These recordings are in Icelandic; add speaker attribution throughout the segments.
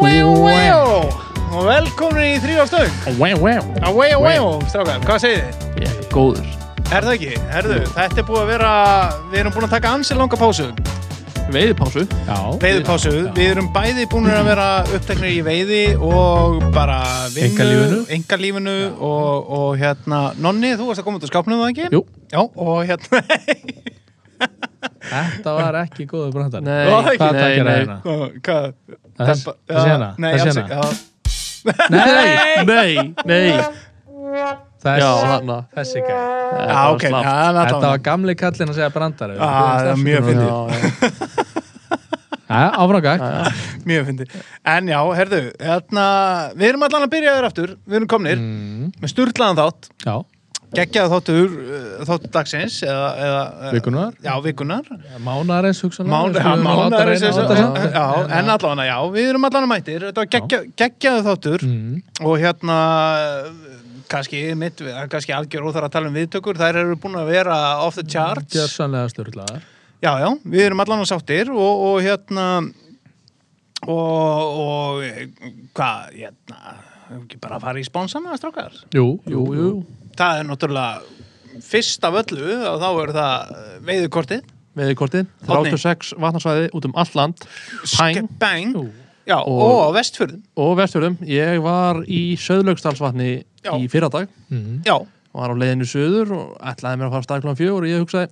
Speaker 1: Wow. Og velkomin í þrjóðstöng
Speaker 2: Wow, wow.
Speaker 1: Away, away, strákar, hvað segir þið?
Speaker 2: Ég er góður.
Speaker 1: Er það ekki? Herðu, þetta er búið að vera Við erum búin að taka ansi langa pásu
Speaker 2: Veiðpásu. Já.
Speaker 1: Veiðpásu, við erum bæði búin að vera uppteknir í veiði Og bara vinnu
Speaker 2: Einkalífinu.
Speaker 1: Engalífinu og, og hérna, Nonni, þú varst að koma út úr skápnum það ekki?
Speaker 2: Jú.
Speaker 1: Já, og hérna
Speaker 2: Þetta var ekki góður brandar.
Speaker 3: Nei,
Speaker 1: Var það ekki?
Speaker 2: Hvað
Speaker 3: nei,
Speaker 2: takkir að
Speaker 3: nei.
Speaker 2: hérna?
Speaker 1: Hvað?
Speaker 2: Þess-
Speaker 1: Dempa-
Speaker 2: þessi hérna?
Speaker 1: Nei,
Speaker 2: Þessi
Speaker 1: alls
Speaker 2: hérna?
Speaker 1: ekki já.
Speaker 2: Nei,
Speaker 3: Nei, nei
Speaker 2: Þess,
Speaker 3: Já, hana
Speaker 2: þessi gæði.
Speaker 1: Já, ok, já,
Speaker 3: slapp.
Speaker 1: það er
Speaker 2: Þetta var
Speaker 1: alltaf-
Speaker 2: gamli kallinn að segja brandar.
Speaker 1: Já, Ah, það er mjög fyndið.
Speaker 2: Já, áframgæk.
Speaker 1: Mjög fyndi. En já, herðu, hérna, við erum allan að byrja þér aftur, við erum komnir, með sturlaðan þátt,
Speaker 2: Já,
Speaker 1: geggjaða þáttur, uh, þáttur dagsins, eða, eða eh,
Speaker 2: Vikunnar.
Speaker 1: Já, vikunar.
Speaker 2: mánaðarins hugsanlega.
Speaker 1: Mánu,
Speaker 2: Við skulum láta
Speaker 1: mánuðar,
Speaker 2: reyna á þetta samt.
Speaker 1: já, en allan að já, við erum allan að mætir, þetta var geggja, geggjaða þáttur
Speaker 2: Mm.
Speaker 1: og hérna, eh, kannski mitt, það er kannski algjör óþar að tala um viðtökur, þær eru búin að vera off the charts.
Speaker 2: Gjörsanlega störlaðar.
Speaker 1: Já, já, við erum allan á sáttir og, og hérna og, og eh, hvað, hérna hefur ekki bara að fara í sponsana, strákar
Speaker 2: Jú, jú, jú.
Speaker 1: það er náttúrulega fyrst af öllu og þá er það eh, veiðukortið
Speaker 3: Veðikorti,
Speaker 1: Árni.
Speaker 3: 36 vatnarsvæði út um allt land Pæn
Speaker 1: bang,
Speaker 2: Jú.
Speaker 1: já, og,
Speaker 3: Og-
Speaker 1: á vestfjörðum
Speaker 3: og vestfjörðum Ég var í Söðlaugsdalsvatni
Speaker 1: Já.
Speaker 3: í fyrradag
Speaker 2: Mm.
Speaker 1: já,
Speaker 3: Var á leiðinu söður og ætlaði mér að fara starklan fjögur og ég hugsaði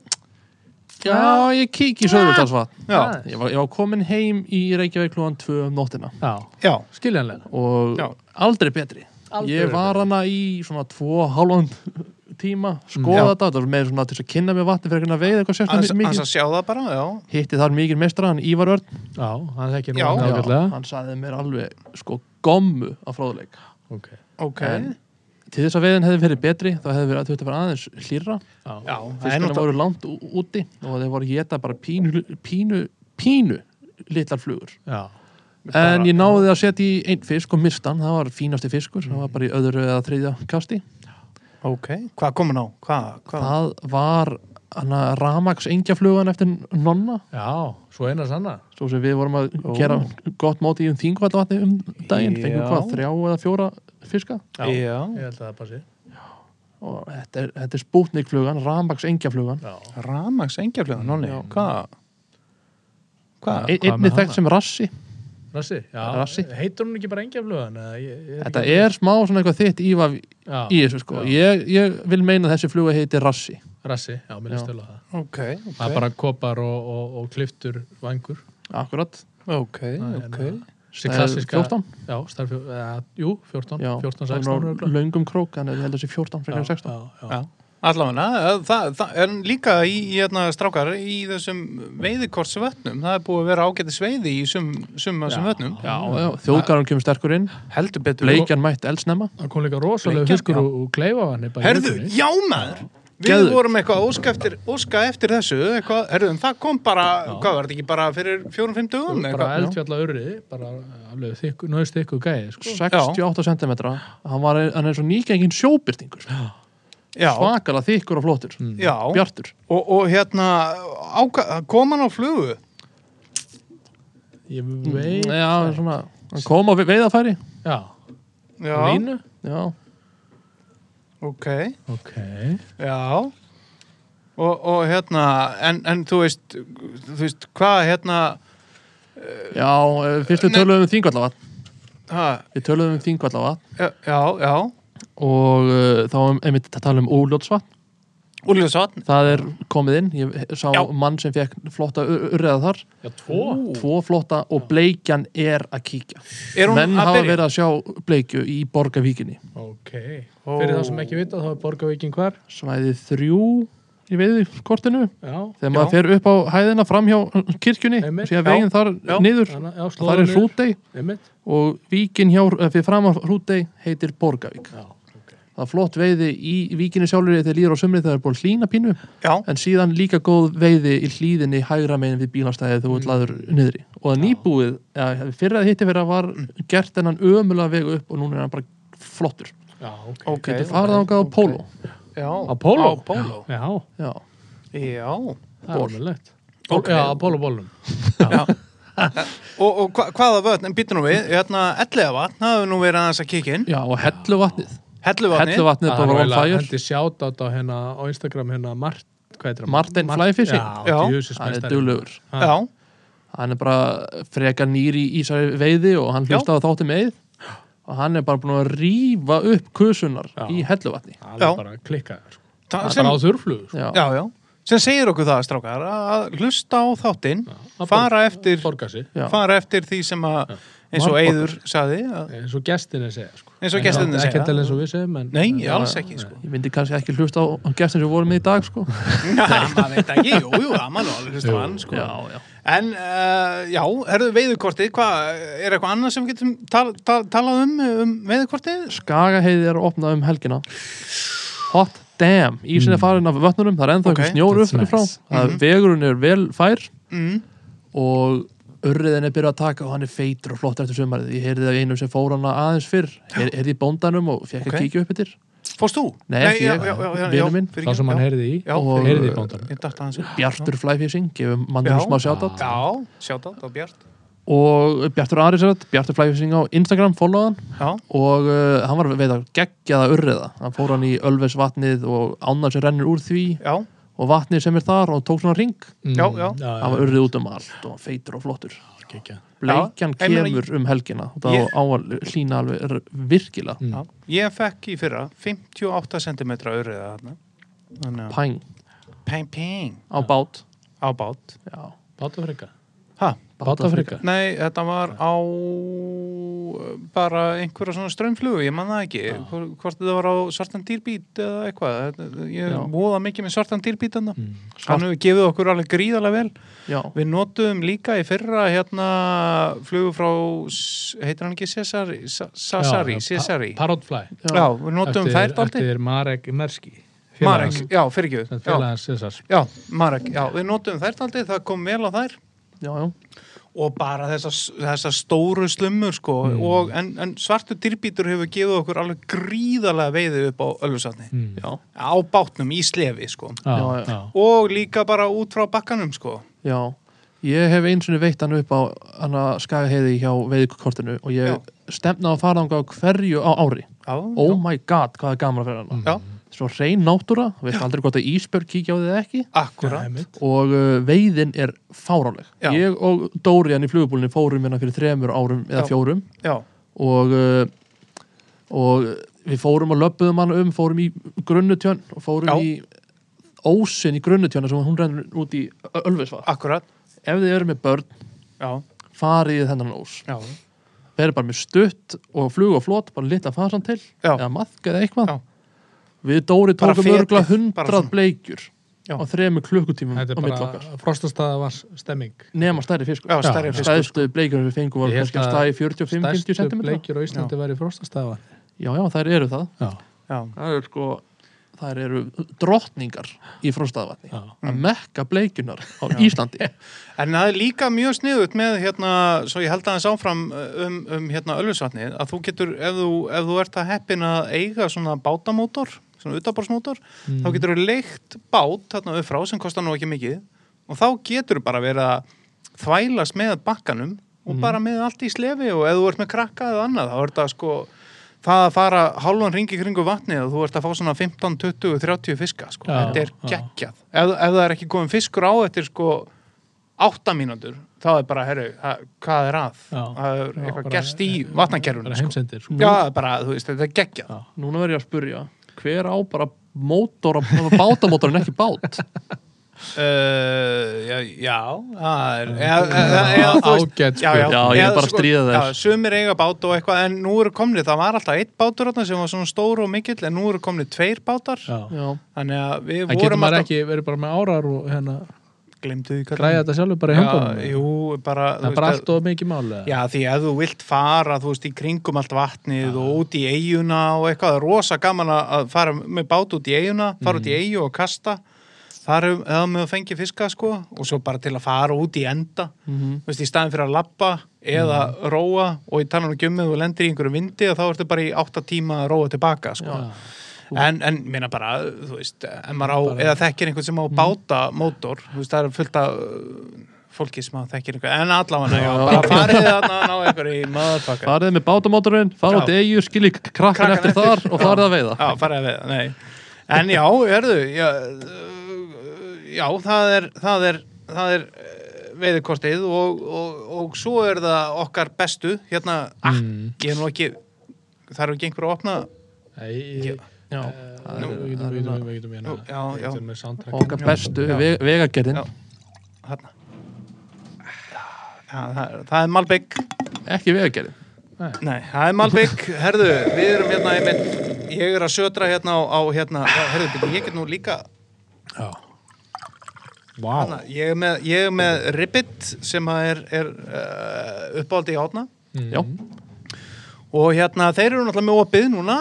Speaker 3: Já, ég kík í Söðlaugsdalsvatn
Speaker 1: já,
Speaker 2: Ah.
Speaker 3: ég, var- ég var komin heim í Reykjavík klúan 2 um nóttina
Speaker 2: Já,
Speaker 1: já,
Speaker 2: skiljanlega.
Speaker 3: og
Speaker 1: Já.
Speaker 3: aldrei betri
Speaker 2: Aldrei
Speaker 3: Ég
Speaker 2: verið
Speaker 3: var hana í svona 2 hálfan tíma
Speaker 1: Já.
Speaker 3: skoða þetta, þetta var meira svona til þess að kynna mér vatni fyrir að veiða eitthvað
Speaker 1: aðeins
Speaker 3: sérstaklega mikið
Speaker 1: aðeins að sjá það bara, já
Speaker 3: hitti þar mikið meistra, hann Ívar Örn
Speaker 2: Já, hann þekkir nú
Speaker 1: Já.
Speaker 2: hann ágætlega.
Speaker 3: hann saði mér alveg sko gommu af fróðuleik
Speaker 2: Ok.
Speaker 1: ok,
Speaker 3: En- til þess að veiðin hefði verið betri þá hefði verið að þetta var aðeins hlýra
Speaker 1: já, það er
Speaker 3: fiskarna
Speaker 1: náttúrulega
Speaker 3: voru langt ú- úti og þeir voru að geta bara pínu, pínu, pínu litlar flugur
Speaker 2: Já.
Speaker 3: en ég náði að setja í einn fisk og mistan, það var fínasti fiskur það var bara í öðru eða þriðja kasti
Speaker 1: ok, hvað komur ná, hvað, hvað
Speaker 3: það var hana Ramax engjaflugan eftir nonna
Speaker 2: Já, svo eina sanna.
Speaker 3: svo sem við vorum að gera gott móti í um þingvallavatni um daginn fengum
Speaker 1: Já.
Speaker 3: hvað, þrjá eða fjóra fiska
Speaker 2: Já.
Speaker 1: já,
Speaker 2: Ég held að það passi.
Speaker 3: og þetta er, þetta er spútnikflugan, rambaks engjaflugan
Speaker 2: Já.
Speaker 1: ramags engjaflöðan, nonni,
Speaker 3: Já.
Speaker 1: hvað hvað,
Speaker 3: e
Speaker 2: hvað
Speaker 3: einni
Speaker 2: með
Speaker 3: þekkt
Speaker 2: hana?
Speaker 3: sem rassi
Speaker 2: Rassi, já.
Speaker 3: Rassi.
Speaker 2: Heitur hún ekki bara engjaflugan? eða ég- ég
Speaker 3: þetta
Speaker 2: ekki-
Speaker 3: er smá svona eitthvað þitt íva í
Speaker 2: já,
Speaker 3: þessu sko ég, ég vil meina að þessi fluga heiti rassi
Speaker 2: Rassi, já, mér
Speaker 3: Já.
Speaker 2: leist vel á það.
Speaker 1: ok,
Speaker 2: Það er bara kopar og, og, og kliftur vangur.
Speaker 3: akkurat,
Speaker 1: ok,
Speaker 2: Það er
Speaker 1: ok
Speaker 2: hérna- Þessi
Speaker 3: Það er
Speaker 2: klassiska...
Speaker 3: 14?
Speaker 2: Já, starf, uh, jú, 14,
Speaker 3: já,
Speaker 2: 14, 16.
Speaker 3: það er
Speaker 2: örugglega.
Speaker 3: nú löngum krók en ég held að þessi 14 frekar en 16
Speaker 2: Já, já,
Speaker 1: Já, allavega, það, það er líka í, í hérna, strákar í þessum veiðikortsvötnum, það er búið að vera ágæti sveiði í sum, sum að þessum vötnum.
Speaker 3: já, já, þjóðgarun kemur sterkur inn
Speaker 1: Heldur betur.
Speaker 3: bleikjan mætt eldsnemma
Speaker 2: Það kom líka rosalega
Speaker 1: Bleikjan,
Speaker 2: huskur
Speaker 1: já.
Speaker 2: og kleifa hann
Speaker 1: Herðu, já maður! Við
Speaker 3: Geðveikt.
Speaker 1: vorum eitthvað að óska eftir, óska eftir þessu, eitthvað, herðu, en það kom bara, hvað var þetta ekki bara fyrir fjórum-fimm dögum?
Speaker 2: bara
Speaker 1: eitthvað?
Speaker 2: eldfjalla urriði, bara eh, alveg þykku, nöðst þykku gæði, sko.
Speaker 3: 68 cm hann var hann er svo nýgengin sjóbyrtingur
Speaker 1: Já, Mm.
Speaker 3: svakala þykkur og flottur
Speaker 1: já,
Speaker 3: bjartur
Speaker 1: og, og hérna, áka, kom hann á flugu?
Speaker 2: Ég
Speaker 3: Mm,
Speaker 2: Mm. veit,
Speaker 3: já, svona, hann kom á ve- veiðarfæri
Speaker 2: já,
Speaker 1: Já,
Speaker 2: línu.
Speaker 3: já
Speaker 1: ok,
Speaker 2: Ok,
Speaker 1: já. Og, og hérna, en, en þú veist, þú veist, hvað hérna,
Speaker 3: Já, eh, fyrst við töluðum um þingvallavatn
Speaker 1: Ha,
Speaker 3: Við töluðum um þingvallavatn
Speaker 1: já, já, já.
Speaker 3: og uh, þá um, einmitt að tala um óljótsvatn
Speaker 1: Úljóðsvatn
Speaker 3: Það er komið inn, ég sá
Speaker 1: Já.
Speaker 3: mann sem fekk flotta ur- urriða þar
Speaker 2: já, tvo.
Speaker 3: Tvo flotta og bleikjan er að kíkja
Speaker 1: Er hún
Speaker 3: Menn
Speaker 1: að
Speaker 3: hafa
Speaker 1: byrja?
Speaker 3: verið að sjá bleikju í Borgavíkinni
Speaker 2: Ok, fyrir það sem ekki vita, þá er Borgavíkin hvar.
Speaker 3: Svæði þrjú í veiðkortinu
Speaker 2: Já,
Speaker 3: Þegar
Speaker 1: Já.
Speaker 3: maður fer upp á hæðina fram hjá kirkjunni
Speaker 2: Einmitt.
Speaker 3: síðan
Speaker 1: Já.
Speaker 3: veginn þar
Speaker 1: Já.
Speaker 3: niður
Speaker 2: þannig, já,
Speaker 3: og þar
Speaker 2: slóðan
Speaker 3: er hrútei
Speaker 2: Einmitt.
Speaker 3: og víkin hjá, eh, fyrir fram að hrútei heitir Borgavík
Speaker 2: Já, ok.
Speaker 3: það er flott veiði í víkinni sjálfur þegar líður á sumri þegar það er búin hlína pínu
Speaker 1: Já,
Speaker 3: en síðan líka góð veiði í hlíðinni hægra meginn við bílastæði þegar þú
Speaker 1: Mm.
Speaker 3: ert laður niðri og það nýbúið, ja, fyrir að hitti vera var gert hennan ömulega veg upp og núna er hann bara flottur
Speaker 2: Já, ok.
Speaker 1: ok
Speaker 3: getur farið ángað á póló
Speaker 1: Já,
Speaker 2: Á póló?
Speaker 1: Á póló,
Speaker 2: Já,
Speaker 3: já,
Speaker 1: já
Speaker 2: það er
Speaker 3: Ból.
Speaker 2: alveg lett.
Speaker 3: Ok.
Speaker 2: Já, á pólóbólum.
Speaker 1: Já. og, og hva, hvaða vötn, en býtum við, hérna, ellega vatn, það hefur nú verið aðeins að kíkja inn.
Speaker 3: Já, og hellu vatnið
Speaker 1: Hellu vatni.
Speaker 3: Hellu vatnið er
Speaker 2: Það
Speaker 1: Ah,
Speaker 2: var
Speaker 3: bara on
Speaker 2: eiginlega-
Speaker 3: fire
Speaker 2: hendi sjátt á hérna á Instagram hérna Mart, hvað heitir hann?
Speaker 3: Martin Flyfishing.
Speaker 1: Já.
Speaker 2: Já, djúsis
Speaker 3: Hann er duglegur
Speaker 1: Já,
Speaker 3: Hann er bara frekar nýri í þessari veiði og hann
Speaker 1: Já.
Speaker 3: hlusta á þátti með og hann er bara búin að rífa upp kusunar
Speaker 2: Já.
Speaker 3: í hellu vatni
Speaker 2: Það
Speaker 1: Já.
Speaker 2: er bara klikkaður. sko.
Speaker 1: það
Speaker 2: Það er
Speaker 1: sem,
Speaker 2: bara á sko. þurflugur.
Speaker 3: Já,
Speaker 1: já, já, sem segir okkur það, strákar, að- að hlusta á þáttinn, fara eftir,
Speaker 2: Borga sig.
Speaker 3: Já.
Speaker 1: fara eftir því sem að, eins og
Speaker 3: Margborgar.
Speaker 1: Eyður saði, að,
Speaker 2: Eins og gestinni segja, sko.
Speaker 1: Eins og gestirnir segja.
Speaker 2: Ekki til eins og við segjum, en...
Speaker 1: nei,
Speaker 2: en-
Speaker 1: alls ekki, sko.
Speaker 3: Ég myndi kannski ekki hlusta á gestin sem við vorum með í dag sko.
Speaker 1: Næ, maður veit ekki, jú, jú, það maður alveg hlusta á hann, sko.
Speaker 3: Já, já
Speaker 1: En, uh, já, herðu veiðukortið, hvað, er eitthvað annað sem við getum tal, tal, talað um, um veiðukortið?
Speaker 3: Skagaheiði er að opna um helgina Hot damn, ísin er farin af vötnunum það er
Speaker 1: Mm.
Speaker 3: ennþá
Speaker 1: Ok, Mhm.
Speaker 3: okay, snjór
Speaker 2: that's
Speaker 3: upp nice. frá
Speaker 2: nice.
Speaker 3: það vegurinn er vel fær
Speaker 1: Mm.
Speaker 3: og urriðin er byrjað að taka og hann er feitur og flottur eftir sumarið ég heyrði af einum sem fór hana aðeins fyrr Heyr- heyrði í bóndanum og fekk
Speaker 1: Ok.
Speaker 3: að kíkja upp yfir
Speaker 1: Fórst þú?
Speaker 3: Nei, ekki
Speaker 1: já,
Speaker 3: ég.
Speaker 1: já, já, já,
Speaker 3: Vinur minn,
Speaker 1: fyrir
Speaker 2: Það
Speaker 1: ekki,
Speaker 2: sem hann
Speaker 1: já.
Speaker 2: heyrði í.
Speaker 1: Já.
Speaker 2: Og...
Speaker 3: Og-
Speaker 2: Heyrði í bóndanum.
Speaker 1: Ég datt aðeins upp.
Speaker 3: Bjartur Flæfísing, gefum
Speaker 1: Já.
Speaker 3: mannum smá sjátat
Speaker 1: Já, sjátátt á Bjart.
Speaker 3: og Bjartur Ari sér þetta, Bjartur Flæfísing á Instagram followaðan
Speaker 1: Já,
Speaker 3: og uh, hann var veit að geggjaða urriða hann fór hann í Ölvesvatnið og ánar sem rennur úr því
Speaker 1: já,
Speaker 3: og vatnið sem er þar og tók svona ring
Speaker 1: Já, já.
Speaker 2: Mm.
Speaker 3: hann var urrið út um allt og hann feitur og flottur
Speaker 2: Kikja.
Speaker 3: bleikjan
Speaker 1: Já, ég meina-
Speaker 3: kemur um helgina og það
Speaker 1: Ég-
Speaker 3: á að hlýna alveg r- virkilega
Speaker 2: Mm.
Speaker 1: já. Ég fekk í fyrra 58 cm öryða þarna. Þannig
Speaker 3: pæng
Speaker 1: að peng, peng
Speaker 3: á bát
Speaker 1: á bát.
Speaker 3: Já,
Speaker 2: Bátafrika.
Speaker 1: Ha?
Speaker 2: Bátafrika.
Speaker 1: Nei, þetta var á uh, bara einhverja svona strömmflugu, ég man það ekki. Hvort, hvort þetta var á svartan dýrbít eða eitthvað. Þetta- Ég
Speaker 3: Já.
Speaker 1: voða mikið með svartan dýrbít þarna.
Speaker 2: Mm.
Speaker 1: Hann hefur gefið okkur alveg gríðarlega vel.
Speaker 3: já,
Speaker 1: Við notuðum líka í fyrra hérna flugu frá, S- heitir hann ekki Cesari? Sa- Sassari,
Speaker 2: Já, já,
Speaker 1: Cesari.
Speaker 2: Pa- Parrotfly.
Speaker 3: já,
Speaker 1: Já, við notuðum
Speaker 2: Eftir-
Speaker 1: þær daldi.
Speaker 2: Eftir Marek Merski.
Speaker 1: Marek, já, fyrirgjöðu. Já,
Speaker 2: Félagan Césars.
Speaker 1: já, Marek, já, við notuðum þær daldi, það kom vel á þær.
Speaker 3: já, já.
Speaker 1: Og bara þessar þessa stóru slumur, sko.
Speaker 2: Mm.
Speaker 1: Og, en, en svartu dýrbítur hefur gefið okkur alveg gríðarlega veiði upp á Ölfusatni.
Speaker 2: Mm.
Speaker 3: Já.
Speaker 1: Á bátnum, í slefi, sko.
Speaker 2: Já,
Speaker 3: Já, já.
Speaker 2: já.
Speaker 1: Og líka bara út frá bakkanum, sko.
Speaker 3: já. ég hef eins og veitt hann upp á hann að skaga heiði hjá veiðkortinu og ég
Speaker 1: Já.
Speaker 3: stefna á faranga á hverju á ári
Speaker 1: Já, Mm.
Speaker 3: oh my god, hvað er gaman að fyrir hann
Speaker 1: já,
Speaker 3: svo reyn náttúra, við veist aldrei hvort að Ísbjörg kíkja á þið eða ekki
Speaker 1: akkurat.
Speaker 2: einmitt.
Speaker 3: og uh, veiðin er fáráleg
Speaker 1: Já.
Speaker 3: ég og Dórian í flugubúlinni fórum hérna fyrir þremur árum eða
Speaker 1: Já.
Speaker 3: fjórum
Speaker 1: Já,
Speaker 3: og, uh, og við fórum og löppuðum hann um, fórum í grunnutjön og fórum
Speaker 1: Já.
Speaker 3: í ósin í grunnutjön sem hún rennur út í Ö- Ölfusvatn.
Speaker 1: akkurat.
Speaker 3: Ef þið eru með börn,
Speaker 1: Já,
Speaker 3: farið í þennan ós.
Speaker 1: já,
Speaker 3: Verið bara með stutt og flug og flott, bara litla fasan til,
Speaker 1: Já.
Speaker 3: eða maðk eða eitthvað.
Speaker 1: Já.
Speaker 3: Við Dóri
Speaker 1: Bara
Speaker 3: tókum
Speaker 1: fetið,
Speaker 3: örgla
Speaker 1: bara
Speaker 3: hundrað
Speaker 1: svona.
Speaker 3: bleikjur
Speaker 1: Já.
Speaker 3: á þremur
Speaker 1: Mhm.
Speaker 3: klukkutímum á
Speaker 2: Þetta er
Speaker 3: mitt okkar.
Speaker 2: bara frostastaða vans stemming.
Speaker 3: Nema stærri fiskur.
Speaker 1: já, stærri
Speaker 2: Já,
Speaker 1: fiskur.
Speaker 3: Stæðstu bleikjur sem við fengum var
Speaker 2: Ég held
Speaker 3: kannski
Speaker 2: að
Speaker 3: að stæði 45-50
Speaker 2: Stærstu
Speaker 3: cm.
Speaker 2: bleikjur á Íslandi væri frostastaða.
Speaker 3: Já, já, þær eru það.
Speaker 2: Já.
Speaker 1: Já,
Speaker 3: það eru sko þær eru drottningar í frostaðavatni
Speaker 2: Já.
Speaker 3: að mekka bleikunar á Íslandi
Speaker 1: En það er líka mjög sniðut með hérna, svo ég held aðeins áfram um, um hérna öllusvatnið, að þú getur, ef þú, ef þú ert að heppin að eiga svona bátamótor, svona utaborsmótor, þá
Speaker 2: Mm.
Speaker 1: getur þú leikt bát þarna upp frá sem kostar nú ekki mikið og þá getur þú bara verið að þvælast með bakkanum
Speaker 2: Mm.
Speaker 1: og bara með allt í slefi og ef þú ert með krakka eða annað, þá er þetta sko það að fara hálfan ringi kringu vatnið og þú ert að fá svona 15, 20, 30 fiska sko.
Speaker 2: Já,
Speaker 1: þetta er
Speaker 2: já.
Speaker 1: geggjað ef, ef það er ekki komin fiskur á eftir sko átta mínútur, þá er bara, herru, það- hvað er að?
Speaker 2: Já.
Speaker 1: það er
Speaker 2: Já,
Speaker 1: eitthvað
Speaker 2: bara- e-
Speaker 1: gerst í
Speaker 2: Bara
Speaker 1: vatnakerfinu, sko.
Speaker 2: heimsendir. sko.
Speaker 1: Já, það er bara, þú veist, þetta er geggjað.
Speaker 2: Já.
Speaker 3: núna verður ég að spurja hver á bara mótor bátamótor en ekki bát
Speaker 1: Uh, já, já, það er, eða, eða, eða, þú veist- já, já,
Speaker 2: Ágæt sko. spurning.
Speaker 3: Já, ég er
Speaker 1: eða, sko,
Speaker 3: bara að stríða þér.
Speaker 1: Já, sumir eiga bát og eitthvað, en nú eru komnið, það var alltaf eitt bátur þarna sem var svona stór og mikill, en nú eru komnið tveir bátar,
Speaker 2: Já.
Speaker 3: já,
Speaker 1: þannig að við
Speaker 2: Það getur
Speaker 1: vorum
Speaker 2: maður ekki verið bara með árar og hérna
Speaker 1: glemdu því
Speaker 2: græja þetta sjálfur bara í höndunum.
Speaker 1: Já, jú, bara,
Speaker 2: Það
Speaker 1: þú
Speaker 2: er bara
Speaker 1: veist,
Speaker 2: allt og mikið máli. eða?
Speaker 1: Já, því ef þú vilt fara, þú veist, í kringum allt vatnið og út í eiguna og eitthvað, það er rosa gaman að- að fara með bát út í eiguna, fara út í eigu og kasta, þar er það með að fengja fiska, sko, og svo bara til að fara út í enda, þú veist, í staðin fyrir að lappa eða róa og í talan um gjömmið og lendir í einhverju vindi og þá ertu bara í átta tíma að róa tilbaka, sko. En, en minna bara, þú veist, en maður á, eða þekkir einhvern sem á báta mótor, þú veist, það er fullt að uh, fólki sem að þekkir eitthvað, en allavega, já, bara farið þarna að ná eitthvað í maðurfakka.
Speaker 3: farið með bátamótorinn, farið á
Speaker 1: Já.
Speaker 3: degju skilji krakkan
Speaker 1: Krakkan
Speaker 3: eftir
Speaker 1: eftir.
Speaker 3: þar og farið að veiða
Speaker 1: Já, farið að við, nei. En já, erðu, já, uh, já það er, það er, það er uh, veiðkortið og, og, og svo er það okkar bestu, hérna, ah,
Speaker 2: Mm.
Speaker 1: ég er nú ekki, það eru ekki einhver að opna,
Speaker 2: Nei, Eh,
Speaker 1: já,
Speaker 3: það er-
Speaker 2: Við getum,
Speaker 3: það er
Speaker 2: við getum,
Speaker 3: hérna-
Speaker 2: við getum hérna.
Speaker 1: Nú, já, já.
Speaker 2: Við getum með soundtrack.
Speaker 3: okkar bestu
Speaker 1: Já.
Speaker 3: ve- vegagerðin
Speaker 1: Já. hérna. Já, það, er- það er Malbygg.
Speaker 3: ekki vegagerðin
Speaker 1: Nei, það er Malbygg, herðu, við erum hérna einmitt, ég er að södra hérna á, á hérna, já, herðu, byrju, ég get nú líka,
Speaker 2: Já. Vá.
Speaker 1: hérna, ég er með, ég er með Ribbit sem að er, er uh, uppáldi í átna
Speaker 2: Mm.
Speaker 3: já,
Speaker 1: og hérna þeir eru náttúrulega með opið núna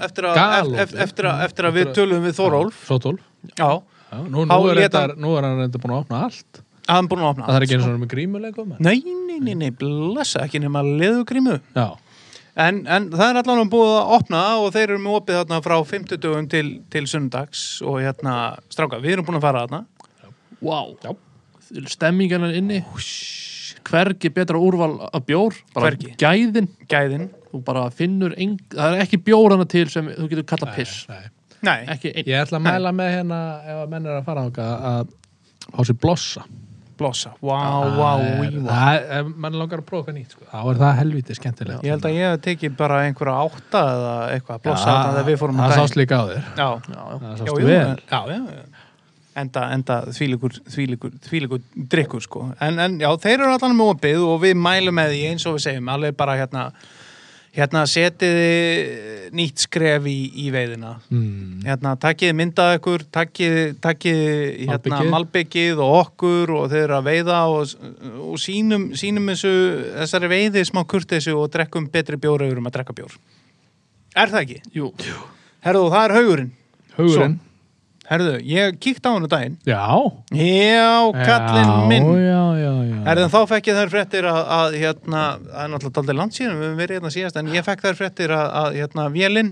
Speaker 1: eftir að,
Speaker 2: Galopið.
Speaker 1: eft, eftir að, eftir að við tölum við Þórólf,
Speaker 2: Svo tólf.
Speaker 1: já,
Speaker 2: Já, Nú, nú,
Speaker 1: Þá
Speaker 2: er
Speaker 1: lét
Speaker 2: reyndar,
Speaker 1: hann-
Speaker 2: nú er hann reynda búin að opna allt.
Speaker 1: að hann búin að opna.
Speaker 2: Það er ekki eins og hann er með grímuleikum. en-
Speaker 1: Nei, nei, nei, nei, blessa, ekki nema leðugrímu.
Speaker 2: Já.
Speaker 1: En, en það er allan búið að opna og þeir eru með opið þarna frá 50 dögum til, til sundags og hérna, stráka, við erum búin að fara þarna.
Speaker 3: wow
Speaker 2: Já.
Speaker 3: stemmingan er inni hvergi betra úrval að bjór bara
Speaker 1: Hvergi.
Speaker 3: gæðin
Speaker 1: gæðin
Speaker 3: þú bara finnur eng... það er ekki bjór hana til sem þú getur kallað piss
Speaker 2: Nei.
Speaker 1: Nei,
Speaker 3: ekki einn
Speaker 2: Ég ætla að mæla með hérna ef að menn er að fara ánga að fá sér blossa.
Speaker 1: blossa Vá, vá,
Speaker 2: Það er-
Speaker 1: vá
Speaker 2: það er- ef mann langar að prófa eitthvað nýtt, sko. Þá er það helviti skemmtilegt.
Speaker 1: Ég held að ég hef tekið bara einhverja átta eða eitthvað blossa
Speaker 2: Já,
Speaker 1: ja, þegar við fórum um
Speaker 2: Það
Speaker 1: að
Speaker 2: sást líka á þér.
Speaker 1: Já,
Speaker 3: Já, já.
Speaker 2: Það
Speaker 1: já,
Speaker 2: sást
Speaker 1: jú, já,
Speaker 2: vel.
Speaker 1: já, já Enda, enda þvílíkur, þvílíkur, þvílíkur drikkur sko en, en já, þeir eru allan með opið og við mælum með því eins og við segjum alveg bara hérna hérna setiði nýtt skref í, í veiðina
Speaker 2: Mm.
Speaker 1: hérna, takkiði myndað ykkur takkiði, takkiði hérna,
Speaker 2: Malbikið.
Speaker 1: malbyggið og okkur og þeir eru að veiða og, og sínum, sínum þessu, þessari veiði smá kurtessu og drekkum betri bjór ef við erum að drekka bjór Er það ekki?
Speaker 3: jú
Speaker 1: Herðu, það er haugurinn
Speaker 2: Hugurinn.
Speaker 1: Herðu, ég kíkti á hann daginn
Speaker 2: Já.
Speaker 1: Já, kallinn minn
Speaker 2: Já, já, já, já.
Speaker 1: Herðu, þá fekk ég þær fréttir að, að hérna, það er náttúrulega daldið landsýnum við höfum verið hérna síðast, en ég fekk þær fréttir að, að hérna, Vélinn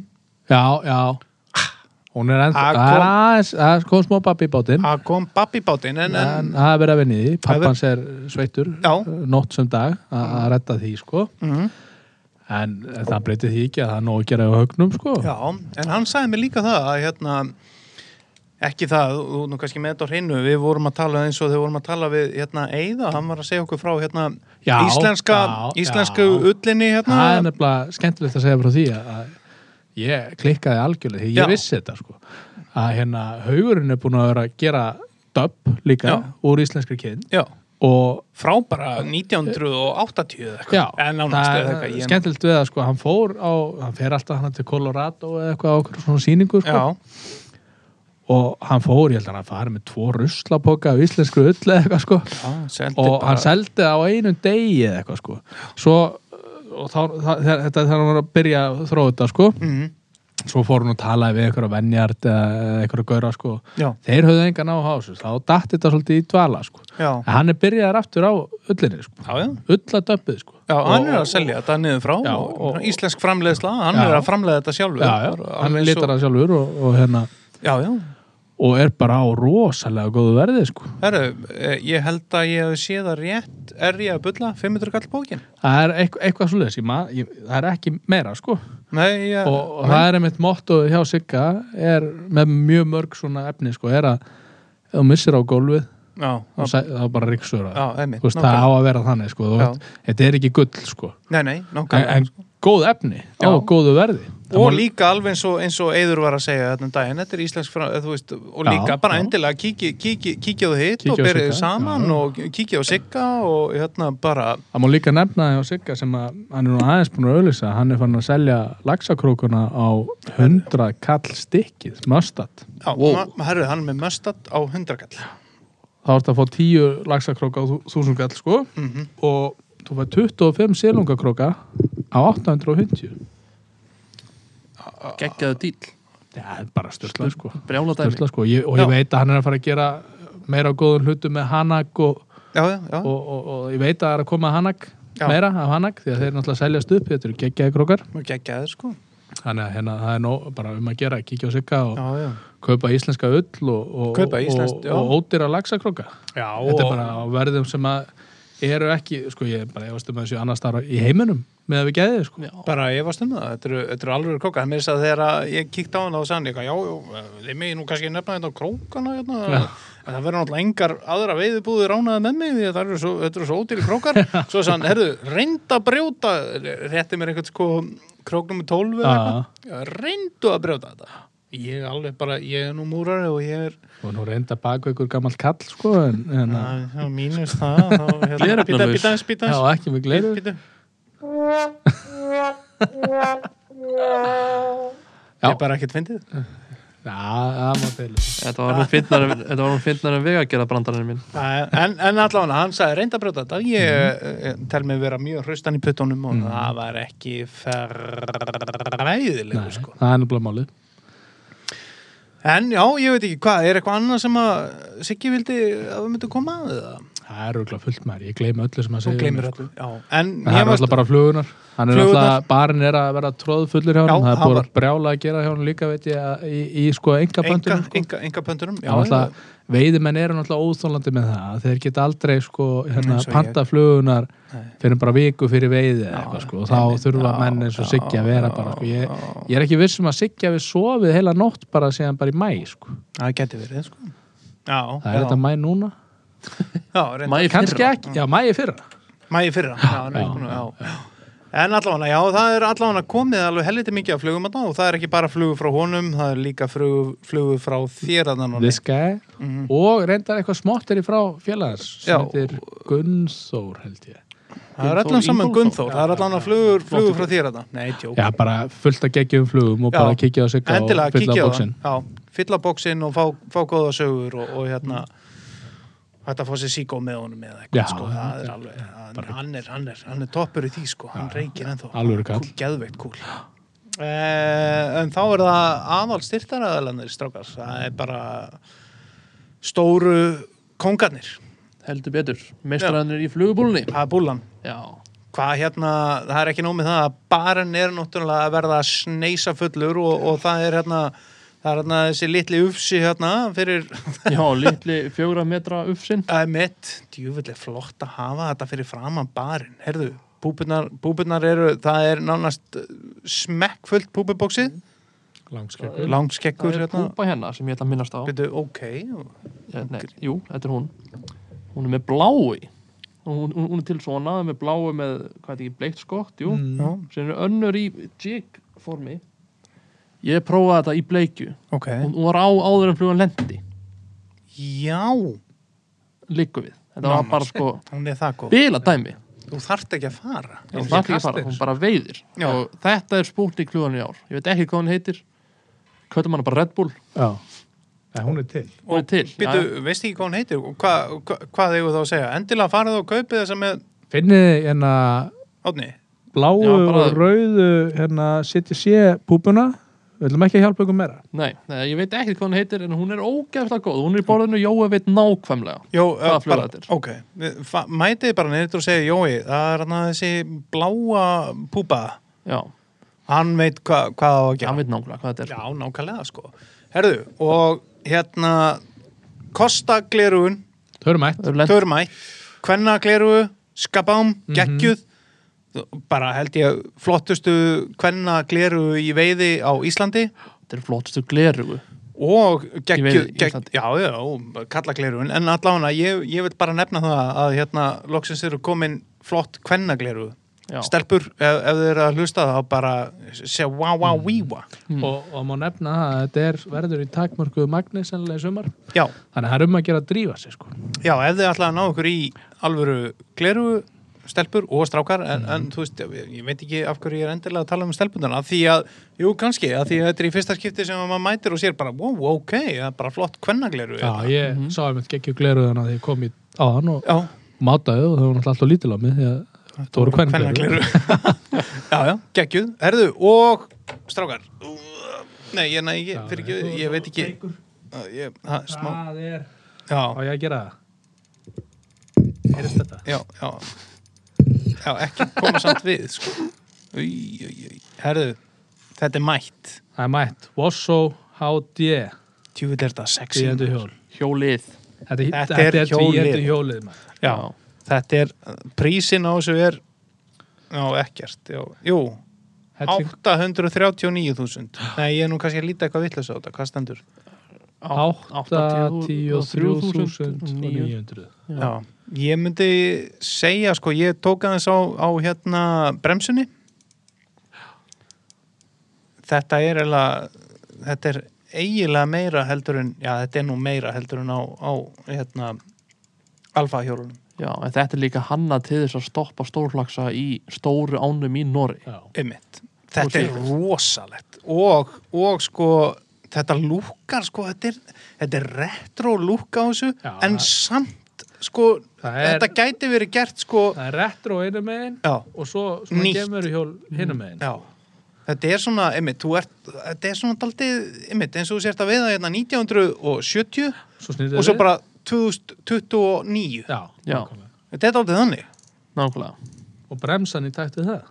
Speaker 2: Já, já. Hún er ennþá,
Speaker 1: Ah,
Speaker 2: það er
Speaker 1: kom-
Speaker 2: aðeins, það er kom smá pappi í bátinn.
Speaker 1: að kom babbibátinn en, en,
Speaker 2: En það er verið að vinni
Speaker 1: Það
Speaker 2: því.
Speaker 1: er-
Speaker 2: Pappans er sveittur, eh,
Speaker 1: Já.
Speaker 2: nótt sem dag, að að redda því, sko.
Speaker 1: mhm.
Speaker 2: En það breytir því ekki að það er nóg að gera á högnum, sko.
Speaker 1: Já, en hann sagði mér líka það að hérna, ekki það, þú- þú nú kannski með þetta á hreinu, við vorum að tala eins og þegar við vorum að tala við hérna Eiða, hann var að segja okkur frá hérna
Speaker 2: Já,
Speaker 1: íslenska,
Speaker 2: já,
Speaker 1: íslensku
Speaker 2: já.
Speaker 1: ullinni hérna.
Speaker 2: Það er nefnilega skemmtilegt að segja frá því að að ég klikkaði algjörlega, því
Speaker 1: Já.
Speaker 2: ég vissi þetta, sko. Að hérna, haugurinn er búin að vera að gera döpp líka
Speaker 1: Já.
Speaker 2: úr íslenskri kyn
Speaker 1: Já,
Speaker 2: og
Speaker 1: frá bara 1980 eða eitthvað,
Speaker 2: Já,
Speaker 1: en nánast
Speaker 2: það
Speaker 1: eða
Speaker 2: er
Speaker 1: eitthvað. ég-
Speaker 2: skemmtilegt við að sko, hann fór á, hann fer alltaf hann til Colorado eða eitthvað á okkur svona sýningu sko,
Speaker 1: Já,
Speaker 2: og hann fór, ég held að hann fari með tvo ruslapoka af íslensku ull eða eitthvað sko
Speaker 1: já, seldi
Speaker 2: og
Speaker 1: bara-
Speaker 2: hann seldi á einum degi eða eitthvað sko svo, og þá, það, þetta er þegar hann var að byrja að þróa þetta sko
Speaker 1: Mhm,
Speaker 2: svo fór hann og talaði við einhverja venjart eða einhverja gauðra sko
Speaker 1: Já,
Speaker 2: þeir höfðu engan á hásu, þá datt þetta svolítið í dvala sko,
Speaker 1: já,
Speaker 2: en hann er byrjaðar aftur á ullinni sko,
Speaker 1: já, já.
Speaker 2: ulladöppið sko
Speaker 1: Já, hann er að
Speaker 2: Og-
Speaker 1: selja þetta niður frá
Speaker 2: Já,
Speaker 1: og,
Speaker 2: og-
Speaker 1: íslensk framleiðsla, hann
Speaker 2: Já.
Speaker 1: er að framleiða þetta sjálfur
Speaker 2: já, já,
Speaker 1: bara
Speaker 2: hann
Speaker 1: alveg eins og-
Speaker 2: litar það sjálfur og, og, hérna,
Speaker 1: Já, já,
Speaker 2: og er bara á rosalega góðu verði sko.
Speaker 1: Herru, eh, ég held að ég hef séð það rétt er ég að bulla 500 kall bókin
Speaker 2: það er eitthvað, eitthvað svoleiðis ég, ma- ég, það er ekki meira sko.
Speaker 1: Nei, ég,
Speaker 2: og, og það er einmitt motto hjá Sigga er með mjög mörg svona efni sko, er að ef þú missir á gólfið
Speaker 1: já,
Speaker 2: þá
Speaker 1: já,
Speaker 2: sæ- þá bara ríksur
Speaker 1: já, einmitt
Speaker 2: Veist, það
Speaker 1: nákvæmlega.
Speaker 2: á að vera þannig sko,
Speaker 1: Já.
Speaker 2: þú veist, þetta er ekki gull sko.
Speaker 1: Nei, nei,
Speaker 2: en,
Speaker 1: nákvæmlega sko.
Speaker 2: en góð efni á
Speaker 1: Já.
Speaker 2: góðu verði Það
Speaker 1: Og
Speaker 2: má-
Speaker 1: líka alveg eins og, eins og Eður var að segja þetta um daginn, þetta er íslensk frá, þú veist, og
Speaker 2: Já,
Speaker 1: líka bara
Speaker 2: já.
Speaker 1: endilega kíkið kíki, kíki á hitt
Speaker 2: Kíkið
Speaker 1: og
Speaker 2: á
Speaker 1: berið
Speaker 2: Sigga,
Speaker 1: þið saman
Speaker 2: já.
Speaker 1: og kíkið á sigga og hérna bara,
Speaker 2: Það má líka nefna hjá Sigga sem að hann er nú aðeins búin að auðlýsa hann er fann að selja laxakrókuna á 100 kall stikkið möstat.
Speaker 1: já,
Speaker 3: Wow.
Speaker 1: wow. herru, hann er með möstat á 100 kall
Speaker 2: Þá ertu að fá 10 laxakróka á 1000 kall sko
Speaker 1: Mhm.
Speaker 2: og þú fær 25 silungakróka á 850
Speaker 3: geggjaðu dýl
Speaker 2: Það er bara styrla sko,
Speaker 3: brjála dæmi
Speaker 2: styrla, sko. Ég, og ég
Speaker 1: Já.
Speaker 2: veit að hann er að fara að gera meira á góðum hlutum með Hanak og,
Speaker 1: Já, já, já,
Speaker 2: og, og, og ég veit að það er að koma Hanak
Speaker 1: Já.
Speaker 2: meira af Hanak því að þeir náttúrulega seljast upp þetta eru geggjaði krókar
Speaker 1: og geggjaður sko
Speaker 2: Þannig að hérna, það er nóg, bara um að gera, kíkja á sigga og
Speaker 1: já, já.
Speaker 2: kaupa íslenska ull og, og,
Speaker 1: Kaupa íslenskt,
Speaker 2: og,
Speaker 1: já.
Speaker 2: og ódýra laxakróka.
Speaker 1: já
Speaker 2: Þetta er bara á verðum sem að eru ekki, sko ég er bara efast um að þessu annars þar í heiminum með að við geðið, sko.
Speaker 3: Já.
Speaker 1: bara ég var stundið það, þetta eru- þetta eru alveg króka það meðist að þegar að ég kíkti á hann og sagði hann, já, já, þið megin nú kannski nefna þetta á krókana, hérna,
Speaker 2: Já.
Speaker 1: en það verður náttúrulega engar aðra veiðubúði ránaði með mig því að það eru svo, þetta eru svo ódýri krókar svo sagði hann, herðu, reyndu að brjóta rétti mér einhvern sko króknum 12 eða
Speaker 2: Já.
Speaker 1: eitthvað, reyndu að brjóta þetta ég er alveg bara, ég er nú múrari og ég er
Speaker 2: Og nú reynda baku ykkur gammal kall, sko, en, en að,
Speaker 1: að, að mínus það þá, hérna,
Speaker 3: Gleraugnalaus.
Speaker 1: býta, býta, aðeins, býta,
Speaker 2: já,
Speaker 1: aðeins,
Speaker 2: ekki með gleiru.
Speaker 1: býta
Speaker 2: Já.
Speaker 1: ég er bara ekkert fyndið
Speaker 2: Já, það má teila.
Speaker 3: Þetta var nú fyndnar, þetta var nú fyndnar en vegagerða brandarinn minn.
Speaker 1: Nei, En, en allavega, hann sagði reynda að brjóta þetta
Speaker 2: Mhm.
Speaker 1: ég mm. tel mig vera mjög hraustan í puttunum og það var ekki
Speaker 2: Nei,
Speaker 1: fræðilegu sko.
Speaker 2: það er nefnilega málið.
Speaker 1: En já, ég veit ekki hvað, er eitthvað annað sem að Siggi vildi að við myndum koma að eða?
Speaker 2: Það er rúglega fullt maður, ég gleymi öllu sem
Speaker 1: Þú
Speaker 2: að segja. um sko.
Speaker 1: gleymir öllu, já En
Speaker 2: Það
Speaker 1: ég
Speaker 2: er
Speaker 1: varst,
Speaker 2: alltaf bara flugunar. Hann er
Speaker 1: Flugurnar.
Speaker 2: alltaf, barinn er að vera tróðfullur hjá
Speaker 1: Já,
Speaker 2: hann, það er
Speaker 1: hann
Speaker 2: búið
Speaker 1: var-
Speaker 2: að brjála að gera hjá hann líka, veit ég, að- í, í sko enga
Speaker 1: enga,
Speaker 2: bandunum. Sko.
Speaker 1: enga, enga pöntunum já,
Speaker 2: Já, alltaf, veiðimenn eru náttúrulega óþólandi með það, þeir geta aldrei sko, hérna,
Speaker 1: Eins og ég.
Speaker 2: panta flugunar
Speaker 1: Nei.
Speaker 2: fyrir bara viku fyrir veiði eða eitthvað, sko, og þá þurfa
Speaker 1: já,
Speaker 2: menn eins og
Speaker 1: já,
Speaker 2: Siggi að vera bara, sko, ég, ég er ekki vissum að Siggi hafi sofið heila nótt bara síðan bara í mæ, sko,
Speaker 1: Það geti verið, sko Já,
Speaker 2: það er
Speaker 1: já,
Speaker 2: þetta mæ núna
Speaker 1: já, reyndar.
Speaker 3: Mæ í
Speaker 2: kannski
Speaker 3: fyrra.
Speaker 2: ekki, já, mæ í fyrra
Speaker 1: Mæði fyrra, já, hann er
Speaker 2: já,
Speaker 1: búin að- já, já. En allavega, já, það er allavega komið alveg helviti mikið af flugum þarna og það er ekki bara flugu frá honum, það er líka flugu, flugu frá þér að þannig.
Speaker 2: This guy, og reyndar eitthvað smátt er í frá félagars sem
Speaker 1: Mhm. Já.
Speaker 2: heitir Gunnþór, held ég
Speaker 1: Það er allan
Speaker 3: Gunnþór
Speaker 1: saman
Speaker 3: Ingólfsson.
Speaker 1: Gunnþór, það er allan flugur, flugu frá þér að Nei, tjók.
Speaker 2: Já, bara fullt að geggjum flugum og
Speaker 1: Já.
Speaker 2: bara kíkja á Sigga
Speaker 1: Endilega,
Speaker 2: og fylla
Speaker 1: kíkja á
Speaker 2: bóksin
Speaker 1: það. Já, fylla bóksin og fá, fá góða sögur og, og hérna, hægt að fá sér síkó með honum eða
Speaker 2: Já,
Speaker 1: eitthvað, sko, það er alveg, hann, hann, er, hann, er, hann er toppur í því, sko, hann reykir ennþá.
Speaker 2: Alvöru kall.
Speaker 1: Kú- Geðveikt kúl. Eh, en þá er það aðal styrtaraðalandir, strákar, það er bara stóru kongarnir,
Speaker 3: Heldur betur. Meistranir í flugubúlunni.
Speaker 1: það er búlan.
Speaker 3: Já.
Speaker 1: hvað hérna, það er ekki nómið það að barinn er náttúrulega að verða sneisa fullur og, og það er hérna það er hérna þessi litli ufsi hérna fyrir
Speaker 3: Já, litli fjögra metra uppsinn.
Speaker 1: að mitt, djúvillig flott að hafa þetta fyrir framan barinn, herðu púpunar, púpunar eru, það er nánast uh, smekkfullt púpubóksið
Speaker 2: Langskekkur
Speaker 1: langskekkur
Speaker 3: Það er
Speaker 1: hérna
Speaker 3: púpa hérna sem ég ætla að minnast á.
Speaker 1: Byrju, ok,
Speaker 3: Ég, nei, jú, þetta er hún. Hún er með blái. Hún, hún, hún er til svona með blái með, hvað er þetta ekki, bleikt skott, jú.
Speaker 1: já,
Speaker 3: Sem er önnur í jig formi. Ég prófaði þetta í bleikju.
Speaker 1: ok
Speaker 3: Hún, hún var á áður en flugan lendi.
Speaker 1: já,
Speaker 3: Liggu við. Þetta var bara sko
Speaker 1: hún er það góð
Speaker 3: bila dæmi.
Speaker 1: þú þarft ekki að fara
Speaker 3: Hún þarf ekki að fara, hún bara veiðir
Speaker 1: Já.
Speaker 3: og þetta er spútnik flugan í ár ég veit ekki hvað hún heitir kvöldum hana bara Red Bull
Speaker 2: Já, en hún er til
Speaker 3: hún er til já,
Speaker 1: Býtu, veist ekki hvað hún heitir og hvað, hvað, hvað eigum þá að segja? Endilega farið og kaupið þessa með
Speaker 2: Finnið hérna
Speaker 1: átni.
Speaker 2: bláu
Speaker 3: Já, bara-
Speaker 2: og rauðu hérna CTC púpuna Við ætlum ekki að hjálpa ykkur meira
Speaker 3: nei, nei, ég veit ekki hvað hún heitir en hún er ógeðslega góð hún er í borðinu Jói veit nákvæmlega
Speaker 1: Jó, eh,
Speaker 3: Hvaða fluga
Speaker 1: bara-
Speaker 3: þetta er?
Speaker 1: ok, Við fa- mætið bara neyður og segja Jói, það er hann að þessi bláa púpa,
Speaker 3: já,
Speaker 1: hann veit hva, hvað á að gera.
Speaker 3: hann veit nákvæmlega hvað þetta er
Speaker 1: Já, nákvæmlega sko. Herðu, og hérna kostaglerugun,
Speaker 2: Þau eru mætt
Speaker 3: það er lent Mhm.
Speaker 1: törmætt, kvennaglerugu, skabám, geggjuð, bara held ég flottustu kvennaglerugu í veiði á Íslandi.
Speaker 3: þetta er flottustu glerugu
Speaker 1: og geggju,
Speaker 3: veiði- í
Speaker 1: gegg,
Speaker 3: Íslandi.
Speaker 1: já, já, já, kalla glerugun en allána, ég, ég vil bara nefna það að hérna, loksins eru komin flott kvennagleru,
Speaker 3: Já.
Speaker 1: stelpur ef, ef þið eru að hlusta þá bara segja wow, wow, víwa
Speaker 3: Mm.
Speaker 2: og, og má nefna það að þetta er verður í takmörku magni sennilega í sumar
Speaker 1: já,
Speaker 2: Þannig að það er um að gera að drífa sig sko
Speaker 1: já, ef þið ætlaði að ná ykkur í alvöru gleru stelpur og strákar, en,
Speaker 3: Mm.
Speaker 1: en þú veist, ég, ég veit ekki af hverju ég er endilega að tala um stelpunarna af því að, jú, kannski, af því að þetta er í fyrsta skipti sem maður mætir og sér bara, wow, ok það er bara flott kvennagleru
Speaker 2: Já, ég
Speaker 1: Mhm.
Speaker 2: mm -hmm. sá einmitt geggju gleruðan að ég kom í á hann og
Speaker 1: já,
Speaker 2: mátaði og þau var náttúrulega alltaf lítil á mig því að það voru kvennagleru
Speaker 1: já, já, geggjuð, erðu og strákar Nei, ég, nei, ég, fyrir ekki, ég veit ekki Æ, ég, ha, smá,
Speaker 2: Það er, á
Speaker 1: já,
Speaker 2: ég að gera það Heyrist þetta?
Speaker 1: já, já Já, ekki koma samt við, sko Í, í, í, herðu þetta er mætt
Speaker 2: Það er mætt. Wasso HD
Speaker 1: tjúvill er þetta sexy
Speaker 2: tvíendu hjól.
Speaker 3: hjólið
Speaker 2: Þetta, þetta,
Speaker 1: Þetta
Speaker 2: þetta
Speaker 1: er
Speaker 2: er tvíendu
Speaker 1: hjólið.
Speaker 2: hjólið. maður.
Speaker 1: já, þetta er, prísin á þessu er já, ekkert já, jú,
Speaker 2: Helling-
Speaker 1: 839.000 nei, ég er nú kannski að líta eitthvað vittlust á þetta, hvað stendur
Speaker 3: Já,
Speaker 2: 83.900.
Speaker 1: já. ég myndi segja, sko, ég tók aðeins á, á hérna bremsunni þetta er eiginlega, þetta er eiginlega meira heldur en, já, þetta er nú meira heldur en á, á hérna alfa hjólunum
Speaker 3: en þetta er líka hanna til þess að stoppa stórlaksa í stóru ánum í Norri
Speaker 2: Já.
Speaker 1: Einmitt. Þetta er rosalegt og, og sko þetta lúkar sko þetta er, þetta er retro lúk á þessu
Speaker 2: Já,
Speaker 1: en
Speaker 2: það-
Speaker 1: samt sko
Speaker 2: Það er-
Speaker 1: þetta gæti verið gert sko
Speaker 2: Það er retro einu megin
Speaker 1: já,
Speaker 2: og svo svona
Speaker 1: Nýtt.
Speaker 2: gemur hjól hinu megin.
Speaker 1: já þetta er svona, einmitt, þú ert þetta er svona daldið, einmitt, eins og þú sért að veiða hérna 1970
Speaker 2: Svo snýrðu
Speaker 1: og svo
Speaker 2: við.
Speaker 1: bara 2029
Speaker 2: Já,
Speaker 3: Já.
Speaker 2: nákvæmlega.
Speaker 1: þetta er daldið þannig
Speaker 3: Nákvæmlega
Speaker 2: Og bremsan í takt við það.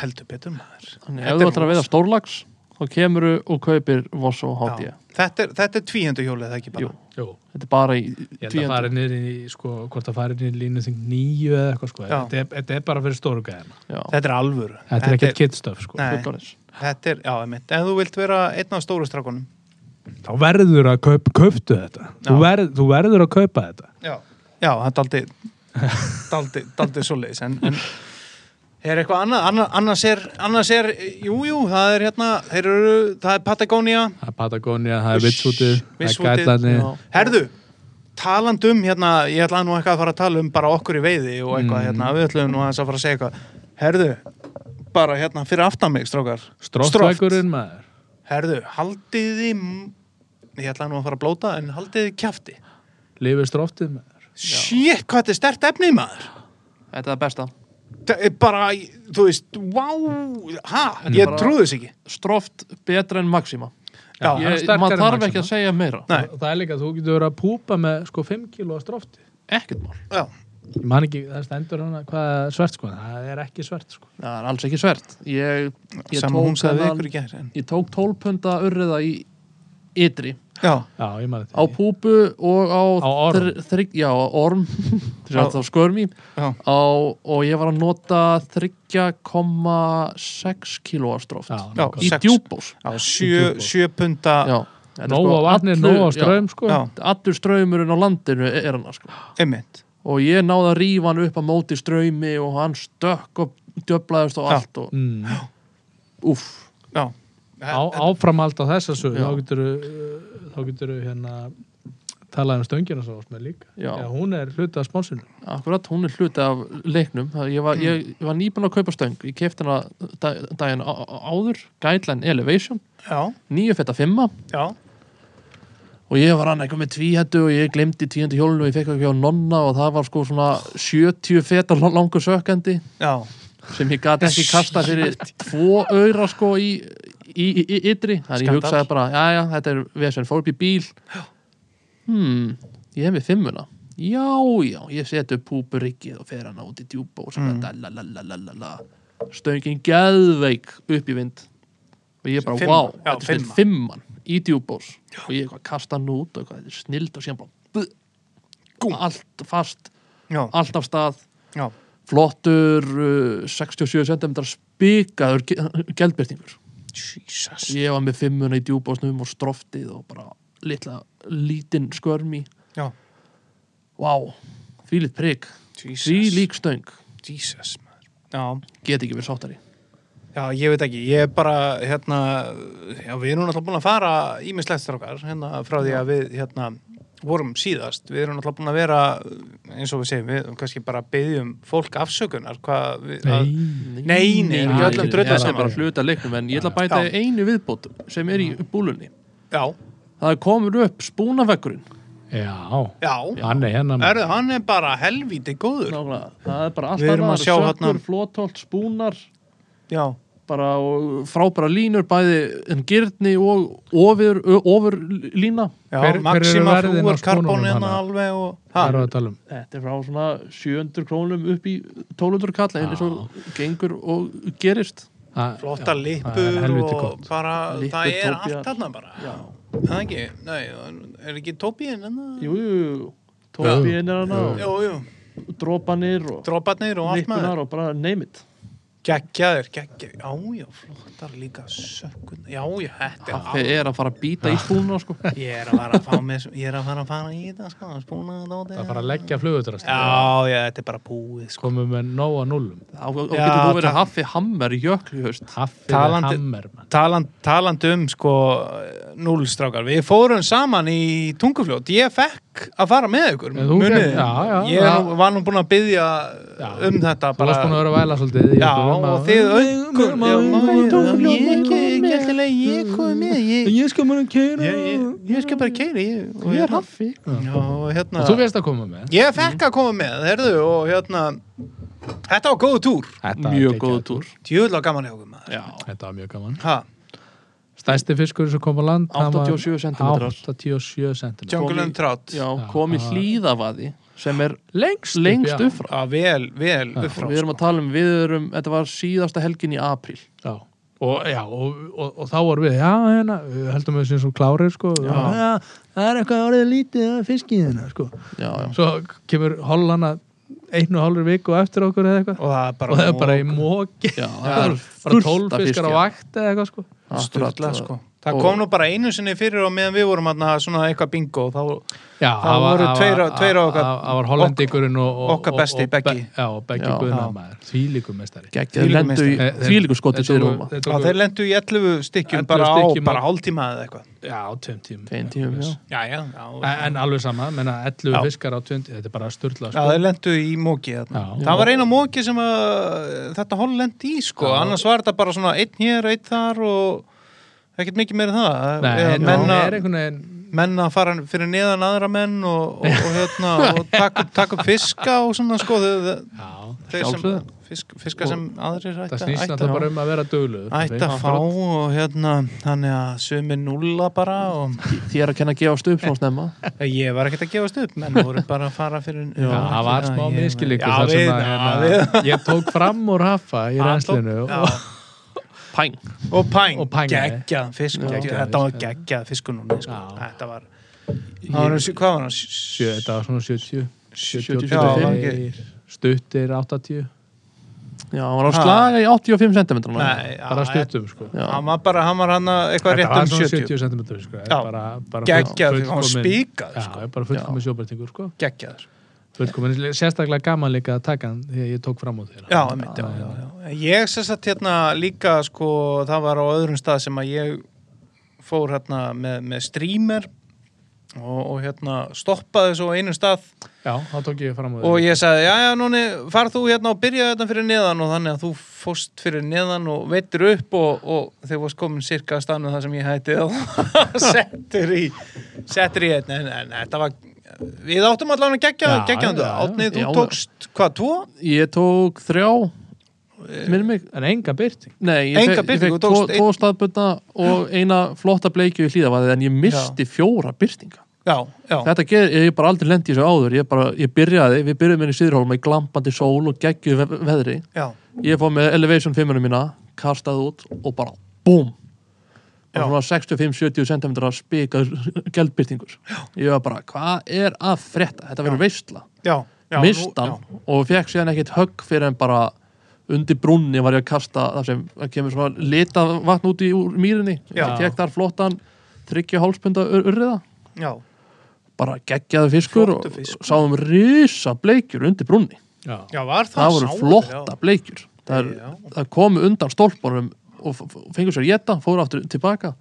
Speaker 1: heldur betur maður
Speaker 3: Þannig
Speaker 1: Þetta
Speaker 3: ef þú
Speaker 1: er
Speaker 3: ætlar að veiða stórlags þá kemur og kaupir Voss og
Speaker 1: Já.
Speaker 3: HD
Speaker 1: þetta er, þetta er tvíhjöndu hjólið, það ekki bara
Speaker 3: Jú.
Speaker 2: Jú.
Speaker 3: Þetta er bara í
Speaker 2: Ég held að
Speaker 3: tvíendur.
Speaker 2: fara niður í, sko, hvort að fara niður í línu þing nýju eða eitthvað, sko.
Speaker 1: Já.
Speaker 2: Þetta er, þetta er bara fyrir stóru gæðina.
Speaker 3: Já,
Speaker 1: þetta er alvöru
Speaker 2: Þetta er ekkert kitstöf, sko.
Speaker 1: Nei.
Speaker 3: fullorðins.
Speaker 1: Þetta er, já, einmitt, ef þú vilt vera einn af stóru strákunum.
Speaker 2: Þá verður að kaup, kauptu þetta. Þú,
Speaker 1: Já.
Speaker 2: verð, þú verður að kaupa þetta.
Speaker 1: Já. Já, það er daldið, daldið, daldið svoleiðis, en, en er eitthvað annað, annað, annars er, annars er, jú, jú, það er hérna, þeir eru, það er Patagonia.
Speaker 2: Það er Patagonia, það er vitsútið, það er
Speaker 1: Vitsútið,
Speaker 2: gætlanir.
Speaker 3: já.
Speaker 1: Herðu, taland um hérna, ég ætlaði nú eitthvað að fara að tala um bara okkur í veiði og
Speaker 2: Mm.
Speaker 1: eitthvað hérna, við ætlaðum nú aðeins að fara að segja eitthvað. Herðu, bara hérna fyrir aftan mig, strákar. Stróft.
Speaker 2: Stróttvækurinn maður.
Speaker 1: Herðu, haldið þið, m- ég ætlaði nú að fara að blóta, en haldið þið kjafti.
Speaker 2: Lifið stróftið maður.
Speaker 1: Shit, hvað þetta er stert efni maður
Speaker 3: Þetta er það besta
Speaker 1: Þetta er eh, bara, þú veist, wow ha, ég
Speaker 3: bara-
Speaker 1: trúði þess ekki
Speaker 3: Stroft betra en Maxima
Speaker 1: Já,
Speaker 2: hann er
Speaker 3: Ég-
Speaker 2: sterkari
Speaker 3: Maður
Speaker 2: en
Speaker 3: þarf
Speaker 2: Maxima.
Speaker 3: ekki að segja meira
Speaker 1: Nei.
Speaker 2: Og það er líka að þú getur verið að púpa með sko 5 kilo að strófti.
Speaker 3: Ekkert mál
Speaker 1: já,
Speaker 2: Ég man ekki, það stendur hana hvað er svert sko, en það er ekki svert sko.
Speaker 3: Það er alls ekki svert Ég, ég
Speaker 1: sem hún
Speaker 3: tók
Speaker 1: sagði við
Speaker 3: þennan-
Speaker 1: ykkur í gær en...
Speaker 3: ég tók 12 punda urriða í ytri
Speaker 1: já,
Speaker 2: Já, ég man
Speaker 3: á
Speaker 2: þetta.
Speaker 3: púpu og á,
Speaker 2: Á orm.
Speaker 3: þrygg, já, á orm þess að það skörmi
Speaker 1: já,
Speaker 3: á, og ég var að nota 3,6 kílóastróft
Speaker 2: Já,
Speaker 1: já,
Speaker 2: nákvæmlega.
Speaker 3: í
Speaker 1: sex.
Speaker 3: djúbós
Speaker 1: já, sjö, sjö punta
Speaker 3: já, þetta er
Speaker 2: Nóa
Speaker 3: sko
Speaker 2: vatni,
Speaker 3: allur-
Speaker 2: nóa ströym sko.
Speaker 1: já,
Speaker 3: já, allur ströymurinn á landinu er er hann sko.
Speaker 1: einmitt
Speaker 3: og ég náði að rífa hann upp að móti ströymi og hann stökk og djöflaðist og
Speaker 1: Já.
Speaker 3: allt og
Speaker 2: Mm.
Speaker 3: uff
Speaker 1: já,
Speaker 2: Á, áframhald á þessa sög,
Speaker 3: Já.
Speaker 2: þá getur þá getur hérna talað um stöngina svo með líka.
Speaker 3: Já.
Speaker 2: Þegar hún er hluta af spánsinu.
Speaker 3: Akkurat, hún er hluti af leiknum Það- ég var, ég, ég var nýbúin að kaupa stöng ég kefti hana dag- daginn á- á- áður Guideline Elevation,
Speaker 1: já,
Speaker 3: 9.5
Speaker 1: já,
Speaker 3: og ég var hann eitthvað með tvíhendu og ég glemdi tvíhendu hjólinu og ég fekk ekki á nonna og það var sko svona 70 feta la- langur sökkandi
Speaker 1: já
Speaker 3: sem ég gat ekki kasta fyrir tvo auðra sko í, í, í, í ytri þannig ég
Speaker 1: Skandal.
Speaker 3: hugsaði bara, já já, þetta er vesen fór upp í bíl hmm, ég hef við fimmuna já já, ég seti upp púpuryggið og fer hana út í djúpa og
Speaker 1: Hmm.
Speaker 3: svona mm. stöngin geðveik upp í vind og ég bara,
Speaker 1: Fimm-
Speaker 3: wow,
Speaker 1: já,
Speaker 3: þetta er
Speaker 1: fimma.
Speaker 3: fimman í djúbós og ég eitthvað kasta hann út og eitthvað, þetta er snild og síðan bara buh, allt fast,
Speaker 1: já,
Speaker 3: allt af stað
Speaker 1: já,
Speaker 3: flottur uh, 67 cm spikaður geldbyrtingur
Speaker 1: jesus
Speaker 3: ég var með fimmuna í djúbásnum og stroftið og bara litla, lítinn skörmi
Speaker 1: já,
Speaker 3: vá, wow. því lit prik því
Speaker 1: jesus,
Speaker 3: lík stöng,
Speaker 1: jesus maður. já,
Speaker 3: get ekki verið sáttari
Speaker 1: Já, ég veit ekki, ég er bara, hérna, já, við erum náttúrulega búin að fara ímislegt strákar, hérna, frá því að við, hérna, vorum síðast, við erum náttúrulega búin að vera, eins og við segjum, við kannski bara byggjum fólk afsökunar, hvað við, að, nei,
Speaker 2: Nei.
Speaker 1: nei,
Speaker 2: Nei,
Speaker 1: við
Speaker 2: nei,
Speaker 1: öllum dröðum
Speaker 2: nei,
Speaker 3: það er
Speaker 1: saman,
Speaker 3: bara hluta leiknum en ég ætla að bæta
Speaker 1: Já. Mm.
Speaker 3: einu viðbótum sem er í búlunni
Speaker 1: já,
Speaker 3: það er komur upp spúnaveggurinn
Speaker 2: Já,
Speaker 1: já,
Speaker 2: hann er hérna. maður.
Speaker 1: erðu, hann er bara helvíti góður,
Speaker 3: Nákvæmlega. það er bara allt
Speaker 1: Við erum að
Speaker 3: annað,
Speaker 1: sjá
Speaker 3: sökkur,
Speaker 1: þarna-
Speaker 3: flótholt, spúnar
Speaker 1: já,
Speaker 3: bara og frábæra línur bæði en gyrni og ofur, ofur lína
Speaker 1: já,
Speaker 2: Hver- hver eru
Speaker 1: Maxima
Speaker 2: verðin á
Speaker 1: flúur
Speaker 2: spónunum
Speaker 1: karbónin
Speaker 2: hana?
Speaker 1: alveg og,
Speaker 2: Hvað
Speaker 1: ha,
Speaker 2: erum við að tala um?
Speaker 3: þetta er frá svona 700 krónum upp í 1200 kall eins og gengur og gerist
Speaker 1: flotta
Speaker 2: það er
Speaker 1: lipur
Speaker 2: helviti
Speaker 1: og
Speaker 2: gott.
Speaker 1: bara,
Speaker 3: Lippur,
Speaker 1: það er
Speaker 3: tóbíar.
Speaker 1: allt þarna bara
Speaker 3: Já.
Speaker 1: Er það ekki, nei, er ekki hérna? tóbíin en það?
Speaker 3: Jú, jú, jú. Tóbíin er
Speaker 2: Jú.
Speaker 3: hann á,
Speaker 1: Jú, jú,
Speaker 3: dropanir og
Speaker 1: dropparnir og allt maður
Speaker 3: nippunar og bara name it.
Speaker 1: Gekkjaðir, gekkjaðir, já, já, flottar líka sökkun, já, já, þetta er
Speaker 3: Þegar er að fara að býta í spúna, sko.
Speaker 1: Ég er að fara að fá mig, ég er að fara að fara í þetta, sko, spúna þetta
Speaker 2: Það er bara að leggja flugutrast
Speaker 1: Já, já, þetta er bara búið, sko.
Speaker 2: komum með nóga nullum
Speaker 3: Þá þá
Speaker 1: Já,
Speaker 3: getur þú verið
Speaker 1: takk.
Speaker 3: haffi hammer í jöklu, í haust.
Speaker 2: Haffið er
Speaker 1: Talandi-
Speaker 2: hammer mann.
Speaker 1: Taland, taland um, sko, núlstrákar, við fórum saman í tungufljót, ég fekk að fara með ykkur,
Speaker 2: En þú
Speaker 1: munið
Speaker 2: gekk-
Speaker 1: þið?
Speaker 2: já, já,
Speaker 1: Ég
Speaker 2: já.
Speaker 1: nú- var nú búin að byggja
Speaker 2: Já.
Speaker 1: um þetta,
Speaker 2: Þú varst búin að vera að væla svolítið
Speaker 1: Já, og þið aukur, já, já, ég
Speaker 2: Ég
Speaker 1: ekki, ekki alltaf leið, ég komið með, ég,
Speaker 2: Ég skal mér að keira
Speaker 1: ég, ég, ég skal bara keiri, ég, og
Speaker 2: Mm. Ég
Speaker 1: hérna-
Speaker 2: er haffi
Speaker 1: Já, og hérna.
Speaker 2: Og þú veist að koma með
Speaker 1: Ég fekk að koma með, herðu, og hérna, þetta var góðu túr.
Speaker 2: Þetta var
Speaker 3: Mjög
Speaker 2: geggjað.
Speaker 3: góð túr.
Speaker 1: Djöðla gaman hjá okkur maður.
Speaker 3: Já.
Speaker 2: Þetta var mjög gaman
Speaker 1: Ha,
Speaker 2: Stærsti fiskur sem kom á land hann var
Speaker 3: 87 sentimetrar.
Speaker 2: 87 cm
Speaker 1: Jungle
Speaker 3: Komi-
Speaker 1: and Trout.
Speaker 3: Já,
Speaker 2: Já,
Speaker 3: kom í
Speaker 2: það-
Speaker 3: hlýðavaði sem er
Speaker 2: Lengst upp,
Speaker 3: lengst
Speaker 2: já.
Speaker 3: upp frá.
Speaker 1: Já, vel, vel, upp frá.
Speaker 3: Við erum að tala um, við erum, þetta var síðasta helgin í apríl.
Speaker 2: Já Og, já, og, og, og þá vorum við, já, hérna, við heldum við séum svo klárir, sko. Já. það er eitthvað orðið lítið að fiskið hérna, sko.
Speaker 3: Já,
Speaker 1: Mm.
Speaker 3: já.
Speaker 2: Svo kemur hollana einu og hálfur viku eftir okkur eða eitthvað.
Speaker 1: Og það er bara,
Speaker 2: og það er bara í móki.
Speaker 3: Já,
Speaker 2: Það
Speaker 3: það
Speaker 2: er
Speaker 3: er
Speaker 2: bara
Speaker 3: fullt af
Speaker 2: tólfiskar á
Speaker 3: fiski.
Speaker 2: vakt eða eitthvað, sko.
Speaker 1: sturla, sko. Það
Speaker 3: og-
Speaker 1: kom nú bara einu sinni fyrir og meðan við vorum aðna svona eitthvað bingo, þá,
Speaker 2: Já,
Speaker 1: það voru tveir á- tveir á okkar-
Speaker 2: Það var- það var hollendingurinn og... og-
Speaker 1: okkar
Speaker 2: og-
Speaker 1: besti,
Speaker 2: og Be-
Speaker 1: Beggi.
Speaker 2: Já, og Beggi
Speaker 3: Já.
Speaker 2: Guðna maður. Þvílíkum mestari.
Speaker 3: Gekkið
Speaker 1: Þvílíkur
Speaker 3: lendu í
Speaker 2: meistari.
Speaker 3: þvílíku skoti til
Speaker 2: Þeir-
Speaker 3: Róma.
Speaker 1: að
Speaker 2: þeir tóku-
Speaker 1: þeir lendu í 11 stykkjum
Speaker 2: 11
Speaker 1: bara á,
Speaker 2: stykkjum á-
Speaker 1: bara hálftíma eða eitthvað.
Speaker 2: Já, tveim tímum.
Speaker 3: Tveim tímum, já.
Speaker 1: Já, já,
Speaker 2: En,
Speaker 1: já.
Speaker 2: en alveg sama, menna 11
Speaker 1: Já.
Speaker 2: fiskar á 20, þetta er bara
Speaker 1: Já,
Speaker 2: sturla, sko.
Speaker 1: þeir lendu í móki þarna.
Speaker 2: Já.
Speaker 1: Það var eina móki sem að þetta hól lendi í, sko.
Speaker 2: Já.
Speaker 1: Annars var þetta bara svona einn hér, einn þar og ekkert mikið meira en það.
Speaker 2: Nei,
Speaker 1: Eða
Speaker 2: þetta
Speaker 1: menn að-
Speaker 2: er einhvern veginn
Speaker 1: menn að fara fyrir neðan aðra menn og, og, og, hérna, og taka, upp, taka upp fiska og svona sko þeir,
Speaker 2: Já,
Speaker 1: þeir sem,
Speaker 2: sjálfsögðu.
Speaker 1: fisk, fiska sem aðrir
Speaker 2: Það
Speaker 1: ætti
Speaker 2: snýst
Speaker 1: ætti
Speaker 2: náttúrulega
Speaker 1: að-
Speaker 2: bara um að vera döglu
Speaker 1: ætti að fá og hérna þannig að sumi nulla bara og
Speaker 3: Þið er að kenna að gefa stup svona snemma.
Speaker 1: ég var ekkert að gefast upp menn voru bara að fara fyrir
Speaker 2: Já, það var smá
Speaker 1: ég-
Speaker 2: miskilíkur
Speaker 1: já,
Speaker 2: þar
Speaker 1: við,
Speaker 2: sem að
Speaker 1: já,
Speaker 2: hérna, ég tók fram úr hafa í
Speaker 1: við-
Speaker 2: reynslinu
Speaker 1: Já.
Speaker 2: og
Speaker 3: Pæng.
Speaker 1: og pæng,
Speaker 2: Og pæng, nei.
Speaker 1: geggjað fisk
Speaker 2: Geggjaðan
Speaker 1: þetta var
Speaker 2: fisk, já.
Speaker 1: geggjað fiskur núna sko.
Speaker 2: Já.
Speaker 1: þetta var, það var hvað var hann?
Speaker 2: sjö, þetta var svona 70
Speaker 3: 70,
Speaker 2: 72,
Speaker 1: Já, var ekki-
Speaker 2: stuttir 80
Speaker 3: Já, hann var á
Speaker 1: Ha.
Speaker 3: slaga í 85 cm.
Speaker 1: Nei,
Speaker 2: bara
Speaker 1: já,
Speaker 2: stuttum sko
Speaker 3: Já.
Speaker 1: hann var bara, hann var hann eitthvað
Speaker 2: Þetta
Speaker 1: rétt
Speaker 2: var
Speaker 1: um
Speaker 2: svona
Speaker 1: 70
Speaker 2: 70 cm sko
Speaker 1: Já.
Speaker 2: bara, bara
Speaker 1: Geggjað, hann
Speaker 2: full-
Speaker 1: var
Speaker 2: fullkomin-
Speaker 1: spíkaður,
Speaker 2: Já,
Speaker 1: sko.
Speaker 2: ég bara fullkomin sjóbreytingur sko
Speaker 1: geggjaður
Speaker 2: fullkomin, sérstaklega gaman líka að taka hann því að ég tók fram úr þér
Speaker 1: já, einmitt, já, já, já. ég sem sagt hérna líka sko, það var á öðrum stað sem að ég fór hérna með, með streamer og, og hérna stoppaði svo á einum stað
Speaker 2: já, þá tók ég fram úr
Speaker 1: og
Speaker 2: þér
Speaker 1: ég sagði, já, já, núni far þú hérna og byrja þetta fyrir neðan og þannig að þú fóst fyrir neðan og veitir upp og, og þeir varst komin cirka að stanu það sem ég hætti og settir í settir í einn, en, en þetta var við áttum allan að gegja,
Speaker 2: Já,
Speaker 1: gegja
Speaker 2: já, já.
Speaker 1: átnið,
Speaker 3: Já,
Speaker 1: þú
Speaker 3: já.
Speaker 1: tókst, hvað, tvo?
Speaker 3: Ég tók þrjá, minnum mig.
Speaker 2: en enga byrting
Speaker 3: Nei, ég
Speaker 1: Enga
Speaker 3: fekk, ég
Speaker 1: birtingu, þú
Speaker 3: fekk tvo,
Speaker 1: tókst
Speaker 3: tvo staðbunna og eina flotta bleikju í hlýðavaðið en ég misti fjóra byrtinga.
Speaker 1: Já, já
Speaker 3: Þetta ger, ég hef bara aldrei lendi í þessu áður, ég bara, ég byrjaði, við byrjuðum inn í Sýðurhólma í glampandi sól og geggju ve veðri.
Speaker 1: Já,
Speaker 3: Ég fór með Elevation 5-unum mína, kastaði út og bara BOOM!
Speaker 1: Já.
Speaker 3: Og svona 65-70 cm spikað geldbyrtingur. Ég var bara, hvað er að frétta? Þetta verður veistla.
Speaker 1: já, já
Speaker 3: mist
Speaker 1: nú-
Speaker 3: hann og fekk síðan ekkert högg fyrir en bara undir brúnni var ég að kasta það sem það kemur svona lita vatn út í úr mýrinni
Speaker 1: Já.
Speaker 3: ég tek þar flottan 30,5 punda ur- urriða
Speaker 1: Já,
Speaker 3: bara geggjaðu fiskur
Speaker 1: Flottur
Speaker 3: og
Speaker 1: fiskur.
Speaker 3: sáum risa bleikjur undir brúnni
Speaker 2: já,
Speaker 1: já, var það
Speaker 3: það voru
Speaker 1: sáður,
Speaker 3: flotta bleikjur
Speaker 1: Já.
Speaker 3: það, er, það komu undan stólpunum og f- f- fengur sér geta, fóru aftur tilbaka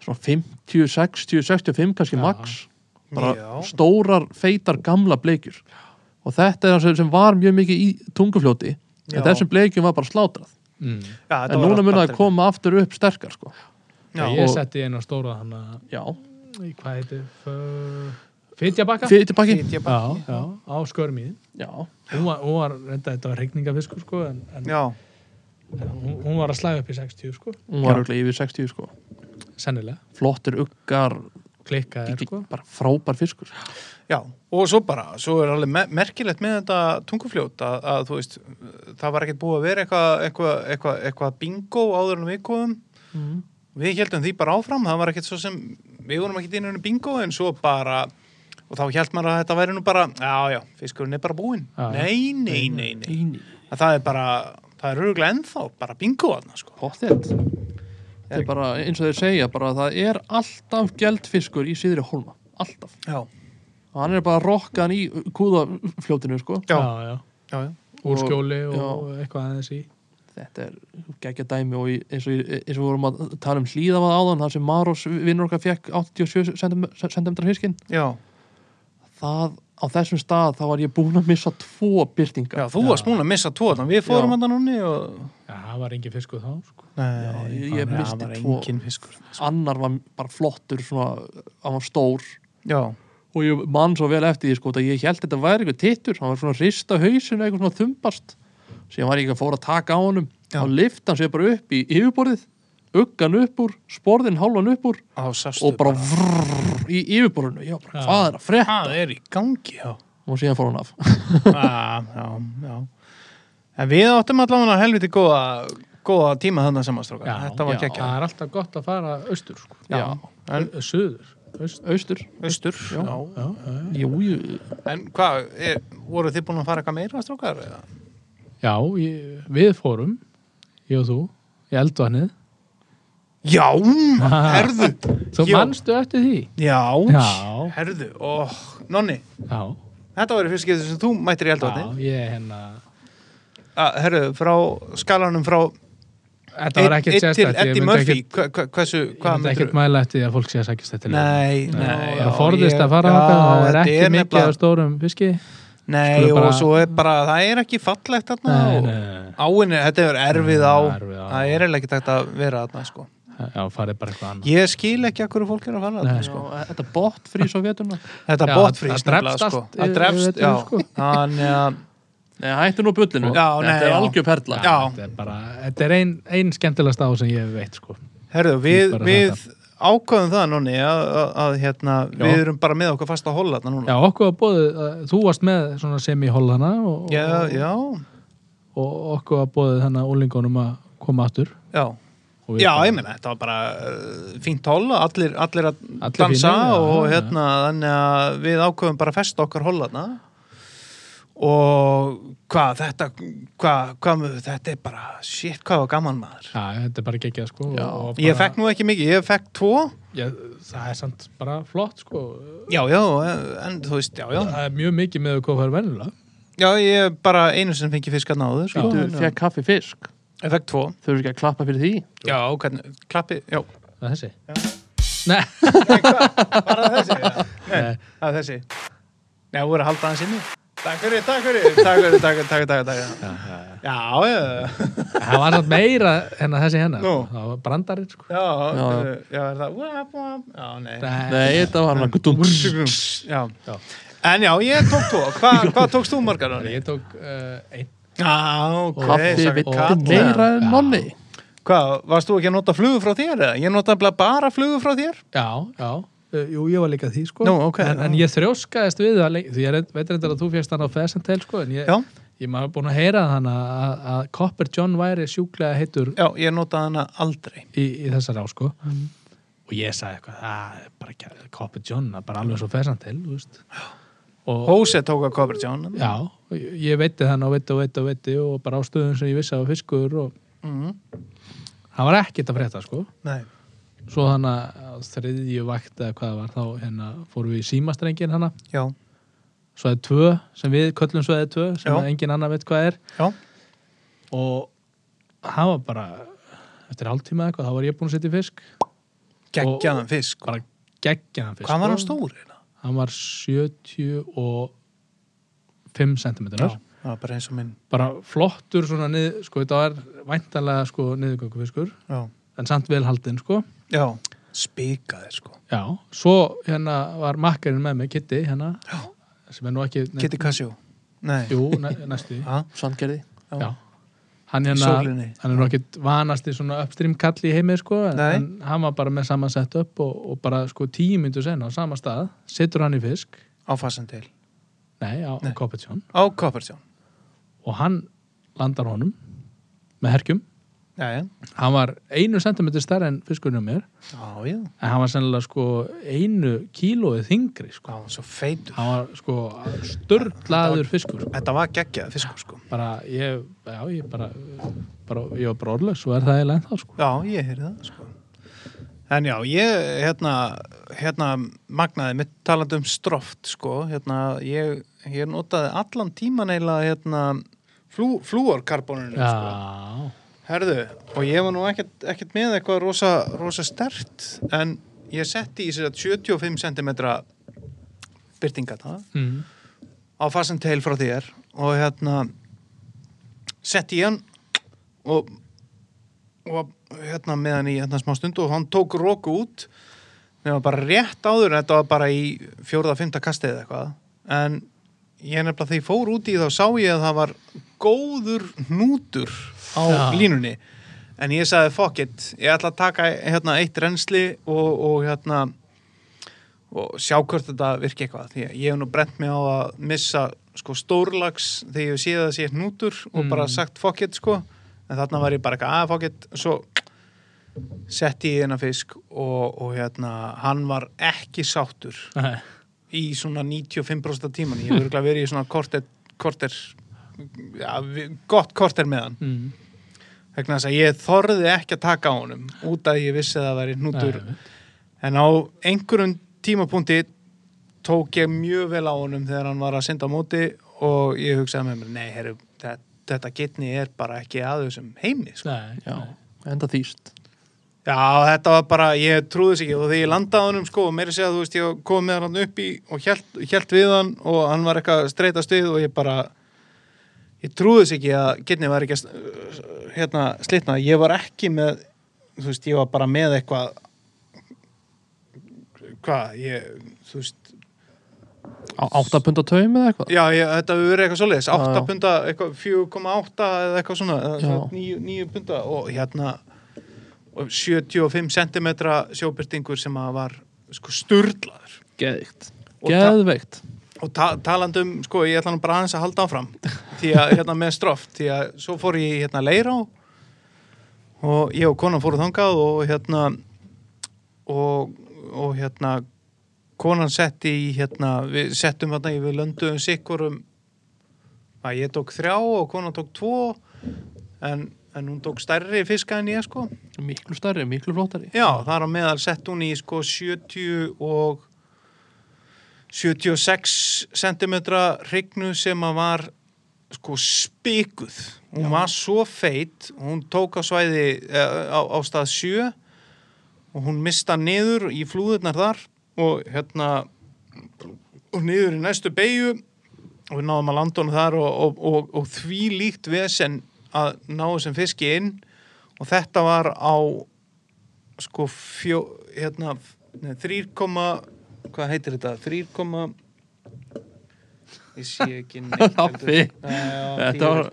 Speaker 3: svona 50, 60, 65 kannski max bara
Speaker 1: Já.
Speaker 3: stórar, feitar, gamla bleikjur og þetta er það sem- sem var mjög mikið í tungufljóti
Speaker 1: Já.
Speaker 3: en þessum bleikjum var bara slátrað
Speaker 2: mm.
Speaker 1: já, þetta
Speaker 3: en
Speaker 1: var
Speaker 3: núna
Speaker 1: allt
Speaker 3: mun að
Speaker 1: batterið.
Speaker 3: koma aftur upp sterkar sko.
Speaker 1: Já,
Speaker 2: ég
Speaker 3: og-
Speaker 2: setti eina stóra hann að
Speaker 3: já,
Speaker 2: í hvað heitir fö- Fitjabakka
Speaker 3: fyrir tilbaki
Speaker 1: Fitja bara-
Speaker 2: já, já, á skörmiðin
Speaker 3: já,
Speaker 2: hún var, hún var reynda, þetta var regningafiskur sko, en, en
Speaker 1: Já,
Speaker 2: hún, hún var að slæða upp í 60 sko,
Speaker 3: hún var auðvitað yfir 60 sko
Speaker 2: sennilega
Speaker 3: flottir uggar
Speaker 2: klikka er sko
Speaker 3: bara frábær fiskur
Speaker 1: Já, og svo bara, svo er alveg me merkilegt með þetta tungufljót að, að þú veist, það var ekkert búið að vera eitthvað eitthva, eitthva, eitthva bingo áður en við komum Mhm.
Speaker 3: mm.
Speaker 1: við heldum því bara áfram, það var ekkert svo sem við vorum ekkert inn í bingo en svo bara og þá held maður að þetta væri nú bara já, já, fiskurinn er bara búinn
Speaker 2: Já, já.
Speaker 1: nei, nei, nei, nei,
Speaker 3: Eini
Speaker 1: Að það er bara það er öruglega ennþá, bara bingo aðna, sko.
Speaker 3: Pottet Þetta er bara eins og þeir segja bara að það er alltaf geldfiskur í síðri hólma Alltaf
Speaker 1: já,
Speaker 3: Og hann er bara rokkan í kúðafljótinu sko
Speaker 1: já,
Speaker 2: já.
Speaker 1: já, já.
Speaker 2: úr
Speaker 3: Og-
Speaker 2: skjóli og,
Speaker 3: já.
Speaker 2: eitthvað aðeins í
Speaker 3: Þetta er geggja dæmi og í- eins og, í- eins og við vorum að tala um hlýðafað áðan þar sem Maros vinnur okkar fekk 87 cm fiskinn
Speaker 1: já,
Speaker 3: Það á þessum stað þá var ég búinn að missa tvo byrtingar
Speaker 1: já þú varst múin að missa tvo aðna, við fórum
Speaker 3: Já.
Speaker 1: aðna núni og
Speaker 2: já, það var engin fiskur þá sko
Speaker 1: nei,
Speaker 3: ég- ég
Speaker 1: það-
Speaker 3: missti
Speaker 1: það var
Speaker 3: tvo.
Speaker 1: engin fiskur
Speaker 3: Annar var bara flottur svona, hann var stór
Speaker 1: já,
Speaker 3: og ég man svo vel eftir því sko að ég held þetta væri eitthvað tittur hann var svona að rista hausinu eitthvað svona þumbast síðan var ég ekki að fóra að taka á honum
Speaker 1: Já.
Speaker 3: og lifta hann sér bara upp í yfirborðið uggan upp úr, sporðin hálfan upp úr
Speaker 1: á sástu
Speaker 3: og bara vrrrr í yfirborðinu ég var bara, hvað er að frétta?
Speaker 1: það er í gangi já,
Speaker 3: og síðan fór hann af
Speaker 1: ah, já, já en við áttum allavega helviti góða góða tíma þannig samanstróka
Speaker 2: Já,
Speaker 1: þetta var
Speaker 3: já.
Speaker 1: kekja
Speaker 2: það er alltaf gott að fara austur sko
Speaker 3: já,
Speaker 1: En-
Speaker 2: Ö- suður austur
Speaker 3: austur
Speaker 1: austur já.
Speaker 2: já, já, já.
Speaker 3: jú, jú,
Speaker 1: en hvað, er- voruð þið búin að fara eitthvað meira strókar? eða?
Speaker 2: já ég, við fórum ég og þú í eldvanið
Speaker 1: já,
Speaker 2: Ha.
Speaker 1: herðu
Speaker 2: þú
Speaker 1: Já.
Speaker 2: mannstu eftir því
Speaker 1: já,
Speaker 2: Já.
Speaker 1: herðu oh, Nonni,
Speaker 2: já,
Speaker 1: þetta var í fyrst skipti sem þú mættir í eldvatni
Speaker 2: já ég hérna
Speaker 1: Ah, Herru, frá skalanum frá
Speaker 2: þetta var ekkert
Speaker 1: einn til
Speaker 2: sérstætt ég
Speaker 1: Eddie
Speaker 2: myndi
Speaker 1: Murphy
Speaker 2: ekkert
Speaker 1: hva, hva, Hversu,
Speaker 2: ég
Speaker 1: hvað
Speaker 2: myndi ekkert mæla eftir því að fólk sé að sækist þetta
Speaker 1: Nei, nei já,
Speaker 2: það forðist
Speaker 1: ég-
Speaker 2: að fara
Speaker 1: já,
Speaker 2: þangað, það er
Speaker 1: þetta
Speaker 2: ekki mikið
Speaker 1: nefnilega-
Speaker 2: á stórum fiski
Speaker 1: Nei,
Speaker 2: Skulum
Speaker 1: og
Speaker 2: bara-
Speaker 1: svo er bara, það er ekki fallegt þarna
Speaker 2: Nei,
Speaker 1: og
Speaker 2: nei, nei.
Speaker 1: áinni, þetta er erfið á
Speaker 2: Já, erfið á.
Speaker 1: það er eiginlega ekki takt að vera þarna sko.
Speaker 2: já, farið bara eitthvað annað
Speaker 1: Ég skil ekki að hverju fólk er að fara þarna
Speaker 2: Nei.
Speaker 1: sko.
Speaker 3: já, þetta bótt frýs á vetuna
Speaker 1: Þetta
Speaker 2: Já,
Speaker 1: botfrýst
Speaker 2: það drepst allt
Speaker 1: sko.
Speaker 2: yfir-
Speaker 1: Það drefst,
Speaker 2: yfir
Speaker 1: já
Speaker 2: þetta, sko.
Speaker 1: Þannig að,
Speaker 3: nei, hættu nú bullinu,
Speaker 1: Já, nei,
Speaker 3: þetta er
Speaker 1: já.
Speaker 3: algjör perla
Speaker 1: Já.
Speaker 2: þetta er bara, þetta er ein, ein skemmtilegast á sem ég veit sko
Speaker 1: herðu, við,
Speaker 2: Bara
Speaker 1: við ákvaðum það núni að, að, að hérna,
Speaker 2: Já.
Speaker 1: við erum bara með okkur fast að hola þarna núna
Speaker 2: já, okkur var bóðið, þú varst með svona sem í hollana og,
Speaker 1: Já,
Speaker 2: og-
Speaker 1: já,
Speaker 2: og okkur var bóðið þannig að úlingunum að koma aftur
Speaker 1: já
Speaker 2: og við
Speaker 1: Já,
Speaker 2: bara-
Speaker 1: ég meina, þetta var bara uh, fínt hola, allir, allir að
Speaker 2: Allir
Speaker 1: dansa
Speaker 2: fínir, já,
Speaker 1: og
Speaker 2: já.
Speaker 1: hérna, þannig að við ákveðum bara að festa okkar holana og hvað, þetta, hvað, hvað, mu- þetta er bara, shit, hvað var gaman maður.
Speaker 2: já, þetta er bara geggjað sko
Speaker 3: Já.
Speaker 2: og bara,
Speaker 1: Ég fekk nú ekki mikið, ég fekk tvo,
Speaker 2: ég, það er samt bara flott sko
Speaker 1: já, já, en þú veist, já, já,
Speaker 2: það er mjög mikið með hvað það er venjulega
Speaker 1: já, ég bara einu sem fengi fisk að náður, sko,
Speaker 3: þú
Speaker 1: en,
Speaker 3: fekk kaffi fisk
Speaker 1: ég fekk tvo,
Speaker 3: þau eru ekki að klappa fyrir því
Speaker 1: já, hvernig, klappi, já,
Speaker 2: það er þessi Nei, eh,
Speaker 1: bara þessi, já, nei, það er þessi, já, voru að halda hans inni. Takk fyrir, takk fyrir, takk fyrir, takk fyrir, takk fyrir, takk fyrir. Já, já,
Speaker 2: það var samt meira en að þessi hennar
Speaker 1: Nú.
Speaker 2: það var brandarinn sko
Speaker 1: já,
Speaker 3: Já.
Speaker 1: já, já, er það, wap, wap, já, nei.
Speaker 3: nei, þetta var hann að gudungs
Speaker 1: um, Já.
Speaker 2: Já.
Speaker 1: En já, ég tók tvo, Hva, hvað tókst þú margar hann?
Speaker 2: Ég tók uh, einn
Speaker 1: Já, ok,
Speaker 3: kaffi
Speaker 1: sagði
Speaker 3: við
Speaker 1: Katla.
Speaker 3: meira en
Speaker 2: Já.
Speaker 3: nonni
Speaker 1: Hvað, varst þú ekki að nota flugu frá þér eða? Ég nota bara, bara flugu frá þér.
Speaker 2: Já, já Uh, Jú, ég var líka því sko
Speaker 1: Nú, ok,
Speaker 2: en,
Speaker 1: já.
Speaker 2: en ég þrjóskaðist við það lengi Því ég reynd- veit reyndar að þú férst hann á Fesentel sko En ég,
Speaker 1: Já,
Speaker 2: ég maður búin að heyra þann að, að Copper John væri sjúklega heitur
Speaker 1: já, ég nota hana aldrei.
Speaker 2: í, í þessar á sko Og ég sagði eitthvað, það er bara ekki Copper John, það er bara alveg svo Fesentel veist. Og
Speaker 1: Hóse tók að kofra tján.
Speaker 2: já, og ég- ég veitti þann og veitti og veitti og veitti Og bara á stöðum sem ég vissi að var fiskur Og
Speaker 1: Mm,
Speaker 2: hann var ekkert að frétta sko
Speaker 1: nei,
Speaker 2: Svo þannig að þriðju vakt eða hvað það var þá hérna fórum við í símastrengin hana
Speaker 1: já,
Speaker 2: svæði 2 sem við köllum svæði 2 sem
Speaker 1: Já.
Speaker 2: að engin annar veit hvað er
Speaker 1: já,
Speaker 2: og hann var bara eftir hálftíma eða eitthvað, þá var ég búin að setja í fisk
Speaker 1: geggjaðan fisk.
Speaker 2: bara geggjaðan fisk
Speaker 1: Hvað var hann
Speaker 2: sko.
Speaker 1: stór? hérna?
Speaker 2: Hann var 75 cm
Speaker 1: Já, það var bara eins og minn.
Speaker 2: bara flottur svona niður, sko þetta var væntanlega sko niðurgöngu fiskur
Speaker 1: Já,
Speaker 2: en samt vel haldinn sko
Speaker 1: já, spikaði sko.
Speaker 2: já, svo hérna var makkarinn með mig, Kitty hérna já. sem er nú ekki
Speaker 1: Kitty Casio. Nei,
Speaker 2: Jú, næ, næstu því.
Speaker 1: Ha?
Speaker 3: sandgerði
Speaker 1: Já.
Speaker 2: Já. hann
Speaker 1: Í
Speaker 2: hérna,
Speaker 1: sólinni.
Speaker 2: hann er nú ekkit vanasti svona upstream kall í heimi sko, en
Speaker 1: Nei.
Speaker 2: en hann var bara með saman sett upp og, og bara sko tíu myndu sen á sama stað, setur hann í fisk
Speaker 1: á Fassendale,
Speaker 2: nei, á,
Speaker 1: Nei.
Speaker 2: á Kopetsjón
Speaker 1: á Coppertjón
Speaker 2: og hann landar honum með herkjum,
Speaker 1: já, já,
Speaker 2: hann var einu sentimentur stærri en fiskurinn á mér,
Speaker 1: já, já
Speaker 2: en hann var sennilega sko einu kílóið þingri sko,
Speaker 1: Hvað var hann svo feitur?
Speaker 2: hann var sko störlaður fiskur sko.
Speaker 1: Þetta var geggjað fiskur sko.
Speaker 2: bara ég, já ég bara, bara ég var bara orðlaus, svo er það eiginlega ennþá sko
Speaker 1: Já, ég heyrði það sko. En já, ég hérna, hérna magnaði mitt talandi um stroft sko. hérna, ég, ég notaði allan tíman eiginlega hérna, flú, flúorkarbonunum sko.
Speaker 2: Já,
Speaker 1: Herðu, og ég var nú ekkert, ekkert með eitthvað rosa, rosa stert en ég setti í sér að 75 cm byrtinga það
Speaker 2: mm.
Speaker 1: á fasen teil frá þér og hérna setti ég hann og, og hérna með hann í hérna smá stund og hann tók roku út nema bara rétt áður en þetta var bara í fjórða, fymta kastið eða eitthvað en ég nefnilega þegar ég fór út í þá sá ég að það var góður hnútur á
Speaker 2: Já.
Speaker 1: línunni en ég sagði fuck it, ég ætla að taka hérna eitt rensli og, og hérna og sjá hvort þetta virki eitthvað því að ég hef nú brent mig á að missa sko stórlags þegar ég séð að það sé hnútur og bara sagt fuck it sko en þarna var ég bara eitthvað að fuck it svo setti ég inn að fisk og, og hérna hann var ekki sáttur
Speaker 2: Nei.
Speaker 1: í svona 95% af tíman ég hef örgulega verið í svona korter, korter ja, vi- gott korter með hann
Speaker 2: Mm.
Speaker 1: vegna þess að ég þorði ekki að taka á honum út að ég vissi að það væri hnútur
Speaker 2: Nei.
Speaker 1: En á einhverjum tímapunkti tók ég mjög vel á honum þegar hann var að synda á móti og ég hugsaði með mér, nei, herru, þetta, þetta getni er bara ekki að þessum heimi, sko.
Speaker 2: Nei.
Speaker 3: já, enda þýst
Speaker 1: Já, þetta var bara, ég trúði þess ekki og þegar ég landaði á honum, sko, og meiri segja, þú veist, ég kom með hann upp í og hjælt, hjælt við hann og hann var eitthvað að streytast við og ég bara, ég trúði þess ekki að getni var ekki að, s- hérna, slitna. Ég var ekki með, þú veist, ég var bara með eitthvað, hvað, ég, þú veist,
Speaker 3: á 8 pund á taum eða eitthvað
Speaker 1: Já, ég, þetta hefur verið eitthvað svoleiðis, 8
Speaker 3: já.
Speaker 1: punda, eitthvað 4,8 eða eitthvað svona, eða
Speaker 3: Já.
Speaker 1: svona 9, 9 punda og hérna og 75 cm sjóbyrtingur sem að var sko sturlaður
Speaker 3: geðvikt
Speaker 1: Og ta-
Speaker 3: geðveikt
Speaker 1: og ta talandi um, sko, ég ætla nú bara aðeins að halda áfram því að, hérna, með stroft því að svo fór ég í, hérna leirá og ég og konan fóru þangað og hérna og, og hérna konan setti í, hérna við settum hérna, við lönduðum sikkurum að ég tók þrjá og konan tók tvo en, en hún tók stærri fiska en ég, sko
Speaker 3: miklu stærri, miklu flottari
Speaker 1: Já, þar á meðal sett hún í sko 70 og 76 cm hrygnu sem að var sko spikuð. Hún var svo feit, hún tók á svæði eh, á, á stað 7 og hún mista niður í flúðurnar þar og hérna og niður í næstu beigju og við náðum að landa hún þar og, og, og, og því líkt vesen að ná þessum fiski inn og þetta var á sko fjó, hérna, nei, 3, hvað heitir þetta? 3, ég sé ekki neitt
Speaker 3: Raffi. Þetta
Speaker 1: Þetta
Speaker 3: var-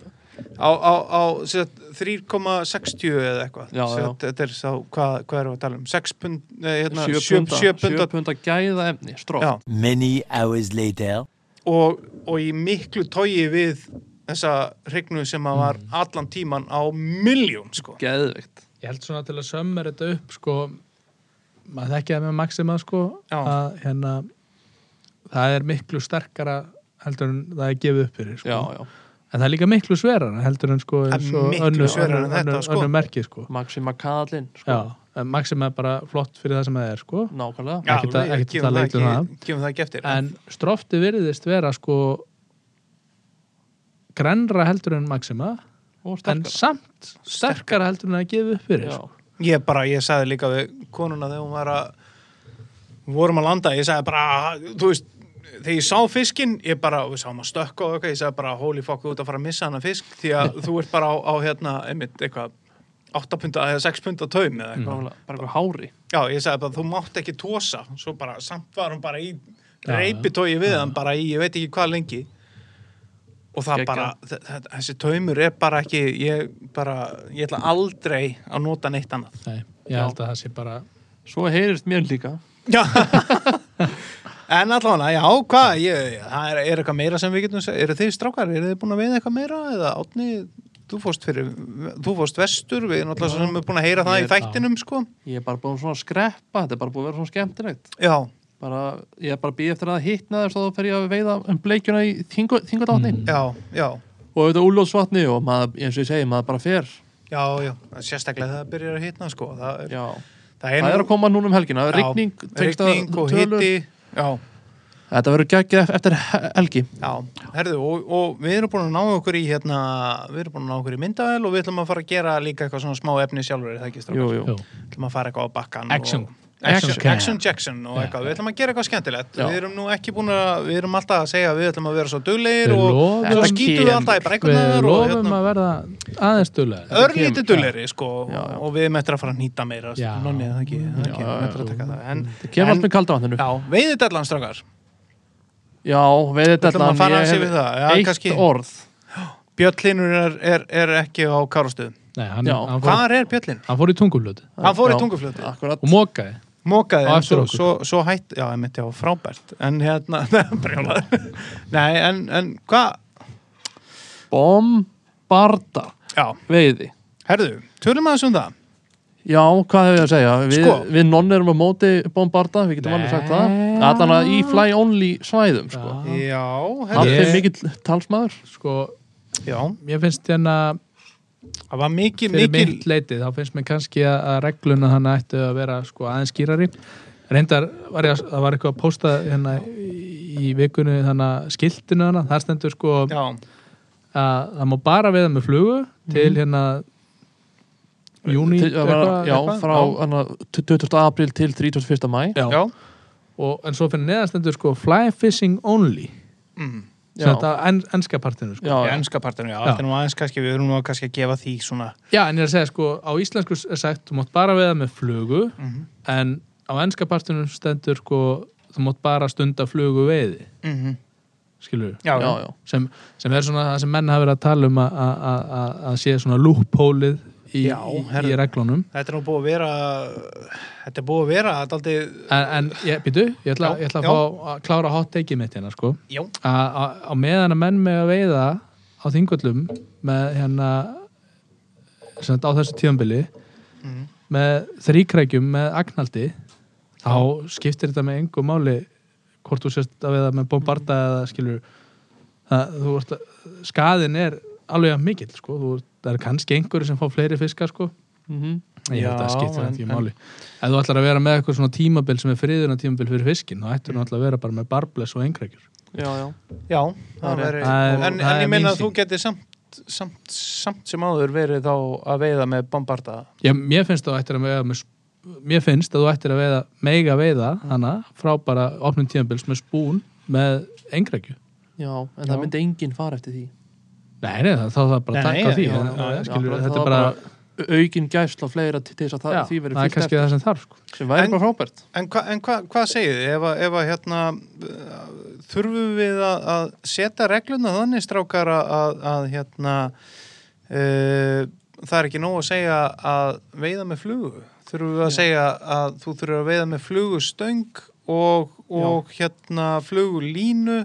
Speaker 1: á, á, á sem sagt, 3,60 eða eitthvað
Speaker 3: Já,
Speaker 1: Sem
Speaker 3: já.
Speaker 1: sagt, þetta er sá, hvað, hvað erum við að tala um 6 pund, nei, hérna,
Speaker 3: 7
Speaker 1: sjö-
Speaker 3: punda,
Speaker 1: sjö
Speaker 3: 7
Speaker 1: punda
Speaker 3: punda gæða efni
Speaker 1: já,
Speaker 3: strótt
Speaker 4: Many hours later.
Speaker 1: og, og í miklu tógi við þessa hrygnu sem að var
Speaker 2: Mm.
Speaker 1: allan tíman á miljón sko.
Speaker 3: geðveikt
Speaker 2: Ég held svona til að sömmar þetta upp sko, maður þekki það með Maxima sko,
Speaker 1: Já.
Speaker 2: að hérna það er miklu sterkara heldur en það er gefið upp fyrir sko.
Speaker 3: já, já,
Speaker 2: en það er líka miklu sverara heldur en sko,
Speaker 1: Það er
Speaker 2: eins og
Speaker 1: miklu
Speaker 2: önnur-
Speaker 1: sverara en
Speaker 2: önnur-
Speaker 1: þetta,
Speaker 2: önnur-
Speaker 1: sko.
Speaker 2: önnur merki sko.
Speaker 3: Maxima Kallin sko.
Speaker 2: Já, en Maxima er bara flott fyrir það sem það er sko.
Speaker 3: nákvæmlega
Speaker 1: Já,
Speaker 2: Ekkert að-
Speaker 1: við
Speaker 2: ekkert að
Speaker 1: gefum það
Speaker 2: leita um
Speaker 1: ekki- gefum það ekki eftir
Speaker 2: en strofti virðist vera sko grenra heldur en Maxima
Speaker 3: og
Speaker 2: en
Speaker 3: sterkara
Speaker 2: samt sterkara heldur en það er gefið upp fyrir
Speaker 3: já,
Speaker 2: sko.
Speaker 1: Ég bara, ég sagði líka við konuna þegar hún var að við vorum að landa, ég sagði bara þú veist, þegar ég sá fiskinn ég bara, við sáum að stökka og eitthvað ég sagði bara, holy fuck, þú ert að fara að missa hana fisk því að þú ert bara á, á hérna, einmitt, eitthvað 8 punta eða 6 punta taum
Speaker 2: Mm.
Speaker 1: eða eitthvað.
Speaker 3: nákvæmlega, bara eitthvað hári
Speaker 1: Já, ég sagði bara, þú mátt ekki tósa svo bara, samt var hún bara í reipitói við hann bara í, ég veit ekki hvað lengi og það
Speaker 3: Geggjað.
Speaker 1: bara, þe- þe- þessi taumur er bara ekki, ég bara ég ætla aldrei að nota neitt annað
Speaker 2: Nei, ég
Speaker 3: Já.
Speaker 2: held að það sé bara
Speaker 3: Svo heyrist mér líka
Speaker 1: já en allavega, já, hvað ég, það er, er eitthvað meira sem við getum seg- eru þið strákar, eru þið búin að veiða eitthvað meira eða átni, þú fórst fyrir þú fórst vestur, við erum alltaf sem erum búin að heyra það
Speaker 3: Ég-
Speaker 1: í þættinum, sko
Speaker 3: Ég er bara búin svona að skreppa Þetta er bara búin að vera svona skemmtilegt
Speaker 1: já,
Speaker 3: bara, Ég er bara að býja eftir að það hitna þess að þá fer ég að veiða um bleikjuna í þingadátni
Speaker 2: Mm.
Speaker 1: já, já
Speaker 3: og auðvitað úlóðsvatni og maður, eins og ég segi, maður bara fer
Speaker 1: já, já, sérstaklega það byrjar að hitna, sko það er,
Speaker 3: Já,
Speaker 1: það
Speaker 3: það er að koma núna um helgina
Speaker 1: Já,
Speaker 3: Rigning, tekst að
Speaker 1: rigning og
Speaker 3: tölur.
Speaker 1: hitti já,
Speaker 3: Þetta verður geggjað eftir he- helgi
Speaker 1: Já, herðu, og, og við erum búin að ná okkur í hérna, við erum búin að ná okkur í myndavel og við ætlum að fara að gera líka eitthvað svona smá efni sjálfur, er það ekki
Speaker 3: Jú,
Speaker 1: strákar?
Speaker 3: jú,
Speaker 2: Jú.
Speaker 1: Við ætlum að fara eitthvað á bakkan
Speaker 2: Action.
Speaker 1: og, action,
Speaker 3: Action.
Speaker 1: action, Jackson og
Speaker 2: Já.
Speaker 1: eitthvað, við ætlum að gera eitthvað skemmtilegt
Speaker 3: Já.
Speaker 1: Við erum nú ekki búin að, við erum alltaf að segja að við ætlum að vera svo duglegir
Speaker 2: Við
Speaker 1: og
Speaker 2: lofum-
Speaker 1: svo skýtum við alltaf í
Speaker 2: Við
Speaker 1: brækunar og hérna-
Speaker 2: lofum að verða aðeins duðlega
Speaker 1: örlítið duglegri, sko
Speaker 3: Já, já.
Speaker 1: og við mættum að fara að nýta meira sko.
Speaker 2: Já.
Speaker 1: nonni, það ekki, það ekki,
Speaker 3: Já, já,
Speaker 1: mættum að taka það en,
Speaker 3: það kemur allt með kalda vatninu
Speaker 1: Já, veiðið allan strákar
Speaker 3: Já, veiðið
Speaker 1: Ætlum að fara aðeins yfir það, já,
Speaker 3: eitt
Speaker 1: kannski.
Speaker 3: orð
Speaker 1: Björn Linur er, er, er ekki á kárastöðum
Speaker 2: Nei, hann,
Speaker 3: Já,
Speaker 2: hann, fór,
Speaker 1: Hvar er Björn Linur?
Speaker 2: hann fór í tungulötu
Speaker 1: Hann fór í
Speaker 3: Já,
Speaker 1: tunguflötið.
Speaker 3: Akkurat,
Speaker 2: og mókaði
Speaker 1: Mókaði,
Speaker 2: Á
Speaker 1: en
Speaker 2: eftir
Speaker 1: svo,
Speaker 2: okkur.
Speaker 1: svo, svo hætt Já, ég myndi á frábært En hérna, brjólaður Nei, en, en hvað
Speaker 3: bombarda
Speaker 1: Já,
Speaker 3: veiði
Speaker 1: herðu, tölum aðeins um það
Speaker 3: Já, hvað hefur ég að segja? Við,
Speaker 1: Sko.
Speaker 3: við nonn erum á móti bombarda, við getum alveg sagt það
Speaker 2: Nei.
Speaker 3: Allan að í fly only svæðum, sko
Speaker 2: Já.
Speaker 1: Já,
Speaker 3: Hann
Speaker 1: herðu
Speaker 2: Ég-
Speaker 3: er mikill talsmaður
Speaker 2: sko,
Speaker 1: Já,
Speaker 2: ég finnst hérna
Speaker 1: það var mikið,
Speaker 2: fyrir
Speaker 1: mikið
Speaker 2: mitt leiti, þá finnst mér kannski að, að regluna hann ættu að vera sko, aðeins skýrari reyndar var ég að, það var eitthvað að pósta hérna í í vikunni þannig að skiltinu hana, þar stendur sko
Speaker 1: Já,
Speaker 2: að það má bara veiða með flugu
Speaker 1: Mhm.
Speaker 2: til hérna júni
Speaker 3: Til- það var- Já, frá
Speaker 2: já.
Speaker 3: hana, 20. april til 31. mæ
Speaker 2: Já.
Speaker 1: já,
Speaker 2: Og, en svo fyrir neðan stendur sko fly fishing only
Speaker 1: mm.
Speaker 2: sem þetta á en, enska partinu sko.
Speaker 3: já,
Speaker 1: já.
Speaker 3: já.
Speaker 1: Enska partinu, já,
Speaker 2: Já.
Speaker 1: já. Nú aðeins, kannski, Við erum nú að kannski að gefa því svona
Speaker 2: já, en ég er að segja sko á íslensku er sagt, þú mátt bara veiða með flugu
Speaker 1: Mhm.
Speaker 2: en á enska partinu stendur sko, þú mátt bara stunda flugu veiði,
Speaker 1: mm
Speaker 2: skilur
Speaker 1: Já,
Speaker 3: já,
Speaker 1: já,
Speaker 3: já.
Speaker 2: sem, sem er svona það sem menn hafa verið að tala um að- að að- að að sé svona loophole-ið í,
Speaker 1: Já,
Speaker 2: í, í
Speaker 1: herðu.
Speaker 2: reglunum
Speaker 1: Þetta er nú búið að vera Þetta er búið að vera Þetta er aldrei
Speaker 2: en, en ég, býtu, ég ætla,
Speaker 1: Já,
Speaker 2: ég ætla að
Speaker 1: já.
Speaker 2: fá að klára hot take-ið mitt hérna sko
Speaker 1: Já,
Speaker 2: að að- á meðan að menn með að veiða á þingvöllum með hérna sem þetta á þessu tíðanbili
Speaker 1: Mhm.
Speaker 2: með þríkrækjum með agnaldi þá skiptir þetta með engu máli hvort þú sérst að veiða með bombarda
Speaker 1: Mhm.
Speaker 2: eða skilur það, þú ert að, skaðin er alveg að mikill sko, þú, ert- það er kannski einhverju sem fá fleiri fiska sko
Speaker 3: Mhm.
Speaker 2: Ég held að það
Speaker 1: Já,
Speaker 2: skiptir
Speaker 1: en-
Speaker 2: ekki
Speaker 1: en-
Speaker 2: máli. Ef þú ætlar að vera með eitthvað svona tímabil sem er friðuna tímabil fyrir fiskin, þá ættir þú náttúrulega að vera bara með barbless og engrækjur.
Speaker 3: já, já
Speaker 1: já
Speaker 3: Það
Speaker 1: það
Speaker 3: er-
Speaker 1: veri,
Speaker 2: það er-
Speaker 1: En, en
Speaker 2: það er
Speaker 1: ég meina
Speaker 2: mín
Speaker 1: að þú
Speaker 2: sýn.
Speaker 1: getur samt, samt, samt sem áður verið þá að veiða með bombarda
Speaker 2: Já, mér finnst að þú ættir að veiða með, mér finnst að þú ættir að veiða mega veiða hana frá bara opnum tíðanbils með spún með engrækju.
Speaker 3: Já,
Speaker 2: Já.
Speaker 3: en það myndi enginn fara eftir því
Speaker 2: Nei, nei, það, þá það er
Speaker 1: Nei,
Speaker 2: bara að taka á því.
Speaker 1: já,
Speaker 2: en-
Speaker 1: já,
Speaker 2: en
Speaker 1: já,
Speaker 2: skilur,
Speaker 3: akkurat,
Speaker 2: þetta
Speaker 3: það
Speaker 2: er bara,
Speaker 3: au- aukin gæsla fleira til til þess að það,
Speaker 2: já,
Speaker 3: því
Speaker 2: það
Speaker 3: verið
Speaker 2: er
Speaker 3: fyllt
Speaker 2: kannski
Speaker 3: eftir
Speaker 2: það sem þarf. Sko.
Speaker 3: sem væri
Speaker 1: En-
Speaker 3: bara frábært
Speaker 1: En, hva, en hva, hvað segið þið? Ef, að- ef að hérna uh, þurfum við að, að setja regluna þannig strákar að, að, að hérna uh, það er ekki nóg að segja að veiða með flugu. Þurfum við að segja að þú þurfur að veiða með flugustöng og, og hérna flugulínu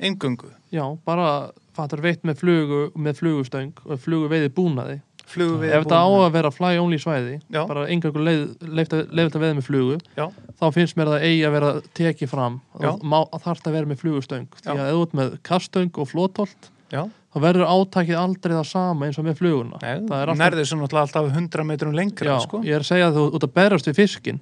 Speaker 1: engungu.
Speaker 3: Já, bara fattar veitt með flugu með flugustöng og flugu veiði búnaði
Speaker 1: Flugu
Speaker 3: Ef þetta á að vera fly only svæði
Speaker 1: Já.
Speaker 3: bara engangur leift að veiða með flugu
Speaker 1: Já,
Speaker 3: þá finnst mér það eigi að vera tekið fram
Speaker 1: Já.
Speaker 3: að má- að þarf það að vera með flugustöng því
Speaker 1: Já.
Speaker 3: að ef þú ert með kastöng og flótolt
Speaker 1: já.
Speaker 3: þá verður átakið aldrei það sama eins og með fluguna
Speaker 1: Nei,
Speaker 3: það er alltaf
Speaker 1: nærðir svo náttúrulega alltaf 100 metrum lengra,
Speaker 3: Já,
Speaker 1: sko.
Speaker 3: ég er að segja að þú út að berast við fiskin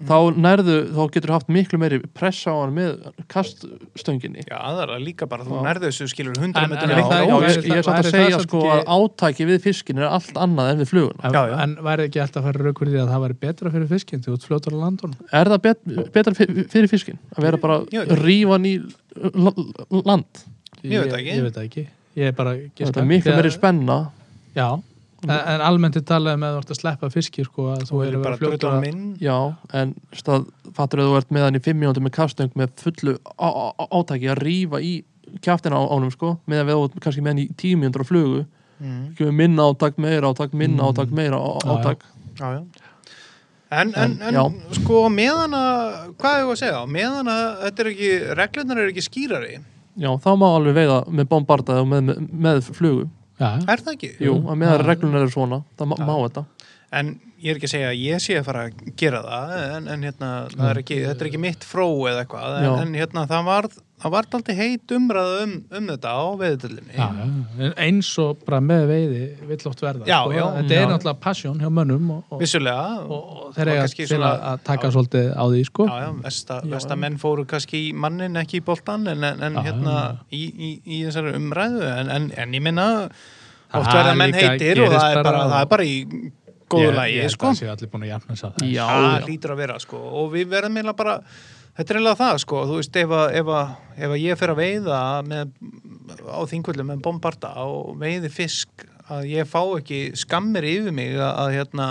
Speaker 2: Mm.
Speaker 3: þá nærðu, þá getur haft miklu meiri pressa á hann með kaststöngini
Speaker 1: Já, það er líka bara, þú
Speaker 3: Já.
Speaker 1: nærðir þessu skilur
Speaker 2: En-
Speaker 1: 100
Speaker 2: en-
Speaker 1: metrum
Speaker 3: Já,
Speaker 1: lengra.
Speaker 2: það-
Speaker 3: já,
Speaker 2: væri
Speaker 3: ég, ég er satt
Speaker 2: væri
Speaker 3: að
Speaker 2: það
Speaker 3: segja
Speaker 2: samt
Speaker 3: sko
Speaker 2: ekki-
Speaker 3: að átaki við fiskin er allt annað en við fluguna
Speaker 2: En,
Speaker 1: Já, já.
Speaker 2: en væri ekki alltaf að fara raukurðið að það væri betra fyrir fiskin þegar þú ert fljótar á landunum?
Speaker 3: Er það bet, betra fi- fyrir fiskin? Að vera bara
Speaker 1: Ég veit
Speaker 3: að rífa ný l- l- land
Speaker 1: Ég veit það ekki.
Speaker 2: Ég, veit það ekki. Ég er bara að giska.
Speaker 3: Þetta er miklu
Speaker 2: Þegar-
Speaker 3: meiri spenna
Speaker 2: Já, en, en almennt er talað um að þú ert að sleppa fiski sko að þú
Speaker 1: Þú
Speaker 2: er
Speaker 1: eru
Speaker 2: að
Speaker 1: bara
Speaker 2: vera
Speaker 1: fljóta
Speaker 2: fljótar
Speaker 1: á
Speaker 2: að
Speaker 1: minn.
Speaker 3: Já, en stað, fattur að þú ert með hann í fimm mínútur með kastöng með fullu á- á- á- átaki að rífa í kjaftin á ánum sko með að við átt kannski með hann í tímjöndur á flugu
Speaker 1: Mm.
Speaker 3: ekki við minna átak, meira átak, minna átak meira
Speaker 2: Mm. Já,
Speaker 3: á-
Speaker 2: já.
Speaker 3: átak
Speaker 1: Já, já. En, en,
Speaker 3: En,
Speaker 1: en
Speaker 3: já.
Speaker 1: sko meðan að, hvað hefur að segja, meðan að þetta er ekki, reglurnar er ekki skýrari,
Speaker 3: já, þá má alveg veiða með bombardaði og með, með, með flugu
Speaker 2: já,
Speaker 1: er það ekki?
Speaker 3: jú, að meðan
Speaker 2: Já.
Speaker 3: reglunar eru svona það má, má þetta
Speaker 1: En ég er ekki að segja að ég sé að fara að gera það, en, en hérna, það er ekki, þetta er ekki mitt fró eða eitthvað, en,
Speaker 3: Já.
Speaker 1: en hérna, það varð, það varð aldrei heit umræða um, um þetta á veðutölinni.
Speaker 2: já, já. En eins og bara með veiði vill oft verða
Speaker 1: Já,
Speaker 2: sko.
Speaker 1: já.
Speaker 2: þetta
Speaker 3: Já.
Speaker 2: er náttúrulega passion hjá mönnum og, og,
Speaker 1: Vissulega,
Speaker 2: og, og þeir
Speaker 1: og
Speaker 2: eiga
Speaker 1: kannski
Speaker 2: til svona,
Speaker 1: svona-
Speaker 2: að taka
Speaker 1: já.
Speaker 2: svolítið á því sko.
Speaker 1: Já, já, vesta,
Speaker 3: Já,
Speaker 1: vesta
Speaker 3: já.
Speaker 1: menn fóru kannski í mannin ekki í boltan en, en, en
Speaker 2: Já,
Speaker 1: hérna
Speaker 2: já,
Speaker 1: Í, í, í þessari umræðu en, en, en ég minna oft
Speaker 2: Það
Speaker 1: verða menn
Speaker 2: líka
Speaker 1: heitir og
Speaker 2: gerist
Speaker 1: það er, bara,
Speaker 2: bara-
Speaker 1: það er bara í góðu lagi,
Speaker 2: ég,
Speaker 1: sko
Speaker 2: ég sé allir búin að jafna sig á það
Speaker 3: já,
Speaker 1: það
Speaker 3: já,
Speaker 1: lítur að vera, sko og við verðum eiginlega bara þetta er eiginlega það, sko, þú veist, ef að, ef að, ef að ég fer að veiða með, á þingvöldum með bombarda og veiði fisk að ég fá ekki skammir yfir mig að, að hérna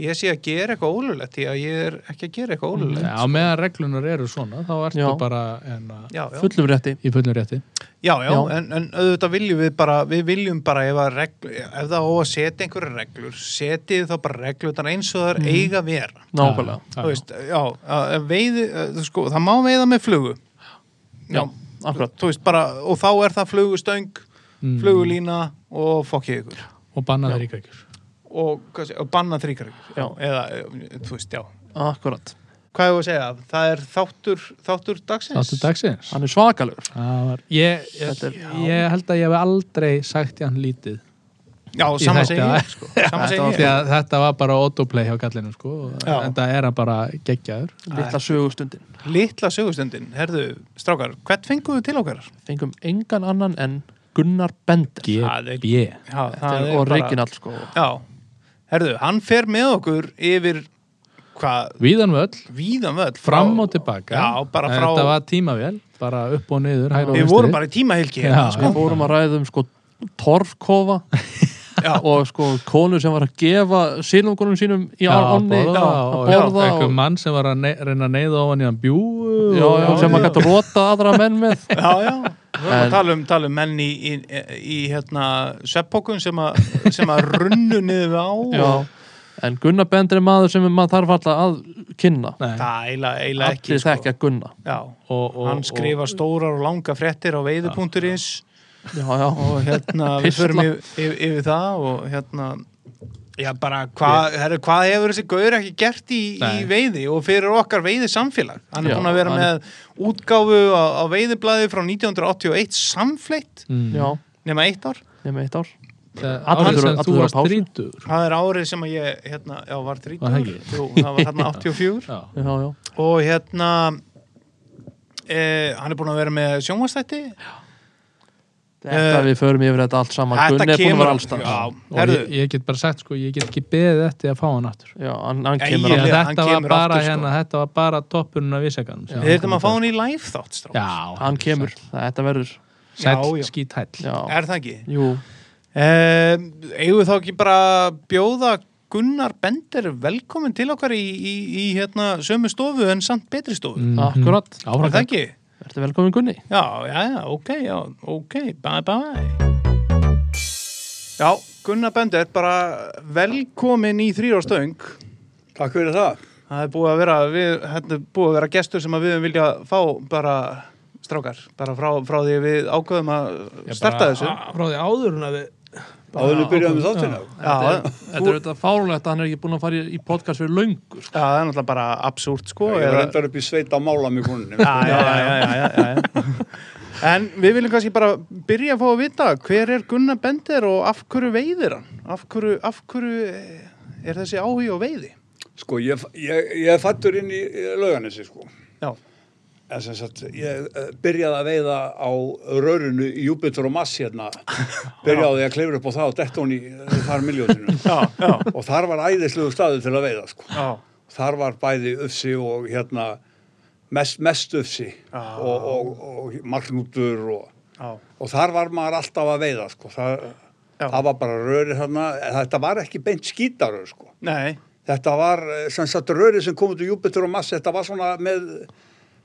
Speaker 1: ég sé að gera eitthvað ólulegt því að ég er ekki að gera
Speaker 3: Mm.
Speaker 1: eitthvað ólulegt
Speaker 2: já, meðan reglunar eru svona þá ertu
Speaker 3: Já.
Speaker 2: bara en, að-
Speaker 1: já, já.
Speaker 3: fullum rétti
Speaker 2: í fullum rétti
Speaker 1: Já, já,
Speaker 3: Já.
Speaker 1: En, en auðvitað viljum við bara, við viljum bara ef, að regl, ef það á að setja einhverja reglur, setjið þá bara reglur eins og það er eiga að vera.
Speaker 3: nákvæmlega
Speaker 2: Já,
Speaker 1: Þú
Speaker 2: já.
Speaker 1: veist, já, að- að veiði, að, sko, það má veiða með flugu.
Speaker 3: já, akkurat
Speaker 1: Þú veist, bara, og þá er það flugustöng,
Speaker 2: Mm.
Speaker 1: flugulína og fokkið ykkur.
Speaker 2: og banna þeir í kveikjur
Speaker 1: Og, hvað sé- og banna þrýkar ykkur.
Speaker 3: Já.
Speaker 1: Eða, e, þú veist, já.
Speaker 3: akkurat
Speaker 1: Hvað hefur að segja? Það er þáttur, þáttur dagsins.
Speaker 2: þáttu dagsins
Speaker 3: hann er svakalegur
Speaker 2: Það var, ég, ég,
Speaker 3: Þetta er-
Speaker 2: ég held að ég hef aldrei sagt í hann lítið
Speaker 1: Já,
Speaker 2: Í
Speaker 1: saman
Speaker 2: þetta-
Speaker 1: segi ég, sko. Saman
Speaker 3: Þetta
Speaker 1: segi
Speaker 3: var
Speaker 1: ég.
Speaker 2: Því að þetta var bara autoplay hjá kallinu sko.
Speaker 1: Já.
Speaker 2: en það er hann bara geggjaður
Speaker 3: litla sögustundin
Speaker 1: Litla sögustundin, herðu, strákar, hvert fenguðu til okkar?
Speaker 3: fengum engan annan en Gunnar Bender
Speaker 2: G, E.
Speaker 1: Það er-
Speaker 2: B
Speaker 1: Já,
Speaker 3: Þetta er original sko
Speaker 1: Já, herðu, hann fer með okkur yfir hvað,
Speaker 2: Víðan völl,
Speaker 1: víðan völl frá-
Speaker 2: fram og tilbaka
Speaker 1: Já, bara
Speaker 2: En
Speaker 1: frá-
Speaker 2: Þetta var tímavél, bara upp og niður hægra og
Speaker 1: Við
Speaker 2: vinstri.
Speaker 1: vorum bara í tímahylki
Speaker 2: Já.
Speaker 1: hérna, sko.
Speaker 3: við fórum að ræðum sko torfkofa
Speaker 1: Já.
Speaker 3: og sko konu sem var að gefa silungunum sínum í
Speaker 2: Já,
Speaker 3: ánni
Speaker 2: borða,
Speaker 3: að
Speaker 2: og
Speaker 3: borða
Speaker 2: einhver
Speaker 3: og,
Speaker 2: mann sem var að nei, reyna að neyða ofan í hann bjú
Speaker 3: já, já,
Speaker 2: og-
Speaker 3: sem
Speaker 1: já.
Speaker 3: að gæta rota aðra menn með
Speaker 1: Já, já, við vorum
Speaker 3: En-
Speaker 1: að tala um, tala um menn í, í, í hérna, sveppókun sem, a, sem að runnu niður við á
Speaker 3: já. en Gunnar Bender er maður sem maður þarf alltaf að kynna
Speaker 2: Nei,
Speaker 1: Það eila, eila ekki, sko.
Speaker 3: allir þekkja Gunnar
Speaker 1: Já,
Speaker 2: og, og,
Speaker 1: hann skrifar stórar og langa fréttir á veiði.is
Speaker 3: já, já,
Speaker 1: og hérna, við
Speaker 3: Pistla.
Speaker 1: förum yfir, yfir, yfir það og hérna já, bara, hvað herru, hvað hefur þessi gaur ekki gert í, í
Speaker 2: Nei.
Speaker 1: veiði og fyrir okkar veiði samfélag hann er
Speaker 3: Já,
Speaker 1: búin að vera
Speaker 3: hann er-
Speaker 1: með útgáfu á, á veiðiblaði frá 1981 samfleitt,
Speaker 2: mm,
Speaker 3: já,
Speaker 1: nema eitt ár
Speaker 3: nema eitt ár
Speaker 2: það-
Speaker 3: Allir
Speaker 2: árið sem
Speaker 3: eru-
Speaker 2: þú
Speaker 3: allir eru á
Speaker 2: varst
Speaker 3: pásu.
Speaker 2: þrítur
Speaker 1: það er árið sem að ég, hérna, já, var
Speaker 2: Var
Speaker 1: 30
Speaker 2: það ekki?
Speaker 1: Jú, það var hérna 84
Speaker 2: Já,
Speaker 3: já, já,
Speaker 1: og hérna eh, hann er búin að vera með sjónvastætti
Speaker 3: þetta
Speaker 1: Eh,
Speaker 3: við förum yfir þetta allt saman Gunnar er búin að vera allstað já,
Speaker 1: já,
Speaker 2: og
Speaker 1: herðu,
Speaker 2: ég, ég get bara sagt sko, ég get ekki beðið eftir að fá hann aftur
Speaker 3: já hann, hann
Speaker 1: Æi,
Speaker 3: kemur
Speaker 2: Því
Speaker 1: Ég-
Speaker 2: að
Speaker 3: alveg
Speaker 1: hann
Speaker 2: þetta var
Speaker 1: kemur
Speaker 2: bara
Speaker 1: aftur, sko.
Speaker 2: hérna, þetta var bara toppurinn af vissakanum sem
Speaker 1: við erum að
Speaker 2: kom
Speaker 1: fá hann í live þátt strákar.
Speaker 2: Já,
Speaker 3: hann kemur, þetta verður
Speaker 1: Já, já.
Speaker 2: Sæll skíthæll
Speaker 3: já,
Speaker 1: er það ekki?
Speaker 3: jú,
Speaker 1: Um, eigum við þá ekki bara að bjóða Gunnar Bender velkomin til okkar í, í, í hérna, sömu stofu en samt betri stofu
Speaker 3: Mm,
Speaker 2: Mhm.
Speaker 3: Akkurat.
Speaker 1: er það
Speaker 2: Áfram
Speaker 1: ekki?
Speaker 3: ertu velkomin Gunni
Speaker 1: Já, já, já, ok, já, ok, bye bye Já, Gunnar Bender bara velkomin í þrýrórstöng
Speaker 5: Takk fyrir það.
Speaker 1: Það er búið að vera, við, þetta er búið að vera gestur sem að við höfum viljað fá bara strákar, bara frá, frá því við ákveðum að starta þessu
Speaker 2: Frá því áður en að við
Speaker 5: Áður við byrjaðum með þáttina.
Speaker 1: Já,
Speaker 3: Þetta er auðvitað fárulegt að hann er ekki búin að fara í- í podcast fyrir löngu sko.
Speaker 1: Já, það er náttúrulega bara absúrt sko
Speaker 5: Ég var
Speaker 1: eða-
Speaker 5: reyndar upp í sveita að mála með konunni.
Speaker 1: já, já, já, já, já, já, já. En við viljum kannski bara byrja að fá að vita hver er Gunnar Bender og af hverju veiðir hann? Af hverju, af hverju eh, er þessi áhugi á veiði?
Speaker 5: Sko, ég, ég, ég er fættur inn í lauganissi, sko.
Speaker 1: Já,
Speaker 5: En sem sagt, ég eh, byrjaði að veiða á rörunu í Júpiter og Mass hérna. Byrjaði að klefra upp á það og detta hún í eh, þar miljósinu.
Speaker 1: já, já,
Speaker 5: Og þar var æðislegu staður til að veiða, sko.
Speaker 1: já,
Speaker 5: Þar var bæði öfsi og hérna mest, mest öfsi og, og, og, og margnútur og...
Speaker 1: já,
Speaker 5: og þar var maður alltaf að veiða sko. það,
Speaker 1: Já.
Speaker 5: það var bara röri þarna þetta var ekki beint skítaröð sko.
Speaker 1: nei,
Speaker 5: þetta var eh, sem sagt röri sem kom út úr Júpiter og Mars þetta var svona með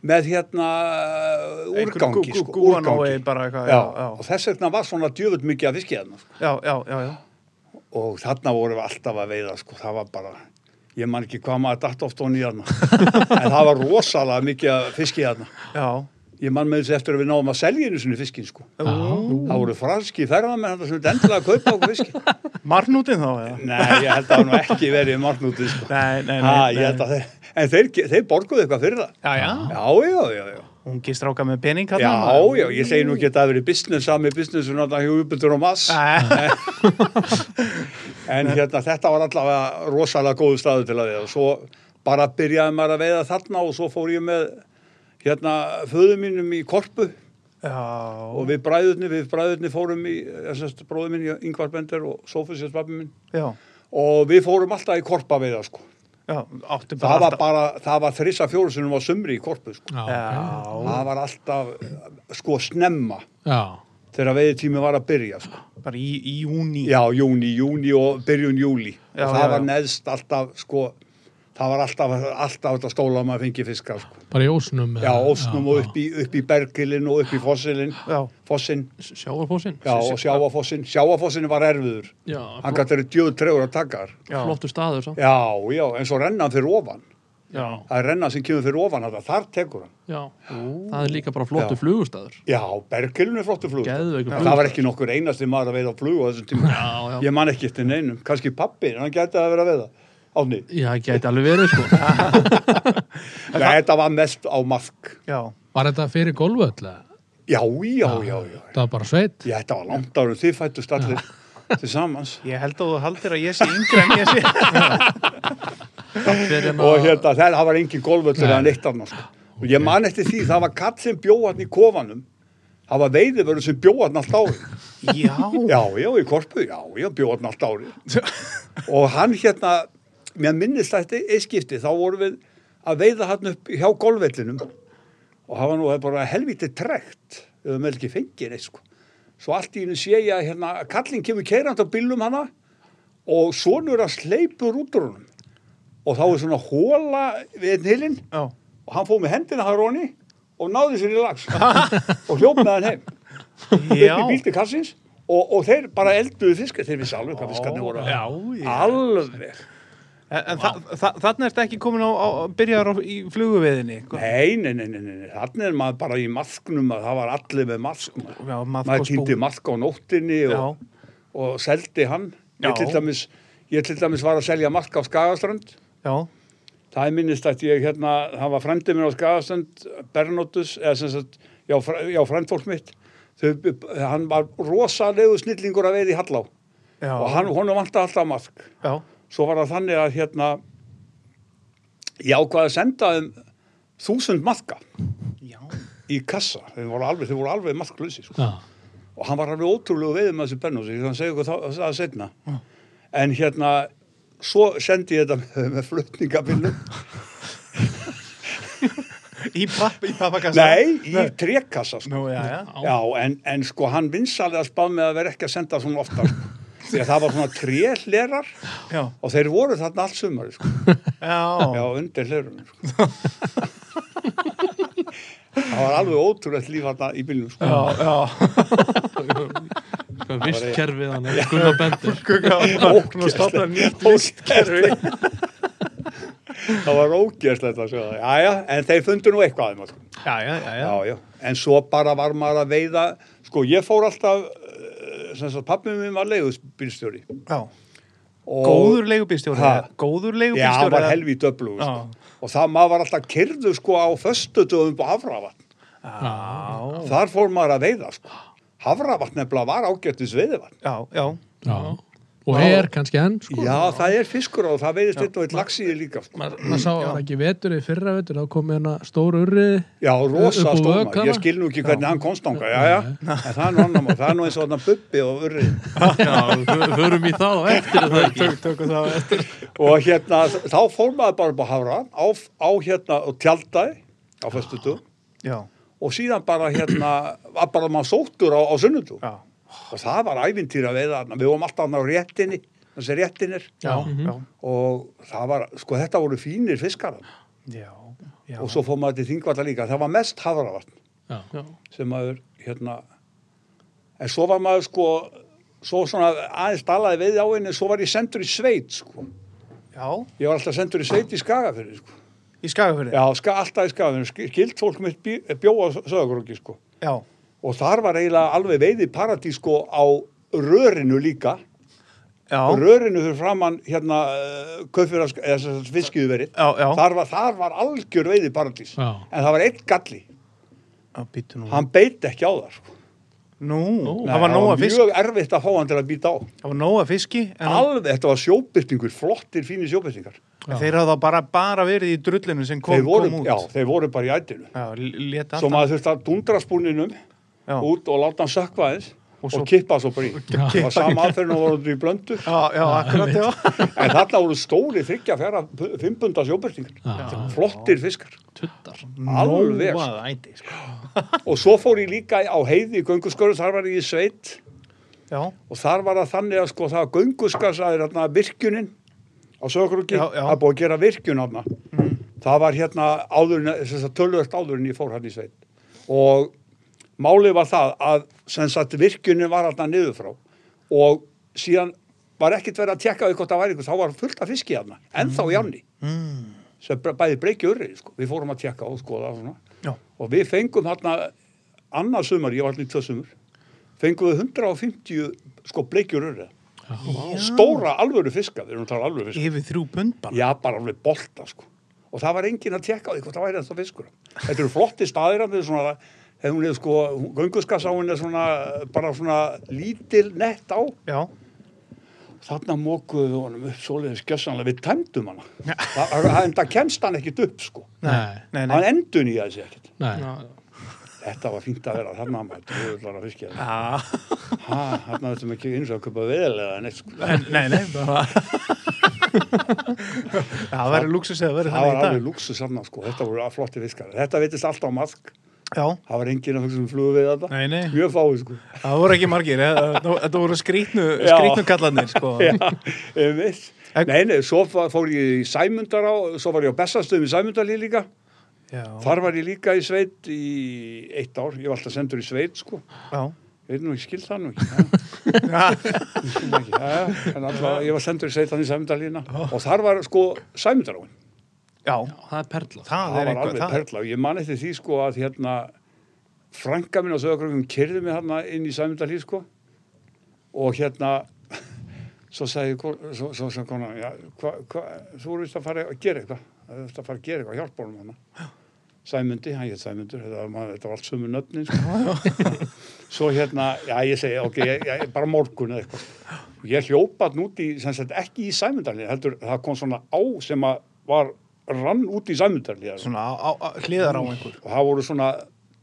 Speaker 5: með hérna uh,
Speaker 1: Einhver gú-
Speaker 5: úrgangi,
Speaker 1: gú-
Speaker 5: sko,
Speaker 1: gúanói
Speaker 5: úrgangi.
Speaker 1: bara eitthvað,
Speaker 5: já,
Speaker 1: já, já.
Speaker 5: og þess vegna var svona djöfut mikið að fiskja þarna, sko.
Speaker 1: já, já, já, já.
Speaker 5: og þarna vorum við alltaf að veiða, sko, það var bara, ég man ekki hvað maður datt oft honni þarna, en það var rosalega mikið að fiskja þarna,
Speaker 1: já.
Speaker 5: ég man með þessi eftir að við náum að selja einu sinni fiskin, sko,
Speaker 1: Ú,
Speaker 5: það voru franski ferðamenn þarna sem þetta endilega að kaupa okkur fiskin,
Speaker 1: Marnútin þá, eða?
Speaker 5: nei, ég held að hann ekki verið margnútið, sko,
Speaker 1: Nei, nei, nei,
Speaker 5: ha, ég
Speaker 1: nei.
Speaker 5: held að þeir, en þeir, þeir borguðu eitthvað fyrir það,
Speaker 1: Já, já,
Speaker 5: já, já, já, já.
Speaker 1: hún gist ráka með pening hann.
Speaker 5: Já, já, ég segi nú ekki að það verið business, sami business og náttúrulega hjá uppbyrður og mass
Speaker 1: já.
Speaker 5: en hérna þetta var allavega rosalega góðu staðu til að veiða og svo bara byrjaði maður að veiða þarna og svo fór ég með hérna föðu mínum í korpu
Speaker 1: Já,
Speaker 5: og við bræðurni, við bræðurni fórum í eh, þessast bróðu mín, Ingvar Bender og Sófus, þess pappi mín
Speaker 1: já,
Speaker 5: og við fórum alltaf í korpa veiða sko
Speaker 1: já, áttu bara
Speaker 5: það var
Speaker 1: alltaf-
Speaker 5: bara, það var þrissa fjórusunum á sumri í korpu sko
Speaker 1: Já,
Speaker 5: það var alltaf sko snemma
Speaker 2: já,
Speaker 5: þegar veiðitími var að byrja sko
Speaker 1: bara í, í júni.
Speaker 5: Já, júni, júni og byrjun júli
Speaker 1: Já,
Speaker 5: og það
Speaker 1: já,
Speaker 5: var
Speaker 1: já.
Speaker 5: neðst alltaf sko, það var alltaf, alltaf þetta stóla að maður fengi fiska sko.
Speaker 2: bara í ósnum
Speaker 5: já, ósnum og upp í, upp í bergilin og upp í fossilin
Speaker 1: Já.
Speaker 5: fossin,
Speaker 3: Sjávarfósin
Speaker 5: já, og sjáafossin sjáafossin var erfiður
Speaker 3: já
Speaker 5: hann gæti verið djöðu trefur að taka þar
Speaker 1: Já.
Speaker 3: flottu staður svo
Speaker 5: já, já, en svo renna hann fyrir ofan
Speaker 1: já.
Speaker 5: það er renna sem kemur fyrir ofan þetta, þar tekur hann
Speaker 3: já það er líka bara flottu
Speaker 5: Já.
Speaker 3: flugustadur
Speaker 5: já, bergilin er flottu flug en
Speaker 3: geðveikur
Speaker 5: það var ekki nokkur einasti maður að veiða á flug á þessum tíma,
Speaker 3: já, já
Speaker 5: ég man ekki eftir neinum kannski pappi, hann gæti að vera að veiða Ánni,
Speaker 3: já, gæti alveg verið sko
Speaker 5: þetta var mest á mark
Speaker 1: já.
Speaker 2: var þetta fyrir golfu öll eða?
Speaker 5: Já, já, já, já.
Speaker 2: það var bara sveit
Speaker 5: Ég, þetta var langt árum, þið fættust allir til samans.
Speaker 1: Ég held að þú haldir að ég sé yngri en ég sé.
Speaker 3: fyrir en
Speaker 5: Og
Speaker 3: að
Speaker 5: hérna, það var engin golfvöldur
Speaker 2: Nei.
Speaker 5: eða neitt annars. Sko. Og ég man eftir því, það var katt sem bjóðan í kofanum. Það var veiðivörður sem bjóðan allt árið.
Speaker 1: Já,
Speaker 5: Já, já, í korpu, já, já, bjóðan allt árið. Og hann hérna, mér minnist þetta eitt skipti, þá vorum við að veiða hann upp hjá golfvellinum og það var nú bara helvítið trekt, ef við með ekki fengir eitt, sko. Svo allt í hennu sé ég að hérna, kallinn kemur keirand á bílum hana og sonur að sleipur út úr honum. Og þá er svona hóla við einn hilinn
Speaker 1: já,
Speaker 5: og hann fóð með hendina hann Róni og náði sér í lags og hljóp með hann heim.
Speaker 1: já.
Speaker 5: Upp í bílti kassins og, og þeir bara elduðu fiskar, þeir vissi alveg hvað fiskarnir voru.
Speaker 1: Já, já.
Speaker 5: Alveg.
Speaker 1: En, en þa þa þannig ertu ekki komin á, á byrjar á, í fluguveðinni.
Speaker 5: Nei, nei, nei, nei, nei, nei. þannig er maður bara í masknum að það var allir með masknum.
Speaker 1: Já, maðk og
Speaker 5: maður
Speaker 1: spún.
Speaker 5: týndi maðk á nóttinni og, og seldi hann.
Speaker 1: Já.
Speaker 5: Ég til, dæmis, ég til dæmis var að selja maðk á Skagastrand.
Speaker 1: Já,
Speaker 5: Það er minnist að ég hérna, það var frendið minn á Skagastrand, Bernóttus, eða sem sagt, já, fr- já frendfólk mitt. Þau, hann var rosalegu snillingur að veið í Hallá
Speaker 1: já.
Speaker 5: og hann, honum vantaði alltaf maðk.
Speaker 1: Já,
Speaker 5: Svo var það þannig að hérna, ég ákvaði að senda þeim þúsund maðka
Speaker 1: já.
Speaker 5: í kassa, þeir voru alveg, þeir voru alveg marklösi sko.
Speaker 2: já,
Speaker 5: og hann var alveg ótrúlegu veið með þessi bennus ég þannig að segja ykkur þá- það setna en hérna, svo sendi ég þetta með, með flutningabillum
Speaker 1: Í, papp, í pappakassa.
Speaker 5: nei, í trekkassa sko.
Speaker 1: Nú, já, já.
Speaker 5: já, en, en sko hann vinsalega spáð með að vera ekki að senda svona ofta sko. því að það var svona trellerar
Speaker 1: Já,
Speaker 5: og þeir voru þarna allt sumari sko.
Speaker 1: já.
Speaker 5: já, undir hlerunum sko. það var alveg ótrúlegt líf þarna í bílnum sko.
Speaker 1: Já, já.
Speaker 2: vistkerfið hann Gunnar Bender
Speaker 1: Ókvæmlega stofna nýtt
Speaker 5: vistkerfi það var ógjörslegt að sjá það já, já, en þeir fundu nú eitthvað aðeins sko.
Speaker 1: Já, já, já, já.
Speaker 5: já, já, en svo bara var maður að veiða sko, ég fór alltaf eh, sem sagt, pappið minn var leiðusbílstjóri
Speaker 1: já. Góður leigubílstjóri.
Speaker 5: Ha?
Speaker 1: eða? Góður
Speaker 5: já,
Speaker 1: leigubílstjóri.
Speaker 5: hann var
Speaker 1: eða?
Speaker 5: helvið döblu sko. og það maður var alltaf kyrðu sko á föstutöðum på Hafravatn
Speaker 1: Já,
Speaker 5: þar fór maður að veiða sko Hafravatn nefnilega var ágættis veiðivatn
Speaker 1: já, já.
Speaker 2: já. og er kannski enn sko.
Speaker 5: já, það er fiskur á og það veiðist einn og einn lagsíði líka sko.
Speaker 2: maður sá hann ekki vetur í fyrra vetur þá kom hérna stór urriði
Speaker 5: Já, rosa
Speaker 2: Upp á
Speaker 5: stóma,
Speaker 2: vökana?
Speaker 5: ég skil nú ekki hvernig hann komst ánga, já, já, en það er nú annar mál, það er nú eins og þarna bubbi og urri
Speaker 3: já, hörum í eh? það og eftir er það ekki
Speaker 1: Tök, tökum það eftir.
Speaker 5: og hérna, þá fór maður bara upp á hafra, á, á hérna, og tjaldæði á föstutu
Speaker 1: Já,
Speaker 5: og síðan bara hérna, var bara maður sóttur á, á sunnutu
Speaker 1: já,
Speaker 5: og það var ævintýra veiða, þarna. við vorum alltaf hann á réttinni, þessi réttinir
Speaker 1: já, já.
Speaker 5: og það var, sko þetta voru fínir fiskar þarna.
Speaker 1: Já, Já.
Speaker 5: og svo fór maður til þingvalla líka það var mest hafravatn
Speaker 2: Já.
Speaker 3: Já.
Speaker 5: sem maður hérna en svo var maður sko svo svona aðeins dalaði veið á henni svo var ég sendur í sveit sko
Speaker 1: Já,
Speaker 5: ég var alltaf sendur í sveit í Skagafyrði sko.
Speaker 1: í skagafyrði
Speaker 5: já, ska, alltaf í Skagafyrði skilt fólk mitt bý- bjó á söðagróki sko
Speaker 1: Já,
Speaker 5: og þar var eiginlega alveg veiði paradís sko á rörinu líka
Speaker 1: já,
Speaker 5: rörinu fyrir framann hérna uh, kaupfyrir eða fiskiðuveri
Speaker 1: já, já.
Speaker 5: þar var, þar var algjör veiði paradís
Speaker 2: Já.
Speaker 5: en það var einn galli
Speaker 1: Já, býtu nú.
Speaker 5: Mm. hann beit ekki á það sko.
Speaker 1: Nú,
Speaker 5: Nei,
Speaker 1: það var nóga fisk,
Speaker 5: mjög erfitt að fá hann til að býta á
Speaker 1: það var nóga fiski, en hann-
Speaker 5: alveg, þetta var sjóbyrtingur, flottir fínir sjóbyrtingar
Speaker 2: Já.
Speaker 1: þeir hafa bara, bara verið í drullinu sem kom,
Speaker 5: þeir voru,
Speaker 1: kom út.
Speaker 5: já, þeir voru bara í ættinu
Speaker 1: Já, leta
Speaker 5: svo
Speaker 1: alltaf.
Speaker 5: maður þurfti að dundra spúninum
Speaker 1: Já.
Speaker 5: út og láta hann sökva aðeins
Speaker 1: Og
Speaker 5: og,
Speaker 1: svo-
Speaker 5: kippa svo bara í það var sama aðferðin og voru þetta í blöndu
Speaker 1: Já, já, akkurat, já.
Speaker 5: en þarna voru stóri þryggja fjara fimmpundas jóbyrtingar,
Speaker 2: Já.
Speaker 5: flottir fiskar
Speaker 3: tuttar
Speaker 5: Alveg,
Speaker 1: Nóg
Speaker 5: sko.
Speaker 1: að æti, sko.
Speaker 5: og svo fór ég líka á heiði í göngusköru, þar var ég í sveit
Speaker 1: Já,
Speaker 5: og þar var það þannig að sko það var gönguskarsaðir hérna virkunin á Sögrúki,
Speaker 1: Já, Mhm. já.
Speaker 5: það er búið að gera virkun hérna. Það var hérna áðurinn, þess að tölvögt áðurinn ég fór hann í sveit. Og málið var það að sem sagt virkunin var hérna niður frá og síðan var ekkert verið að tekka eitthvað það væri ykkur, þá var fullt af fiski hérna, ennþá í ánni.
Speaker 1: Mhm.
Speaker 5: Mm. Sem bara- bæði breykja urrið, sko. Við fórum að tekka og skoða svona.
Speaker 1: já,
Speaker 5: Og við fengum hérna annað sumar, ég var allir tvö sumur, fengum við 150 sko bleikjur öryða. Stóra alvöru fiska, við erum að tala alvöru fiska.
Speaker 1: yfir þrjú pund bara.
Speaker 5: Já, bara alveg bolta sko. Og það var enginn að tekka á því hvort það væri ennþá fiskur. Þetta eru flotti staðir að þetta svona, hefur hún hefur sko, gönguskasáin er svona, bara svona lítil nett á.
Speaker 1: Já,
Speaker 5: Þarna mókuðu við honum upp svoleiðis gjössanlega, við tæmdum hana. Það, það- en það kemst hann ekkit upp sko.
Speaker 2: Nei.
Speaker 1: nei, nei.
Speaker 5: Hann endun í þessi ekkit.
Speaker 2: Nei.
Speaker 5: Þetta var fínt að vera þarna að maður döðlar að fiskja það.
Speaker 1: Já,
Speaker 5: Ha, þarna þetta með ekki eins og að köpa veðilega neitt sko.
Speaker 1: en- nei, nei, bara. Já, það væri lúksus eða verið
Speaker 5: Það var
Speaker 1: þannig í
Speaker 5: alveg
Speaker 1: dag.
Speaker 5: lúksus þarna sko, þetta voru flotti fiskar. Þetta veitist alltaf á mask,
Speaker 1: Já,
Speaker 5: það var enginn af þeim sem flugu við þetta.
Speaker 1: Nei, nei.
Speaker 5: Mjög fáið sko.
Speaker 1: það voru ekki margir, eh, það- þetta voru skrítnu,
Speaker 5: Já.
Speaker 1: skrítnu kallanir, sko.
Speaker 5: Já, ég veist.
Speaker 1: En-
Speaker 5: Nei, nei, svo fa- fór ég í Sæmundar á, svo var ég á Bessastöðum í Sæmundarlið líka.
Speaker 1: Já,
Speaker 5: Þar var ég líka í sveit í eitt ár, ég var alltaf sendur í sveit sko.
Speaker 1: já.
Speaker 5: Ég veit nú ekki, skil það nú ekki. Já. Ég skil það ekki. Já, já, en alltaf, ég var sendur í sveit hann í Sæmundarliðina og þar var sko Sæmundaráin.
Speaker 1: Já,
Speaker 3: það er perla
Speaker 1: það er
Speaker 5: það var
Speaker 1: einhver,
Speaker 5: alveg
Speaker 1: það
Speaker 5: perla og ég man eftir því sko að hérna frænka mín á sögurkrökkum kyrði mig hérna inn í sæmyndalíf sko og hérna svo sagði kon- svo, svo sagði konan já, hva, hva, þú voru vist að fara að gera eitthvað þú veist að fara að gera eitthvað, hjálpa honum hana Sæmundi, hann hétt Sæmundur þetta, var maður- þetta var allt sömu nöfnin sko. svo hérna, já ég segi ok, ég, ég, bara morgun eða eitthvað Og ég hljópa hann út í, sem sagt ekki í Sæmundarlið, heldur það kom svona á sem að var, rann út í Sæmundarlið
Speaker 1: svona á, á, á, hliðar á einhver
Speaker 5: og það voru svona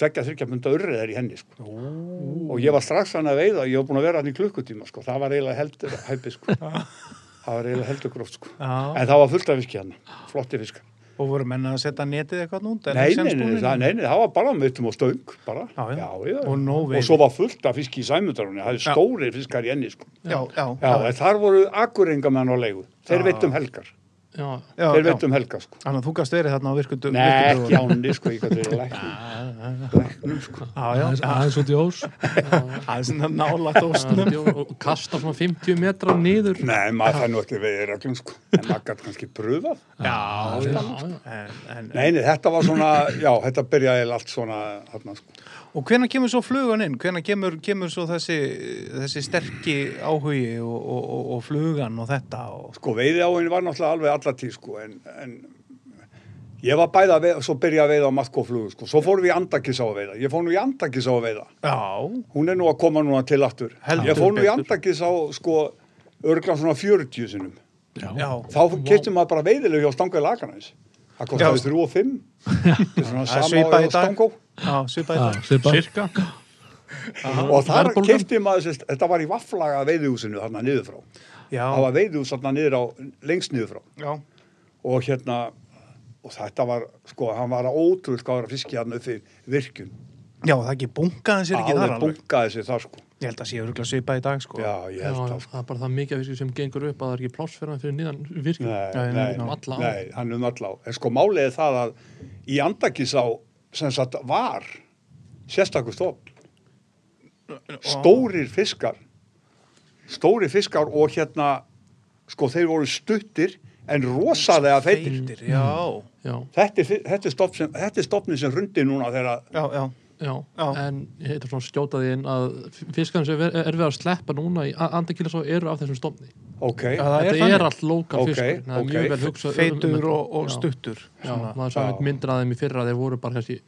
Speaker 5: tveggja þryggjapunta urriðar í henni sko. og ég var strax hann að veiða ég var búin að vera hann í klukkutíma sko. það var eiginlega heldur hæpi sko. það var eiginlega heldur gróft sko.
Speaker 1: Já.
Speaker 5: en það var fullt af fiski hann, flotti fiskar
Speaker 1: og voru menn að setja netið eitthvað nút er
Speaker 5: nei,
Speaker 1: það
Speaker 5: nei,
Speaker 1: sem
Speaker 5: nei,
Speaker 1: spúnin?
Speaker 5: það, nei, nei, það var bara mittum og stöng bara.
Speaker 1: hérna? Já, já. Og nóg
Speaker 5: og
Speaker 1: veiði.
Speaker 5: svo var fullt af fiski í sæmundarunni það er
Speaker 1: Já.
Speaker 5: stóri fiskar í henni sko.
Speaker 1: já, já,
Speaker 5: já, en þar voru akurengamenn á leigu þeir veit um helgar
Speaker 3: já,
Speaker 1: já, já.
Speaker 5: þeir
Speaker 1: um
Speaker 5: veit um helgar sko.
Speaker 1: þannig að þú gafst verið þarna á virkundu
Speaker 5: Nei, ekki áni, sko, ég gæti verið læknum. Læknum, sko.
Speaker 1: já, já,
Speaker 2: Aðeins- Aðeins út í ós.
Speaker 1: það er svona nálagt ósnum
Speaker 3: og og kasta svona 50 metra niður
Speaker 5: Nei, maður fær nú ekki við í reglum sko, en maður gæti kannski pröfað.
Speaker 1: já,
Speaker 3: já,
Speaker 1: en, en,
Speaker 5: Nei, nei, þetta var svona, já, þetta byrjaði eiginlega allt svona, þarna sko.
Speaker 1: og hvenær kemur svo flugan inn hvenær kemur, kemur svo þessi þessi sterki áhugi og, og, og, og flugan og þetta og,
Speaker 5: Sko, veiði áhugin var náttúrulega alveg alla tíð sko, en, en ég var bæða að veiða, svo byrjaði að veiða á matkoflugu sko, svo fórum við í andakis á að veiða, ég fór nú í andakis á að veiða.
Speaker 1: já,
Speaker 5: Hún er nú að koma núna til aftur.
Speaker 1: Heldur
Speaker 5: ég fór nú í
Speaker 1: betur.
Speaker 5: andakis á, sko, örglan svona 40 sinnum.
Speaker 1: já,
Speaker 5: Þá keftum maður bara veiðilegu hjá stangaði laganæs. Það kostiði
Speaker 1: Já.
Speaker 5: 3 og 5. Það er svona
Speaker 1: það er
Speaker 5: sama
Speaker 1: svipað
Speaker 5: og
Speaker 1: í dag
Speaker 5: stangó.
Speaker 1: já, svipað í
Speaker 2: Já,
Speaker 1: dag
Speaker 2: svipað.
Speaker 3: cirka
Speaker 5: og þar
Speaker 3: Verðbólgan.
Speaker 5: kefti maður sérst, þetta var í vafflaga veiðihúsinu þarna niður frá
Speaker 1: já,
Speaker 5: það var veiðihús þarna niður á, lengst niður frá
Speaker 1: já,
Speaker 5: og hérna og þetta var, sko, hann var ótrúð hvað var að fiskja hann upp fyrir virkun
Speaker 1: já, það ekki bunkaði sér ekki þar
Speaker 5: alveg
Speaker 1: alveg
Speaker 5: bungaði sér þar sko
Speaker 1: Ég held að sé öruglega svipa í dag, sko.
Speaker 5: já, ég
Speaker 3: Já,
Speaker 5: held að
Speaker 3: það er bara það mikið af virkjum sem gengur upp að það er ekki pláss fyrir hann fyrir nýðan virkjum
Speaker 5: Nei,
Speaker 1: Nei,
Speaker 5: nei,
Speaker 1: nei,
Speaker 5: nei,
Speaker 3: um alla á.
Speaker 5: hann um allá. En sko málið er það að í andakísá sem sagt var sérstakur stofn, stórir fiskar, stórir fiskar og hérna, sko þeir voru stuttir en rosalega feitir.
Speaker 1: Feitir, já.
Speaker 3: Já,
Speaker 5: Þetta er, fi- þetta er, stofn sem, þetta er stofnin sem hrundi núna þegar
Speaker 1: Já, já.
Speaker 3: já,
Speaker 1: Já.
Speaker 3: en ég heitir svona skjótaði inn að fiskarnir sem er, er við að sleppa núna í andakýla svo eru af þessum stofni
Speaker 5: ok,
Speaker 1: Já, það
Speaker 3: Þetta
Speaker 1: þannig.
Speaker 3: er allt lokal
Speaker 5: Ok,
Speaker 3: fiskur það er
Speaker 5: ok.
Speaker 3: mjög vel hugsað um- um
Speaker 1: Feitur
Speaker 3: þetta.
Speaker 1: og, og
Speaker 3: Já.
Speaker 1: stuttur.
Speaker 3: Já,
Speaker 1: svona.
Speaker 3: maður sá
Speaker 5: Já.
Speaker 3: eitthvað myndir að þeim í fyrra þeir voru bara þessi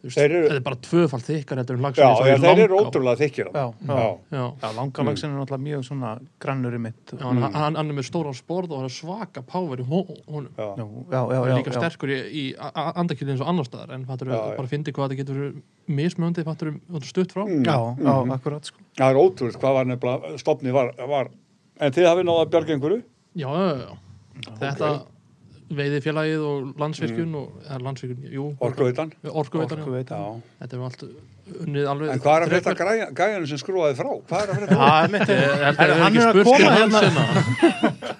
Speaker 3: þú veist,
Speaker 5: Þeir eru-
Speaker 3: Þetta er bara tvöfald þykkar heldur en
Speaker 5: já,
Speaker 3: lagsinn
Speaker 5: já, þeir eru ótrúlega þykkir.
Speaker 1: Já, já.
Speaker 5: já.
Speaker 3: Já,
Speaker 1: Já, langalagsin er náttúrulega mjög svona grannur í mitt.
Speaker 3: já
Speaker 5: Mm.
Speaker 3: hann, hann, hann er með stóra sporð og hann er svaka power í hó- honum
Speaker 5: já.
Speaker 1: Nú, já, já, já.
Speaker 3: já, líka
Speaker 1: já.
Speaker 3: sterkur í, í andakilin eins og annar staðar en fattur,
Speaker 5: Já, já.
Speaker 3: bara fyndi hvað þetta getur mismöndið fattur, stutt frá
Speaker 1: Mm.
Speaker 5: Mm.
Speaker 1: Já, já, akkurat, sko.
Speaker 5: Það er ótrúlega hvað var nefnilega stofni var, var. En þið hafið náða að bjarga einhverju?
Speaker 3: já, já, já, já. þetta veiði félagið og
Speaker 5: Mm.
Speaker 3: landsvirkjun og, eða landsvirkjun, jú,
Speaker 5: Orkuveitan?
Speaker 3: orkuveitan, já.
Speaker 1: Orkuveitan.
Speaker 5: Já.
Speaker 3: þetta er allt unnið alveg
Speaker 5: En hvað er að frétta
Speaker 3: þrekverk.
Speaker 5: græja- gæjanum sem skrúaði frá? Hvað er að frétta?
Speaker 1: Það er mitt.
Speaker 3: Ég held að
Speaker 1: Herru,
Speaker 3: það
Speaker 1: hann er að
Speaker 3: er ekki spurt
Speaker 1: koma
Speaker 3: til
Speaker 1: hérna.
Speaker 3: hans hérna.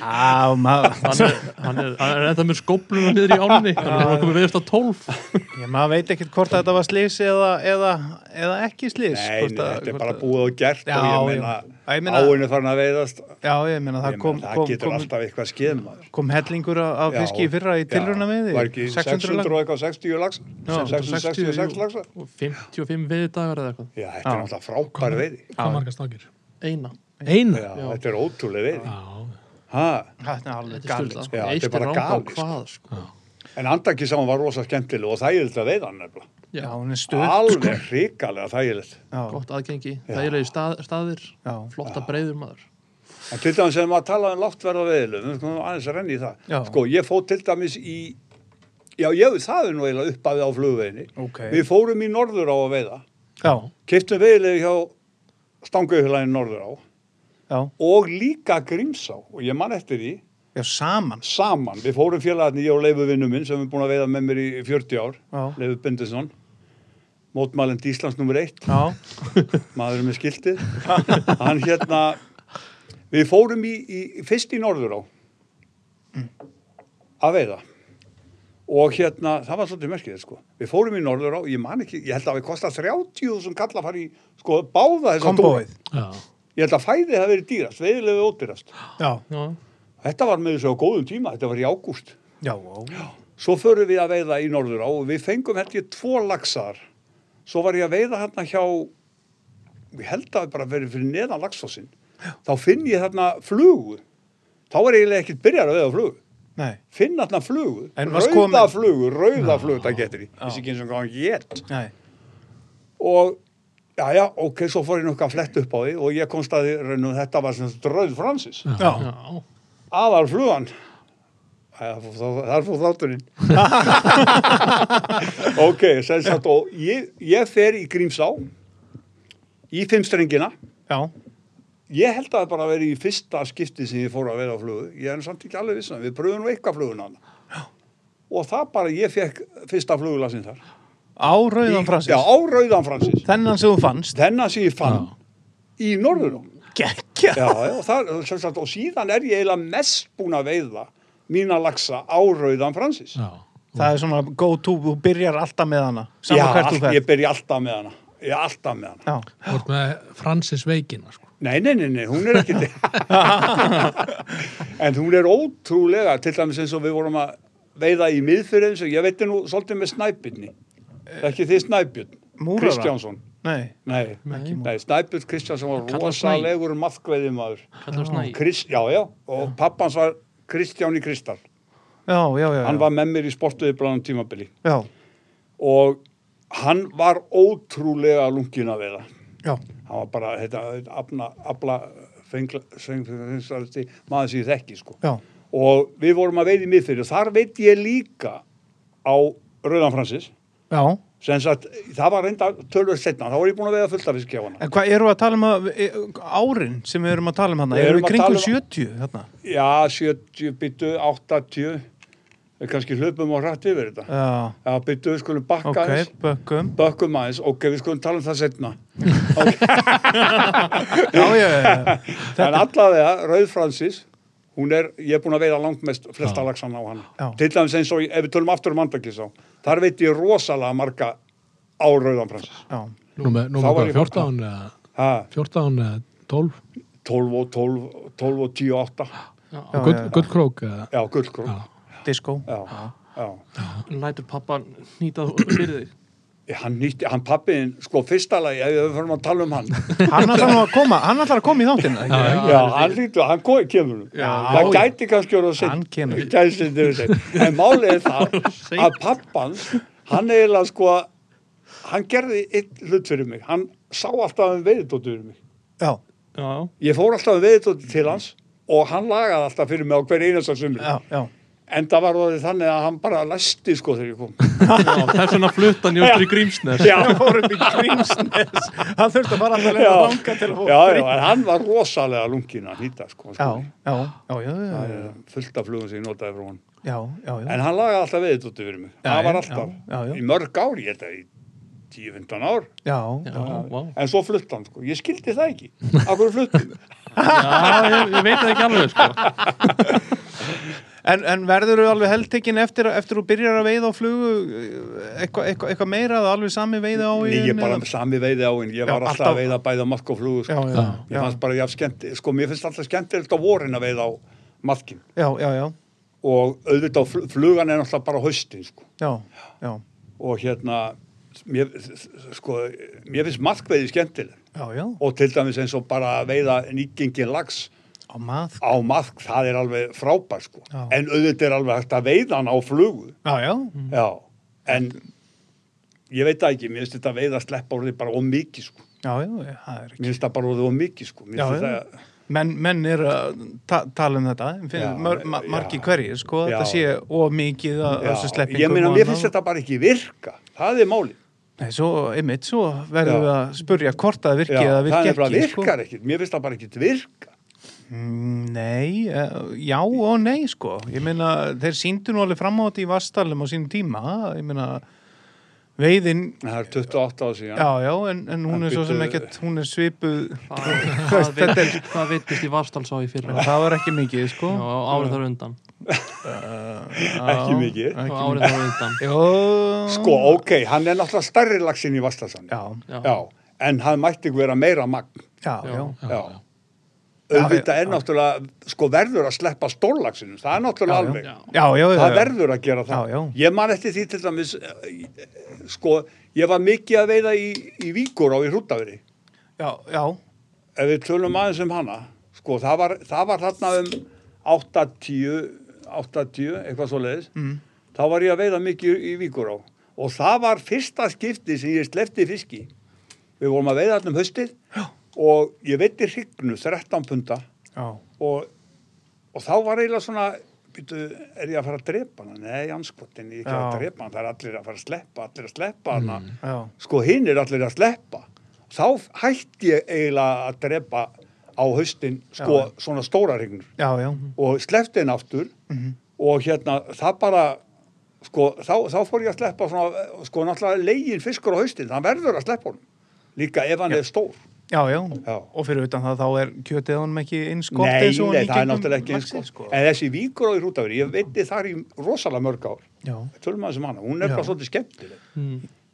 Speaker 1: Já, maður.
Speaker 3: hann er, hann er, hann er ennþá með skópluna niður í ánni hann er að koma veðist á 12
Speaker 1: Ég, maður veit ekkert hvort að þetta var slís eða, eða, eða ekki slís.
Speaker 5: Nei,
Speaker 1: hvort
Speaker 5: nei,
Speaker 1: að-
Speaker 5: þetta er
Speaker 1: hvort
Speaker 5: bara
Speaker 1: að-
Speaker 5: búið og gert
Speaker 1: Já,
Speaker 5: og ég
Speaker 1: já.
Speaker 5: meina,
Speaker 1: Já, ég meina-
Speaker 5: áinu farin að veiðast ég
Speaker 1: Já, ég meina, það
Speaker 5: meina,
Speaker 1: kom,
Speaker 5: það
Speaker 1: kom,
Speaker 5: getur
Speaker 1: kom,
Speaker 5: alltaf eitthvað skeðum
Speaker 1: kom hellingur af- af fiski í fyrra í tilruna með því.
Speaker 5: Var ekki 600 og eitthvað 60 lags
Speaker 1: Já,
Speaker 5: 666 lags Já,
Speaker 3: og 55 veðdagar eða eitthvað
Speaker 5: þetta er náttúrulega frábær veiði
Speaker 2: Hvað margar stakir?
Speaker 3: eina
Speaker 2: Eina?
Speaker 5: Já, þetta er ótrúlega veiði
Speaker 2: Já.
Speaker 5: ha,
Speaker 1: Þetta er alveg
Speaker 3: Þetta er
Speaker 1: galið.
Speaker 3: styrla,
Speaker 1: sko.
Speaker 3: sko.
Speaker 5: Já, þetta er
Speaker 3: Eistir
Speaker 5: bara
Speaker 3: ranga á
Speaker 5: galið, sko.
Speaker 3: hvað, sko.
Speaker 5: En andaki saman var rosa skemmtileg og þægilegt að veiða hann nefnilega
Speaker 1: Já,
Speaker 3: Já,
Speaker 1: hún er stöð.
Speaker 5: Alveg hrikalega þægilegt
Speaker 1: Já,
Speaker 3: gott aðgengi, þægilegi stað, staðir,
Speaker 1: já.
Speaker 3: flotta breyður maður.
Speaker 5: En til dæmis sem að tala um láttverða veiðilum, við skulum aðeins að renni í það.
Speaker 1: Já.
Speaker 5: Sko, ég fóð til dæmis í, já, ég, það er nú eiginlega uppafið á flugveginni.
Speaker 1: Ok.
Speaker 5: Við fórum í norður á að veiða,
Speaker 1: Já,
Speaker 5: keftum veiðilegu hjá stanguðhulagin norður á
Speaker 1: já.
Speaker 5: og líka grímsá og ég man eftir því
Speaker 1: Já, saman.
Speaker 5: saman. Við fórum félagarni, ég og Leifu vinnu minn sem er búin að veiða með mér í 40 ár,
Speaker 1: Já.
Speaker 5: Leifu Bindesson, mótmælend Íslands nummer 1
Speaker 1: Já,
Speaker 5: maðurinn með skiltið hann hérna við fórum í, í fyrst í norður á að veiða og hérna, það var svolítið merkilegt sko við fórum í norður á, ég man ekki ég held að við kosta 30.000 kalla að fara í sko báða þessa túra.
Speaker 1: kombóið.
Speaker 2: Já.
Speaker 5: ég held að fæðið hafi verið dýrast, veiðilegu ódýrast
Speaker 1: Já,
Speaker 3: Já,
Speaker 5: þetta var með þessu á góðum tíma, þetta var í ágúst
Speaker 1: já, já.
Speaker 5: svo förum við að veiða í norður á og við fengum held ég tvo laxar svo var ég að veiða hérna hjá ég held að bara verið fyrir neðan laxfossin þá finn ég þarna flugu þá er ég eiginlega ekkert byrjar að veiða flugu
Speaker 1: Nei,
Speaker 5: finn þarna flugu,
Speaker 1: En
Speaker 5: rauða
Speaker 1: varst komin-
Speaker 5: flugu rauða flugu, það getur ég þessi ekki eins og hvað hann get
Speaker 1: nei.
Speaker 5: og já já, ok, svo fór ég nokkað flett upp á því og ég komst að því raunum þetta var sem dröð Francis
Speaker 1: Já,
Speaker 3: já,
Speaker 5: aðal flugan þar fór þátturinn ok, sem sagt og ég, ég fer í Grímsá í fimmstrengina
Speaker 1: já.
Speaker 5: ég held að það bara verið í fyrsta skipti sem ég fór að vera á flugu ég er nú samt ekki alveg vissan, við pröfum nú eitthvað fluguna hana og það bara, ég fekk fyrsta flugulasin þar
Speaker 1: Á Rauðan Francis.
Speaker 5: já, á Rauðan Francis
Speaker 1: Þennan sem þú fannst.
Speaker 5: þennan sem ég fann í norðurum
Speaker 1: Gekkja.
Speaker 5: já, já, og, það, sem sagt, og síðan er ég eiginlega mest búin að veiða mína laxa á Rauðan Francis
Speaker 2: Já.
Speaker 1: Það er svona go to, þú byrjar alltaf með hana. Saman
Speaker 5: Já,
Speaker 1: hvert þú
Speaker 5: allt-
Speaker 1: fer.
Speaker 5: ég byrja alltaf með hana. Ég er alltaf með hana.
Speaker 1: Já,
Speaker 2: Þú ert með Francis Veikina, sko.
Speaker 5: Nei, nei, nei, nei, hún er ekki en hún er ótrúlega, til dæmis eins og við vorum að veiða í miðfyrir eins og ég veitir nú svolítið með snæbjörni. Ekki þið snæbjörn.
Speaker 1: Múrara?
Speaker 5: Kristjánsson.
Speaker 1: nei.
Speaker 5: Nei,
Speaker 3: Ekki
Speaker 5: nei snæbjörn Kristjánsson var
Speaker 3: Kallar Snæ.
Speaker 5: rosalegur mafkveiðimaður.
Speaker 3: kallar snæ.
Speaker 5: Krist, já, já, og pappans var Kristján í Kristal.
Speaker 1: Já, já, já.
Speaker 5: Hann
Speaker 1: já.
Speaker 5: var með mér í sportuði bráðum tímabili.
Speaker 1: Já,
Speaker 5: Og hann var ótrúlega lungin að veiða.
Speaker 1: já.
Speaker 5: hann var bara þetta, afna, afla fengsaldi maður sem ég þekki sko.
Speaker 1: Já,
Speaker 5: og við vorum að veiði í miðfyrir og þar veit ég líka á Rauðan Francis
Speaker 1: já.
Speaker 5: sem sagt, það var reynda tölvöld setna, þá var ég búin að veiða fullt af fisk hjá hana
Speaker 1: En hvað eru að tala um að, e- árin sem við erum að tala um hana?
Speaker 5: Við
Speaker 1: Erum
Speaker 5: erum
Speaker 1: við
Speaker 5: að
Speaker 1: kringum
Speaker 5: tala
Speaker 1: 70 þarna?
Speaker 5: já, 70 byttu, 80 við kannski hlupum og rætt yfir þetta
Speaker 1: Já,
Speaker 5: já, byrju, við skulum bakka
Speaker 1: ok,
Speaker 5: aðeins
Speaker 1: bökkum
Speaker 5: bökkum aðeins, ok, við skulum tala um það setna
Speaker 1: Já, já, já,
Speaker 5: en allavega, Rauð Francis hún er, ég er búin að veiða langmest flesta laxana á
Speaker 1: Já.
Speaker 5: hana til dæmis eins og, ef við tölum aftur um andakís á þar veit ég rosalega marga á Rauðan Francis
Speaker 1: já,
Speaker 2: Númer, númer
Speaker 5: Þá var
Speaker 2: hvað,
Speaker 5: ég-
Speaker 2: 14 eða
Speaker 5: ha,
Speaker 2: 14 eða 12
Speaker 5: 12 og 12, 12 og 10 og 8
Speaker 1: Já,
Speaker 2: Gull,
Speaker 1: já, já.
Speaker 2: Gullkrók eða
Speaker 5: já, gullkrók
Speaker 2: Já.
Speaker 1: disco
Speaker 5: já, já.
Speaker 3: Lætur pappan nýta þú fyrir þig
Speaker 5: Hann, nýtti, hann pappiðin, sko fyrsta lagi ef við förum að tala um hann
Speaker 1: Hann ætlar nú að koma, hann ætlar að koma í þáttina ekki?
Speaker 2: Já,
Speaker 5: Já, hann lítur, hann ko- kemur já, Það
Speaker 1: já.
Speaker 5: gæti kannski orðið seint.
Speaker 1: Hann kemur.
Speaker 5: Gæti seint yfir seint. En málið er það að pappans hann eiginlega sko hann gerði eitt hlut fyrir mig hann sá alltaf um veiðdóttu fyrir mig
Speaker 1: Já,
Speaker 3: Já,
Speaker 5: Ég fór alltaf um veiðdóttu til hans og hann lagaði alltaf fyrir mig á hver einasta sumri
Speaker 1: já, já
Speaker 5: en það var orðið þannig að hann bara læsti sko þegar ég kom
Speaker 3: já þess vegna fluttan jóttur í Grímsnes
Speaker 5: Já,
Speaker 1: Hann fór upp í Grímsnes Hann þurfti að fara alltaf leið
Speaker 5: já,
Speaker 1: að langa til að fá
Speaker 5: já, já,
Speaker 1: frí.
Speaker 5: en hann var rosalega lungin að nýta sko,
Speaker 1: já,
Speaker 5: sko.
Speaker 1: já, já, já, já, já,
Speaker 5: Eh, fullt af flugum sem ég notaði frá hann
Speaker 1: já, já, já.
Speaker 5: En hann lagaði alltaf veðið út yfir mig.
Speaker 1: Já,
Speaker 5: það var
Speaker 1: já,
Speaker 5: alltaf.
Speaker 1: já, já, já.
Speaker 5: Í mörg ár, ég held að í 10-15 ár.
Speaker 1: já,
Speaker 3: Já,
Speaker 1: já.
Speaker 3: vá
Speaker 5: En svo flutt hann, sko. Ég skildi það ekki. Akkur flutt hann.
Speaker 3: Já, ég, ég veit það ekki alveg sko
Speaker 1: En, en verður þú alveg heldtekinn eftir, eftir þú byrjar að veiða á flugu eh, eitthvað eitthva, eitthva meira, það er alveg sami veiði á
Speaker 5: Nei, ég
Speaker 1: eða-
Speaker 5: bara sami veiði á hinn. Ég
Speaker 1: Já,
Speaker 5: var alltaf,
Speaker 1: alltaf.
Speaker 5: að veiða bæði á maðk og flugu,
Speaker 1: Já,
Speaker 5: sko.
Speaker 1: já,
Speaker 5: Ég
Speaker 1: já,
Speaker 5: fannst bara, ég haf skemmt, sko, mér finnst alltaf skemmtilegt á vorin að veiða á maðkin.
Speaker 1: já, já, já,
Speaker 5: Og auðvitað á fl- flugan er alltaf bara á haustin, sko.
Speaker 1: já, já,
Speaker 5: Og hérna, mér, sko, mér finnst maðkveiði skemmtileg.
Speaker 1: já, já,
Speaker 5: Og til dæmis eins og bara að veiða nýgengin lags.
Speaker 1: á maður,
Speaker 5: á maðk, það er alveg frábær sko.
Speaker 1: Já.
Speaker 5: en auðvitað er alveg hægt að veiða hann á flugu
Speaker 1: já, já,
Speaker 5: já, en ég veit það ekki, mér finnst þetta veiða að sleppa orðið bara ómikið sko,
Speaker 1: já, já, það er ekki.
Speaker 5: mér finnst það bara orðið ómikið sko, mér
Speaker 1: Já,
Speaker 5: finnst
Speaker 1: já.
Speaker 5: þetta
Speaker 1: Menn, menn er að ta tala um þetta,
Speaker 5: Já,
Speaker 1: finnst mar ma
Speaker 5: já.
Speaker 1: margi hverjir, sko,
Speaker 5: Já.
Speaker 1: þetta sé of mikið að
Speaker 5: Já,
Speaker 1: þessu sleppingum.
Speaker 5: ég meina,
Speaker 1: og
Speaker 5: mér
Speaker 1: annað.
Speaker 5: finnst þetta bara ekki virka það er máli,
Speaker 1: Nei, svo, einmitt, svo verðum
Speaker 5: Já.
Speaker 1: við að spurja hvort það virki
Speaker 5: já,
Speaker 1: eða
Speaker 5: það
Speaker 1: virki
Speaker 5: er bara
Speaker 1: ekki, sko.
Speaker 5: virkar ekkert mér finnst það bara ekki virka
Speaker 1: Mm, Nei, eh, já og nei sko ég meina þeir síndu nú alveg fram á þetta í Vastalum á sínum tíma ég meina veiðin
Speaker 5: það er 28 ára síðan
Speaker 1: já já en, en hún
Speaker 5: En
Speaker 1: er svo sem
Speaker 5: bíddu-
Speaker 1: ekkert hún er svipuð
Speaker 3: Hvað- Hvað veit- hvað veitist í Vastalsá í fyrra Já,
Speaker 1: það var ekki mikið sko
Speaker 3: árið þar á undan
Speaker 5: ekki mikið.
Speaker 1: ekki
Speaker 3: Árið þar á undan
Speaker 1: Jó,
Speaker 5: sko, ok, hann er náttúrulega stærri lagsin í Vastasan
Speaker 1: já,
Speaker 5: já, en hann mætti vera meira magn
Speaker 1: já, já, já.
Speaker 5: já. auðvitað
Speaker 1: Já,
Speaker 5: er náttúrulega sko verður að sleppa stórlagsinum það er náttúrulega
Speaker 1: Já, já.
Speaker 5: alveg
Speaker 1: Já, já, já,
Speaker 5: það
Speaker 1: já.
Speaker 5: verður að gera það
Speaker 1: Já, já.
Speaker 5: ég man eftir því til dæmis eh, eh, sko ég var mikið að veiða í, í Víkur á í Hrútaveri
Speaker 1: já, já,
Speaker 5: ef við tölum aðeins um hana sko það var, það var þarna um 80 80 eitthvað svo leiðis mm. þá var ég að veiða mikið í Víkur á og það var fyrsta skipti sem ég slefti fiski við vorum að veiða þarna um haustið og ég veiti hrygnu 13 punta
Speaker 1: já,
Speaker 5: og, og þá var eiginlega svona býtu, er ég að fara að drepa hana? Nei, anskotin, ég er ekki
Speaker 1: Já.
Speaker 5: að
Speaker 1: Mm.
Speaker 5: drepa hana það er allir að fara að sleppa, allir að sleppa hana
Speaker 1: já.
Speaker 5: sko hinn er allir að sleppa þá hætti ég eiginlega að drepa á haustin sko svona stóra hrygnur
Speaker 1: Já, já,
Speaker 5: og sleppti henn aftur
Speaker 1: Mhm.
Speaker 5: og hérna það bara sko þá, þá fór ég að sleppa svona sko náttúrulega legin fiskur á haustin hann verður að sleppa honum líka ef hann er stór
Speaker 1: já, já,
Speaker 5: Já.
Speaker 1: og fyrir utan það þá er kjötið honum ekki eins gott
Speaker 5: Nei,
Speaker 1: eins og
Speaker 5: nei,
Speaker 1: í
Speaker 5: það er
Speaker 1: gegnum
Speaker 5: náttúrulega ekki eins
Speaker 1: laxið,
Speaker 5: sko. En þessi víkur á í Hrútaveri, ég veitti þar í rosalega mörg ár.
Speaker 1: Já,
Speaker 5: Tölum aðeins um hana, hún er
Speaker 1: Já.
Speaker 5: bara svolítið skemmtileg.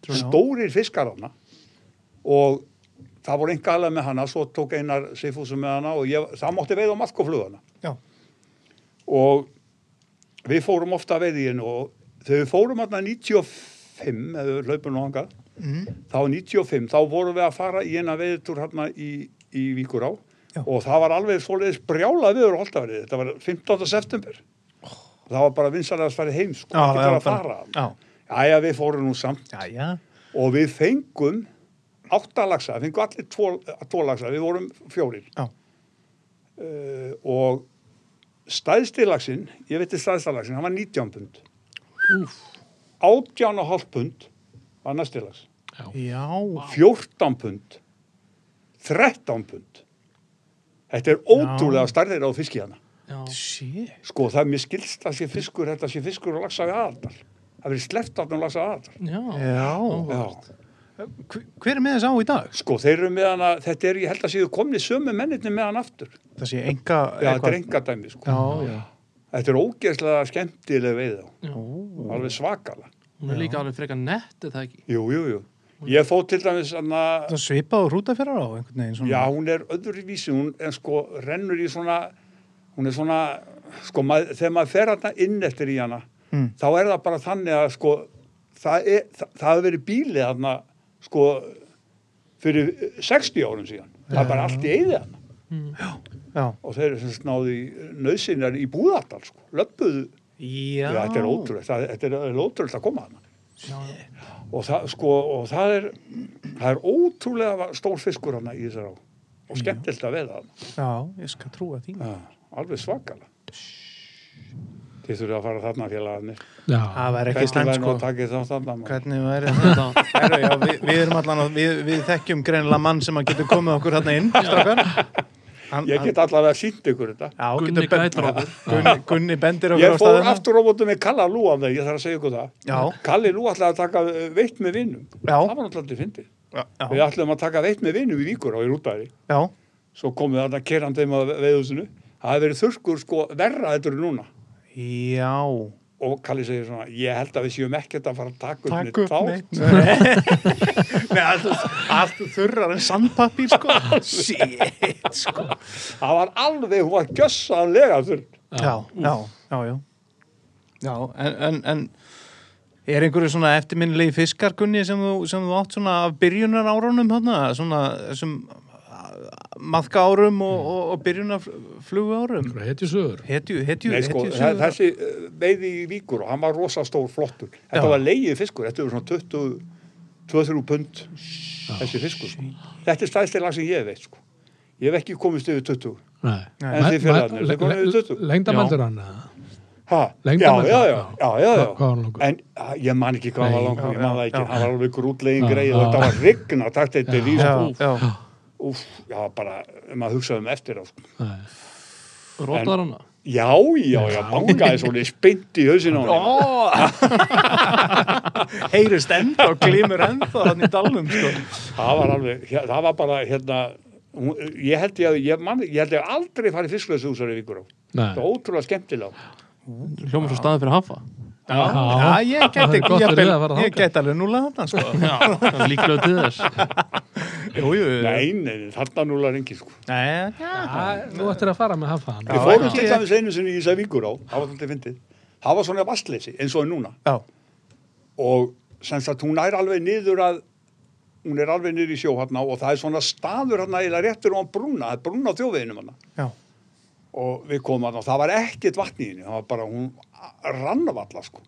Speaker 1: Já.
Speaker 5: Stórir fiskar hana og það voru enga alveg með hana, svo tók einar Seifúsum með hana og ég, það mátti veið á maðkoflugana.
Speaker 1: já,
Speaker 5: Og við fórum ofta að veið í henn og þegar við fórum hana 95, eða við hlaupum nú hangað,
Speaker 1: Mhm.
Speaker 5: þá 95, þá vorum við að fara í eina veiðtúr hérna í, í Víkurá
Speaker 1: Já.
Speaker 5: og það var alveg svoleiðis brjálað viður holdaverið, þetta var 15. september það var bara vinsalega að fara heim sko,
Speaker 1: Oh. Já, já,
Speaker 5: ekki bara að
Speaker 1: bara-
Speaker 5: fara
Speaker 1: já.
Speaker 5: Jæja, við fórum nú samt
Speaker 1: já, já
Speaker 5: og við fengum áttalagsa, fengum allir tólagsa, við vorum fjórir
Speaker 1: Já.
Speaker 5: Eh, og stæðstilagsinn, ég veitir stæðstilagsinn, hann var 19 pund Úf. 18,5 pund var næstilags
Speaker 1: Já,
Speaker 5: 14 pund 13 pund þetta er ótrúlega stærðir á fiski hana
Speaker 3: sí
Speaker 5: sko það er mér skilst að sé fiskur þetta sé fiskur og laxa við aðardal það verið sleppt af og laxa aðardal
Speaker 3: já,
Speaker 1: Já.
Speaker 5: Já.
Speaker 1: Hver- Hver er með þess á í dag?
Speaker 5: sko þeir eru með hana, þetta er ég held að séu komni sömu mennirni með hann aftur já,
Speaker 1: Það sé enga
Speaker 5: þetta er engadæmi sko.
Speaker 1: Já, já.
Speaker 5: þetta er ógeðslega skemmtileg veið
Speaker 3: já.
Speaker 5: alveg svakala
Speaker 3: hún er líka alveg frekar nett er það ekki
Speaker 5: jú, jú, jú. ég fóð til dæmis hana,
Speaker 1: Það svipað og rúta fyrir á einhvern veginn svona.
Speaker 5: Já, hún er öðruvísi, hún er sko rennur í svona, hún er svona, sko mað, þegar maður fer hana inn eftir í hana,
Speaker 1: Mm.
Speaker 5: þá er það bara þannig að sko, það, er, það, það hefur verið bílið hana, sko, fyrir eh, 60 árum síðan. Það er bara allt í eigið hana
Speaker 1: Já.
Speaker 5: og þeir eru sem sagt náðu í nöðsinnar í búðardal, sko, löppuðu.
Speaker 1: Já.
Speaker 5: Þetta er ótrúlegt, það- þetta er alveg ótrúlegt að koma hana. Og það, sko, og það er, það er ótrúlega stór fiskur hana í þessar á og skemmtilegt að veða hana.
Speaker 1: Já, ég skal trúa því.
Speaker 5: Já, alveg svakala. Þið þurfið að fara þarna félagarnir.
Speaker 2: já,
Speaker 1: Það væri ekki
Speaker 5: Hvernig
Speaker 1: slæmt
Speaker 5: væri nú
Speaker 1: sko.
Speaker 5: að taka þá þarna? maður?
Speaker 1: Hvernig væri þetta? Herra, já, við, við erum allan að, við, við þekkjum greinilega mann sem að getur komið okkur hérna inn, strafgar. Hann,
Speaker 5: Ég get allavega sínt ykkur þetta.
Speaker 1: Já,
Speaker 3: Gunni
Speaker 1: getur bent-
Speaker 3: gætir okkur.
Speaker 1: Gunni, Gunni bendir okkur
Speaker 5: Ég fór
Speaker 1: staðina.
Speaker 5: aftur á mótum með Kalla Lú af þeir, ég þarf að segja ykkur það.
Speaker 1: Já,
Speaker 5: Kalli Lú ætlaði að taka eh, veitt með vinnum.
Speaker 1: Já.
Speaker 5: Það var náttúrulega fyndið.
Speaker 1: já,
Speaker 5: Við
Speaker 1: já,
Speaker 5: ætlaðum að taka veitt með vinnum í vikur á í rútaðri.
Speaker 1: já,
Speaker 5: Svo komum við þarna kerandi um að veiðusinu. Það hefði verið þurrkur sko verra þetta eru núna.
Speaker 1: já.
Speaker 5: Og Kalli segir svona, ég held að við séum ekkert að fara að taka upp
Speaker 1: Takk
Speaker 5: neitt
Speaker 1: upp
Speaker 5: þá.
Speaker 1: neitt. Nei, allt, allt þurrar en sandpappír sko. Shit, sko.
Speaker 5: Það var alveg, hún var gjössanlega þurr.
Speaker 1: Já, já, já, já. Já, en, en, en er einhverju svona eftirminnilegi fiskar, Gunni, sem þú, sem þú átt svona af byrjunar árunum þarna, svona þessum maðka árum og, og, og byrjunar flugu árum?
Speaker 2: hetju sögur
Speaker 1: Hetju, hetju,
Speaker 5: Nei, sko,
Speaker 1: hetju
Speaker 5: þa- þessi eh, veiði í víkur og hann var rosa stór flottur. Þetta
Speaker 1: Já.
Speaker 5: var leiðið fiskur, þetta var svona 20, 23 pund þessi fiskur.
Speaker 1: Oh,
Speaker 5: Sko. Þetta er stæðstilag sem ég veit, sko. Ég hef ekki komist yfir 20. En þið félagarnir, þið komið við tuttugu.
Speaker 2: lengdameldur hann eða?
Speaker 5: Ha? Já,
Speaker 2: Lengdarmæta?
Speaker 5: já, já, já, já,
Speaker 2: Hvað-
Speaker 5: já.
Speaker 2: hvað var hann langur?
Speaker 5: En ah, ég man ekki hvað hann var
Speaker 2: Nei.
Speaker 5: langur, ég
Speaker 1: Já,
Speaker 5: man það
Speaker 1: já,
Speaker 5: ekki.
Speaker 1: já.
Speaker 5: Hann var alveg grútlegin
Speaker 2: Já,
Speaker 5: greið
Speaker 2: já.
Speaker 5: og þetta var rigna, takt þetta er líst.
Speaker 1: Já, já, já.
Speaker 5: Úf, já, bara, ef maður hugsaði um eftir á. sko.
Speaker 2: Nei.
Speaker 3: rótar hana
Speaker 5: Já, já, já, bangaði svolítið spynt í hausinu á hann.
Speaker 1: Ó! Heyrist ennþá, glimur ennþá hann í dalnum, sko.
Speaker 5: það var alveg, hér- það var bara hérna, hún- ég held ég að ég, man, ég held ég hafi aldrei farið fisklaðs úsar í vikur á, það
Speaker 2: Nei.
Speaker 5: var ótrúlega skemmtilega
Speaker 3: hljóma svo staðin fyrir hafa
Speaker 2: Já,
Speaker 1: Já, ég
Speaker 2: Það
Speaker 1: gæti,
Speaker 2: er gott
Speaker 1: ég,
Speaker 2: fyrir þig að fara
Speaker 1: ég
Speaker 2: þangað.
Speaker 1: gæti alveg núla þarna, sko.
Speaker 3: það er líklega til þess
Speaker 1: Jú, jú, jú.
Speaker 5: nei, nei, nei, þarna núla reyngi sko.
Speaker 1: Nei,
Speaker 2: Já, Þú ættir að fara með hafaðan
Speaker 5: við fórum
Speaker 1: ekki.
Speaker 5: til dæmis einu sinni í þessar vikur á það var þetta fyndið, það var svona vastleysi eins og er núna
Speaker 1: já,
Speaker 5: og sem sagt hún er alveg niður að hún er alveg niður í sjó hérna og það er svona staður hérna eða réttur á brúna, það er brúna á þjóðveginum hérna
Speaker 1: já.
Speaker 5: og við komum að það var ekkert vatn í henni það var bara, hún rannavalla sko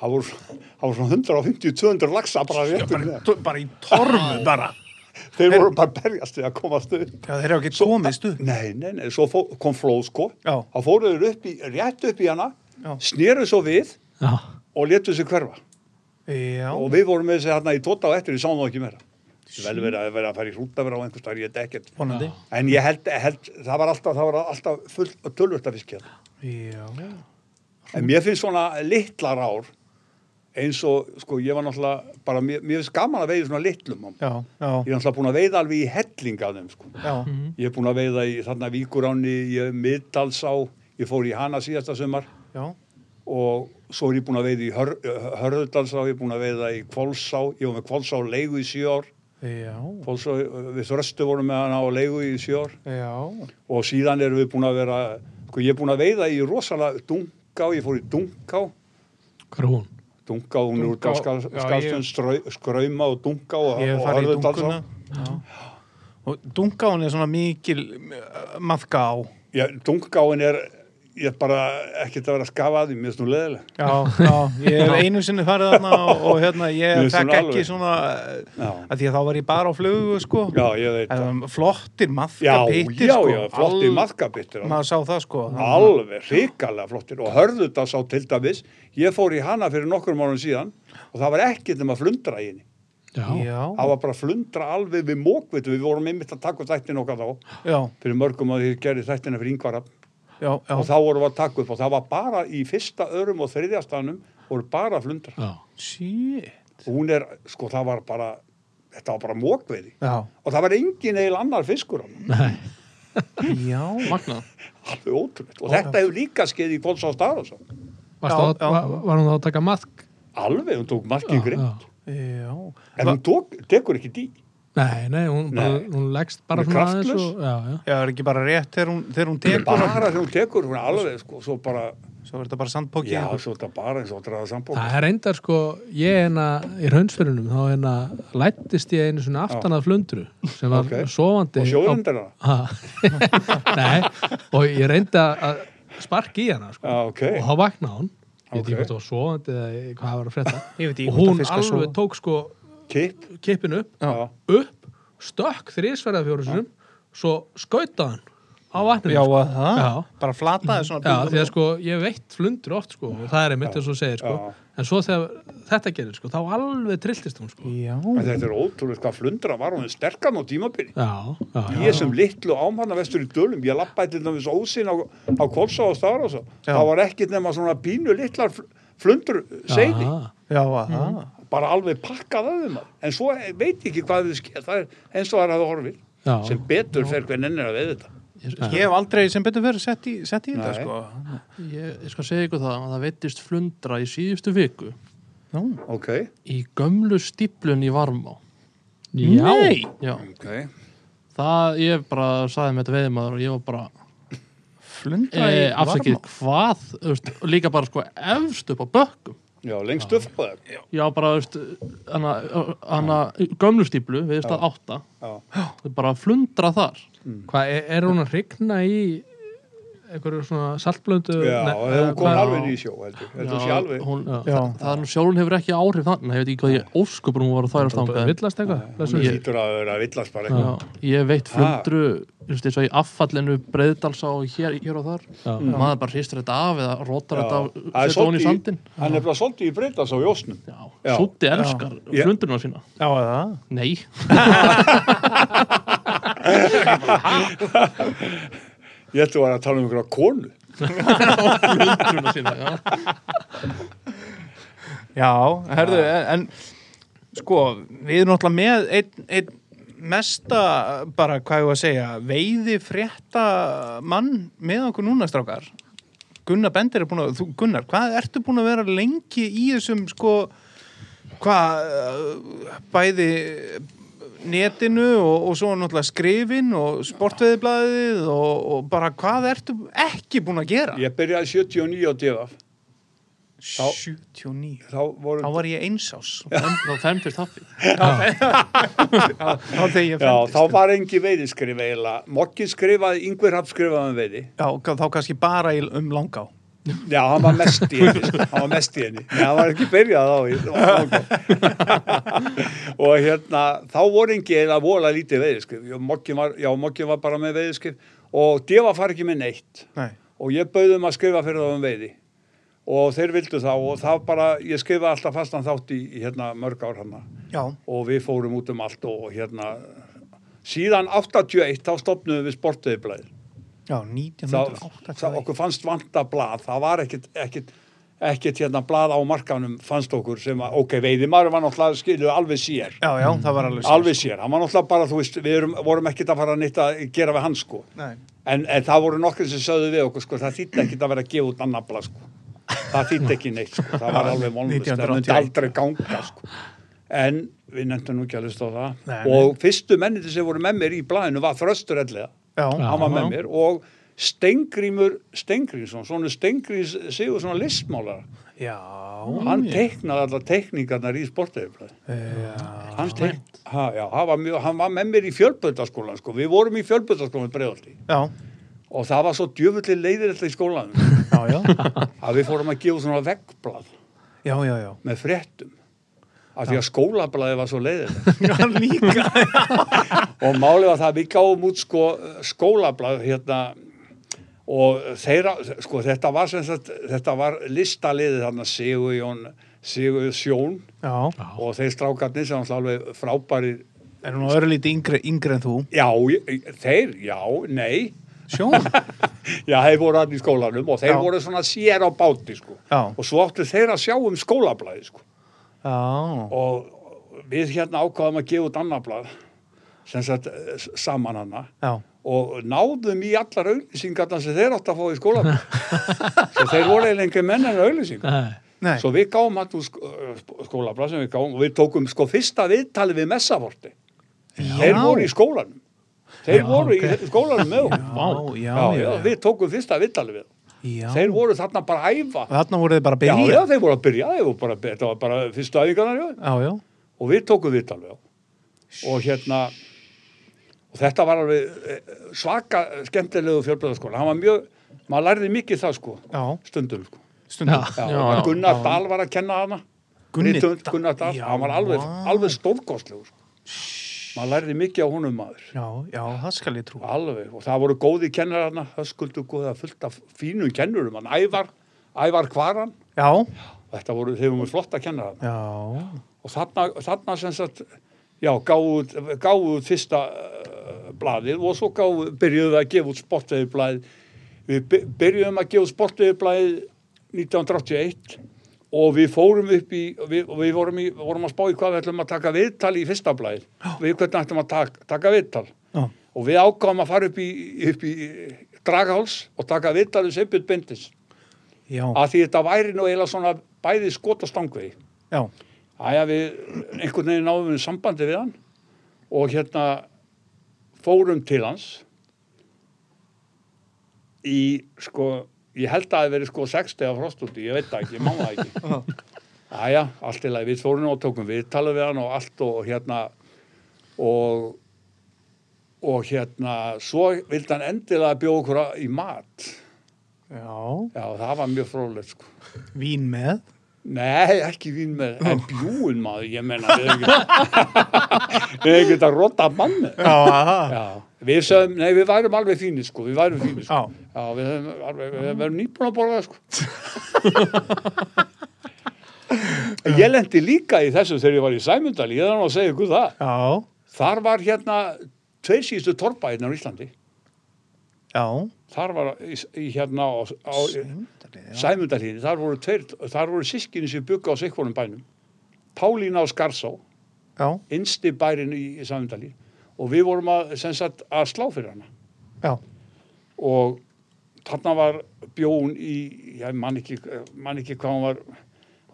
Speaker 5: það voru, það voru svona 150-200 laxa bara réttur með
Speaker 1: Bara í torfu, bara.
Speaker 5: þeir voru bara að berjast við að komast upp
Speaker 1: Já, þeir eru ekki komist upp.
Speaker 5: nei, nei, nei, svo fó, kom flóð sko
Speaker 1: Já.
Speaker 5: þá fóru þeir upp í, rétt upp í hana
Speaker 1: Já.
Speaker 5: sneru svo við
Speaker 2: Já,
Speaker 5: og letu sig hverfa
Speaker 1: Já,
Speaker 5: og við vorum með þessi hérna í tóta og eftir við sáum það ekki meira vel verið að vera að fara í hrútavera á einhvers staðar, ég veit ekkert
Speaker 1: vonandi.
Speaker 5: en ég held, held það var alltaf, það var alltaf full tölvöld að fiskja
Speaker 1: Já,
Speaker 5: En mér finnst svona litlar ár eins og, sko, ég var náttúrulega bara, mér, mér finnst gaman að veiða svona litlum á.
Speaker 1: já, já,
Speaker 5: Ég er náttúrulega búin að veiða alveg í helling af þeim, sko.
Speaker 1: já.
Speaker 5: Ég er búin að veiða í þarna Víkuránni, ég er middalsá, ég fór í hana síðasta sumar
Speaker 1: já.
Speaker 5: og svo er ég búin að veiða í Hör, Hörðudalsá, ég er búin að veiða í Kvolsá, ég var með Kvolsá á leigu í sjö ár,
Speaker 1: Já,
Speaker 5: Kvolsá, við þröstu vorum með hana á leigu í sjö ár
Speaker 1: já,
Speaker 5: og síðan erum við búin að vera, sko, ég er búin að veiða í rosalega dunká, ég fór í dunká,
Speaker 2: hvað er hún?
Speaker 5: Dunga, hún er út á
Speaker 1: Dunká, já, ég-
Speaker 5: skalstun, skrauma og dunga og,
Speaker 1: ég hef
Speaker 5: og
Speaker 1: farið í
Speaker 5: Hörðudalsá.
Speaker 1: dunkuna. Já. Og dunkán er svona mikil uh, maðka á.
Speaker 5: Já, dungáin er, ég er bara ekkert að vera að skafa að því, mér finnst nú leðileg.
Speaker 1: Já, já, ég hef einu sinni farið þarna og, og hérna, ég
Speaker 5: Mér finnst hún
Speaker 1: fekk ekki
Speaker 5: alveg.
Speaker 1: svona,
Speaker 5: Já.
Speaker 1: að því að þá var ég bara á flugu, sko.
Speaker 5: Já, ég veit það.
Speaker 1: Um, flottir
Speaker 5: Já,
Speaker 1: maðka pittir,
Speaker 5: já,
Speaker 1: sko.
Speaker 5: já, flottir
Speaker 1: Al-
Speaker 5: maðkabittir.
Speaker 1: Maður sá það, sko.
Speaker 5: Alveg, hrikalega flottir. Og Hörðudalsá til dæmis, ég fór í hana fyrir nokkrum árum síðan og það var ekkert nema flundra í henni.
Speaker 2: Já,
Speaker 1: Já,
Speaker 5: Það var bara flundra alveg við mókvitu, við vorum einmitt að taka upp þættin okkar þá
Speaker 1: já,
Speaker 5: fyrir mörgum að þið gerði þættina fyrir yngvarafn.
Speaker 1: já, já.
Speaker 5: og þá vorum við að taka upp og það var bara í fyrsta örum og þriðja stanum voru bara flundra
Speaker 2: já,
Speaker 1: Shit.
Speaker 5: og hún er, sko það var bara þetta var bara mókveiði
Speaker 1: Já.
Speaker 5: og það var engin eil annar fiskur á hann
Speaker 1: Já.
Speaker 3: Magnað.
Speaker 5: alveg ótrúlegt og þetta hefur líka skeið í Pólsson Starason
Speaker 2: Varstu
Speaker 1: Já,
Speaker 2: að-
Speaker 1: já.
Speaker 2: var, var hún þá að taka maðk
Speaker 5: alveg, hún tók markið greið
Speaker 1: Já.
Speaker 5: en hún tók, tekur ekki dý
Speaker 2: nei, nei, hún, Bara,
Speaker 5: Nei.
Speaker 2: hún leggst bara
Speaker 5: Hún er
Speaker 2: svona aðeins
Speaker 5: kraftlaus.
Speaker 2: og, já, já.
Speaker 1: Já, er ekki bara rétt þegar hún, þegar hún tekur
Speaker 5: bara þegar hún tekur, hún er alveg sko, svo bara,
Speaker 1: Svo er þetta bara sandpóki
Speaker 5: já, svo þetta bara eins og að draða sambók
Speaker 2: það er reyndar sko ég hérna í raunsfyrunum þá hérna lættist ég einu svona aftan að flundru sem var
Speaker 5: Ok.
Speaker 2: sofandi
Speaker 5: og
Speaker 2: á-
Speaker 5: sjóðundir hana
Speaker 2: Ha. Nei, og ég reyndi að sparki í hana sko.
Speaker 5: já, ok,
Speaker 2: og þá vaknaði hún ég veit ekki
Speaker 5: Ok.
Speaker 2: hvort það var sofandi eða hvað var að frétta
Speaker 1: Ég veit ekki
Speaker 2: og
Speaker 1: hvort
Speaker 2: hún
Speaker 1: að fiska
Speaker 2: alveg
Speaker 1: sofa.
Speaker 2: tók sko
Speaker 5: kipp
Speaker 2: kippin upp,
Speaker 5: já,
Speaker 2: upp stökk þrísverða fjóru sinum svo skautaði hann á vatninu
Speaker 1: Já,
Speaker 2: sko.
Speaker 1: að það?
Speaker 2: Já.
Speaker 1: Bara flataði
Speaker 2: Já,
Speaker 1: svona
Speaker 2: því að sko, ég veit flundur oft sko, og það er einmitt eins og þú segir sko.
Speaker 5: Já.
Speaker 2: en svo þegar þetta gerir sko, þá alveg trilltist hún sko.
Speaker 1: Já.
Speaker 5: en þetta er ótrúlegt hvað flundra var hún sterkan á tímabili
Speaker 2: já, já, já,
Speaker 5: ég sem litlu ámanna vestur í dölum ég lappaði til dæmis ósinn á, á Kolsa og Stara og svo
Speaker 1: Já.
Speaker 5: það var ekkit nema svona pínu litlar fl- flundur segni,
Speaker 2: Já.
Speaker 1: Já, að það?
Speaker 2: Mhm.
Speaker 5: bara alveg pakkað af þeim en svo veit ég ekki hvað þau skeið það er eins og það er að horfið
Speaker 2: Já.
Speaker 5: sem betur fer hvern ennir að veið þetta
Speaker 1: Ég hef aldrei sem betur verið sett í, sett í þetta,
Speaker 5: Nei.
Speaker 1: sko.
Speaker 3: Ég, ég skal segja ykkur það að það veittist flundra í síðustu viku
Speaker 1: Já.
Speaker 5: ok,
Speaker 3: í gömlu stíplun í varmá
Speaker 2: já.
Speaker 3: Nei! Já,
Speaker 5: ok
Speaker 3: það ég bara saði með þetta veiðmaður og ég var bara
Speaker 1: Flunda í
Speaker 2: Eh,
Speaker 3: e, afsakið
Speaker 1: varma.
Speaker 3: hvað þú veist, og líka bara sko efst upp á bökkum
Speaker 5: já, lengst upp á þeim já,
Speaker 3: Já, bara, þú veist, hana, hana gömlu stíplu, við veist að átta
Speaker 5: já,
Speaker 3: Það er bara að flundra þar
Speaker 2: Hvað, er, er hún að hrygna í einhverju svona saltblöndu?
Speaker 5: þegar hún kom
Speaker 2: hvað-
Speaker 5: alveg niður í sjó heldur, heldur sé alveg
Speaker 3: hún,
Speaker 2: eh, Já.
Speaker 3: það, það er nú sjálfun hefur ekki áhrif þannig ég veit ekki hvað ég óskupur hún var að þværa
Speaker 2: Bara
Speaker 3: stangað
Speaker 2: Villast eitthvað? blessuð.
Speaker 5: hún lítur að vera að villast bara
Speaker 3: Já,
Speaker 5: eitthvað
Speaker 3: ég veit flundru just, eins og í affallinu breyðdalsá og hér, hér og þar
Speaker 2: Já.
Speaker 3: maður bara hristur þetta af eða rótar
Speaker 5: Já.
Speaker 3: þetta
Speaker 5: Það
Speaker 3: af
Speaker 5: er
Speaker 3: þetta hún í
Speaker 5: svolítið-
Speaker 3: sandin
Speaker 5: hann er bara svolítið í breytas á jósnum
Speaker 3: Já,
Speaker 5: Já.
Speaker 3: Súti elskar
Speaker 5: Ég-
Speaker 3: flundruna sína
Speaker 1: Já, að það?
Speaker 3: Nei,
Speaker 5: ég ætti að vera að tala um einhverja konu
Speaker 3: flundruna sína já.
Speaker 1: Já, herðu, en, en sko, við erum náttúrulega með einn ein mesta, bara hvað ég var að segja, veiði frétta mann með okkur núna, strákar. Gunnar Bender er búin að, þú, Gunnar, hvað ertu búin að vera lengi í þessum, sko, hvað, uh, bæði netinu og, og svo náttúrulega skrifin og sportveðiblaðið og, og bara hvað ertu ekki búin að gera?
Speaker 5: ég byrjaði 79 á divaf
Speaker 1: 79.
Speaker 5: þá voru
Speaker 1: Þá var ég einsás.
Speaker 3: þá femtist haffi
Speaker 1: Þá þegar ég sko.
Speaker 5: Já,
Speaker 1: fændist.
Speaker 5: þá var engi veiðiskrif eiginlega. Mokki skrifaði, Yngver Hafn skrifaði um veiði.
Speaker 1: Já, og þá kannski bara í- um langá.
Speaker 5: Já, hann var mest í henni. sko. Hann var mest í henni. Nei, hann var ekki byrjað á. ég- það var langt. og hérna, þá voru engi eiginlega vola lítið veiðiskrif. Já, Mokki var, já, Mokki var bara með veiðiskrif og Deva far ekki með neitt.
Speaker 1: Nei.
Speaker 5: Og ég bauðum að skrifa fyrir þá um veiði. Og þeir vildu þá og það bara, ég skrifaði alltaf fastan þátt í, í hérna mörg ár hanna.
Speaker 1: Já.
Speaker 5: og við fórum út um allt og, og hérna síðan 81 þá stopnum við sportveðiblaðið
Speaker 1: Já,
Speaker 5: þá,
Speaker 1: 1908.
Speaker 5: þá okkur fannst vanta blað það var ekkit, ekkit, ekkit hérna blað á markanum fannst okkur sem að ok, veiðimaður var náttúrulega skiluð alveg sér
Speaker 1: Já, já, það var alveg sér.
Speaker 5: alveg sér, hann var náttúrulega bara þú veist, við erum, vorum ekkit að fara að nýtt að gera við hann sko
Speaker 1: Nei.
Speaker 5: en, en það voru nokkur sem sögðu við okkur sko, það þýtti ekkit að vera að gefa út annað blað sko. það þýtti ekki neitt sko. það var alveg vonlust, það myndi
Speaker 1: 1981.
Speaker 5: aldrei ganga sko. en við nefndum nú ekki að hlusta á það
Speaker 1: Nei,
Speaker 5: og fyrstu menniti sem voru með mér í blaðinu var Þröstur Ellega
Speaker 1: Já.
Speaker 5: hann var með
Speaker 2: Já.
Speaker 5: mér og Stengrímur Stengrímsson, svona Stengrís sigur svona listmálara
Speaker 1: Já.
Speaker 5: hann teiknaði allar teikningarnar í sportæðifræði hann, teik... ha, já, hann, var mjög, hann var með mér í fjölböldaskólan sko. við vorum í fjölböldaskólan bregðaldi
Speaker 1: Já.
Speaker 5: og það var svo djöfulli leiðirætla í skólanum
Speaker 1: Já, já.
Speaker 5: að við fórum að gefa út svona veggblad
Speaker 1: Já, já, já.
Speaker 5: með fréttum af því að skólablaði var svo leiðilegt
Speaker 1: Já, líka.
Speaker 5: og málið var það að við gáum út sko, skólablað hérna og þeirra, sko þetta var sem sagt, þetta var listaliðið þarna Sigur Jón, Sigur Sjón
Speaker 1: Já.
Speaker 5: og þeir strákarnir sem hann alveg frábæri
Speaker 1: Er hún á öru lítið yngri, yngri en þú?
Speaker 5: já, ég- þeir, já, nei
Speaker 1: sjón
Speaker 5: Já, þeir voru hann í skólanum og þeir
Speaker 1: Já.
Speaker 5: voru svona sér á báti, sko.
Speaker 1: Já.
Speaker 5: Og svo áttu þeir að sjá um skólablaði, sko.
Speaker 1: já,
Speaker 5: Og við hérna ákvaðum að gefa út annar blað, sem sagt eh, s- saman hana,
Speaker 1: já,
Speaker 5: og náðum í allar auðlýsingarna sem þeir áttu að fá í skólablaði. svo þeir voru eiginlega engin menn en auðlýsingar.
Speaker 2: Nei.
Speaker 1: nei
Speaker 5: Svo við gáum hann úr sk skólablað sem við gáum og við tókum sko fyrsta viðtali við messaforti. Þeir voru í skólanum. Þeir voru
Speaker 2: ok.
Speaker 5: í skólanum með okkur.
Speaker 1: Vá, já,
Speaker 5: Já,
Speaker 1: já,
Speaker 5: já, við tókum fyrsta viðtali við. þá.
Speaker 1: já.
Speaker 5: Þeir voru þarna bara að æfa.
Speaker 1: þarna voru þið bara að
Speaker 5: Já,
Speaker 1: byrja
Speaker 5: já, þeir voru að byrja, þeir voru bara, þetta var bara fyrstu æfingarnar, já,
Speaker 1: já, já.
Speaker 5: og við tókum viðtal við á. Og hérna, og þetta var alveg eh, svaka skemmtilegu fjölbröðarskóla, hann var mjög, maður lærði mikið það, sko,
Speaker 1: Já.
Speaker 5: stundum, sko.
Speaker 1: stundum
Speaker 5: Já,
Speaker 3: Já,
Speaker 5: já,
Speaker 3: já.
Speaker 5: Gunnar Dahl var að kenna hana,
Speaker 1: Gunni
Speaker 5: rithöfund
Speaker 1: Dahl,
Speaker 5: Gunnar Dahl,
Speaker 1: já,
Speaker 5: hann var alveg,
Speaker 1: vá.
Speaker 5: alveg stórkostlegur, sko. Maður lærði mikið á honum maður,
Speaker 1: já, já, það skal ég trú
Speaker 5: alveg, og það voru góði kennar hana, höskuldu góða, fullt af fínum kennurum, hann ævar, ævar hvaran,
Speaker 1: já,
Speaker 5: þetta voru, þeir voru flotta kennar hana.
Speaker 1: já,
Speaker 5: og þarna, þarna sem sagt já, gáðu út- gáðu út fyrsta uh, blaðið og svo gáðu, byrjuðum við að gefa út sportveðurblæð við by- byrjuðum að gefa út sportveðurblæð 1981 og við fórum upp í við, og við vorum, í, vorum að spá í hvað við ætlum að taka viðtal í fyrsta blæð við hvernig ætlum að taka, taka viðtal
Speaker 1: já,
Speaker 5: og við ákváðum að fara upp í, upp í dragháls og taka viðtal um Seipjörn Bendis
Speaker 1: já,
Speaker 5: að því þetta væri nú eiginlega svona bæði skot og stangvegi
Speaker 1: já.
Speaker 5: Æja, við einhvern veginn náðum við sambandi við hann og hérna fórum til hans í sko, ég held að það hafi verið sko 60 eða frost úti, ég veit það ekki, ég má það ekki. Æja, allt í lagi, við fórum og tókum við, talaðum við hann og allt og hérna og og hérna, svo vildi hann endilega bjóða okkur að- í mat.
Speaker 1: já.
Speaker 5: Já, það var mjög fróðlegt sko.
Speaker 1: vín með
Speaker 5: Nei, ekki vín með, en bjúin maður, ég menna, við erum ekki, við erum ekki að rotta manni.
Speaker 1: já, aha.
Speaker 5: Já, við sögum, nei, við værum alveg fínir, sko, við værum fínir,
Speaker 1: já,
Speaker 5: sko. Já, við erum alveg, við erum nýbúin að borða, sko. Ég lendi líka í þessu þegar ég var í Sæmundal, ég þarf nú að segja ykkur það.
Speaker 1: já,
Speaker 5: Þar var hérna tveir síðustu torpa hérna á Íslandi.
Speaker 1: já
Speaker 5: Þar var í, í hérna á, á
Speaker 1: Sæmundalíð, já.
Speaker 5: Sæmundalíðinni, þar voru, tveir, þar voru sískinni sem byggu á sikvonum bænum. Pálína og Skarsá.
Speaker 1: já,
Speaker 5: innsti bærin í, í Samundalí og við vorum að, sem sagt, að slá fyrir hana
Speaker 1: já,
Speaker 5: og þarna var bjón í, ég man ekki, man ekki hvað hún var,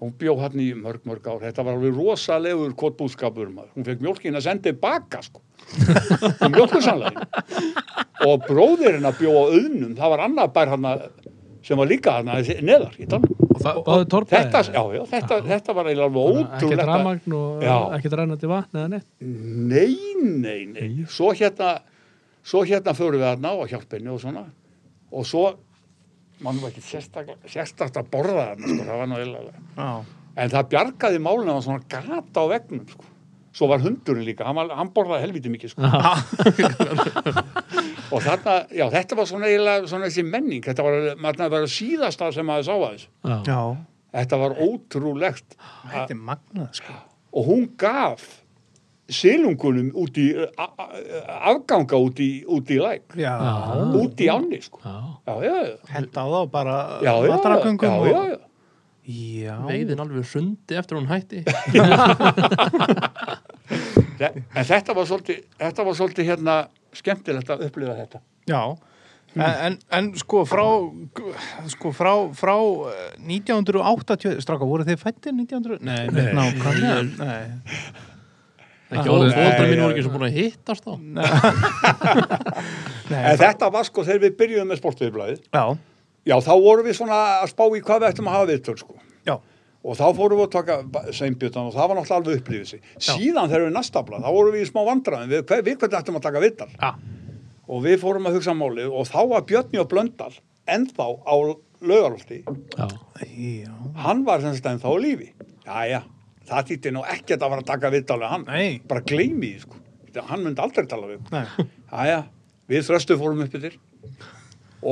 Speaker 5: hún bjó hann í mörg, mörg ár, þetta var alveg rosalegur kottbúðskapur maður, hún fekk mjólkin að senda baka sko, um mjólkursanlegin og bróðir hennar bjó á auðnum, það var annar bær hann sem var líka hann neðar í dalnum.
Speaker 2: Báðu torpaði
Speaker 5: Þetta, já, já, þetta, þetta var eiginlega alveg ótrúlegt.
Speaker 2: Ekkert
Speaker 5: að-
Speaker 2: ramagn og
Speaker 5: Já.
Speaker 2: ekkert rænandi vatn eða neitt
Speaker 5: Nei, nei, nei. Svo hérna, svo hérna förum við þarna og hjálpinni og svona. Og svo, mann var ekki sérstaklega sérstaklega að borða þarna, sko, það var nú eilalega.
Speaker 1: já,
Speaker 5: En það bjargaði málinu, það var svona gata á vegnum, sko. Svo var hundurinn líka, hann, var, hann borðaði helviti mikið, sko. og þarna, já, þetta var svona eiginlega svona þessi menning, þetta var, maður var síðasta sem maður sá að þessu.
Speaker 2: Já,
Speaker 1: já.
Speaker 5: Þetta var ótrúlegt.
Speaker 1: Þetta er magnað, sko.
Speaker 5: og hún gaf silungunum út í a- a- afganga út í, út í læk
Speaker 1: Já,
Speaker 5: út í ánni sko
Speaker 2: já,
Speaker 5: já, já, já,
Speaker 1: henda á þá bara
Speaker 5: já, já,
Speaker 1: vatnaragöngum
Speaker 5: já, já, já.
Speaker 1: já.
Speaker 3: Veiðin alveg hrundi eftir hún hætti
Speaker 5: Þe- en þetta var svolítið þetta var svolítið hérna skemmtilegt að upplifa þetta
Speaker 1: Já, en, en, en sko frá, sko frá, frá eh, 1980, stráka, voru þið fættir 1900? Nei, nei, ná, hvað er það? Nei,
Speaker 3: Ekki orðið
Speaker 5: Nei,
Speaker 3: fóldra mín
Speaker 5: já.
Speaker 3: voru ekki svo búin að hittast þá
Speaker 5: en
Speaker 1: nei,
Speaker 5: þetta var sko þegar við byrjuðum með sportviðblæði
Speaker 1: já,
Speaker 5: já, þá vorum við svona að spá í hvað við ættum að hafa viðtöl sko
Speaker 1: já,
Speaker 5: og þá fórum við að taka seimbjötan og það var náttúrulega alveg upplifisi síðan þegar við næstablað, þá vorum við í smá vandræðum við, hver- við hvernig ættum að taka viðtal
Speaker 1: Já.
Speaker 5: og við fórum að hugsa málið og þá var Björni og Blöndal ennþá á laugarlótti
Speaker 2: já,
Speaker 1: já,
Speaker 5: hann var sem sagt ennþá á lífi Jæja, það þýtti nú ekkert að fara að taka viðtal við hann,
Speaker 1: Nei.
Speaker 5: bara gleymi því sko. hann myndi aldrei tala við okkur.
Speaker 1: nei,
Speaker 5: Æja, við þröstu fórum upp yfir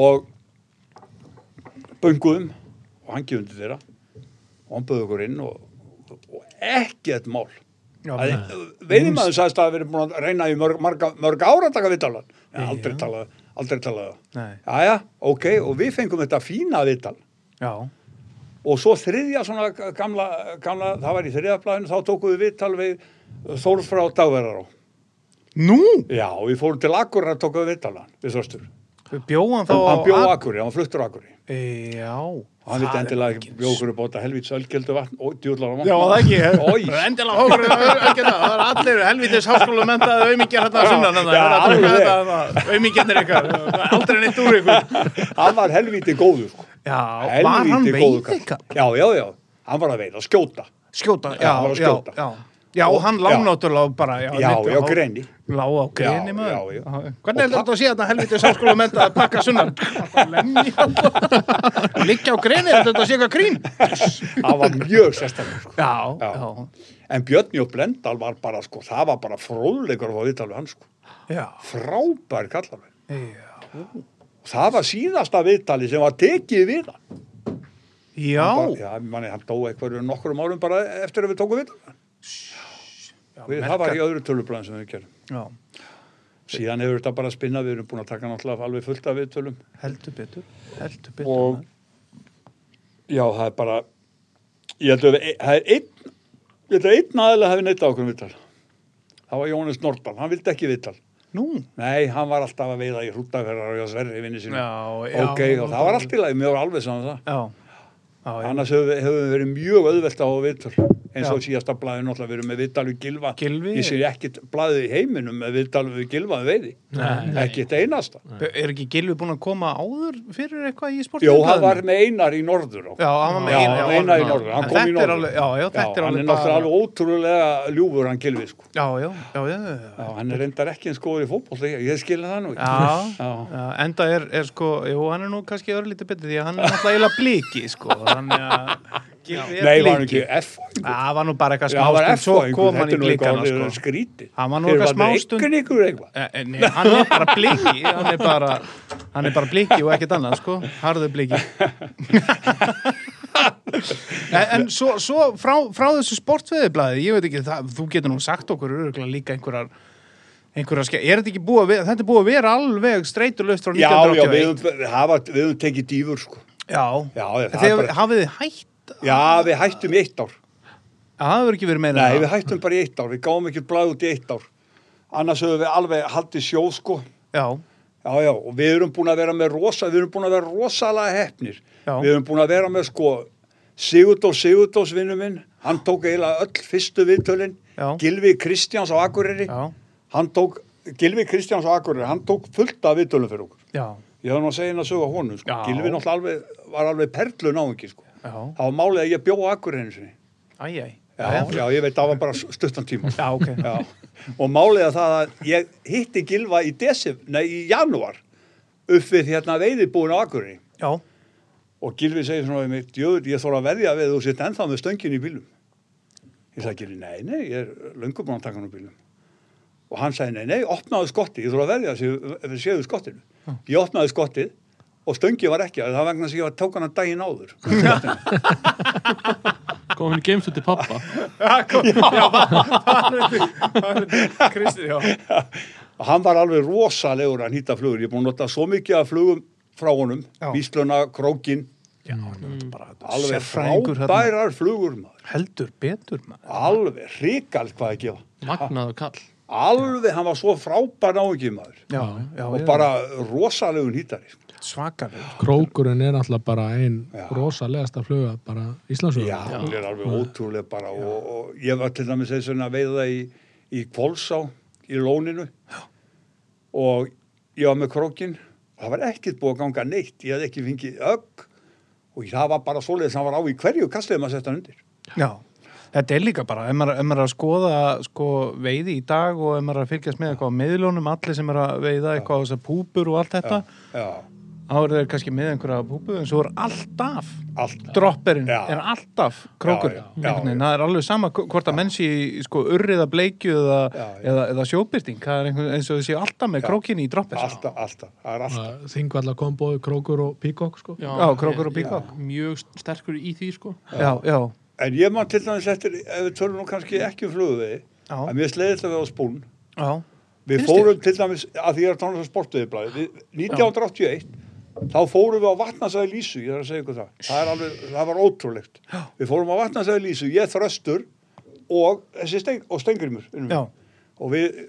Speaker 5: og bönguðum og hann gefur undir þeirra og hann bauði okkur inn og, og ekkert mál
Speaker 1: já,
Speaker 5: veiðum að sagðist að það hafi verið búin að reyna í mörg, marga, mörg ára að taka viðtalan en aldrei talað, aldrei talaði það.
Speaker 1: Nei.
Speaker 5: Jæja, ok, og við fengum þetta fína viðtal
Speaker 1: Já.
Speaker 5: og svo þriðja svona gamla, gamla það var í þriðjablaðinu, þá tókum við viðtal við Þórð frá Dagverðará.
Speaker 1: Nú?
Speaker 5: Já, við fórum til Akureyra og tókum við viðtalan, við Þorstur.
Speaker 1: Bjóðan þá
Speaker 5: Hann bjó Akureyri, hann var fluttur Akureyri.
Speaker 1: Ak- Já.
Speaker 5: Og hann
Speaker 1: Það
Speaker 5: veit
Speaker 1: er
Speaker 5: endilega
Speaker 1: engin
Speaker 5: ekki bjókur upp á þetta helvíts ölgjeldu vatn og djúðlar á vatn.
Speaker 1: Já, það ekki.
Speaker 5: Oj.
Speaker 1: Endilega hókur. Það er allir helvitis háskólu mentaði auðmyggjar hérna að sunna.
Speaker 5: Já, alveg.
Speaker 1: Auðmyggjarnir ykkar. Aldrei neitt úr ykkur.
Speaker 5: Hann var helvíti góður. Sko.
Speaker 1: Já,
Speaker 5: Helvíti
Speaker 1: var hann
Speaker 5: góður kall.
Speaker 1: veiðika?
Speaker 5: Já, já, já. Hann var að veiða, skjóta.
Speaker 1: Skjóta,
Speaker 5: Já, hann
Speaker 1: já,
Speaker 5: var að
Speaker 1: já,
Speaker 5: skjóta.
Speaker 1: já. Já, og hann
Speaker 5: Já.
Speaker 1: lág náttúrulega bara...
Speaker 5: Já,
Speaker 1: neitt-
Speaker 5: já,
Speaker 1: lá-
Speaker 5: greni.
Speaker 1: Lá á greni,
Speaker 5: Já,
Speaker 1: maður.
Speaker 5: já, já.
Speaker 1: Hvernig heldur þetta að sé þetta helvitis háskólu mentaði að pakka sunnan? Bara lemja. Liggja á greni, heldur þetta að sé eitthvað grín?
Speaker 5: Hann var mjög sérstakur. Sko.
Speaker 1: Já,
Speaker 5: Já.
Speaker 1: já,
Speaker 5: En Björn Jó Blendal var bara, sko, það var bara fróðleikur að fá viðtal við hann, sko.
Speaker 1: já.
Speaker 5: Frábær kallar við.
Speaker 1: Já.
Speaker 5: Það var síðasta viðtali sem var tekið við hann.
Speaker 1: Já,
Speaker 5: Bara, já, manni, hann dó eitthvað nokkur um árum bara eftir að við tókum viðtal. við hann. Við- Það var í öðru tölubræðin sem við gerum.
Speaker 1: já,
Speaker 5: Síðan hefur þetta bara spinnað, við erum búin að taka náttúrulega alveg fullt af viðtölum.
Speaker 1: heldur betur, heldur betur.
Speaker 5: og
Speaker 1: maður.
Speaker 5: já, það er bara ég held að við- e, það er einn ég held að einn aðeins hefði neitt á okkur um viðtal það var Jónis Nordal, hann vildi ekki viðtal
Speaker 1: Nú,
Speaker 5: nei, hann var alltaf að veiða í hrútaferðar og hjá sverri vinni sinu
Speaker 1: já, já.
Speaker 5: ok, og það var allt í lagi, mjög alveg saman það
Speaker 1: Já, já, já.
Speaker 5: annars hefur við hefur við verið mjög auðvelt á að viðtal eins og
Speaker 1: Já.
Speaker 5: síðasta blaðið náttúrulega við erum með viðtal við Gilva
Speaker 1: Gylfi.
Speaker 5: ég sé ekkit blaðið í heiminum með viðtal við Gilva við veiði
Speaker 1: Nei.
Speaker 5: ekkit einasta
Speaker 1: Er ekki Gilvi búin að koma áður fyrir eitthvað í sportinu?
Speaker 5: Jó, hann var með einar í norður á
Speaker 1: Já, hann var með
Speaker 5: Já,
Speaker 1: eina- já,
Speaker 5: eina í
Speaker 1: já.
Speaker 5: norður, hann
Speaker 1: En
Speaker 5: kom í
Speaker 1: þetta er
Speaker 5: norður.
Speaker 1: alveg- Já, já, þetta er
Speaker 5: hann
Speaker 1: alveg
Speaker 5: er náttúrulega alveg ótrúlega ljúfur hann Gilvi sko.
Speaker 1: Já, já, já, já, já.
Speaker 5: Já, hann er reyndar ekki eins góður í fótboll ég, ég skilja það
Speaker 1: Já,
Speaker 5: nú ekki Já.
Speaker 1: já, enda er, er sko, jú, hann er nú kannski örlítið betur því að hann er náttúrulega eiginlega bliki, sko, þannig að Gylfi er
Speaker 5: Nei, var hann
Speaker 1: bliki.
Speaker 5: ekki F
Speaker 1: Já, Það var nú bara eitthvað
Speaker 5: Já, hann var
Speaker 1: smástund,
Speaker 5: F
Speaker 1: svo kom hann
Speaker 5: þetta
Speaker 1: í
Speaker 5: er nú eitthvað
Speaker 1: blikana,
Speaker 5: orðið
Speaker 1: sko.
Speaker 5: skrítið
Speaker 1: Hann var nú
Speaker 5: Þeir
Speaker 1: eitthvað
Speaker 5: var með
Speaker 1: smástund-
Speaker 5: einhvern ykkur eitthvað
Speaker 1: Eh, eh, Nei, hann er bara bliki hann er bara, hann er bara bliki og ekkert annað sko, harðu bliki en, Eh, en svo, svo frá, frá þessu sportveðiblaði, ég veit ekki það, þú getur nú sagt okkur öruglega líka einhverjar einhverjar skemmt, er þetta ekki búið að vera þetta er búið að vera alveg streytulöst frá
Speaker 5: Já, já, við
Speaker 1: 1981
Speaker 5: höfum, við hafa, við höfum tekið dýfur sko.
Speaker 1: já,
Speaker 5: Já,
Speaker 1: En
Speaker 5: það
Speaker 1: þegar
Speaker 5: er bara-
Speaker 1: hafið þið hætt
Speaker 5: Já, við hættum í eitt ár
Speaker 1: að það hefur ekki verið meira
Speaker 5: Nei,
Speaker 1: en
Speaker 5: við
Speaker 1: það.
Speaker 5: hættum bara í eitt ár, við gáum ekki blæð út í eitt ár Annars höfum við alveg haldið sjó sko.
Speaker 1: já,
Speaker 5: Já, já, og við erum búin að vera með rosa, við erum búin að vera rosalega hefnir.
Speaker 1: Já.
Speaker 5: Við erum búin að vera með sko Sigurdós Sigurdós vinnu minn, hann tók eiginlega öll fyrstu viðtölin,
Speaker 1: Já.
Speaker 5: Gilvi Kristjáns á Akureyri,
Speaker 1: já,
Speaker 5: hann tók, Gilvi Kristjáns á Akureyri, hann tók fullt af viðtölum fyrir okkur.
Speaker 1: já,
Speaker 5: Ég hef nú að segja henn að sögja honum, sko.
Speaker 1: Já.
Speaker 5: Gilvi náttúrulega alveg, var alveg perlu náðingi, sko.
Speaker 1: já,
Speaker 5: Það var málið að ég bjó á Akureyri sinni.
Speaker 1: æj, æj
Speaker 5: Já, já, ég veit, það var bara stuttan tíma.
Speaker 1: já, ok,
Speaker 5: Já, og málið að það að ég hitti Gilva í desif, nei, í janúar upp við hérna veiðibúin á Akureyri
Speaker 1: já,
Speaker 5: og Gilvi segir svona við mig, djöður, ég þóra að veðja við að þú sitt ennþá með stöngin í bílum. Ég sagði Gilvi, nei, nei, ég er löngum búin að taka hann úr bílum. Og hann sagði, nei, nei, opnaðu skotti, ég þóra að veðja að við séu skottinu. Ég opnaði skottið og stöngið var ekki, það var vegna þess að ég var tók hann að daginn áður.
Speaker 3: Góðum við geimstu til pappa
Speaker 1: Já, kom, já, já Kristi, já
Speaker 5: Og hann var alveg rosalegur að nýta flugur. Ég er búin að nota svo mikið af flugum frá honum,
Speaker 1: Já.
Speaker 5: vísluna, krókin,
Speaker 1: Já, mm. bara
Speaker 5: alveg
Speaker 1: sérfræðingur hérna.
Speaker 5: frábærar flugur maður.
Speaker 1: Heldur betur maður.
Speaker 5: Alveg hrikald hvað að gefa.
Speaker 3: Magnaðu kall
Speaker 5: Alveg, hann var svo frábær náðingi maður.
Speaker 1: Já, já,
Speaker 5: Og
Speaker 1: já.
Speaker 5: bara rosalegun hýtari. sko.
Speaker 1: svakalegur.
Speaker 2: Krókurinn er alltaf bara einn
Speaker 5: Já.
Speaker 2: rosalegasta fluga bara Íslandsögur
Speaker 5: Já, hann er alveg ótrúlega bara. Og, og ég var til dæmis eins og að veiða það í, í Kvolsá, í Lóninu. Og ég var með krókin. Það var ekkert búið að ganga neitt. Ég hafði ekki fengið ögg. Og það var bara svoleiðis, hann var á í hverju kastið maður sett hann undir.
Speaker 1: Já. Þetta er líka bara, ef maður, ef maður er að skoða sko, veiði í dag og ef maður er að fylgjast með eitthvað á meðlunum, allir sem er að veiða eitthvað á þessar púpur og allt þetta,
Speaker 5: Já,
Speaker 1: þá eru þeir kannski með einhverja púpu, en svo er alltaf
Speaker 5: allt.
Speaker 1: dropperinn
Speaker 5: Já.
Speaker 1: er alltaf krókur
Speaker 5: Já, já, já,
Speaker 1: það
Speaker 5: já.
Speaker 1: er alveg sama hv- hvort að mennsi sko urriða bleikju eða,
Speaker 5: Já, já.
Speaker 1: eða, eða sjóbyrting það er einhvern, eins og þessi alltaf með krókinni í droppin
Speaker 5: Alltaf, alltaf. Það er alltaf.
Speaker 2: Þingvalla komboðu, krókur og píkokk sko.
Speaker 1: Já, krókur og píkokk.
Speaker 3: ég- Mjög sterkur í því sko
Speaker 1: já, já,
Speaker 5: En ég man til dæmis eftir, ef við tölum nú kannski ekki um flugvegi,
Speaker 1: Já.
Speaker 5: að mér sleiði alltaf að vera á spún
Speaker 1: já,
Speaker 5: Við
Speaker 3: Finnst
Speaker 5: fórum til dæmis, að um því ég er að tánu það sportuðiblaði, 1981, þá fórum við á vatnansæði Lísu, ég þarf að segja ykkur það. Það, er alveg, það var ótrúlegt. Við fórum á vatnansæði Lísu, ég þröstur og, þessi steng, og stengrimur. vinur minn.
Speaker 1: Já.
Speaker 5: Og við,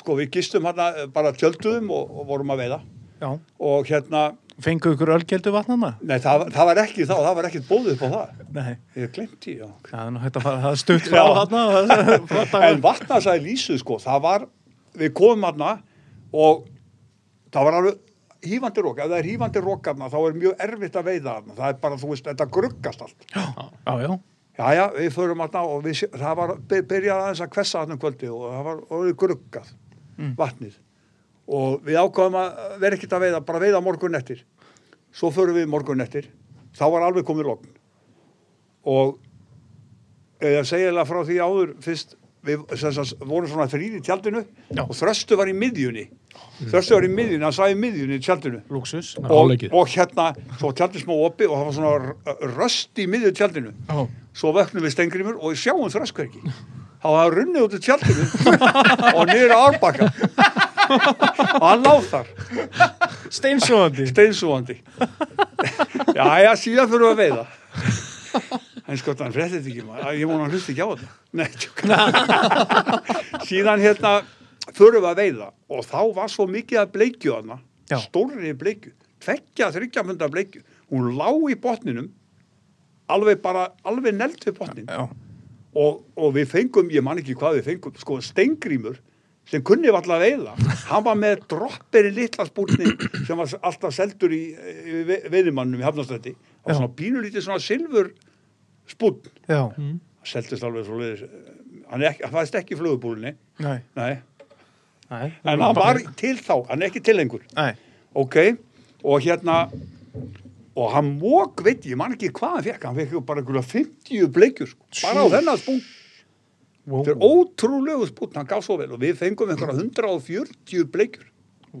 Speaker 5: sko, við gistum hérna, bara tjölduðum og, og vorum að veiða.
Speaker 1: já.
Speaker 5: Og hérna,
Speaker 1: Fengu ykkur ölgjeldu vatnana?
Speaker 5: nei, það, það var ekki þá, það var ekkert bóðið upp á það.
Speaker 1: Nei.
Speaker 5: Ég glemti, já.
Speaker 1: Það er nú hægt að fara, það er stutt frá
Speaker 5: Já.
Speaker 1: þarna. það er flott að-
Speaker 5: en vatnarsæði lýsu sko, það var við komum aðna og það var alveg hýfandi rók, ef það er hýfandi rók aðna þá er mjög erfitt að veiða aðna, það er bara þú veist, þetta gruggast allt
Speaker 1: Já, já.
Speaker 5: Jæja, við förum aðna og við, sé- það var by- byrjaði aðeins að kvessa aðna um kvöldi og það var og við gruggað vatnið og við ákvaðum að vera ekkert að veiða, bara veiða morgun eftir svo förum við morgun eftir þá var alveg komið lokn og eða segjaðlega frá því áður fyrst við sem sagt, vorum svona þrýr í tjaldinu og þröstu var í miðjunni þröstu var í miðjunni, hann sagði miðjunni í tjaldinu
Speaker 1: Lúksus.
Speaker 5: og,
Speaker 2: Áleikið.
Speaker 5: og hérna, svo var tjaldið smá oppi og það var svona r- röst í miðju tjaldinu
Speaker 1: Já.
Speaker 5: svo vöknum við stengrimur og við sjáum þröskverki þá var það runnið út í tjaldinu og niður á árbakka og hann láð þar
Speaker 1: Steinsóðandi.
Speaker 5: steinsúandi já, já, síðan fyrir að veiða en sko, hann frétti þetta ekki maður. ég múna hann hlusti ekki á þetta Nei, tjók. síðan hérna fyrir að veiða og þá var svo mikið að bleikju hana
Speaker 1: Já.
Speaker 5: stórri bleikju, tveggja þryggjafunda bleikju, hún lá í botninum alveg bara alveg nelt við botnin
Speaker 1: Já.
Speaker 5: og, og við fengum, ég man ekki hvað við fengum, sko steingrímur sem kunni valla að veiða, hann var með dropperi litla spúrni sem var alltaf seldur í, í ve- veiðimannum í Hafnarstætti og
Speaker 1: Já.
Speaker 5: svona pínulítið svona silfur spúrn,
Speaker 1: Já.
Speaker 5: Mm. seldist alveg svo leiðis hann, er ekki, hann fæðist ekki í flugubúlinni
Speaker 1: Nei.
Speaker 5: nei,
Speaker 1: Nei.
Speaker 5: en hann var til þá, hann er ekki til lengur
Speaker 1: Nei.
Speaker 5: ok, og hérna og hann mók, veit ég, ég man ekki hvað hann fekk, hann fekk bara einhverja 50 bleikjur, sko, bara á þennan spún
Speaker 1: Wow.
Speaker 5: þetta er ótrúlegu spún, hann gaf svo vel og við fengum einhverja 140 bleikjur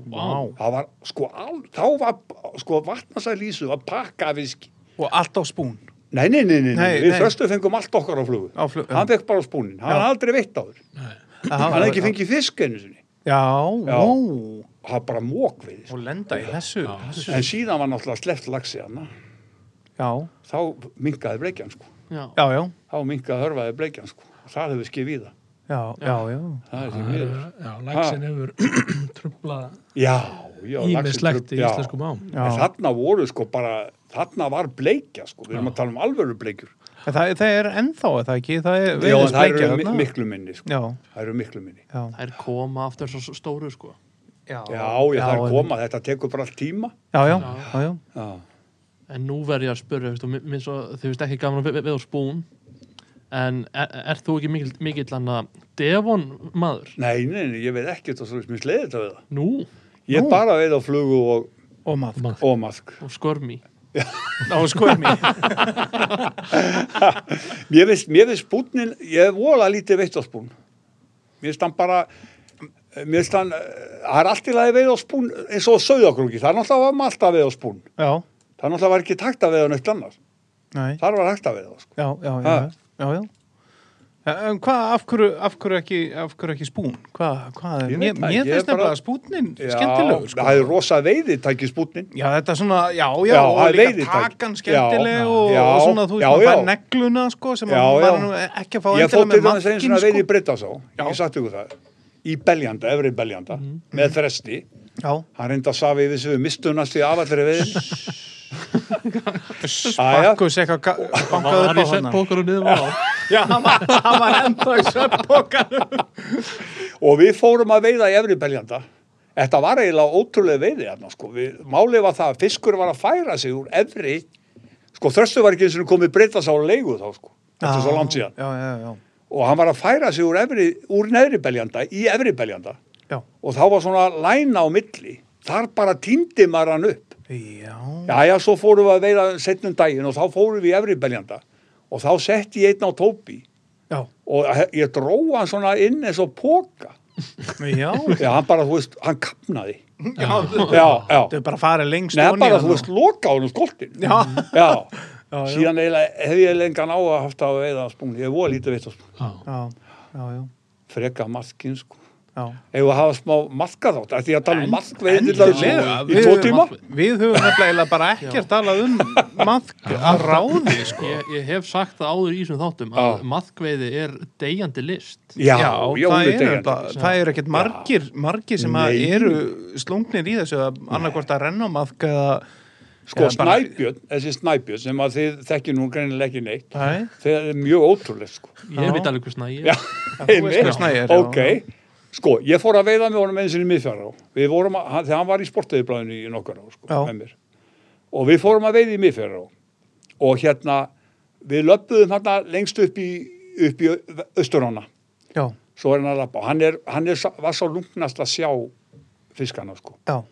Speaker 1: Vá.
Speaker 5: það var, sko, al, þá var sko, vatnarsælísu að pakka af viski
Speaker 1: Og allt á spún.
Speaker 5: nei, nei, nei, nei,
Speaker 1: Nei,
Speaker 5: nei, við
Speaker 1: nei.
Speaker 5: þröstu fengum allt okkar á flugu,
Speaker 1: Á flug- já.
Speaker 5: hann fekk bara á spúnin hann
Speaker 1: Já.
Speaker 5: hafði aldrei veitt á þér, hann hafði ekki fengið fisk einu sinni,
Speaker 1: Já,
Speaker 5: Já.
Speaker 1: ó.
Speaker 5: hann bara mók við
Speaker 1: Og
Speaker 5: sko.
Speaker 1: lenda í þessu. þessu.
Speaker 5: en síðan var náttúrulega sleppt lagsi hann
Speaker 1: Já.
Speaker 5: þá minkaði bleikjan, sko
Speaker 3: já,
Speaker 1: Já, já.
Speaker 5: þá minkaði hörfaði bleikjan sko. það hefur skið víða
Speaker 1: Já, já, já.
Speaker 5: það er því
Speaker 2: Já,
Speaker 5: miður
Speaker 2: Eh, já, Laxinn hefur trubla
Speaker 5: já, já,
Speaker 2: ímislegt
Speaker 5: laxinn-
Speaker 2: í
Speaker 5: já.
Speaker 2: íslenskum ám
Speaker 1: Já.
Speaker 5: En þarna voru sko bara þarna var bleikja sko, við erum að tala um alvöru bleikjur
Speaker 1: En Það, það er ennþá, er það ekki? Það er
Speaker 5: já, en það
Speaker 1: veiðisbleikja
Speaker 5: eru mi
Speaker 1: þarna.
Speaker 5: miklu minni sko.
Speaker 1: Já,
Speaker 5: það eru miklu minni
Speaker 1: já.
Speaker 3: þær koma aftur svo stóru sko
Speaker 1: Já,
Speaker 5: já, já, það er
Speaker 1: en-
Speaker 5: koma, þetta tekur bara allt tíma
Speaker 1: Já, já, já, já.
Speaker 5: já,
Speaker 3: en nú verð ég að spyrja veist, og mi- minn svo, þið veist ekki gaman við, við á spún en er, er þú ekki mikill, mikill annað Devon maður?
Speaker 5: nei, nei, nei, ég veit ekkert og svo mér sleiði þetta við það
Speaker 3: Nú,
Speaker 5: ég
Speaker 1: Nú.
Speaker 5: bara veið á flugu og,
Speaker 1: Og maður.
Speaker 5: og mask
Speaker 3: og skörmi
Speaker 1: Já, sko er mér.
Speaker 5: mér veist, mér veist spúnin, ég hef vola lítið veitt á spún mér veist hann bara mér veist hann, eh, það er allt í lagi veið á spún eins og sögðakrúki, það er náttúrulega var maður alltaf veið á spún,
Speaker 1: Já,
Speaker 5: það er náttúrulega var ekki takt að veið á neitt annars,
Speaker 1: nei.
Speaker 5: þar var hægt að veið á sko.
Speaker 1: Já, já, já,
Speaker 5: Ha.
Speaker 1: já, já. Ja, En hvað, af hverju, af hverju, ekki, af hverju ekki spún? Hvað, hvað er,
Speaker 5: Ég
Speaker 1: mér,
Speaker 5: veit það
Speaker 1: mér
Speaker 5: ekki, ég
Speaker 1: finnst
Speaker 5: bara-
Speaker 1: nefnilega spúnin
Speaker 5: Já,
Speaker 1: skemmtilegur, sko.
Speaker 5: það er rosa veiði tæki spúnin
Speaker 1: Já, þetta er svona, já, já,
Speaker 5: Já, það
Speaker 1: og
Speaker 5: er
Speaker 1: líka
Speaker 5: veiðitæki.
Speaker 1: takan skemmtileg
Speaker 5: Já,
Speaker 1: og,
Speaker 5: já,
Speaker 1: og svona, þú veist,
Speaker 5: já,
Speaker 1: maður fær
Speaker 5: já.
Speaker 1: negluna, sko, sem
Speaker 5: Já,
Speaker 1: maður
Speaker 5: já.
Speaker 1: var nú ekki að fá
Speaker 5: ég fótt
Speaker 1: endilega
Speaker 5: til
Speaker 1: með
Speaker 5: þess einu
Speaker 1: makkinn,
Speaker 5: svona veiði
Speaker 1: sko.
Speaker 5: í Brytasá ég satt ykkur það, í Beljanda, Efri Beljanda
Speaker 1: Mhm.
Speaker 5: með þresti,
Speaker 1: Já,
Speaker 5: hann reynda að safi við sem við mistunast í afallri veiðin Jæja.
Speaker 1: spakkus eitthvað ga- bankað
Speaker 3: var
Speaker 1: upp á
Speaker 3: ég sett
Speaker 1: hana.
Speaker 3: bókarum niður á
Speaker 1: Já, hann var, hann var enda í sveppbókanum.
Speaker 5: og við fórum að veiða í efri beljanda þetta var eiginlega ótrúlega veiði hérna, sko. við, málið var það að fiskur var að færa sig úr efri sko þröstu var ekki eins og komið breytast á leigu þá sko þetta
Speaker 1: Ah.
Speaker 5: er svo langt síðan
Speaker 1: Já, já, já,
Speaker 5: og hann var að færa sig úr, efri, úr neðri beljanda í efri beljanda
Speaker 1: já.
Speaker 5: og þá var svona læna á milli þar bara týndi maður hann upp
Speaker 1: Já,
Speaker 5: já já svo fórum við að veiða setnum daginn og þá fórum við í efri beljanda og þá setti ég einn á tópi
Speaker 1: já,
Speaker 5: og he- ég dró hann svona inn eins og póka
Speaker 1: já,
Speaker 5: já hann bara þú veist hann kapnaði
Speaker 1: já.
Speaker 5: já já
Speaker 1: Þetta er bara að fara lengst
Speaker 5: Nei,
Speaker 1: ofan í
Speaker 5: bara
Speaker 1: hana.
Speaker 5: þú veist, loka á hennum skoltin.
Speaker 1: Já.
Speaker 5: Já.
Speaker 1: Já, já.
Speaker 5: Síðan eiginlega hef ég lengan á að haft að veiða á spún. Ég er voða lítið veitt á spún.
Speaker 1: Já, já, já.
Speaker 5: Freka maskinn, sko.
Speaker 1: Já.
Speaker 5: Ef við hafa smá maðka þátt, af því að tala um maðkveið til
Speaker 1: Lega,
Speaker 5: þessu í
Speaker 1: við,
Speaker 5: tvo tíma.
Speaker 1: við höfum nefnilega bara ekkert talað um maðk að ráði sko.
Speaker 3: ég, ég hef sagt það áður í þessum þáttum að
Speaker 5: Já.
Speaker 3: maðkveiði er deyjandi list
Speaker 5: Já,
Speaker 1: Já,
Speaker 5: já,
Speaker 1: það,
Speaker 5: auðvitað
Speaker 1: er,
Speaker 5: er
Speaker 1: það, það er ekkert margir, margir sem að
Speaker 5: Nei.
Speaker 1: eru slungnir í þessu að annarkvort að renna maðk eða
Speaker 5: Sko,
Speaker 1: eða bara-
Speaker 5: snæbjörn, þessi snæbjörn sem að þið þekkir nú greinilega ekki neitt,
Speaker 1: Nei,
Speaker 5: það er mjög ótrúlega, sko.
Speaker 1: Já.
Speaker 3: ég veit alveg hvers nægir
Speaker 5: Já,
Speaker 1: þú veist
Speaker 5: einmitt.
Speaker 1: hver Snæi er, já.
Speaker 5: ok, sko, ég fór að veiða með honum eins og í miðfjara við vorum að, hann- þegar hann var í sportaðiblaðinu í nokkar á, sko,
Speaker 1: Já.
Speaker 5: með mér og við fórum að veiða í miðfjara og hérna, við löppuðum hérna lengst upp í, upp í östurána,
Speaker 1: já,
Speaker 5: svo er hann að lappa hann, er, hann er, sá- var svo lungnast að sjá fiskana, sko
Speaker 1: já,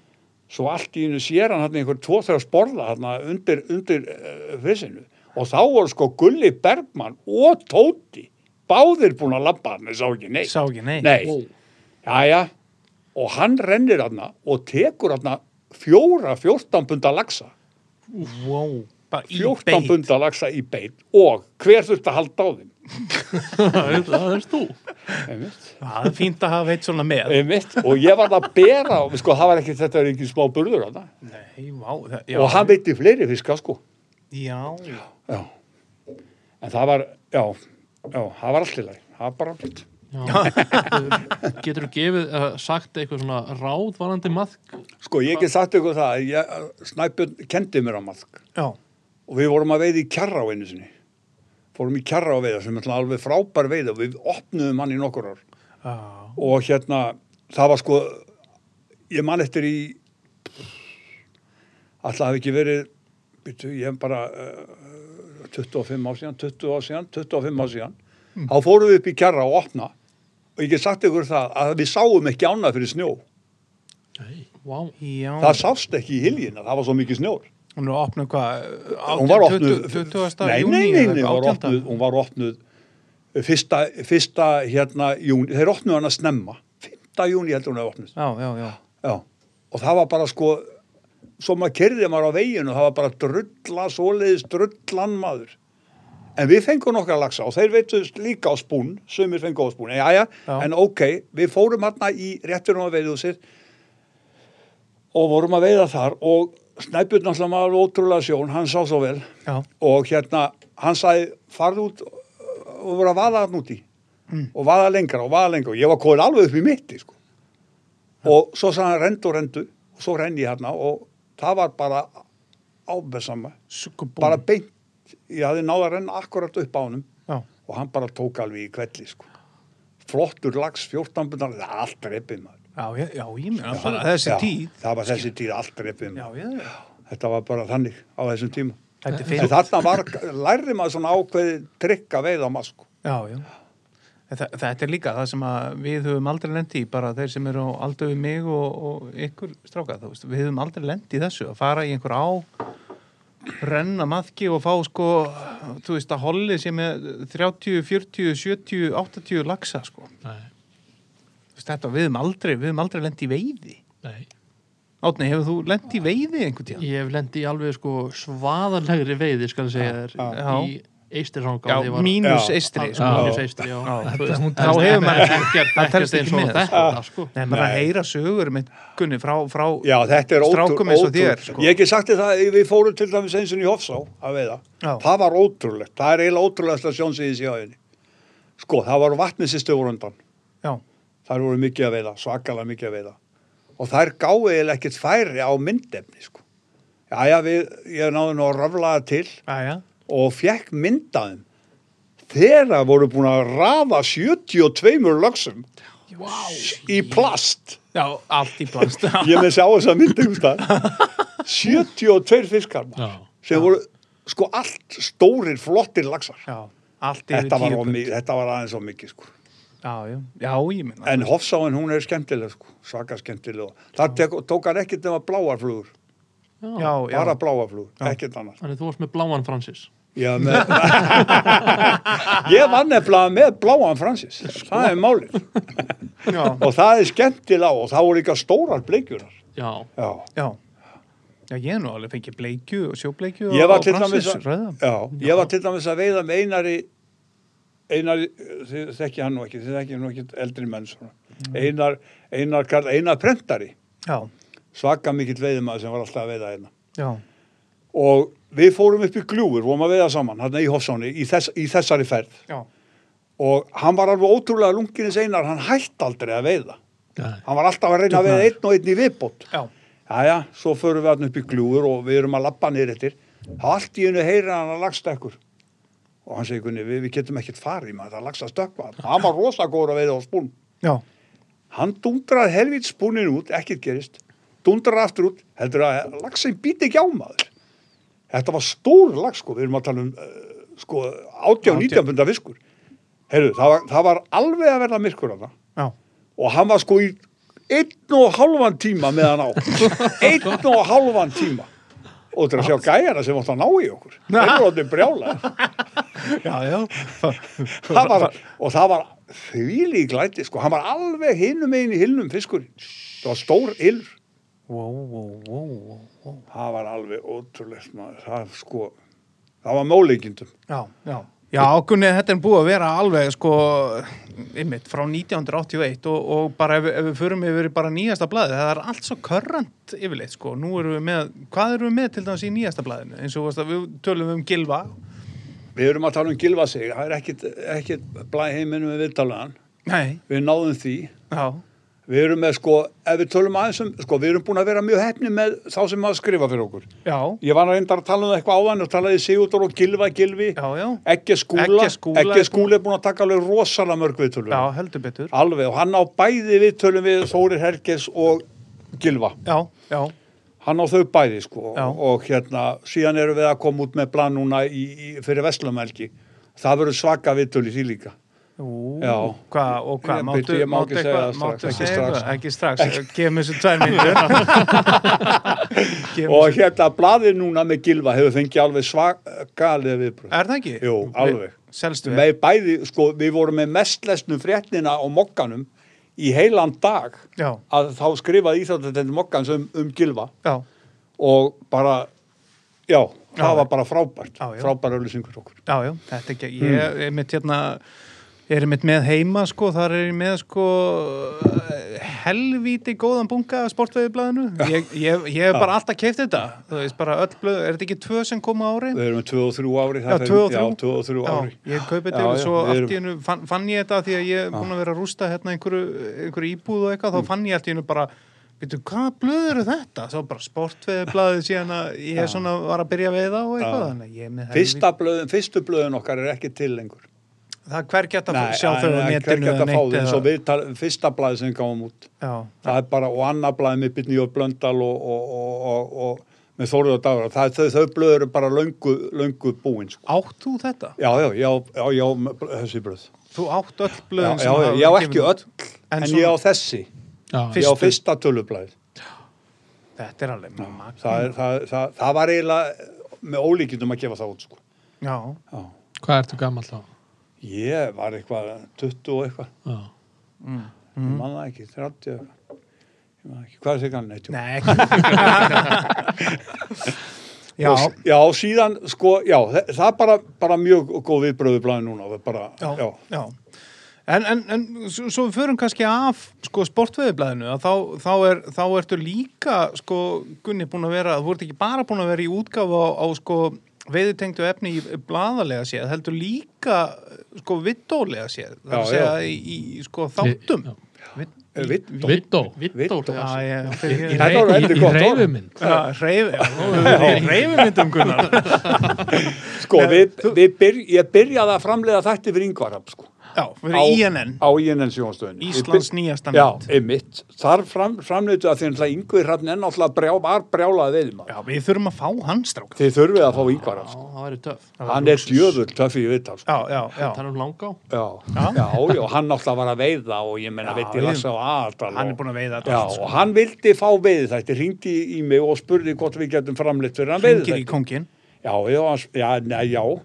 Speaker 5: svo allt í einu sér hann hann einhver tvo þegar sporða hann undir, undir uh, frissinu og þá voru sko Gulli Bergmann og Tóti báðir búin að labba hann, sá ekki neitt
Speaker 1: sá ekki, nei,
Speaker 5: Nei, jæja og hann rennir hann og tekur hann fjóra 14 punda laxa
Speaker 1: Wow, bara í
Speaker 5: 14
Speaker 1: beit.
Speaker 5: punda laxa í beit og hver þurft að halda á þeim
Speaker 3: það er þú
Speaker 5: einmitt,
Speaker 1: Það er fínt að hafa eitt svona með.
Speaker 5: einmitt. og ég var að bera á- sko það var ekki þetta er ekki smá burður hann
Speaker 1: Nei, vá, það, já,
Speaker 5: og hann veitti fleiri fiska sko
Speaker 1: já,
Speaker 5: já. en það var já, já, það var allt í lagi það var bara allt
Speaker 3: getur þú gefið, uh, sagt eitthvað svona ráðvarandi maðk
Speaker 5: sko ég get sagt ykkur það ég, snæpjörn kendi mér á maðk
Speaker 1: já,
Speaker 5: og við vorum að veiða í kjarra á einu sinni fórum í kjarra á veiða sem er alveg frábær veiða við opnuðum hann í nokkur ár
Speaker 1: já,
Speaker 5: og hérna það var sko ég man eftir í alltaf hafi ekki verið byrju, ég hef bara uh, 25 ár síðan, 20 ár síðan 25 ár síðan þá fórum við upp í kjarra og opna og ég get sagt ykkur það að við sáum ekki ánað fyrir snjó
Speaker 3: wow.
Speaker 1: já.
Speaker 5: það sást ekki í hiljina, það var svo mikið snjór
Speaker 1: Hún var opnuð hvað?
Speaker 5: hún var
Speaker 1: 18,
Speaker 5: opnuð
Speaker 1: 20.
Speaker 5: nei,
Speaker 1: júní
Speaker 5: nei,
Speaker 1: eða eitthvað,
Speaker 5: nei, nei, hún var
Speaker 1: 18..
Speaker 5: opnuð, hún var opnuð fyrsta, fyrsta hérna júni, þeir opnuð hann að snemma 5. júni heldur hún að opnuð
Speaker 1: Já, já, já.
Speaker 5: Já. og það var bara sko svo maður kerði maður á veginu það var bara drulla, svoleiðis drullan maður en við fengum nokkra laxa og þeir veitust líka á spún sumir fengu á spún, já, já,
Speaker 1: Já.
Speaker 5: en ok við fórum hérna í réttunum að veiðu sér og vorum að veiða þar og Snæbjörn náttúrulega maður ótrúlega sjón, hann sá svo vel
Speaker 1: Já,
Speaker 5: og hérna, hann sagði farðu út og voru að vaða hann úti
Speaker 1: Mm.
Speaker 5: og vaða lengra og vaða lengra og ég var kóðin alveg upp í mitti sko. og svo sagði hann rendu og rendu og svo renni ég hérna og það var bara ábessama
Speaker 1: sukkubú.
Speaker 5: bara beint, ég hafði náða að renna akkurat upp á hann
Speaker 1: Já,
Speaker 5: og hann bara tók alveg í kvelli sko. flottur lags, 14 bundar það er allt repið maður
Speaker 1: já, já, já, ég meina bara þessi
Speaker 5: Já,
Speaker 1: tíð.
Speaker 5: það var þessi tíð allt repið
Speaker 1: Já,
Speaker 5: maður
Speaker 1: já, já.
Speaker 5: þetta var bara þannig á þessum tíma
Speaker 1: Þetta er
Speaker 5: En
Speaker 1: fyrir.
Speaker 5: þarna var, lærði maður svona ákveðið trygg að veiða maður sko.
Speaker 1: Já, já. Þetta, þetta er líka það sem að við höfum aldrei lendi í, bara þeir sem eru á aldur við mig og, og ykkur stráka, þú veist, við höfum aldrei lendi í þessu, að fara í einhver á, renna maðki og fá sko, þú veist, að holli sem er 30, 40, 70, 80 laxa, sko.
Speaker 2: Nei,
Speaker 1: Þú veist, Þetta, við höfum aldrei, við höfum aldrei lendi í veiði.
Speaker 2: nei.
Speaker 1: Átni, hefur þú lendi í veiði einhvern tíðan?
Speaker 3: ég hef lendi í alveg sko svaðalegri veiði skal ég segja þér
Speaker 1: Já.
Speaker 3: í eistirranga
Speaker 1: Já, mínus
Speaker 5: Já.
Speaker 1: eistri,
Speaker 3: Sko,
Speaker 1: sko.
Speaker 2: Já.
Speaker 3: mínus eistri, já.
Speaker 1: Já.
Speaker 3: Þú
Speaker 2: Þetta- hún
Speaker 1: Þá
Speaker 2: telst-
Speaker 1: hefur maður ekki,
Speaker 3: ekkert,
Speaker 1: það
Speaker 3: ekkert
Speaker 1: telst
Speaker 3: eins
Speaker 1: ekki
Speaker 3: og
Speaker 1: með það,
Speaker 3: þetta sko.
Speaker 1: Nei, maður að heyra sögur með Gunni frá, frá
Speaker 5: Já, þetta er ótrú-
Speaker 1: Strákum eins og þér,
Speaker 5: ótrú-
Speaker 1: sko.
Speaker 5: Ég hef ekki sagt þér það, við fórum til dæmis eins og í Hofsá að veiða.
Speaker 1: Já.
Speaker 5: Það var ótrúlegt, það er eiginlega ótrúlegast að sjónsýðis í áðinni. Sko, það var vatnið sýstu voru undan.
Speaker 1: Já,
Speaker 5: Þær voru mikið að veiða, svakalega mikið að veiða. Og þær gáði eiginlega ekkert færi á myndefni, sko. Jæja, við, ég náði nú að raflaða til
Speaker 1: aðja,
Speaker 5: og fekk myndaðum. Þeirra voru búin að rafa 72 lögsum í plast.
Speaker 1: já, allt í plast
Speaker 5: ég með þessi á þess að mynda einhvers staðar. 72 fiskar maður,
Speaker 2: Já.
Speaker 5: sem voru sko allt stórir flottir laxar
Speaker 1: Já, allt yfir
Speaker 5: þetta var,
Speaker 1: tíu
Speaker 5: of mikið, þetta var aðeins á mikið sko.
Speaker 1: Já, já, já, ég minna
Speaker 5: en Hofsáin hún er skemmtileg sko, svaka skemmtileg og það tek, tók hann ekkert nema bláarflugur
Speaker 1: Já, já,
Speaker 5: bara bláarflugur, ekkert annars
Speaker 3: Þannig þú varst með bláan Francis
Speaker 5: Já, með, ég var nefnilega með bláan Francis það er málið
Speaker 1: já,
Speaker 5: og það er skemmtilega og það voru líka stórar bleikjurar
Speaker 3: Já,
Speaker 5: já
Speaker 1: já Já, ég hef nú alveg fengið bleikju og sjóbleikju
Speaker 5: ég var
Speaker 1: og
Speaker 5: til dæmis
Speaker 1: Francis
Speaker 5: að,
Speaker 1: rauða.
Speaker 5: já, ég var til dæmis að veiða með einari einari, þið þekki hann nú ekki þið þekki nú ekki eldri menn svona Einar, Einar, Karl, Einar Prentari
Speaker 1: já,
Speaker 5: svaka mikill veiðimaður sem var alltaf að veiða hérna
Speaker 1: já,
Speaker 5: og við fórum upp í gljúfur, vorum að veiða saman hérna í Hofsáni, í, þess, í þessari ferð
Speaker 1: já,
Speaker 5: og hann var alveg ótrúlega lunginins Einar, hann hætti aldrei að veiða
Speaker 2: Já.
Speaker 5: hann var alltaf að reyna að veiða einn og einn í viðbót
Speaker 1: já,
Speaker 5: Jæja, svo förum við hann upp í gljúfur og við erum að labba niður eftir. Það allt í hennu heyra hann að lagsta ekkur. Og hann segir, Gunni, við, við getum ekkert farið, maður, það er lagsta stökkva. Hann var rosa góður að veiða á spún.
Speaker 1: já,
Speaker 5: Hann dundraði helvít spúnin út, ekkert gerist. Dundraði aftur út, heldur að lagsin býti ekki á maður. Þetta var stór lags, sko, við erum að tala um, uh, sko, 80-90 punda fiskur. Heyrðu, það var, það var alveg að verða myrkur af það
Speaker 1: já,
Speaker 5: og hann var sko í einn og halvan tíma með hann á einn og halvan tíma og þetta er að sjá gæjana sem átt að ná í okkur þeir eru allir brjála
Speaker 1: já, já,
Speaker 5: var, og það var þvíli glæti sko, hann var alveg hinum einn í hinnum fiskurinn, það var stór illur
Speaker 1: wow, wow, wow, wow, wow,
Speaker 5: það var alveg ótrúlegt maður það sko, það var málíkindum
Speaker 1: já, já. Já, Gunni, þetta er búið að vera alveg, sko, ymmit, frá 1981 og, og bara ef, ef við förum yfir í bara nýjasta blaði, það er allt svo körrant yfirleitt, sko. Nú erum við með, hvað erum við með til dæmis í nýjasta blaðinu? Eins og þú veist að við tölum um Gilva.
Speaker 5: við erum að tala um Gilva sig það er ekkit, ekkit blæ um heiminum við viðtalaðan
Speaker 1: Nei,
Speaker 5: við náðum því
Speaker 1: já,
Speaker 5: Við erum með sko, ef við tölum aðeins um, sko við erum búin að vera mjög hefni með þá sem að skrifa fyrir okkur.
Speaker 1: já,
Speaker 5: Ég var að reynda að tala um það eitthvað áðan og talaði Sigurður og Gilva Gilvi,
Speaker 1: já, já,
Speaker 5: ekki skúla,
Speaker 1: Egge Skúla er
Speaker 5: ekki skúla er búin að taka alveg rosalega mörg viðtölum.
Speaker 1: já, heldur betur.
Speaker 5: Alveg og hann á bæði viðtölum við Þórir Herkes og Gilva.
Speaker 1: Já, já,
Speaker 5: Hann á þau bæði sko
Speaker 1: Já.
Speaker 5: og hérna síðan erum við að koma út með plan núna í, í, fyrir Vestlumelgi. Það verður svaka viðtöl í því líka.
Speaker 1: Ú,
Speaker 5: Já.
Speaker 1: Hvað, og hvað,
Speaker 5: Ég-
Speaker 1: máttu,
Speaker 5: Birgir, ég má
Speaker 1: máttu
Speaker 5: ekki segja
Speaker 1: eitthvað,
Speaker 5: það strax,
Speaker 1: máttu
Speaker 5: ekki
Speaker 1: segja
Speaker 5: strax.
Speaker 1: eitthvað, ekki strax, gefum þessu tvær mínútur. Gefum
Speaker 5: Og
Speaker 1: þessu-
Speaker 5: hérna blaðið núna með Gilva hefur fengið alveg svakalega viðbröð.
Speaker 1: Er það ekki?
Speaker 5: Jú, alveg.
Speaker 1: Selstu
Speaker 5: með bæði, sko, við vorum með mestlesnum fréttina á mokkanum í heilan dag
Speaker 1: Já,
Speaker 5: að þá skrifaði Íþjóttatend mokkans um, um Gilva
Speaker 1: já,
Speaker 5: og bara, já, það
Speaker 1: Já.
Speaker 5: var bara frábært,
Speaker 1: Já, já.
Speaker 5: frábæra auðlýsingur okkur.
Speaker 1: já, já, þetta ekki,
Speaker 5: Mm.
Speaker 1: ég er mitt hérna, ég er mitt með heima, sko, þar er ég með, sko, helvíti góðan bunga af sportveðiblaðinu. Ég, ég, ég hef bara alltaf keift þetta, þú veist, bara öll blöð, er þetta ekki tvö sem koma árið?
Speaker 5: Við erum með 2 og 3 ári,
Speaker 1: Já,
Speaker 5: það fer-
Speaker 1: tvö og þrjú.
Speaker 5: já, 2 og 3
Speaker 1: Já,
Speaker 5: ári.
Speaker 1: ég kaupi
Speaker 5: Já,
Speaker 1: þetta og
Speaker 5: já,
Speaker 1: svo
Speaker 5: við
Speaker 1: allt
Speaker 5: erum-
Speaker 1: í hennu fann, fann ég þetta af því að ég er búin að vera að rústa hérna einhverju, einhverju íbúð og
Speaker 5: Mm.
Speaker 1: eitthvað, þá fann ég allt í hennu bara veitu, hvaða blöð eru þetta? Svo bara sportveðblaðið síðan að ég er svona var að byrja að veiða og eitthvað, þannig að ég er með helvíti-
Speaker 5: Fyrsta blöðin, fyrstu blöðin okkar er ekki til lengur.
Speaker 1: það er hvergi hægt að fá- sjá þau á
Speaker 5: það er
Speaker 1: netinu
Speaker 5: ekki að
Speaker 1: eða
Speaker 5: fá
Speaker 1: neitt
Speaker 5: því eins og
Speaker 1: eða-
Speaker 5: við tala, fyrsta blaði sem við gáum út.
Speaker 1: Já,
Speaker 5: það er bara, og annar blæði með Byrni og Blöndal og, og, og, og, og með Þórið og Dagur, það, þau, þau blöð eru bara löngu, löngu búin, sko.
Speaker 1: átt þú þetta?
Speaker 5: Já, já, já, já, já, m- þessi blöð.
Speaker 1: Þú átt öll
Speaker 5: Já,
Speaker 1: blöðin
Speaker 5: já,
Speaker 1: sem
Speaker 5: já,
Speaker 1: hafa
Speaker 5: já,
Speaker 1: verið
Speaker 5: ekki
Speaker 1: gefin út.
Speaker 5: öll, en, ég á
Speaker 1: svona-
Speaker 5: þessi,
Speaker 2: Já.
Speaker 5: ég
Speaker 1: Fyrstu.
Speaker 5: á fyrsta tölublæði.
Speaker 1: Þetta er alveg magt.
Speaker 5: Það, er- það, það, það var eiginlega með ólíkindum að gefa það út, sko.
Speaker 1: Já,
Speaker 5: Já.
Speaker 2: Hvað ertu gammal þá?
Speaker 5: Ég var eitthvað, 20 og eitthvað,
Speaker 2: Já.
Speaker 1: Mm.
Speaker 5: ég man það ekki, 30 og eitthvað. Ég man það ekki, hvað er þetta ganni?
Speaker 1: nei, ekki. já,
Speaker 5: Og, já, síðan, sko, já, þa- það er bara, bara mjög góð viðbröðu blæði núna, það er bara,
Speaker 1: já,
Speaker 5: já.
Speaker 1: já. En, en, en svo, svo við förum kannski af sko, sportveðiblaðinu að þá, þá, er, þá ertu líka sko, Gunni búin að vera, þú ert ekki bara búin að vera í útgáfa á, á sko, veiðutengdu efni í blaðalega séð, heldur líka sko, vittólega séð, það er að
Speaker 5: Já,
Speaker 1: segja
Speaker 5: já.
Speaker 1: í, í sko, þáttum.
Speaker 2: Já.
Speaker 5: Eh, Viddó.
Speaker 2: Vittó.
Speaker 5: Viddó.
Speaker 3: Vittór,
Speaker 1: Já,
Speaker 3: já,
Speaker 1: ég,
Speaker 2: Í,
Speaker 1: fyrir, hérna-
Speaker 2: í,
Speaker 5: Þetta var
Speaker 2: rei- í,
Speaker 5: heldur
Speaker 2: í
Speaker 5: gott orð.
Speaker 2: reyfumynd.
Speaker 1: Já, reyfi, já, reyfimyndum Gunnar
Speaker 5: Sko, við, við byr, ég byrjaði að framleiða þætti fyrir Ingvarab, sko.
Speaker 1: Já, við erum INN
Speaker 5: Á INN sjónstöðinni.
Speaker 1: Íslands nýjasta
Speaker 5: Já,
Speaker 1: mynd.
Speaker 5: einmitt. Þar fram, framleiðu að því að Ingvar Hrafn enn alltaf brjá, var brjálaði veðum.
Speaker 1: Já, við þurfum að fá hann strákar
Speaker 5: Þið þurfið að fá Ingvarab, sko.
Speaker 3: það væri töff
Speaker 5: Hann er djöfull töffi í viðtal, sko.
Speaker 1: Já, já, já
Speaker 3: Það er um langá
Speaker 5: Já, já, já, hann alltaf var að veiða og ég menna
Speaker 1: Já,
Speaker 5: veit ég
Speaker 1: við-
Speaker 5: lasa á aðal. og-
Speaker 1: Hann er búin að veiða þetta
Speaker 5: Já,
Speaker 1: allt, sko.
Speaker 5: og hann vildi fá veið þetta, hringdi í mig og spurði hvort við getum framleitt fyrir hann veið
Speaker 1: Hringir í kongin
Speaker 5: Já, já, hans- já, ne, já. Og,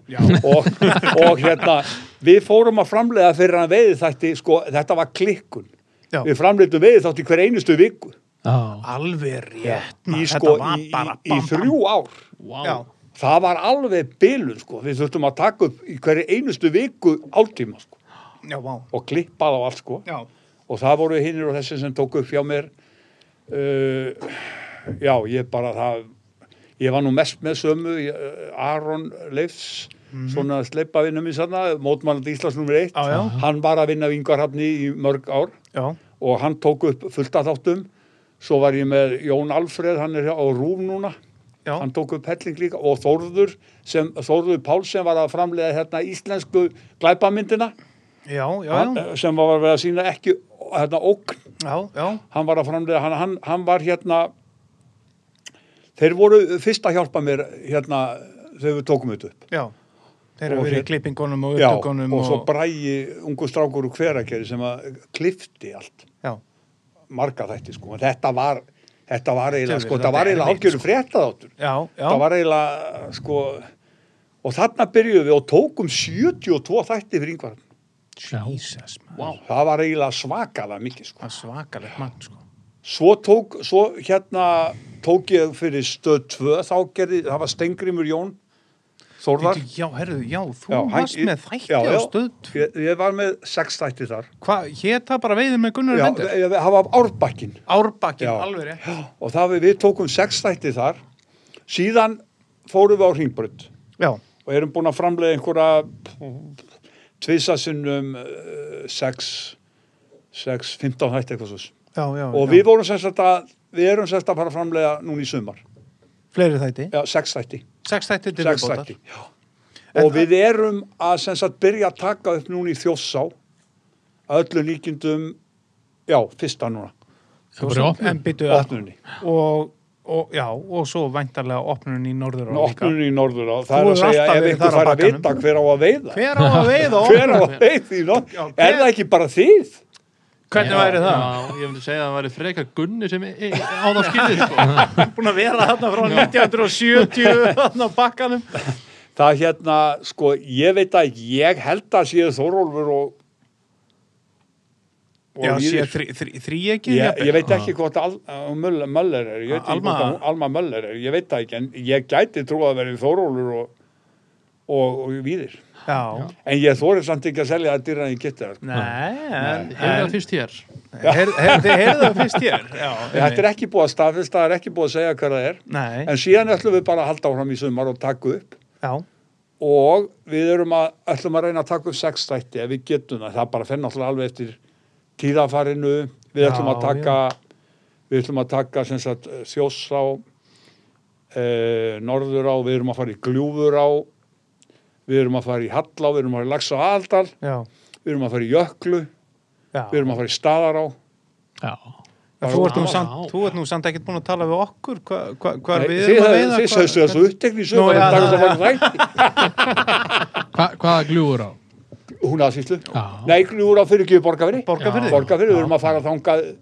Speaker 5: og hérna, við fórum að framleiða fyrir hann veiði þætti, sko, þetta var klikkun.
Speaker 1: Já.
Speaker 5: Við framleiðum veiði þátti hver einustu viku.
Speaker 2: Já.
Speaker 1: Alveg rétt
Speaker 5: í,
Speaker 1: maður,
Speaker 5: sko,
Speaker 1: Þetta var
Speaker 5: í,
Speaker 1: bara
Speaker 5: í, í þrjú ár.
Speaker 1: Já,
Speaker 3: wow.
Speaker 5: Það var alveg bylun, sko. Við þurftum að taka upp í hverju einustu viku áltíma, sko.
Speaker 1: já, vá
Speaker 5: Og klippa það á allt, sko.
Speaker 1: Já,
Speaker 5: og það voru hinnir og þessi sem tók upp hjá mér uh, já, ég bara það ég var nú mest með sömu ég, eh, Aron Leifs svona sleipavinnu minn sanna, mótmannandi Íslands nummer eitt,
Speaker 1: Mhm. Já, já.
Speaker 5: hann var að vinna vingarhafni í mörg ár
Speaker 1: já,
Speaker 5: og hann tók upp fullt að þáttum svo var ég með Jón Alfreð hann er á Rúm núna
Speaker 1: já,
Speaker 5: hann tók upp helling líka og Þórður sem, Þórður Pál sem var að framlega hérna íslensku glæpamyndina
Speaker 1: já, já,
Speaker 5: hann, eh,
Speaker 1: já,
Speaker 5: sem var að vera að sína ekki hérna ógn,
Speaker 1: já, já,
Speaker 5: hann var að framlega hann, hann, hann var hérna þeir voru fyrst að hjálpa mér hérna þegar við tókum þetta upp
Speaker 1: já. Þeir
Speaker 5: Og
Speaker 1: eru verið í
Speaker 5: hér-
Speaker 1: klippingunum og
Speaker 5: Já,
Speaker 1: upptökunum
Speaker 5: og svo bræði ungu strákur úr hverakeri sem að klifti allt
Speaker 1: Já,
Speaker 5: marga þætti sko, en þetta var þetta var eiginlega,
Speaker 1: Þetta
Speaker 5: sko,
Speaker 1: er-
Speaker 5: þetta var
Speaker 1: þetta er
Speaker 5: eiginlega
Speaker 1: erfitt,
Speaker 5: hálfgjörðu fréttaðáttur
Speaker 1: já, já,
Speaker 5: þetta var eiginlega, sko og þarna byrjuðum við og tókum 72 þætti fyrir yngvar
Speaker 1: Jesus, maður.
Speaker 5: það var eiginlega svakalega mikið, sko
Speaker 1: Það er svakalegt mann, sko.
Speaker 5: svo tók, svo hérna tók ég fyrir stöð 2 þá gerði, það var Stengrimur Jón Þórðar
Speaker 1: Bíddu, Já, herruðu, já, þú
Speaker 5: Já, hann-
Speaker 1: varst með þætti
Speaker 5: já,
Speaker 1: á
Speaker 5: já.
Speaker 1: stöð.
Speaker 5: ég, ég var með sex þætti þar
Speaker 1: Hvað, hér það bara veiðið með Gunnar
Speaker 5: já,
Speaker 1: Vendur?
Speaker 5: ég- það var Árbakkin
Speaker 1: Árbakkin,
Speaker 5: Já.
Speaker 1: alveg rétt.
Speaker 5: og það við, við tókum sex þætti þar síðan fórum við á Hringbrönd
Speaker 1: Já,
Speaker 5: og erum búin að framlega einhverja tvisasinnum uh, sex, sex, 15 hætti eitthvað svo.
Speaker 1: já, já.
Speaker 5: Og
Speaker 1: já.
Speaker 5: við vorum sérst að, við erum sérst að fara að framlega núna í sumar.
Speaker 1: Fleiri þætti.
Speaker 5: Já, sex hætti.
Speaker 1: Sex þætti til
Speaker 5: Sex
Speaker 1: viðbótar.
Speaker 5: hætti, já.
Speaker 1: En
Speaker 5: og við erum að sérst að byrja að taka upp núna í þjóssá að öllu líkindum, já, fyrsta núna,
Speaker 1: Svo
Speaker 2: bara
Speaker 1: sem-
Speaker 2: opnun.
Speaker 1: En byttu
Speaker 5: opnunni.
Speaker 1: og, og já, og svo væntarlega opnun í norður
Speaker 5: Nú, Opnunni í
Speaker 1: Þú
Speaker 5: norður á. Það er að
Speaker 1: hefur
Speaker 5: segja
Speaker 1: alltaf
Speaker 5: ef
Speaker 1: verið þar
Speaker 5: einhver
Speaker 1: á
Speaker 5: fær að
Speaker 1: bakkanum.
Speaker 5: vita hver á að veiða.
Speaker 1: Hver
Speaker 5: Hver,
Speaker 1: á að veiða
Speaker 5: á
Speaker 1: opnun?
Speaker 5: að veiða í norður?
Speaker 1: Já, hver-
Speaker 5: Er það ekki bara þið?
Speaker 1: Hvernig væri það?
Speaker 3: Já, ég myndi segja að það væri frekar gunni sem e, e, á það skilið sko.
Speaker 1: Búin að vera þarna frá 1970 þarna á bakkanum.
Speaker 5: það hérna, sko, ég veit að ég held að séu Þórólfur og, og
Speaker 1: Já, sé
Speaker 5: Íris.
Speaker 1: þrý- þrý- þríeykið,
Speaker 5: ég,
Speaker 1: um jafnvel.
Speaker 5: ég veit ekki hvort Al, uh, Möll- Möller er, ég veit ekki
Speaker 1: Ah. Alma-
Speaker 5: hvort hún- Alma Möller er, ég veit það ekki, en ég gæti trú að verið Þórólfur og, og, og Víðir.
Speaker 1: Já,
Speaker 5: En ég þórið samt ekki að selja það dýra en ég geti það. sko.
Speaker 1: nei, en,
Speaker 3: Hefur það
Speaker 1: en
Speaker 3: fyrst hér?
Speaker 1: Her- her- Þið heyrðu það fyrst hér já,
Speaker 5: Þetta er ekki búið að staðfist, það er ekki búið að segja hver það er.
Speaker 1: Nei,
Speaker 5: En síðan ætlum við bara að halda áfram í sumar og taka upp.
Speaker 1: já,
Speaker 5: og við erum að, ætlum að reyna að taka upp sex þætti ef við getum það, það bara fenn náttúrulega alveg eftir tíðafarinu, við
Speaker 1: Já,
Speaker 5: ætlum að taka við ætlum að taka sem sagt eh, þjósá e, norður á, við erum að fara í gljúfur á við erum að fara í hallá, við erum að fara í lagsa aðaldal
Speaker 1: já,
Speaker 5: við erum að fara í jöklu,
Speaker 1: já.
Speaker 5: við erum að fara í staðará
Speaker 2: Já.
Speaker 1: En Þú ert, nú
Speaker 3: Já.
Speaker 1: samt, þú ert nú samt ekkert búin að tala við okkur hva, hva, hvað
Speaker 5: Nei,
Speaker 1: við
Speaker 5: þið
Speaker 1: erum að
Speaker 5: hafið-
Speaker 1: veiða
Speaker 5: þið
Speaker 1: hvað-
Speaker 5: sagðist þessu upptekni í
Speaker 1: Nú,
Speaker 5: sögum
Speaker 1: já,
Speaker 5: dag
Speaker 1: það-
Speaker 5: sem var þætti,
Speaker 2: Hva, hvaða gljúur á?
Speaker 5: hún aðsýslu
Speaker 2: Já.
Speaker 5: nei, gljúfur á fyrir ekki borgarfyrir
Speaker 1: Borgarfirði?
Speaker 5: Borgarfyrði, við erum að fara þangað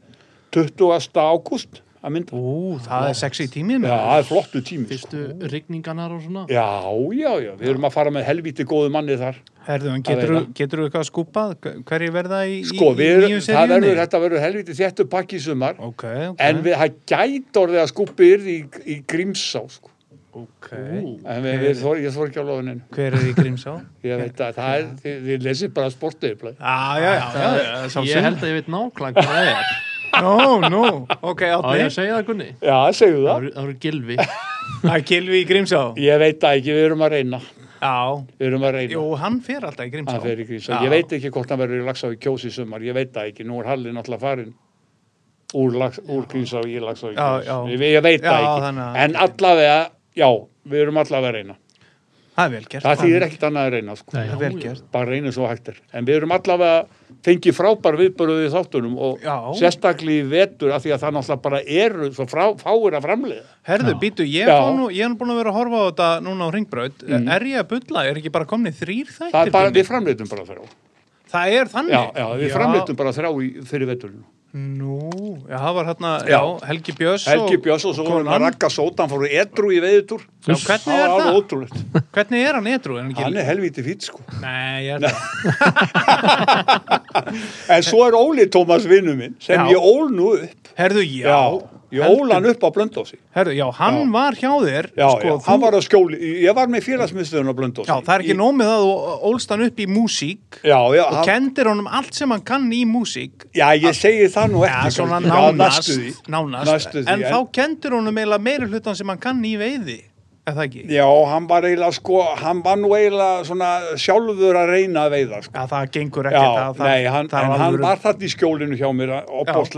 Speaker 5: 20. ágúst að mynda.
Speaker 1: Ú, það er sexy í tíminu
Speaker 5: Já, það er flottu tími. sko.
Speaker 3: Fyrstu rigninganar og svona?
Speaker 5: Já, já, já, við erum að fara með helviti góðu manni þar.
Speaker 1: Herðu, en
Speaker 5: Það er
Speaker 1: getur,
Speaker 5: það.
Speaker 1: getur þú eitthvað skúpað? Hverju verða í,
Speaker 5: Sko,
Speaker 1: í,
Speaker 5: við,
Speaker 1: í nýju
Speaker 5: það
Speaker 1: seríunni?
Speaker 5: verður, þetta verður helviti þéttu pakki í sumar,
Speaker 1: Ok, ok
Speaker 5: en við, það gæti orðið að skúpi yrði í, í Grímsá, sko.
Speaker 1: okay.
Speaker 5: En við, við, þor, ég þor ekki á loðuninu.
Speaker 1: Hver er í Grímsá?
Speaker 5: Ég veit að það er, þið, þið lesið bara
Speaker 1: Já,
Speaker 5: sportið,
Speaker 1: já, já, já, já
Speaker 3: Ég held að ég veit nákvæmlega hvað það er.
Speaker 1: Nó, nó, ok,
Speaker 3: Á ég að
Speaker 1: átni
Speaker 3: segja það Gunni?
Speaker 5: Já,
Speaker 3: Það
Speaker 5: segðu það.
Speaker 3: voru- það voru gilvi.
Speaker 1: Það er Kilvi í Grímsá
Speaker 5: Ég veit að ekki, við erum að reyna.
Speaker 1: Já,
Speaker 5: Við erum að reyna.
Speaker 1: jú, hann fer alltaf í Grímsá
Speaker 5: Hann fer í Grímsá.
Speaker 1: Já.
Speaker 5: Ég veit ekki hvort hann verður í Laxavík kjósi í sumar, ég veit það ekki. Nú er Hallin alltaf farin úr, Lax, úr Grímsá í Laxavík
Speaker 1: Já,
Speaker 5: kjós.
Speaker 1: já.
Speaker 5: Ég, ég veit
Speaker 1: Já,
Speaker 5: það ekki.
Speaker 1: þannig að-
Speaker 5: En allavega, já, við erum allavega að reyna.
Speaker 1: Það er vel gert
Speaker 5: Það þýðir ekkit annað að reyna, sko.
Speaker 1: Það er vel gert
Speaker 5: Bara reyna svo hægt er. En við erum allavega fengið frábær viðbörðuð í þáttunum og
Speaker 1: Já.
Speaker 5: sérstaklega í vetur af því að það náttúrulega bara eru svo frá, fáir að framleiða.
Speaker 1: Herðu, býtu, ég,
Speaker 5: Já. Mhm.
Speaker 1: fór nú, ég er búin að vera að horfa á þetta núna á ringbraut Er ég að bulla? Er ekki bara komni þrýr þættir?
Speaker 5: Það er bara,
Speaker 1: Gunni?
Speaker 5: við framleitum bara þrjá.
Speaker 1: það er þannig?
Speaker 5: Já, já, við framleitum bara þrjá í, fyrir veturinn.
Speaker 1: Nú, já, það var hérna, já,
Speaker 5: Já.
Speaker 1: Helgi Björns
Speaker 5: Helgi Björns og svo vorum við að rakka sótan fóru edru í veðutúr.
Speaker 1: Já, hvernig
Speaker 5: Það
Speaker 1: er
Speaker 5: var
Speaker 1: það?
Speaker 5: alveg ótrúlegt.
Speaker 1: Hvernig er hann edru? Er hann
Speaker 5: Hann
Speaker 1: ekki...
Speaker 5: er helviti fýtt sko.
Speaker 1: Nei, ég er það
Speaker 5: En svo er Óli Tómas vinnu minn sem
Speaker 1: Já.
Speaker 5: ég ól nú upp.
Speaker 1: Herðu, já,
Speaker 5: Já. Ég óla hann upp á blöndósi.
Speaker 1: Herðu, já, hann
Speaker 5: Já.
Speaker 1: var hjá þér
Speaker 5: Já,
Speaker 1: sko,
Speaker 5: já, hann var á skjóli, ég var með félagsmyndstöðun á blöndósi.
Speaker 1: já, það er ekki
Speaker 5: Í-
Speaker 1: nómið að þú ólst hann upp í músík
Speaker 5: Já, já,
Speaker 1: og
Speaker 5: hann,
Speaker 1: kendir honum allt sem hann kann í músík
Speaker 5: já, ég segi það nú
Speaker 1: Já,
Speaker 5: ekki.
Speaker 1: svona
Speaker 5: kannski.
Speaker 1: nánast,
Speaker 5: næstu því.
Speaker 1: nánast,
Speaker 5: Næstu því,
Speaker 1: en þá kendur honum eiginlega meiri hlutan sem hann kann í veiði, er það ekki?
Speaker 5: Já, hann var eiginlega sko, hann var nú eiginlega svona sjálfur að reyna að veiða sko.
Speaker 1: Já, það gengur
Speaker 5: Já,
Speaker 1: ekki það, það,
Speaker 5: nei, hann,
Speaker 1: það
Speaker 5: en
Speaker 1: er
Speaker 5: hann
Speaker 1: alvöru-
Speaker 5: var þarna í skjólinu hjá mér,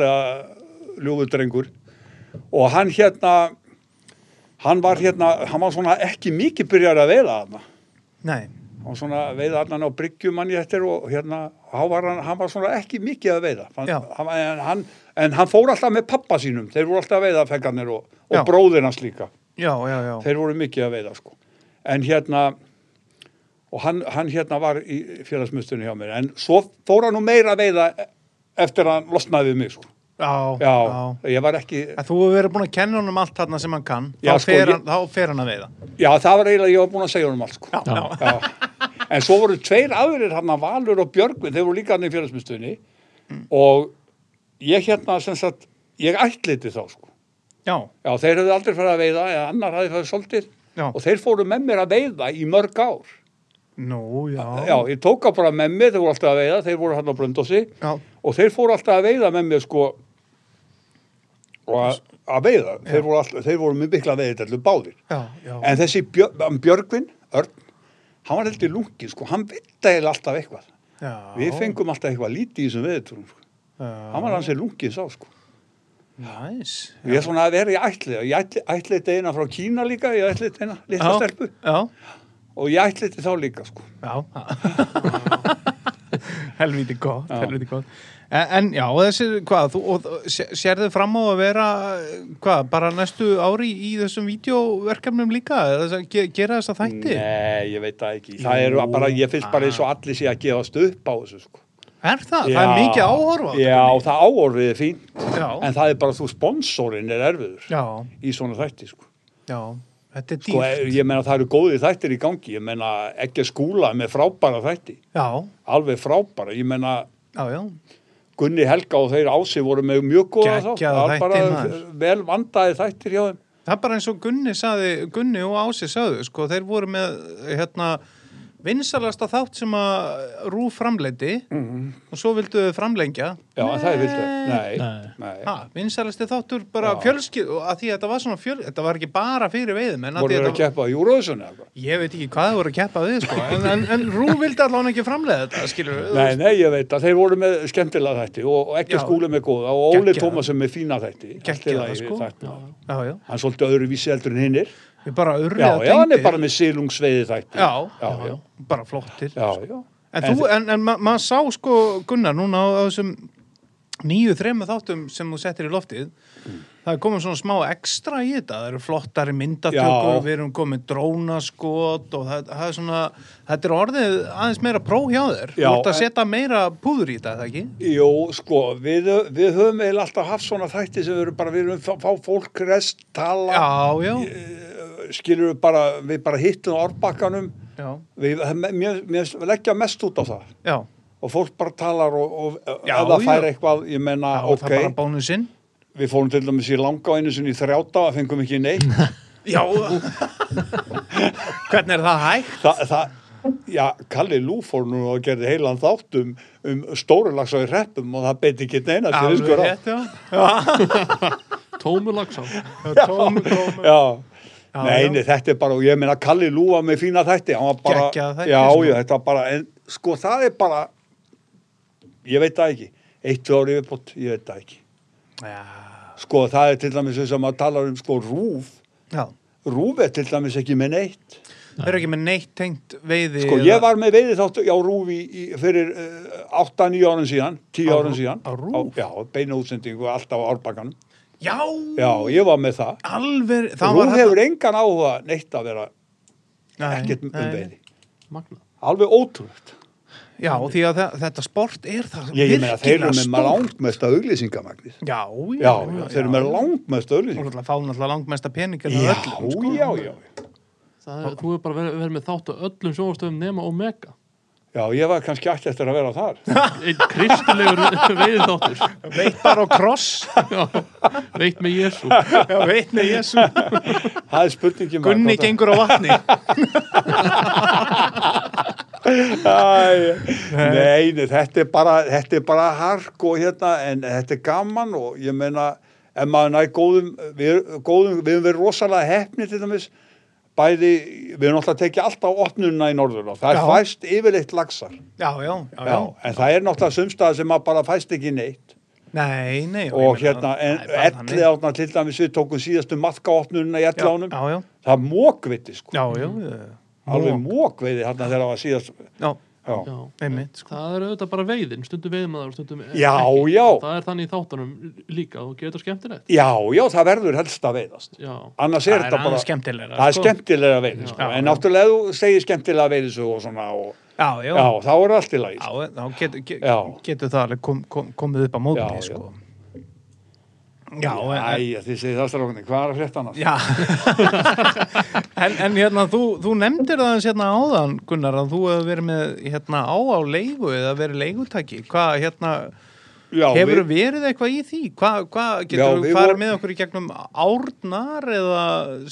Speaker 5: opbóðslega ljúður drengur og hann hérna, hann var hérna, hann var svona ekki mikið byrjar að veiða þarna,
Speaker 1: Nei,
Speaker 5: hann var svona að veiða þarna á bryggjum hann ég eftir og hérna, hann var, hann, hann var svona ekki mikið að veiða, hann,
Speaker 1: Já.
Speaker 5: hann, en, hann, en hann fór alltaf með pappa sínum, þeir voru alltaf að veiða fengarnir og,
Speaker 1: Já.
Speaker 5: og bróðir hans líka
Speaker 1: já, já, já,
Speaker 5: þeir voru mikið að veiða sko en hérna og hann, hann hérna var í félagsmyndstunni hjá mér en svo fór hann nú meira að veiða eftir að hann losnaði við mig sko.
Speaker 1: já,
Speaker 5: já, ég var ekki
Speaker 1: Að Þú hefur verið búin að kenna honum allt þarna sem hann kann,
Speaker 5: Já,
Speaker 1: þá,
Speaker 5: sko,
Speaker 1: fer
Speaker 5: ég-
Speaker 1: hann, þá fer hann að veiða.
Speaker 5: já það var eiginlega ég var búin að segja honum allt sko. já, já. en svo voru tveir aðrir hann Valur og Björgvin þeir voru líka hann í félagsmyndstunni og ég hérna sem sagt ég ætliti þá sko
Speaker 1: Já,
Speaker 5: já þeir hefðu aldrei farið að veiða eða annar hafði farið svolítið
Speaker 1: já,
Speaker 5: og þeir fóru með mér að veiða í mörg ár
Speaker 1: nú, já,
Speaker 5: Já, ég tók á bara með mér, þeir voru alltaf að veiða, þeir voru hann á Blöndósi
Speaker 1: já,
Speaker 5: og þeir fóru alltaf að veiða með mér sko og að, að veiða, þeir voru, alltaf, þeir voru með mikla veiðið allir báðir.
Speaker 1: já, já.
Speaker 5: En þessi björ, um, Björgvin, Örn, hann var heldur lungið sko, hann vitæði alltaf eitthvað.
Speaker 1: já.
Speaker 5: Við fengum alltaf eitthvað lítið í þessum veiðitúrum sko. Hann var hans er lungið sá sko.
Speaker 1: Næs.
Speaker 5: Ég er svona að vera í ætlið, ég ætli, ætlið þetta eina frá Kína líka, ég ætlið þetta eina litla
Speaker 1: Já.
Speaker 5: stelpu
Speaker 1: Já,
Speaker 5: og ég ætlið þetta þá líka sko.
Speaker 1: já. helviti gott,
Speaker 5: Já.
Speaker 1: helviti gott. En, en já, og þessi, hvað, þú, og, og- sé- sérðu fram á að vera, hvað, bara næstu ári í þessum vídeoverkefnum líka, þess að ge- gera þessa þætti?
Speaker 5: Nei, ég veit það ekki. Það eru bara, ég finnst bara eins og allir sé að gefast upp á þessu, sko.
Speaker 1: Er ah. það? Það er
Speaker 5: Já.
Speaker 1: mikið áhorfa.
Speaker 5: Já, það áhorfið er fínt,
Speaker 1: Já,
Speaker 5: en það er bara þú sponsorinn er erfiður
Speaker 1: já,
Speaker 5: í svona þætti, sko.
Speaker 1: já, þetta er dýrt.
Speaker 5: Sko, e- ég meina það eru góðið þættir í gangi, ég meina ekki skúla með frábæra þætti,
Speaker 1: Já,
Speaker 5: alveg frábæra, ég meina
Speaker 1: já, já,
Speaker 5: Gunni Helga og þeir ási voru með mjög góða þá,
Speaker 1: Geggjaða
Speaker 5: var bara
Speaker 1: þættir, maður.
Speaker 5: vel vandaði þættir hjá þeim.
Speaker 1: Það er bara eins og Gunni, saði, Gunni og Ási sagðu, sko, þeir voru með hérna, vinsalasta þátt sem að Rú framleiti
Speaker 5: Mhm.
Speaker 1: og svo vildu þau framlengja
Speaker 5: Já, en það er viltu. Nei,
Speaker 2: Nei.
Speaker 5: nei.
Speaker 1: Ha, vinsalasti þáttur bara
Speaker 5: Já.
Speaker 1: fjölskyld og að því að þetta var svona fjöl, þetta var ekki bara fyrir veiðum en
Speaker 5: Voru
Speaker 1: því
Speaker 5: þeir
Speaker 1: þetta
Speaker 5: að keppa í Eurovision eða eitthvað?
Speaker 1: ég veit ekki hvað þau voru að keppa við sko. en, en, en Rú vildi allan ekki framlega þetta skilur við
Speaker 5: Nei, nei, ég veit að þeir voru með skemmtilega þætti og, og ekki
Speaker 1: Já.
Speaker 5: skúli með góða og Óli
Speaker 1: Geggjaða.
Speaker 5: Tómas með fína þætti. Allt í
Speaker 1: Geggjaða,
Speaker 5: lagi
Speaker 1: sko.
Speaker 5: þættir.
Speaker 1: já, já,
Speaker 5: Hann er svolítið öðru vísi heldur en hinnir.
Speaker 1: við bara urrið
Speaker 5: Já, já, hann er bara með silungsveiði þætti.
Speaker 1: já,
Speaker 5: já, já.
Speaker 1: bara flottir
Speaker 5: já, já.
Speaker 1: En, þú, en, en ma- maður sá sko Gunnar núna á, á þessum nýju þremu þáttum sem þú settir í loftið
Speaker 5: Mm.
Speaker 1: það er komið svona smá ekstra í þetta það eru flottari myndatökur
Speaker 5: Já.
Speaker 1: við erum komið drónaskot og það, það er svona, þetta er orðið aðeins meira pró hjá þér,
Speaker 5: Já,
Speaker 1: þú ert að
Speaker 5: en-
Speaker 1: setja meira púður í þetta, er það ekki?
Speaker 5: Jó, sko, við, við höfum eiginlega alltaf haft svona þætti sem við erum bara, við erum fá, fá fólk rest, tala,
Speaker 1: Já, já,
Speaker 5: skilur við bara, við bara hittum árbakkanum,
Speaker 1: já,
Speaker 5: við mér, mér leggja mest út á það
Speaker 1: já,
Speaker 5: og fólk bara talar og, og
Speaker 1: Já,
Speaker 5: ef það
Speaker 1: já.
Speaker 5: fær eitthvað, ég menna,
Speaker 1: já
Speaker 5: ok.
Speaker 1: það er bara bónusinn
Speaker 5: Við fórum til dæmis í langa einu sinni í þrjáta og fengum ekki neitt.
Speaker 1: Já Hvernig er það hægt?
Speaker 5: Þa, það, já, Kalli Lú fór nú og gerði heilan þátt um, um stórulags og í reppum og það beti ekki neina til
Speaker 1: Alveg
Speaker 5: ykkur á.
Speaker 1: rétt, já
Speaker 3: Tómur lagsá
Speaker 1: Tómi, tómi
Speaker 5: Já,
Speaker 1: Já, já.
Speaker 5: nei, nei, þetta er bara, og ég meina Kalli Lú var með fína þætti, hann var bara,
Speaker 1: Geggjaða þætti,
Speaker 5: já,
Speaker 1: sko.
Speaker 5: já, þetta var bara, en sko það er bara, ég veit það ekki, eitt, tvö ári viðbútt, ég veit það ekki.
Speaker 1: Já,
Speaker 5: Sko það er til dæmis eins og maður talar um sko rúf,
Speaker 1: já
Speaker 5: rúf er til dæmis ekki með neitt.
Speaker 1: Þeir eru ekki með neitt tengt veiði
Speaker 5: Sko
Speaker 1: eða-
Speaker 5: ég var með veiði þáttu á Rúf í, í, fyrir uh, 8-9 árum síðan, 10
Speaker 1: Á
Speaker 5: árum
Speaker 1: Rú-
Speaker 5: síðan.
Speaker 1: á Rúv?
Speaker 5: já, beina útsendingu alltaf á árbakkanum.
Speaker 1: Já,
Speaker 5: Já, ég var með það.
Speaker 1: alveg það
Speaker 5: Rúf
Speaker 1: var
Speaker 5: hefur engan áhuga neitt að vera
Speaker 1: Nei,
Speaker 5: ekkert um
Speaker 1: nei.
Speaker 5: veiði.
Speaker 3: Magna
Speaker 5: Alveg ótrúlegt.
Speaker 1: Já, því að þe- þetta sport er það
Speaker 5: Ég, ég meina þeir eru
Speaker 1: virkilega
Speaker 5: með
Speaker 1: stórt.
Speaker 5: langmesta auglýsingamagnið.
Speaker 1: Já,
Speaker 5: Já, já, þeir eru með langmesta
Speaker 1: Og
Speaker 5: auglýsing.
Speaker 1: náttúrulega fá náttúrulega langmesta peningin
Speaker 5: Já,
Speaker 1: af öllum, sko.
Speaker 5: já, já.
Speaker 3: Það er, þú er bara verið, verið með þátt á öllum sjónastöðum nema Omega
Speaker 5: Já, ég var kannski ætti eftir að vera þar.
Speaker 3: einn kristilegur veiðið þáttur
Speaker 1: Veit bara á kross
Speaker 3: já, veit með Jésu
Speaker 1: Já, veit með Jésu
Speaker 5: Það er spurningin bara
Speaker 1: Gunni
Speaker 5: hvort að-
Speaker 1: gengur á vatni
Speaker 5: Æ, Nei, nei, þetta er bara þetta er bara hark og hérna en þetta er gaman og ég meina ef maður næg góðum við, góðum við höfum verið rosalega hefni til dæmis bæði, við höfum alltaf tekið alltaf opnunna í norður og það
Speaker 1: Já.
Speaker 5: er fæst yfirleitt laxar já,
Speaker 1: Já, já, já, já.
Speaker 5: en það er náttúrulega sumstað sem maður bara fæst ekki neitt
Speaker 1: Nei, nei ég meina,
Speaker 5: og hérna, en
Speaker 1: það er bara
Speaker 5: elli
Speaker 1: þannig.
Speaker 5: átna til dæmis við tókum síðastu matka opnunna í elli ánum
Speaker 1: Já, já,
Speaker 5: það er mókviti sko,
Speaker 1: já, já, já.
Speaker 5: alveg mókviti hérna þegar það var síðast
Speaker 1: Já,
Speaker 5: já.
Speaker 3: já,
Speaker 1: einmitt sko.
Speaker 3: það er auðvitað bara veiðin stundum veiðum að það stundum ekki.
Speaker 5: Já, já.
Speaker 3: það er þannig í þáttunum líka og getur skemmtilegt
Speaker 5: já, já, það verður helst að veiðast
Speaker 3: já,
Speaker 5: annars
Speaker 1: Það
Speaker 5: er
Speaker 1: er
Speaker 5: þetta bara
Speaker 1: aðeins skemmtilegra
Speaker 5: það er
Speaker 1: sko.
Speaker 5: skemmtilega veiði sko.
Speaker 1: Já,
Speaker 5: en
Speaker 1: já.
Speaker 5: náttúrulega ef þú segir skemmtilega veiði og svona og,
Speaker 1: Já, já,
Speaker 5: já. þá er allt í lagi
Speaker 1: Já,
Speaker 5: sko.
Speaker 1: en þá getur get,
Speaker 5: Já.
Speaker 1: getur það alveg kom, kom, komið upp á
Speaker 5: Já,
Speaker 1: mótni
Speaker 5: já.
Speaker 1: sko. Já, en,
Speaker 5: Æ, já, þið segir það strákunni, hvað er að frétta annars?
Speaker 1: Já en, en hérna, þú, þú nefndir það eins hérna áðan, Gunnar, að þú hefur verið með hérna á á leigu eða verið leigutaki hvað hérna,
Speaker 5: Já,
Speaker 1: hefur
Speaker 5: við,
Speaker 1: verið eitthvað í því hvað hva, getur
Speaker 5: Já,
Speaker 1: þú
Speaker 5: við
Speaker 1: farið
Speaker 5: vorum-
Speaker 1: með okkur í gegnum árnar eða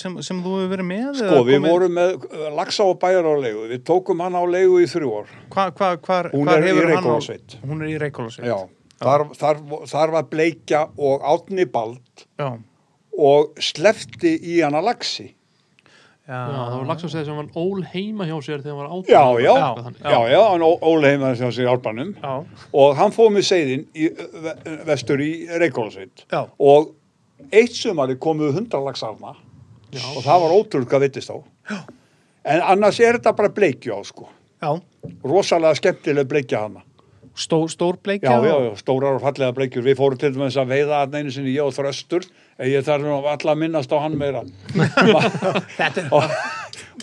Speaker 1: sem, sem þú hefur verið með
Speaker 5: sko, við vorum með uh, Laxá og bæjar á leigu, við tókum hann á leigu í þrjú ár,
Speaker 1: hva, hva, hvar,
Speaker 5: Hún
Speaker 1: hvar
Speaker 5: er í
Speaker 1: hefur hann á-
Speaker 5: Reykhólasveit.
Speaker 1: hún er í Reykjólasveit
Speaker 5: já þar, þar, þar var Bleikja og Átni Bald
Speaker 1: já,
Speaker 5: og slefti í hana Laxi
Speaker 1: já,
Speaker 3: já, það var lagsum segið sem hann ól heima hjá sér þegar hann var átján
Speaker 5: Ah. já,
Speaker 3: ára,
Speaker 5: já,
Speaker 3: eitthvað
Speaker 5: já,
Speaker 3: þannig.
Speaker 5: já, já hann óleima þessi í álbanum
Speaker 1: já,
Speaker 5: og hann fóð með seiðin í, uh, ve- vestur í Reykjólasveit
Speaker 1: já,
Speaker 5: og eitt sumari komuðu hundra lagsarna og það var ótrúlega hvað vittist á en annars er þetta bara bleikju á sko
Speaker 1: já.
Speaker 5: rosalega skemmtileg bleikja hana
Speaker 1: Stó, stór bleikja
Speaker 5: já, já,
Speaker 1: og-
Speaker 5: já, stórar og fallega bleikjur við fórum til dæmis að veiða hann einu sinni ég og þröstur en ég þarf nú alltaf að minnast á hann meira
Speaker 1: Þetta er
Speaker 5: og,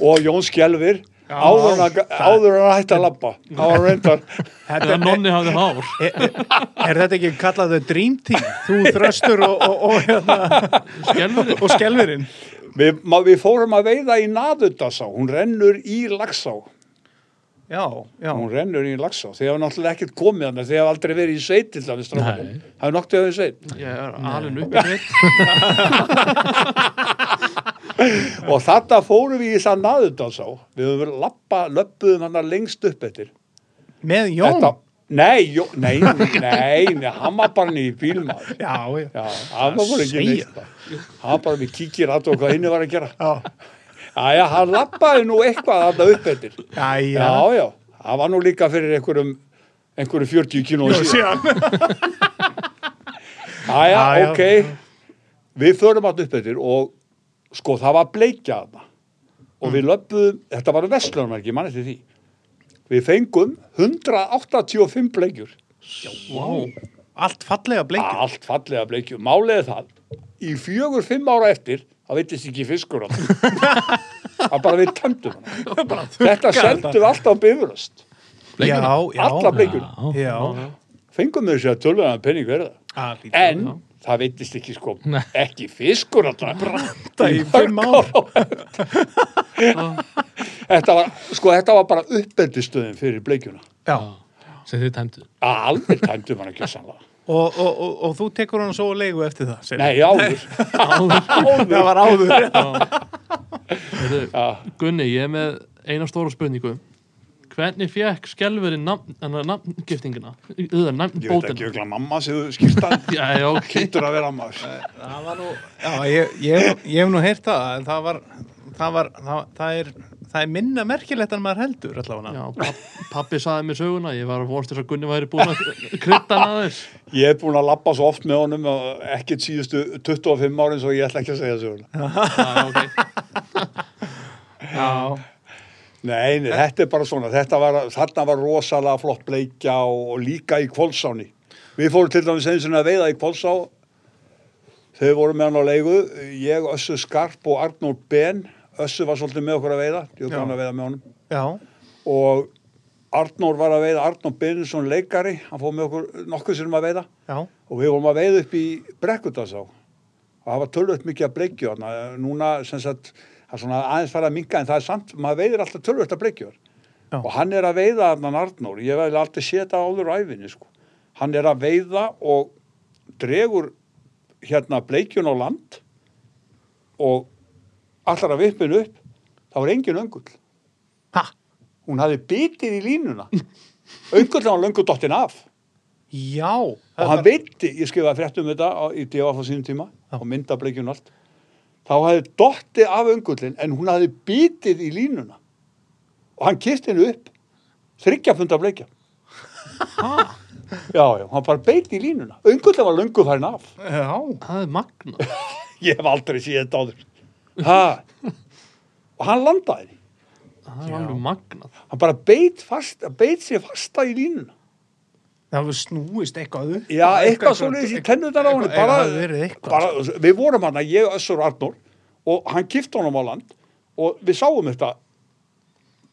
Speaker 5: og Jón Skjelvir áður en hann- áður en hann hætti að labba hann var reyndar
Speaker 1: þetta
Speaker 3: þegar
Speaker 1: er-
Speaker 3: nonni hafði hár
Speaker 1: Er, er, er þetta ekki kallað the dream team? Þú, Þröstur og, og, og, hérna,
Speaker 3: skelfið
Speaker 1: og Skelverinn
Speaker 5: við, ma, við fórum að veiða í Naðutasá hún rennur í Lagsá
Speaker 1: Já, já,
Speaker 5: hún rennur í Lagsá þið hafa náttúrulega ekkert komið hann þið hafa aldrei verið í sveit til dæmis strákunum. hafa noktið að verið í sveit
Speaker 3: ég er alveg upp í veit
Speaker 5: og þetta fórum við í þess að naður dansá við höfum verið lappa, löppuðum hann lengst upp eftir
Speaker 1: með Jón
Speaker 5: Þetta, nei, jó, nei, nei, nei hann var bara niður í bílmaður
Speaker 1: Já, já,
Speaker 5: já, hann var bara ekki
Speaker 1: Segja.
Speaker 5: neitt sko. hann var bara við kíkir að og hvað henni var að gera
Speaker 1: já,
Speaker 5: aðja, hann lappaði nú eitthvað hann upp eftir já,
Speaker 1: já, já.
Speaker 5: já, hann var nú líka fyrir einhverjum einhverjum 40 kíló síðan
Speaker 1: síðan Já,
Speaker 5: aðja,
Speaker 1: já.
Speaker 5: ok við förum hann upp eftir og sko, það var bleikja þarna og
Speaker 1: Mm.
Speaker 5: við löppuðum, þetta var vestlunarmerki, mann eftir því við fengum 185 bleikjur
Speaker 3: wow.
Speaker 1: Allt fallega bleikjur
Speaker 5: allt fallega bleikjur, máliði það í fjögur, fimm ára eftir það veitist ekki fiskur á það það bara við tömdum hana þetta sendum við alltaf á bifuröst
Speaker 1: Já, já
Speaker 5: alla bleikjur,
Speaker 1: Já,
Speaker 5: fengum við sér að tölvöna penning verða
Speaker 1: Ah, lítið.
Speaker 5: en það veitist ekki sko ekki fiskur á það
Speaker 1: Þetta í fimm ár
Speaker 5: þetta var, sko, þetta var bara uppeldistöðin fyrir bleikjuna
Speaker 1: Já,
Speaker 6: sem þið tæmdu
Speaker 5: alveg tæmdum hann ekki sannlega
Speaker 1: og, og, og, og þú tekur hann svo á leigu eftir það segir.
Speaker 5: nei, áður
Speaker 1: það var áður
Speaker 3: Heyrðu, Gunni, ég er með eina stóra spurningu Hvernig fekk skelverinn nafn, hana, nafngiftingina? Eða
Speaker 5: ég veit ekki,
Speaker 3: nafnbótina?
Speaker 5: örugglega mamma sem skýrta
Speaker 3: Já, já, ok
Speaker 5: hittur að vera maður
Speaker 1: Það var nú Já, ég, ég, ég hef nú heyrt það en það var það, var, það, það, er, það er minna merkilegt en maður heldur allavega
Speaker 3: Já, papp, pappi saði mér söguna, ég var að vorst þess að Gunni væri búin að krytta hann aðeins.
Speaker 5: Ég hef búin að lappa svo oft með honum og ekkert síðustu 25 árin svo ég ætla ekki að segja söguna.
Speaker 3: Já, ok.
Speaker 1: já.
Speaker 5: Nei, nei, þetta er bara svona, þetta var, þarna var rosalega flott bleikja og, og líka í kvolsáni. Við fórum til dæmis einu sinni að veiða í kvolsá, þau voru með hann á leigu, ég, Össu Skarp og Arnór Ben, Össu var svolítið með okkur að veiða, ég var
Speaker 1: Já.
Speaker 5: búin að veiða með honum.
Speaker 1: já,
Speaker 5: Og Arnór var að veiða, Arnór Benusson leikari, hann fór með okkur nokkuð sinnum að veiða.
Speaker 1: já
Speaker 5: og við vorum að veið upp í Brekkutasá og það var tölvöld mikið að bleikju þarna. núna sem sagt það er svona aðeins fara að minka en það er samt, maður veiðir alltaf tölvöld að bleikju
Speaker 1: Já.
Speaker 5: og hann er að veiða hann Arnór, ég veði aldrei seta áður á æfinni sko, hann er að veiða og dregur hérna bleikjun á land og allar að vippin upp þá er engin öngull
Speaker 3: Ha?
Speaker 5: hún hafi bitið í línuna öngull hann löngu dottin af
Speaker 1: Já.
Speaker 5: og hann veitti, ég skrifaði fréttum um þetta á, í DF á sínum tíma og mynda bleikjun og allt þá hafði dottið af öngullin en hún hafði bitið í línuna og hann kist hennu upp þryggja funda bleikja já, já, hann bara beit í línuna öngullin var löngu færin af
Speaker 1: Já.
Speaker 3: Það er magna.
Speaker 5: ég hef aldrei séð þetta áður ha. og hann landaði því.
Speaker 3: Það er alveg magnað.
Speaker 5: hann bara beit, fast, beit sér fasta í línuna
Speaker 1: Það hefur snúist eitthvað upp.
Speaker 5: já, eitthvað svo leiðis í tennundar á hann
Speaker 1: eitthvað-
Speaker 5: bara,
Speaker 1: eitthvað verið eitthvað. sko.
Speaker 5: bara, við vorum hann að ég össur Arnór og hann kifti honum á land og við sáum þetta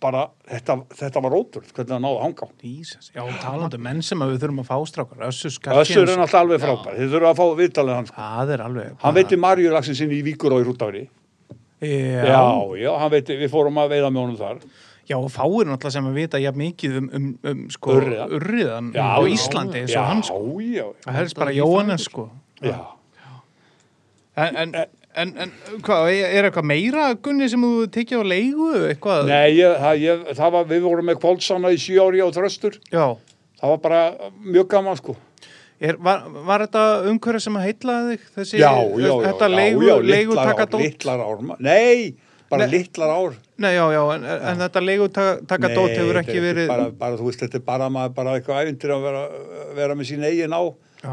Speaker 5: bara, þetta, þetta var ótrúð hvernig hann náði að hanga á.
Speaker 1: Jesus. Já, talandi um menn sem að við þurfum að fá strákar. Össur
Speaker 5: össur er
Speaker 1: Skarpjens.
Speaker 5: náttúrulega alveg frábær, þið þurfa að fá viðtalið hann sko.
Speaker 1: Það er alveg.
Speaker 5: hann um- veitir Marjulaxin sinni í Víkur og í Rútafri
Speaker 1: Já.
Speaker 5: já,
Speaker 1: Já.
Speaker 5: já, hann veitir, við fórum að veiða með honum þar
Speaker 1: og fáir náttúrulega sem að vita jafn mikið um, um, um sko,
Speaker 5: Urriða.
Speaker 1: urriðan
Speaker 5: já,
Speaker 1: á
Speaker 5: já.
Speaker 1: Íslandi eins
Speaker 5: já,
Speaker 1: og hann sko.
Speaker 5: já, já,
Speaker 1: Það helst bara Jóhannes sko.
Speaker 5: já.
Speaker 1: En, en, en, en hvað, er eitthvað meira Gunni sem þú tekið á leigu eitthvað?
Speaker 5: Nei, ég, það, ég, það var, við vorum með kválsanna í sjö ári á þröstur.
Speaker 1: Já.
Speaker 5: Það var bara mjög gaman, sko.
Speaker 1: Er, var, var þetta umhverju sem að heitlaði þig? Þessi,
Speaker 5: Já, já, já.
Speaker 1: þetta
Speaker 5: já,
Speaker 1: leigu,
Speaker 5: já,
Speaker 1: leigu
Speaker 5: litlar
Speaker 1: taka
Speaker 5: ár, Littlar ár, ma- nei, bara
Speaker 1: Nei.
Speaker 5: littlar ár.
Speaker 1: Nei, já, já, en, en þetta leigu taka
Speaker 5: Nei,
Speaker 1: dót hefur
Speaker 5: þetta
Speaker 1: ekki
Speaker 5: er
Speaker 1: verið...
Speaker 5: Bara, bara, þú veist, þetta er bara, maður, bara eitthvað æfintir að vera, vera með sín eigin á.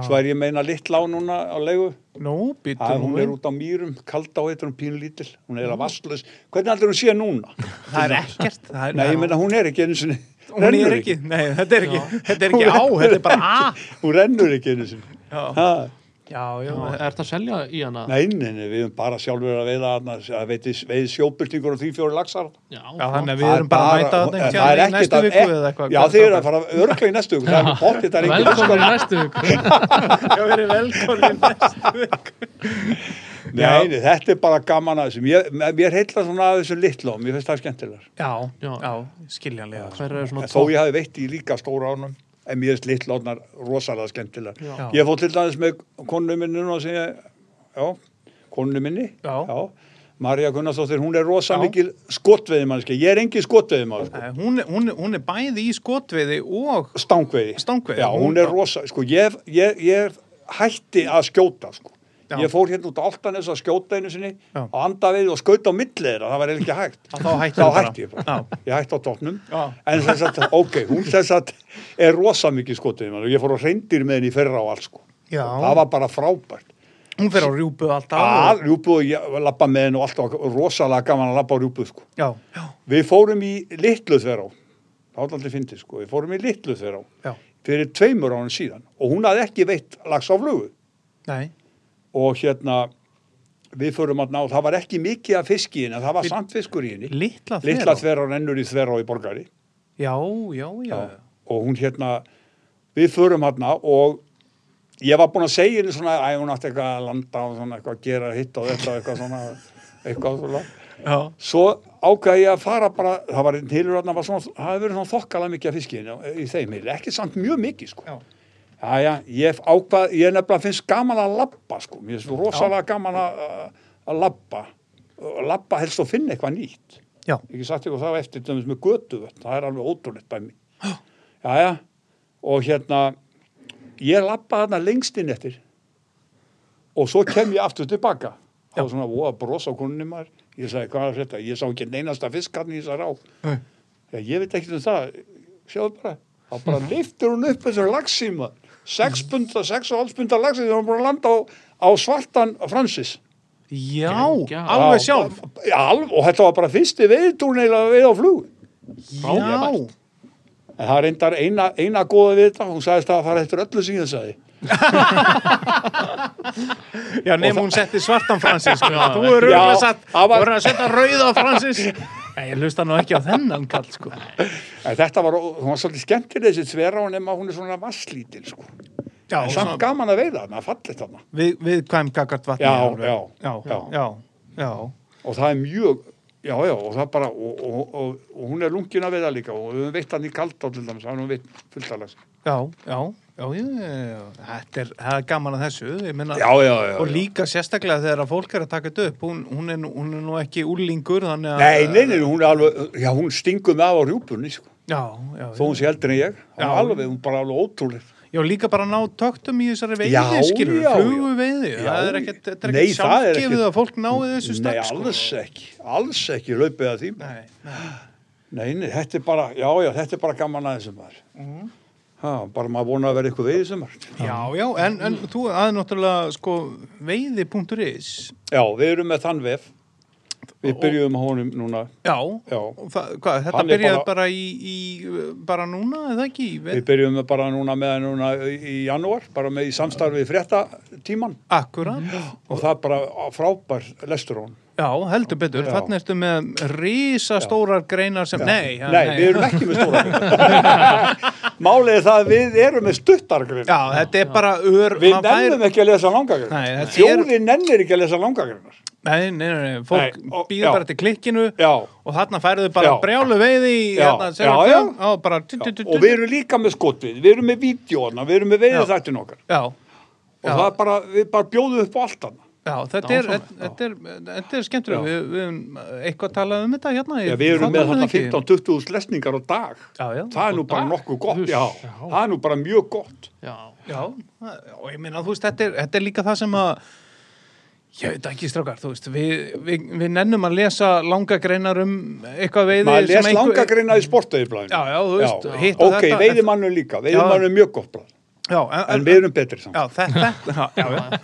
Speaker 5: Svo er ég meina littlá núna á leigu.
Speaker 1: Nú, býttu
Speaker 5: Það,
Speaker 1: nú
Speaker 5: hún er
Speaker 1: við.
Speaker 5: út á mýrum, kalda og heitur hún pínlítil. Hún er að vastlöðs. Hvernig allir hún sé núna?
Speaker 1: Það er ekkert. Það er,
Speaker 5: Nei, ég meina, hún er ekki einu sinni.
Speaker 1: hún
Speaker 5: rennur
Speaker 1: er ekki. Nei, þetta er ekki, þetta er ekki á, þetta er bara a.
Speaker 5: Hún rennur ekki einu sinni.
Speaker 1: Já,
Speaker 5: Ha,
Speaker 1: já, já.
Speaker 3: Já, er þetta að selja í hana?
Speaker 5: Nei, nei, nei, við erum bara sjálfur að veiða þarna, að veiti, veið sjóbyrtingur og því fjóri laxar.
Speaker 3: Já,
Speaker 1: Já, þannig að við
Speaker 5: Það
Speaker 1: erum bara að mæta
Speaker 5: það
Speaker 1: þetta
Speaker 5: er
Speaker 1: ekki
Speaker 5: ekkert
Speaker 1: næstu
Speaker 5: að-
Speaker 1: viku eða eitthvað.
Speaker 5: Já, þið eru að fara örglega í næstu viku, það er bóttið, það er engin
Speaker 3: Velkomin í næstu viku.
Speaker 1: Já, við erum velkomin næstu viku. Já.
Speaker 5: Nei, nei, þetta er bara gaman að þessu. Mér, mér heitla svona að þessu litla og mér finnst það skemmtilegar.
Speaker 1: Já,
Speaker 3: Já.
Speaker 1: já, skiljanlega.
Speaker 3: Hver er svona
Speaker 5: En Þó
Speaker 3: tók?
Speaker 5: ég hafi veitt í líka stóra ánum, en mér finnst litla ánar rosalega skemmtilegar.
Speaker 1: Já.
Speaker 5: Ég fótt til dæmis með konu minni núna sem ég, já, konu minni,
Speaker 1: Já.
Speaker 5: Marja Gunnarsdóttir, hún er rosa mikil skotveðimannski. Ég er engin skotveðimann, sko.
Speaker 1: Nei, Hún, er- hún, er- hún er bæði í skotveiði og...
Speaker 5: stangveiði.
Speaker 1: Stangveiði.
Speaker 5: Já, hún er rosa, sko, ég, ég, ég hætti að skjóta, sko.
Speaker 1: Já.
Speaker 5: Ég fór hérna út á Altanes að skjóta einu sinni
Speaker 1: Já.
Speaker 5: á andaveiði og skauta á milli þeirra, það var eiginlega ekki hægt.
Speaker 1: Þá hættir
Speaker 5: Þá
Speaker 1: þú bara.
Speaker 5: hætti ég bara.
Speaker 1: Já.
Speaker 5: Ég hætti á tóknum.
Speaker 1: Já.
Speaker 5: En þess að, ok, hún þess að er rosa mikið skotið, mann, og ég fór á reyndir með henni í fyrra og allt, sko.
Speaker 1: Já.
Speaker 5: Það var bara frábært.
Speaker 1: Hún fer á rjúpu alltaf.
Speaker 5: Að
Speaker 1: og-
Speaker 5: rjúpu og ég lappa með henni og allt, og rosalega gaman að lappa á rjúpu, sko.
Speaker 1: Já, já,
Speaker 5: Við fórum í Litlu Þverá, átlandi fyndi, sko, við fórum í Litlu Þverá
Speaker 1: já.
Speaker 5: fyrir tveimur ánum síðan og hún hafði ekki veitt lags á flugu
Speaker 1: Nei.
Speaker 5: og hérna við förum að ná, það var ekki mikið af fisk í henni, það var samt fiskur í henni
Speaker 1: Litla þverá.
Speaker 5: litla þverá rennur í þverá í borgari
Speaker 1: Já, já, já.
Speaker 5: og hún hérna við förum hérna og ég var búin að segja henni svona að hún átti eitthvað að landa og svona eitthvað að gera hitt og þetta og eitthvað svona eitthvað svona
Speaker 1: Já.
Speaker 5: svo ákveði ég að fara bara það var einn hilur þarna var svona það hefði verið svona þokkala mikið af fiskinu í þeim hilu ekki samt mjög mikið sko
Speaker 1: Já.
Speaker 5: Jæja, ég ákvað ég nefnilega finnst gaman að labba sko mér finnst rosalega gaman að að labba Og labba helst og finna eitthvað nýtt
Speaker 1: Já.
Speaker 5: ekki sagt eitthvað það á eftir til dæmis með götu það er alveg ótrúlegt bæmi Jæja, og hérna ég labba þarna lengst inn eftir og svo kem ég aftur tilbaka það var svona voða bros á konunni maður ég sagði hvað er þetta, ég sá ekki neinasta fisk hann í þessar á
Speaker 1: Nei.
Speaker 5: já, ég veit ekki um það, sjáðu bara þá bara liftur hún upp þessar lagsíma 6
Speaker 1: Mm.
Speaker 5: punda, 6 og 1 punda lagsíma þegar hún búin að landa á, á svartan Francis
Speaker 1: Já,
Speaker 3: Geggjað.
Speaker 1: alveg
Speaker 5: Já,
Speaker 1: sjálf.
Speaker 5: bara- já, alveg, og þetta var bara fyrsti veiðtúrn eiginlega veið á flug
Speaker 1: Já.
Speaker 3: Frábært.
Speaker 5: en það er reyndar eina, eina góða við þetta hún sagðist það að fara eftir öllu sem ég sagði
Speaker 1: Já, nefnum hún setti svartan Francis. sko. Þú er
Speaker 5: Já,
Speaker 1: auðvitað satt, þú
Speaker 5: það var-
Speaker 1: er að setja rauða Francis. Nei, ég hlusta nú ekki á þennan kall, sko.
Speaker 5: En þetta var, hún var svolítið skemmtileg þessi tverá nema hún er svona vasslítil sko.
Speaker 1: Já,
Speaker 5: En
Speaker 1: svona
Speaker 5: samt gaman að veiða hana, fallið hana.
Speaker 1: við, við kvæm gagart vatni.
Speaker 5: Já,
Speaker 1: alveg.
Speaker 5: já,
Speaker 1: já, já, já.
Speaker 5: Og það er mjög já, já, og það bara og, og, og, og hún er lungin að veiða líka og við höfum veitt hann í kaldá til dæmis, hann er veitt fulltalags
Speaker 1: já, já, já, já, já, já. Þetta er, það er gaman að þessu, ég minna
Speaker 5: já, já, já,
Speaker 1: og
Speaker 5: já.
Speaker 1: líka sérstaklega þegar að fólk er að taka þetta upp hún, hún, er, nú- hún er nú ekki úlingur þannig að
Speaker 5: Nei, nei, nei, hún er alveg já, hún stingur með á rjúpunni sko.
Speaker 1: já, já,
Speaker 5: þó hún sé eldri en ég,
Speaker 1: Já.
Speaker 5: hún er alveg hún er bara alveg ótrúleg
Speaker 1: já, líka bara ná töktum í þessari veiði
Speaker 5: Já,
Speaker 1: skilur,
Speaker 5: já, já.
Speaker 1: flugu veiði
Speaker 5: Já,
Speaker 1: það er ekkert, þetta er
Speaker 5: nei,
Speaker 1: ekkert
Speaker 5: það er
Speaker 1: sjálfgefið
Speaker 5: ekkert-
Speaker 1: að fólk náði þessu sko.
Speaker 5: Nei,
Speaker 1: stakk
Speaker 5: alls ekki, alls ekki laupið að því
Speaker 1: nei, nei,
Speaker 5: Nei, nei, þetta er bara, já, já, þetta er bara gaman aðeins sem maður. Ha, bara maður vona að vera eitthvað veið sem maður.
Speaker 1: já, já, en, en þú það er náttúrulega sko veiði.is
Speaker 5: Já, við erum með þann vef. Við
Speaker 1: Og-
Speaker 5: byrjuðum á honum núna,
Speaker 1: já,
Speaker 5: já.
Speaker 1: og það, hvað, þetta
Speaker 5: Hann er
Speaker 1: byrjaði
Speaker 5: bara-
Speaker 1: bara, í, í bara núna, eða ekki
Speaker 5: Við byrjuðum með bara núna með hann núna í- í janúar, bara með í samstarfið frétta tíman
Speaker 1: akkurat,
Speaker 5: og það er bara frábær lestur á hann.
Speaker 1: já, heldur betur
Speaker 5: Já.
Speaker 1: þannig ertu með risastórar greinar sem, nei,
Speaker 5: Nei, við erum ekki með stóra greinar. Málið er það að við erum með stuttar greinar.
Speaker 1: Já, þetta er bara ör
Speaker 5: Við
Speaker 1: maður fær-
Speaker 5: nennum ekki að lesa
Speaker 1: Nei,
Speaker 5: langa greinar.
Speaker 1: þetta er-
Speaker 5: Þjóðin nennir ekki að lesa langa greinar.
Speaker 1: Nei, nei, nei, nei, fólk
Speaker 5: Nei, og-
Speaker 1: býður
Speaker 5: já.
Speaker 1: bara til klikkinu
Speaker 5: Já.
Speaker 1: og þarna færðu bara
Speaker 5: Já.
Speaker 1: brjálu veiði í
Speaker 5: Já,
Speaker 1: hérna, sem
Speaker 5: já,
Speaker 1: er
Speaker 5: já.
Speaker 1: fjö- og bara tu- tu- tu-
Speaker 5: Já,
Speaker 1: tu-
Speaker 5: og við erum líka með skotvið, við erum með vídjóna, við erum með veiðið þættin okkar
Speaker 1: Já,
Speaker 5: og
Speaker 1: Já.
Speaker 5: það er bara, við bara bjóðum upp á allt annað.
Speaker 1: já, þetta er þetta er, þetta er skemmtilega við, við erum eitthvað talað um þetta hérna í-
Speaker 5: Já, við erum
Speaker 1: þáttunum,
Speaker 5: með þarna
Speaker 1: ekki?
Speaker 5: 15-20 lesningar á dag.
Speaker 1: Já, já.
Speaker 5: það er nú
Speaker 3: Á
Speaker 5: bara
Speaker 3: dag?
Speaker 5: nokkuð gott,
Speaker 3: Uss,
Speaker 5: já.
Speaker 3: já.
Speaker 5: Það er nú bara mjög gott.
Speaker 3: já,
Speaker 1: Já, og ég meina, þú veist, þetta er, þetta er líka það sem að ég veit ekki strákar, þú veist við, við, við nennum að lesa langa greinar um eitthvað veiði
Speaker 5: Maður
Speaker 1: sem
Speaker 5: les
Speaker 1: einhver-
Speaker 5: langa greina í sportaðirblæðinu.
Speaker 1: Já, já, þú veist, hitt og
Speaker 5: Ok,
Speaker 1: þetta-
Speaker 5: veiðimannu líka, veiðimannu er mjög gott blæð.
Speaker 1: Já, en,
Speaker 5: En við erum betri saman.
Speaker 1: Já, þetta, já, já, já.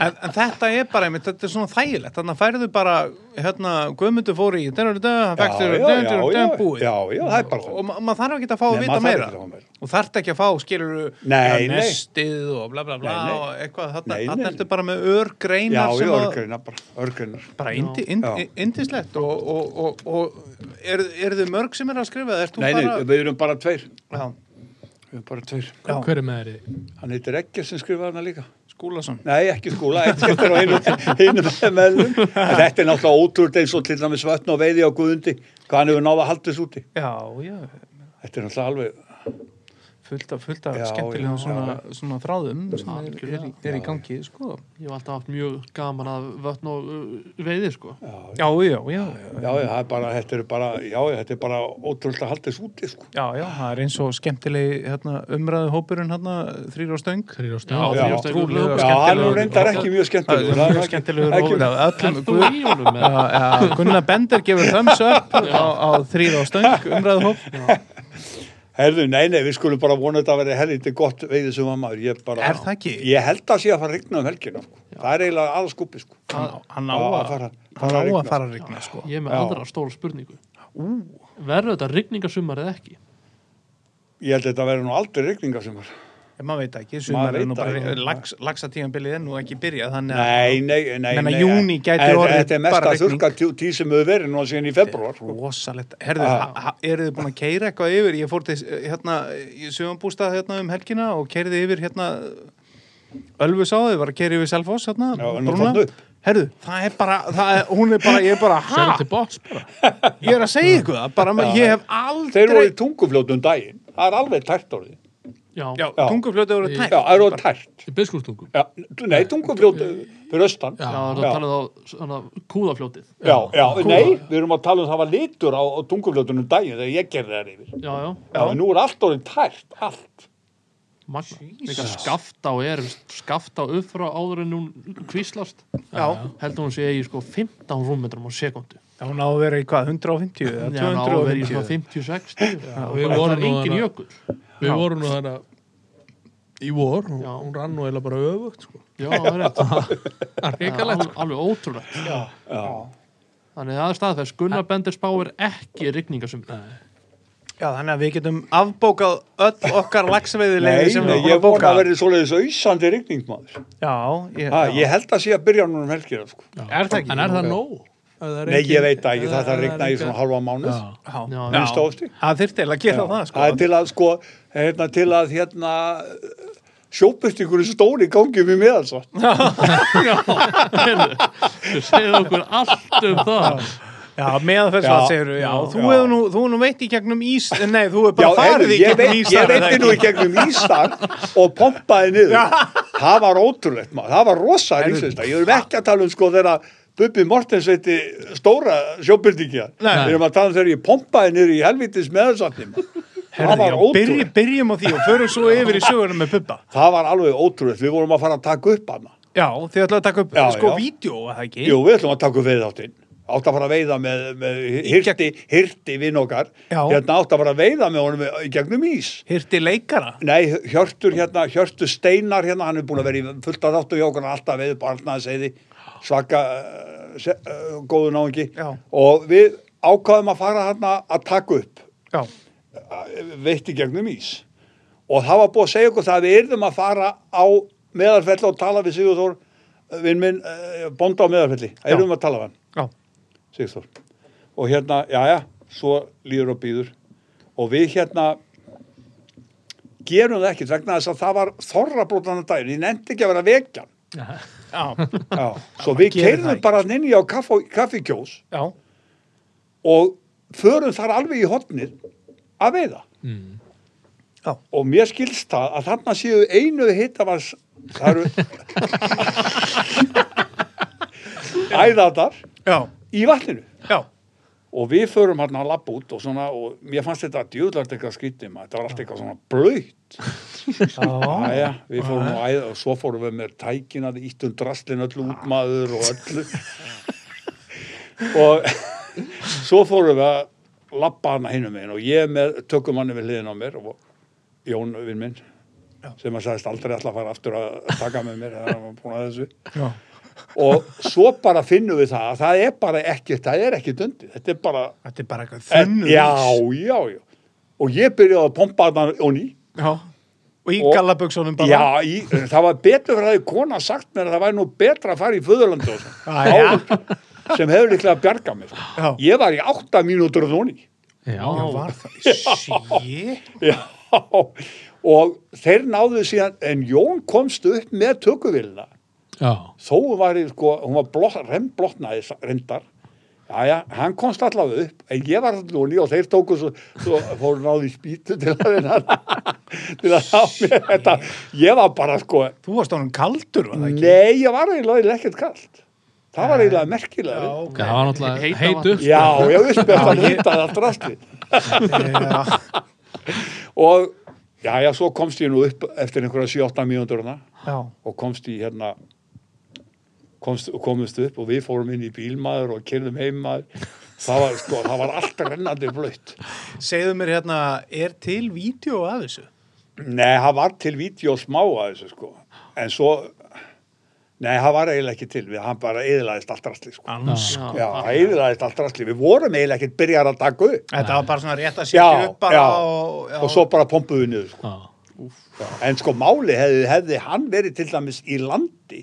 Speaker 1: En, en þetta er bara, einmitt, þetta er svona þægilegt þannig að færðu bara, hérna, Guðmundur fór í þannig að það fækst þér
Speaker 5: já, já, já,
Speaker 1: búið
Speaker 5: já, já, það er bara
Speaker 1: og
Speaker 5: það.
Speaker 1: ma maður þarf ekki að fá að
Speaker 5: Nei,
Speaker 1: vita
Speaker 5: maður þarf
Speaker 1: meira
Speaker 5: ekki að fá meira.
Speaker 1: og þarf ekki að fá, skilur
Speaker 5: Nei, nei.
Speaker 1: nestið og bla bla bla
Speaker 5: Nei, nei.
Speaker 1: og eitthvað, þarna,
Speaker 5: Nei, nei.
Speaker 1: þarna ertu bara með
Speaker 5: Já,
Speaker 1: örgreinar
Speaker 5: já,
Speaker 1: sem að
Speaker 5: örgreina bara, örgreinar.
Speaker 1: bara indi, indi,
Speaker 5: Já.
Speaker 1: indislegt og, og, og, og er, er þið mörg sem er að skrifa það? Ert þú
Speaker 5: Nei, nei,
Speaker 1: bara...
Speaker 5: við erum bara tveir.
Speaker 1: Já,
Speaker 5: Við erum bara tveir.
Speaker 1: já,
Speaker 2: Hver er með þeirri?
Speaker 5: Hann heitir Egger sem skrifaði hana líka.
Speaker 1: Skúlason
Speaker 5: Nei, ekki skóla, ekki eftir á einu, einu meðlum. En Þetta er náttúrulega ótrúld eins og til dæmis vötn og veiði á guðundi, hvað hann hefur náða að halda þessu úti.
Speaker 1: Já, já,
Speaker 5: Þetta er náttúrulega alveg,
Speaker 1: fullt af, fullt af
Speaker 5: Já,
Speaker 1: skemmtilegum
Speaker 5: já,
Speaker 1: svona, svona þráðum sem er, er,
Speaker 3: Algjörlega.
Speaker 1: er í gangi sko.
Speaker 3: ég hef alltaf haft mjög gaman að vötn og uh, veiði sko
Speaker 1: já, já, já
Speaker 5: já, já, það er bara, þetta er bara, já, já, þetta er bara ótrúld að halda þessu úti, sko.
Speaker 1: já, já, það er eins og skemmtilegi hérna, umræðu hópurinn hérna, þrýr á stöng
Speaker 2: Hver er á
Speaker 3: Já,
Speaker 2: stöðu?
Speaker 5: Já,
Speaker 3: þrýr á stöng.
Speaker 1: trúlega
Speaker 5: Já, hann er reyndar ekki mjög
Speaker 1: Það
Speaker 5: skemmtilegur.
Speaker 1: er
Speaker 5: það
Speaker 1: mjög
Speaker 5: ekki-
Speaker 1: skemmtilegur
Speaker 5: ekki-
Speaker 1: hópur af
Speaker 3: er
Speaker 1: öllum
Speaker 3: þú
Speaker 1: Guð-
Speaker 3: í honum
Speaker 1: Já,
Speaker 3: með
Speaker 1: já, Gunnar Bender gefur thumbs up á, á þrýr á stöng umræðu hóp
Speaker 5: Herðu, nei, nei, við skulum bara vona að þetta að vera helviti gott veiði sem maður, ég bara...
Speaker 1: Er það ekki?
Speaker 5: Ég held að sé að fara að rigna um helgina, sko. Það er eiginlega aðra skuppi, sko.
Speaker 1: hann á- hann á
Speaker 5: Já,
Speaker 1: að
Speaker 5: að fara-
Speaker 1: hann
Speaker 5: fara
Speaker 1: á
Speaker 5: að rigna,
Speaker 1: að fara að rigna sko.
Speaker 3: ég er með
Speaker 5: Já.
Speaker 3: aðra stóra spurningu verður þetta rigningasumar eða ekki
Speaker 5: Ég held að þetta verður nú aldrei rigninga sem
Speaker 1: Ég maður veit ekki,
Speaker 5: Maður
Speaker 1: sumar er
Speaker 5: veit
Speaker 1: nú
Speaker 5: það
Speaker 1: bara
Speaker 5: ekki.
Speaker 1: lags, lagsatíðanbilið er nú ekki byrjað þannig að-
Speaker 5: Nei, nei, nei,
Speaker 1: Menna,
Speaker 5: nei
Speaker 1: júní gæti
Speaker 5: en
Speaker 1: orðið
Speaker 5: Þetta er mest
Speaker 1: bara
Speaker 5: að
Speaker 1: rigning.
Speaker 5: þurka tíð sem hefur verið núna síðan í sko. februar
Speaker 1: rosalegt, herðu,
Speaker 5: Ah.
Speaker 1: ha- ha- eru þið búin að keira eitthvað yfir, ég fór til eh, hérna, sögumbústað hérna um helgina og keiriði yfir hérna Ölfus á þau, var að keira yfir Selfoss hérna,
Speaker 5: Já, en hún
Speaker 1: brúna.
Speaker 5: þarna upp.
Speaker 1: herðu, það er bara, það er, hún er bara ég er bara,
Speaker 2: Serum
Speaker 1: hæ,
Speaker 2: til bots bara
Speaker 1: ég er að segja ykkur það bara, ég hef aldrei
Speaker 5: Þeir voru í tungufljótum um daginn Það er alveg tært orðið
Speaker 3: já,
Speaker 1: já, tungufljóti voru
Speaker 5: Já,
Speaker 1: tætt
Speaker 5: það eru orðið tært
Speaker 2: Í byrskúrstungum
Speaker 5: já, Nei, tungufljótum fyrir austan
Speaker 3: já
Speaker 5: Já, um-
Speaker 3: það er að tala þá um svona kúðafljótið
Speaker 5: já, nei, við erum að tala um það var litur á, á tungufljótunum daginn þegar ég gerði það yfir
Speaker 3: já, já,
Speaker 5: Já, en nú er allt orðið tært, allt
Speaker 3: magna líka skafta og er skafta upp frá áður en hún kvíslast
Speaker 1: já,
Speaker 3: heldur hún sé í sko 15 rúmmetrum á sekundu
Speaker 1: já, hún á að vera í hvað, 150 eða
Speaker 3: Já, ná að vera í svona
Speaker 1: 250
Speaker 3: 50-60
Speaker 2: við
Speaker 3: og það
Speaker 2: vorum
Speaker 3: er
Speaker 2: nú
Speaker 3: engin
Speaker 2: þarna-
Speaker 3: jökul
Speaker 2: Við vorum nú þarna í vor og
Speaker 3: Já.
Speaker 2: hún rann nú eða bara öfugt sko.
Speaker 3: Já, það er rétt
Speaker 2: Ríkalegt
Speaker 3: alveg, alveg ótrúlegt já. Þannig að það er staðfæst Gunnar Bender spáir ekki rigningasum
Speaker 1: já, þannig að við getum afbókað öll okkar
Speaker 5: Nei,
Speaker 1: lagsveiðilegði sem
Speaker 5: nei,
Speaker 1: við vorum að
Speaker 5: ég vona
Speaker 1: bóka
Speaker 5: að verði svoleiðis auðsandi rigning, maður
Speaker 1: já, ég,
Speaker 5: ha, Ég held að sé að byrja núna um helgina sko.
Speaker 1: er það ekki
Speaker 2: En er það nóg? Ef það er
Speaker 5: Nei,
Speaker 2: engin-
Speaker 5: ég veit það ekki,
Speaker 2: ef
Speaker 5: það þarf að
Speaker 2: er
Speaker 5: rigna í
Speaker 2: engin-
Speaker 5: svona halva mánuð
Speaker 2: Já.
Speaker 1: Já,
Speaker 3: Já,
Speaker 1: já.
Speaker 5: minnsta ofti.
Speaker 1: Það þyrfti eiginlega að gera
Speaker 5: Já,
Speaker 1: það sko.
Speaker 5: er til að sko hérna, til að hérna sjópust ykkur stóri gangi við meðan svo
Speaker 3: Þú segir okkur allt um það
Speaker 1: Já, meðferðsvað
Speaker 5: Já.
Speaker 1: segir já,
Speaker 5: Já.
Speaker 1: þú
Speaker 5: Já.
Speaker 1: hefur nú, þú hefur nú veit í gegnum ís, eh, nei, þú hefur
Speaker 5: Já,
Speaker 1: bara farið
Speaker 5: heyrðu,
Speaker 1: í
Speaker 5: ég, veit,
Speaker 1: gegnum ís
Speaker 5: ég veitti nú í gegnum ístak og pompaði niður það var ótrúlegt maður, það var rosa lífsveista, ég erum ekki að tala um sko þegar Bubbi Mortens veiti stóra sjóbyrtingja,
Speaker 1: Nei.
Speaker 5: við erum að tala um þegar ég pompaði niður í helvitis meðansatnum það var
Speaker 1: byrj,
Speaker 5: ótrúlegt,
Speaker 1: Byrjum á því og förum svo yfir í söguna með Bubba
Speaker 5: það var alveg ótrúlegt við vorum að fara að taka upp hana
Speaker 1: Já, þið ætlaðu að taka upp,
Speaker 5: Já,
Speaker 1: sko,
Speaker 5: já.
Speaker 1: vídeo, var það ekki?
Speaker 5: Jú, við ætlum að taka upp veiðáttinn. Átt að fara að veiða með, með hirti, hirti vinn okkar.
Speaker 1: Já.
Speaker 5: Hérna átt að fara að veiða með honum í gegnum ís.
Speaker 1: Hirti leikara
Speaker 5: Nei, Hjörtur hérna, Hjörtur Steinar hérna, hann er búin að vera í fullt að þáttu hjá okkur hann er alltaf veið upp barnaðseiði, svaka uh, se, uh, góðu náungi.
Speaker 1: Já.
Speaker 5: Og við ákvaðum að fara hérna að taka upp
Speaker 1: Já,
Speaker 5: veitti gegnum ís og það var búið að segja okkur það að við yrðum að fara á meðarfelli og tala við Sigurþór vinn minn, eh, bónda á meðarfelli það yrðum að tala við hann,
Speaker 1: já,
Speaker 5: Sigurþór og hérna, já já, svo líður og býður og við hérna gerum það ekkert vegna þess að það var þorrabrótana daginn, ég nefndi ekki að vera vekjan
Speaker 1: já,
Speaker 5: já, svo við
Speaker 1: gerir það
Speaker 5: keirðum
Speaker 1: ekki.
Speaker 5: bara nynni á kaff- kaffikjós
Speaker 1: já
Speaker 5: og förum þar alveg í hotnið að veiða
Speaker 1: Já.
Speaker 5: og mér skilst það að þarna séu einu hittavars það eru æðatar
Speaker 1: Já,
Speaker 5: í vatninu
Speaker 1: já,
Speaker 5: og við förum hérna að labba út og svona og mér fannst þetta djúðlart eitthvað skrítið maður, þetta var allt eitthvað svona blöyt Æja, við fórum nú æða og svo fórum við með tækin að íttum drastlin öllu út maður og öllu og svo fórum við að labba hana hinum megin og ég með tökum hann við hliðin á mér og Jón vinn minn sem að sagðist aldrei ætla að fara aftur að taka með mér þegar hann var búin að þessu
Speaker 1: já
Speaker 5: og svo bara finnum við það að það er bara ekkert, það er ekkert undir þetta er bara,
Speaker 1: Þetta er bara eitthvað
Speaker 5: en,
Speaker 1: þunnu
Speaker 5: já, já, já og ég byrjaði að pompa þarna og ný,
Speaker 1: já Og í
Speaker 5: Og-
Speaker 1: gallaböksunum bara
Speaker 5: já, í, það var betur fyrir að þið kona sagt mér að það væri nú betra að fara í föðurlandi og svona,
Speaker 1: Á, Ah, já.
Speaker 5: sem hefur líklega að bjarga mér,
Speaker 1: Já.
Speaker 5: sko. ég var í átta mínútur og ný,
Speaker 2: Já,
Speaker 1: Já, var það Shit
Speaker 5: já og þeir náðu síðan, en Jón komst upp með tökuvilna
Speaker 2: já,
Speaker 5: þó hún var í, sko, hún var blott, remblottnaði reyndar Jæja, hann komst allavega upp, en ég var þarna núni og þeir tóku svo, svo fóru náðu í spýtu til að reyna til að ná mér þetta. Ég var bara sko,
Speaker 1: Þú varst ánum kaldur, var það ekki?
Speaker 5: nei, ég var eiginlega eiginlega ekkert kallt. Það var eiginlega merkilega. Já,
Speaker 1: ok
Speaker 2: það var náttúrulega
Speaker 3: Heita
Speaker 2: heitu
Speaker 3: vatn.
Speaker 5: já, ég veist með
Speaker 1: Já,
Speaker 5: það
Speaker 1: ég-
Speaker 5: hundað allt rastlið.
Speaker 1: Já,
Speaker 5: Og, já, já, svo komst ég nú upp eftir einhverja 7-8 mínúndurna
Speaker 1: já,
Speaker 5: og komst í hérna komst, komist upp og við fórum inn í bílmaður og kynum heimmaður það var sko, það var allt rennandi blöytt
Speaker 1: segðu mér hérna, er til vídeo af þessu?
Speaker 5: nei, það var til vídeo smá að þessu sko en svo nei, það var eiginlega ekki til, við hann bara eðlaðist allt rastli sko
Speaker 1: Ans
Speaker 5: já,
Speaker 1: ah.
Speaker 5: það eðlaðist allt rastli, við vorum eiginlega ekkert byrjar að taka upp
Speaker 1: Þetta var bara svona rétt að
Speaker 5: já,
Speaker 1: setja upp bara
Speaker 5: já,
Speaker 1: og, já. Ah.
Speaker 5: og svo bara pompuðu niður sko.
Speaker 2: Já,
Speaker 5: en sko máli hefði, hefði hann verið til dæmis í landi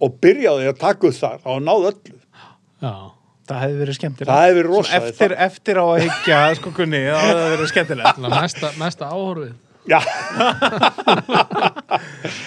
Speaker 5: og byrjaði að taka upp þar og náðu öllu
Speaker 2: já
Speaker 1: Það hefði verið skemmtilegt
Speaker 5: Það hefði verið rosa,
Speaker 1: Svo eftir, eftir á að higgja, sko kunni, það hefði verið skemmtilegt
Speaker 2: Þannig að Mesta, mesta áhorfið
Speaker 5: Já.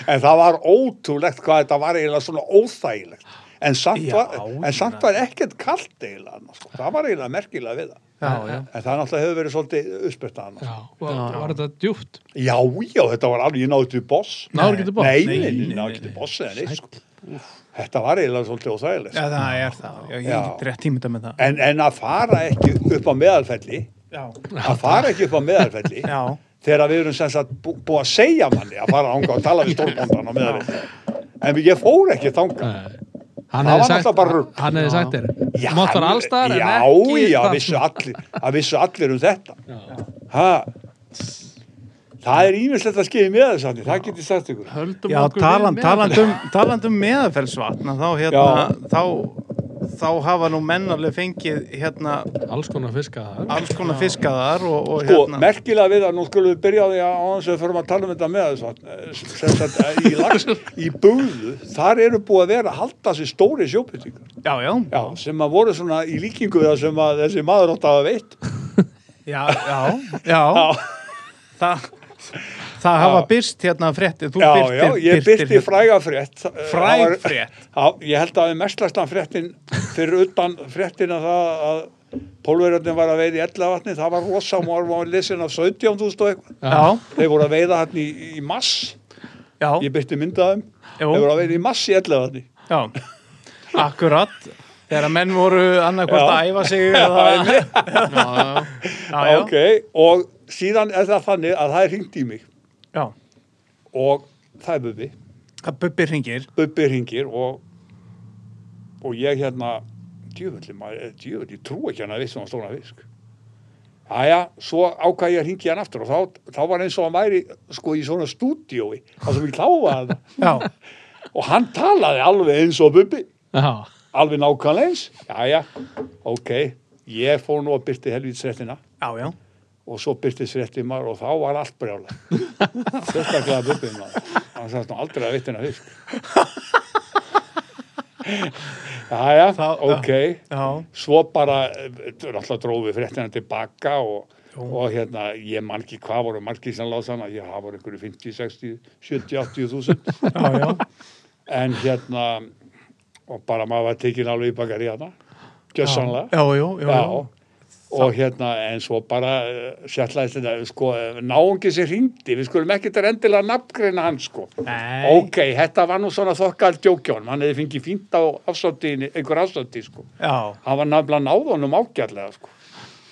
Speaker 5: en það var ótrúlegt hvað þetta var eiginlega svona óþægilegt. En samt,
Speaker 1: Já,
Speaker 5: var, en
Speaker 1: ég
Speaker 5: samt var ekkert kallt eiginlega annars. Sko. Það var eiginlega merkilega við það.
Speaker 1: Já, já
Speaker 5: En það náttúrulega hefur verið svolítið uppspyrtað annars.
Speaker 2: Já, og var þetta djúpt?
Speaker 5: Já, já, þetta var alveg, ég náði til boss.
Speaker 2: Náður getur bótt?
Speaker 1: nei,
Speaker 5: Nei, nei, nei,
Speaker 1: nei,
Speaker 5: ég náði ekki til boss eða neitt, sko. Þetta var eiginlega svolítið óþægilegt.
Speaker 1: Já, það er það, já, ég
Speaker 5: Já.
Speaker 1: er ekki rétt tímita með það
Speaker 5: En, en að fara ekki upp á meðalfelli,
Speaker 1: Já,
Speaker 5: að fara ekki upp á meðalfelli,
Speaker 1: já,
Speaker 5: þegar við erum sem sagt bú, búið að segja manni að fara ánga og tala við stórbóndan á meðalveg en ég fór ekki þanga
Speaker 2: Hann
Speaker 5: Það
Speaker 2: hefði
Speaker 5: var
Speaker 2: sagt,
Speaker 5: náttúrulega bara rugl.
Speaker 2: hann hefði sagt þér Mátt var allstar
Speaker 5: já,
Speaker 2: en ekki
Speaker 5: já,
Speaker 2: þarna.
Speaker 5: vissu allir, að vissu allir um þetta ha, það er ímislegt að skeiði með þess að það geti sagt ykkur
Speaker 3: Höldum
Speaker 1: já
Speaker 3: okkur
Speaker 1: talan, um-
Speaker 3: við
Speaker 1: talandum, talandum meðafellsvatna þá hérna, þá þá hafa nú mennarlega fengið hérna
Speaker 2: Alls konar fiska þar
Speaker 1: alls konar fiskaðar og, og
Speaker 5: Sko,
Speaker 1: hérna
Speaker 5: merkilega við að nú skulum við byrja á því að á þess að við förum að tala um þetta með þess að sem sagt, eh, í, lags, í búðu, þar eru búið að vera að halda sér stóri sjóbyttingar
Speaker 1: Já, já,
Speaker 5: já, sem að voru svona í líkingu við það sem að þessi maður átt að hafa veitt
Speaker 1: já, já, já. Þa, Það hafa
Speaker 5: Já.
Speaker 1: byrst hérna frétti, þú
Speaker 5: Já,
Speaker 1: birtir,
Speaker 5: já, ég
Speaker 1: birtir
Speaker 5: byrti
Speaker 1: hérna.
Speaker 5: fræga frétt.
Speaker 1: Fræg
Speaker 5: Það var-
Speaker 1: frétt?
Speaker 5: Já, ég held að við mestlastan fréttin fyrir utan fréttina það að pólverjarnir var að veiða í ellavatni, það var rosam og var lesin af 17.000 og eitthvað.
Speaker 1: Já,
Speaker 5: Þeir voru að veiða hann í, í mass,
Speaker 1: já,
Speaker 5: ég byrti myndaðum,
Speaker 1: Jú.
Speaker 5: þeir voru að veiða í mass í ellavatni.
Speaker 1: já. Akkurat. Þegar að menn voru annarkvæmt
Speaker 5: Já.
Speaker 1: að æfa sig eða... Já, já, já.
Speaker 5: Ok, og síðan er það þannig að það er hringt í mig
Speaker 1: já.
Speaker 5: og það er bubbi.
Speaker 1: Hvað Bubbi hringir.
Speaker 5: Bubbi hringir og, og ég hérna, djöfulli maður, eh, djöfulli, ég trú ekki hann um að vissi hann stóna fisk. Æja, svo ákvæði ég að hringi hann aftur og þá, þá var eins og hann væri sko í svona stúdíói, það sem ég kláfa hann.
Speaker 1: Já,
Speaker 5: Og hann talaði alveg eins og Bubbi,
Speaker 2: Já,
Speaker 5: alveg nákvæmlega eins. Æja, ok, ég fór nú að byrti helvítsrettina
Speaker 1: já, já.
Speaker 5: og svo byrti srettimar og þá var allt brjála. Sérstaklega Bubbi maður. Hann sagði nú aldrei að vittina fisk. Jæja,
Speaker 1: Þá-
Speaker 5: ok.
Speaker 1: Já,
Speaker 5: Svo bara, eh, alltaf drófið fréttina tilbaka og, og hérna, ég man ekki hvað voru margir sem láð þannig að ég hafa voru einhverju 50, 60, 70, 80 þúsund.
Speaker 1: já, já.
Speaker 5: En hérna, og bara maður var tekin alveg í bakari hérna, gjössanlega.
Speaker 1: Já, já, já.
Speaker 5: Já,
Speaker 1: já.
Speaker 5: og hérna en svo bara uh, sjallaðist þetta sko, eh, náungi sem hringdi við skulum ekkert að endilega nafngreina hann sko
Speaker 1: Nei.
Speaker 5: ok, þetta var nú svona þokkar djókjón, hann hefði fengið fínt á afsáttiðinni, einhver afsáttið sko
Speaker 1: Já,
Speaker 5: hann var nafnilega náðunum ágjarlega sko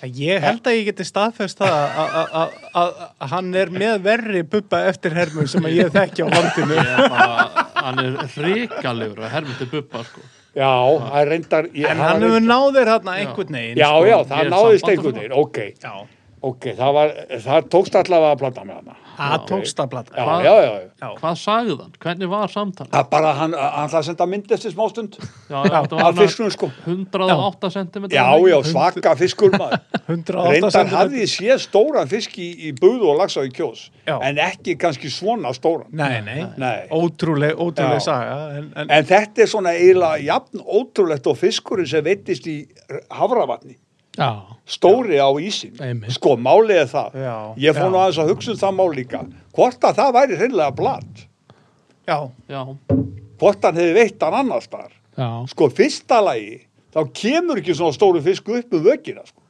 Speaker 1: ég held að ég geti staðfest það að- að- að- að að hann er með verri bubba eftir hermur sem að ég þekki á landinu.
Speaker 3: Ég er bara, hann er hrikalegur að hermið til bubba sko.
Speaker 5: já, það er reyndar ég,
Speaker 1: En
Speaker 5: það
Speaker 1: hann
Speaker 5: var
Speaker 1: hefur
Speaker 5: reyndar-
Speaker 1: náðir hérna einhvern veginn.
Speaker 5: já,
Speaker 1: sko.
Speaker 5: já,
Speaker 3: ég
Speaker 5: það
Speaker 3: er
Speaker 5: náðist
Speaker 3: samband og
Speaker 5: einhvern veginn ok,
Speaker 1: Já,
Speaker 5: ok, það var það tókst allavega að planta með hana
Speaker 1: það tókst að blata.
Speaker 5: já,
Speaker 3: Hvað-
Speaker 5: já, já, já.
Speaker 1: Já.
Speaker 3: Hvað sagði hann? Hvernig var samtalið?
Speaker 5: Það bara hann, hann ætlaði að senda mynd eftir smástund
Speaker 3: Já, þetta var
Speaker 5: af
Speaker 3: hann
Speaker 5: fiskunum sko
Speaker 3: 108 cm
Speaker 5: já, já, svaka fiskur maður
Speaker 1: 108
Speaker 5: Reyndar
Speaker 1: cm.
Speaker 5: hafði ég séð stóran fisk í, í buðu og lagsaði kjós
Speaker 1: Já.
Speaker 5: en ekki kannski svona stóran
Speaker 1: Nei, nei,
Speaker 5: Nei.
Speaker 1: ótrúleg, ótrúleg
Speaker 5: Já.
Speaker 1: saga en, en,
Speaker 5: en þetta er svona eiginlega jafn ótrúlegt og fiskurinn sem veittist í havravatni
Speaker 2: já,
Speaker 5: stóri á ísin,
Speaker 2: Einmitt.
Speaker 5: sko málið er það
Speaker 1: Já.
Speaker 5: ég fór nú
Speaker 1: Já.
Speaker 5: aðeins að hugsa um það mál líka hvort að það væri hreinlega blatt
Speaker 1: Já,
Speaker 3: Já,
Speaker 5: hvort hann hefði veitt hann annars þar
Speaker 2: já.
Speaker 5: sko fyrsta lagi þá kemur ekki svona stóru fisk upp um vökina sko.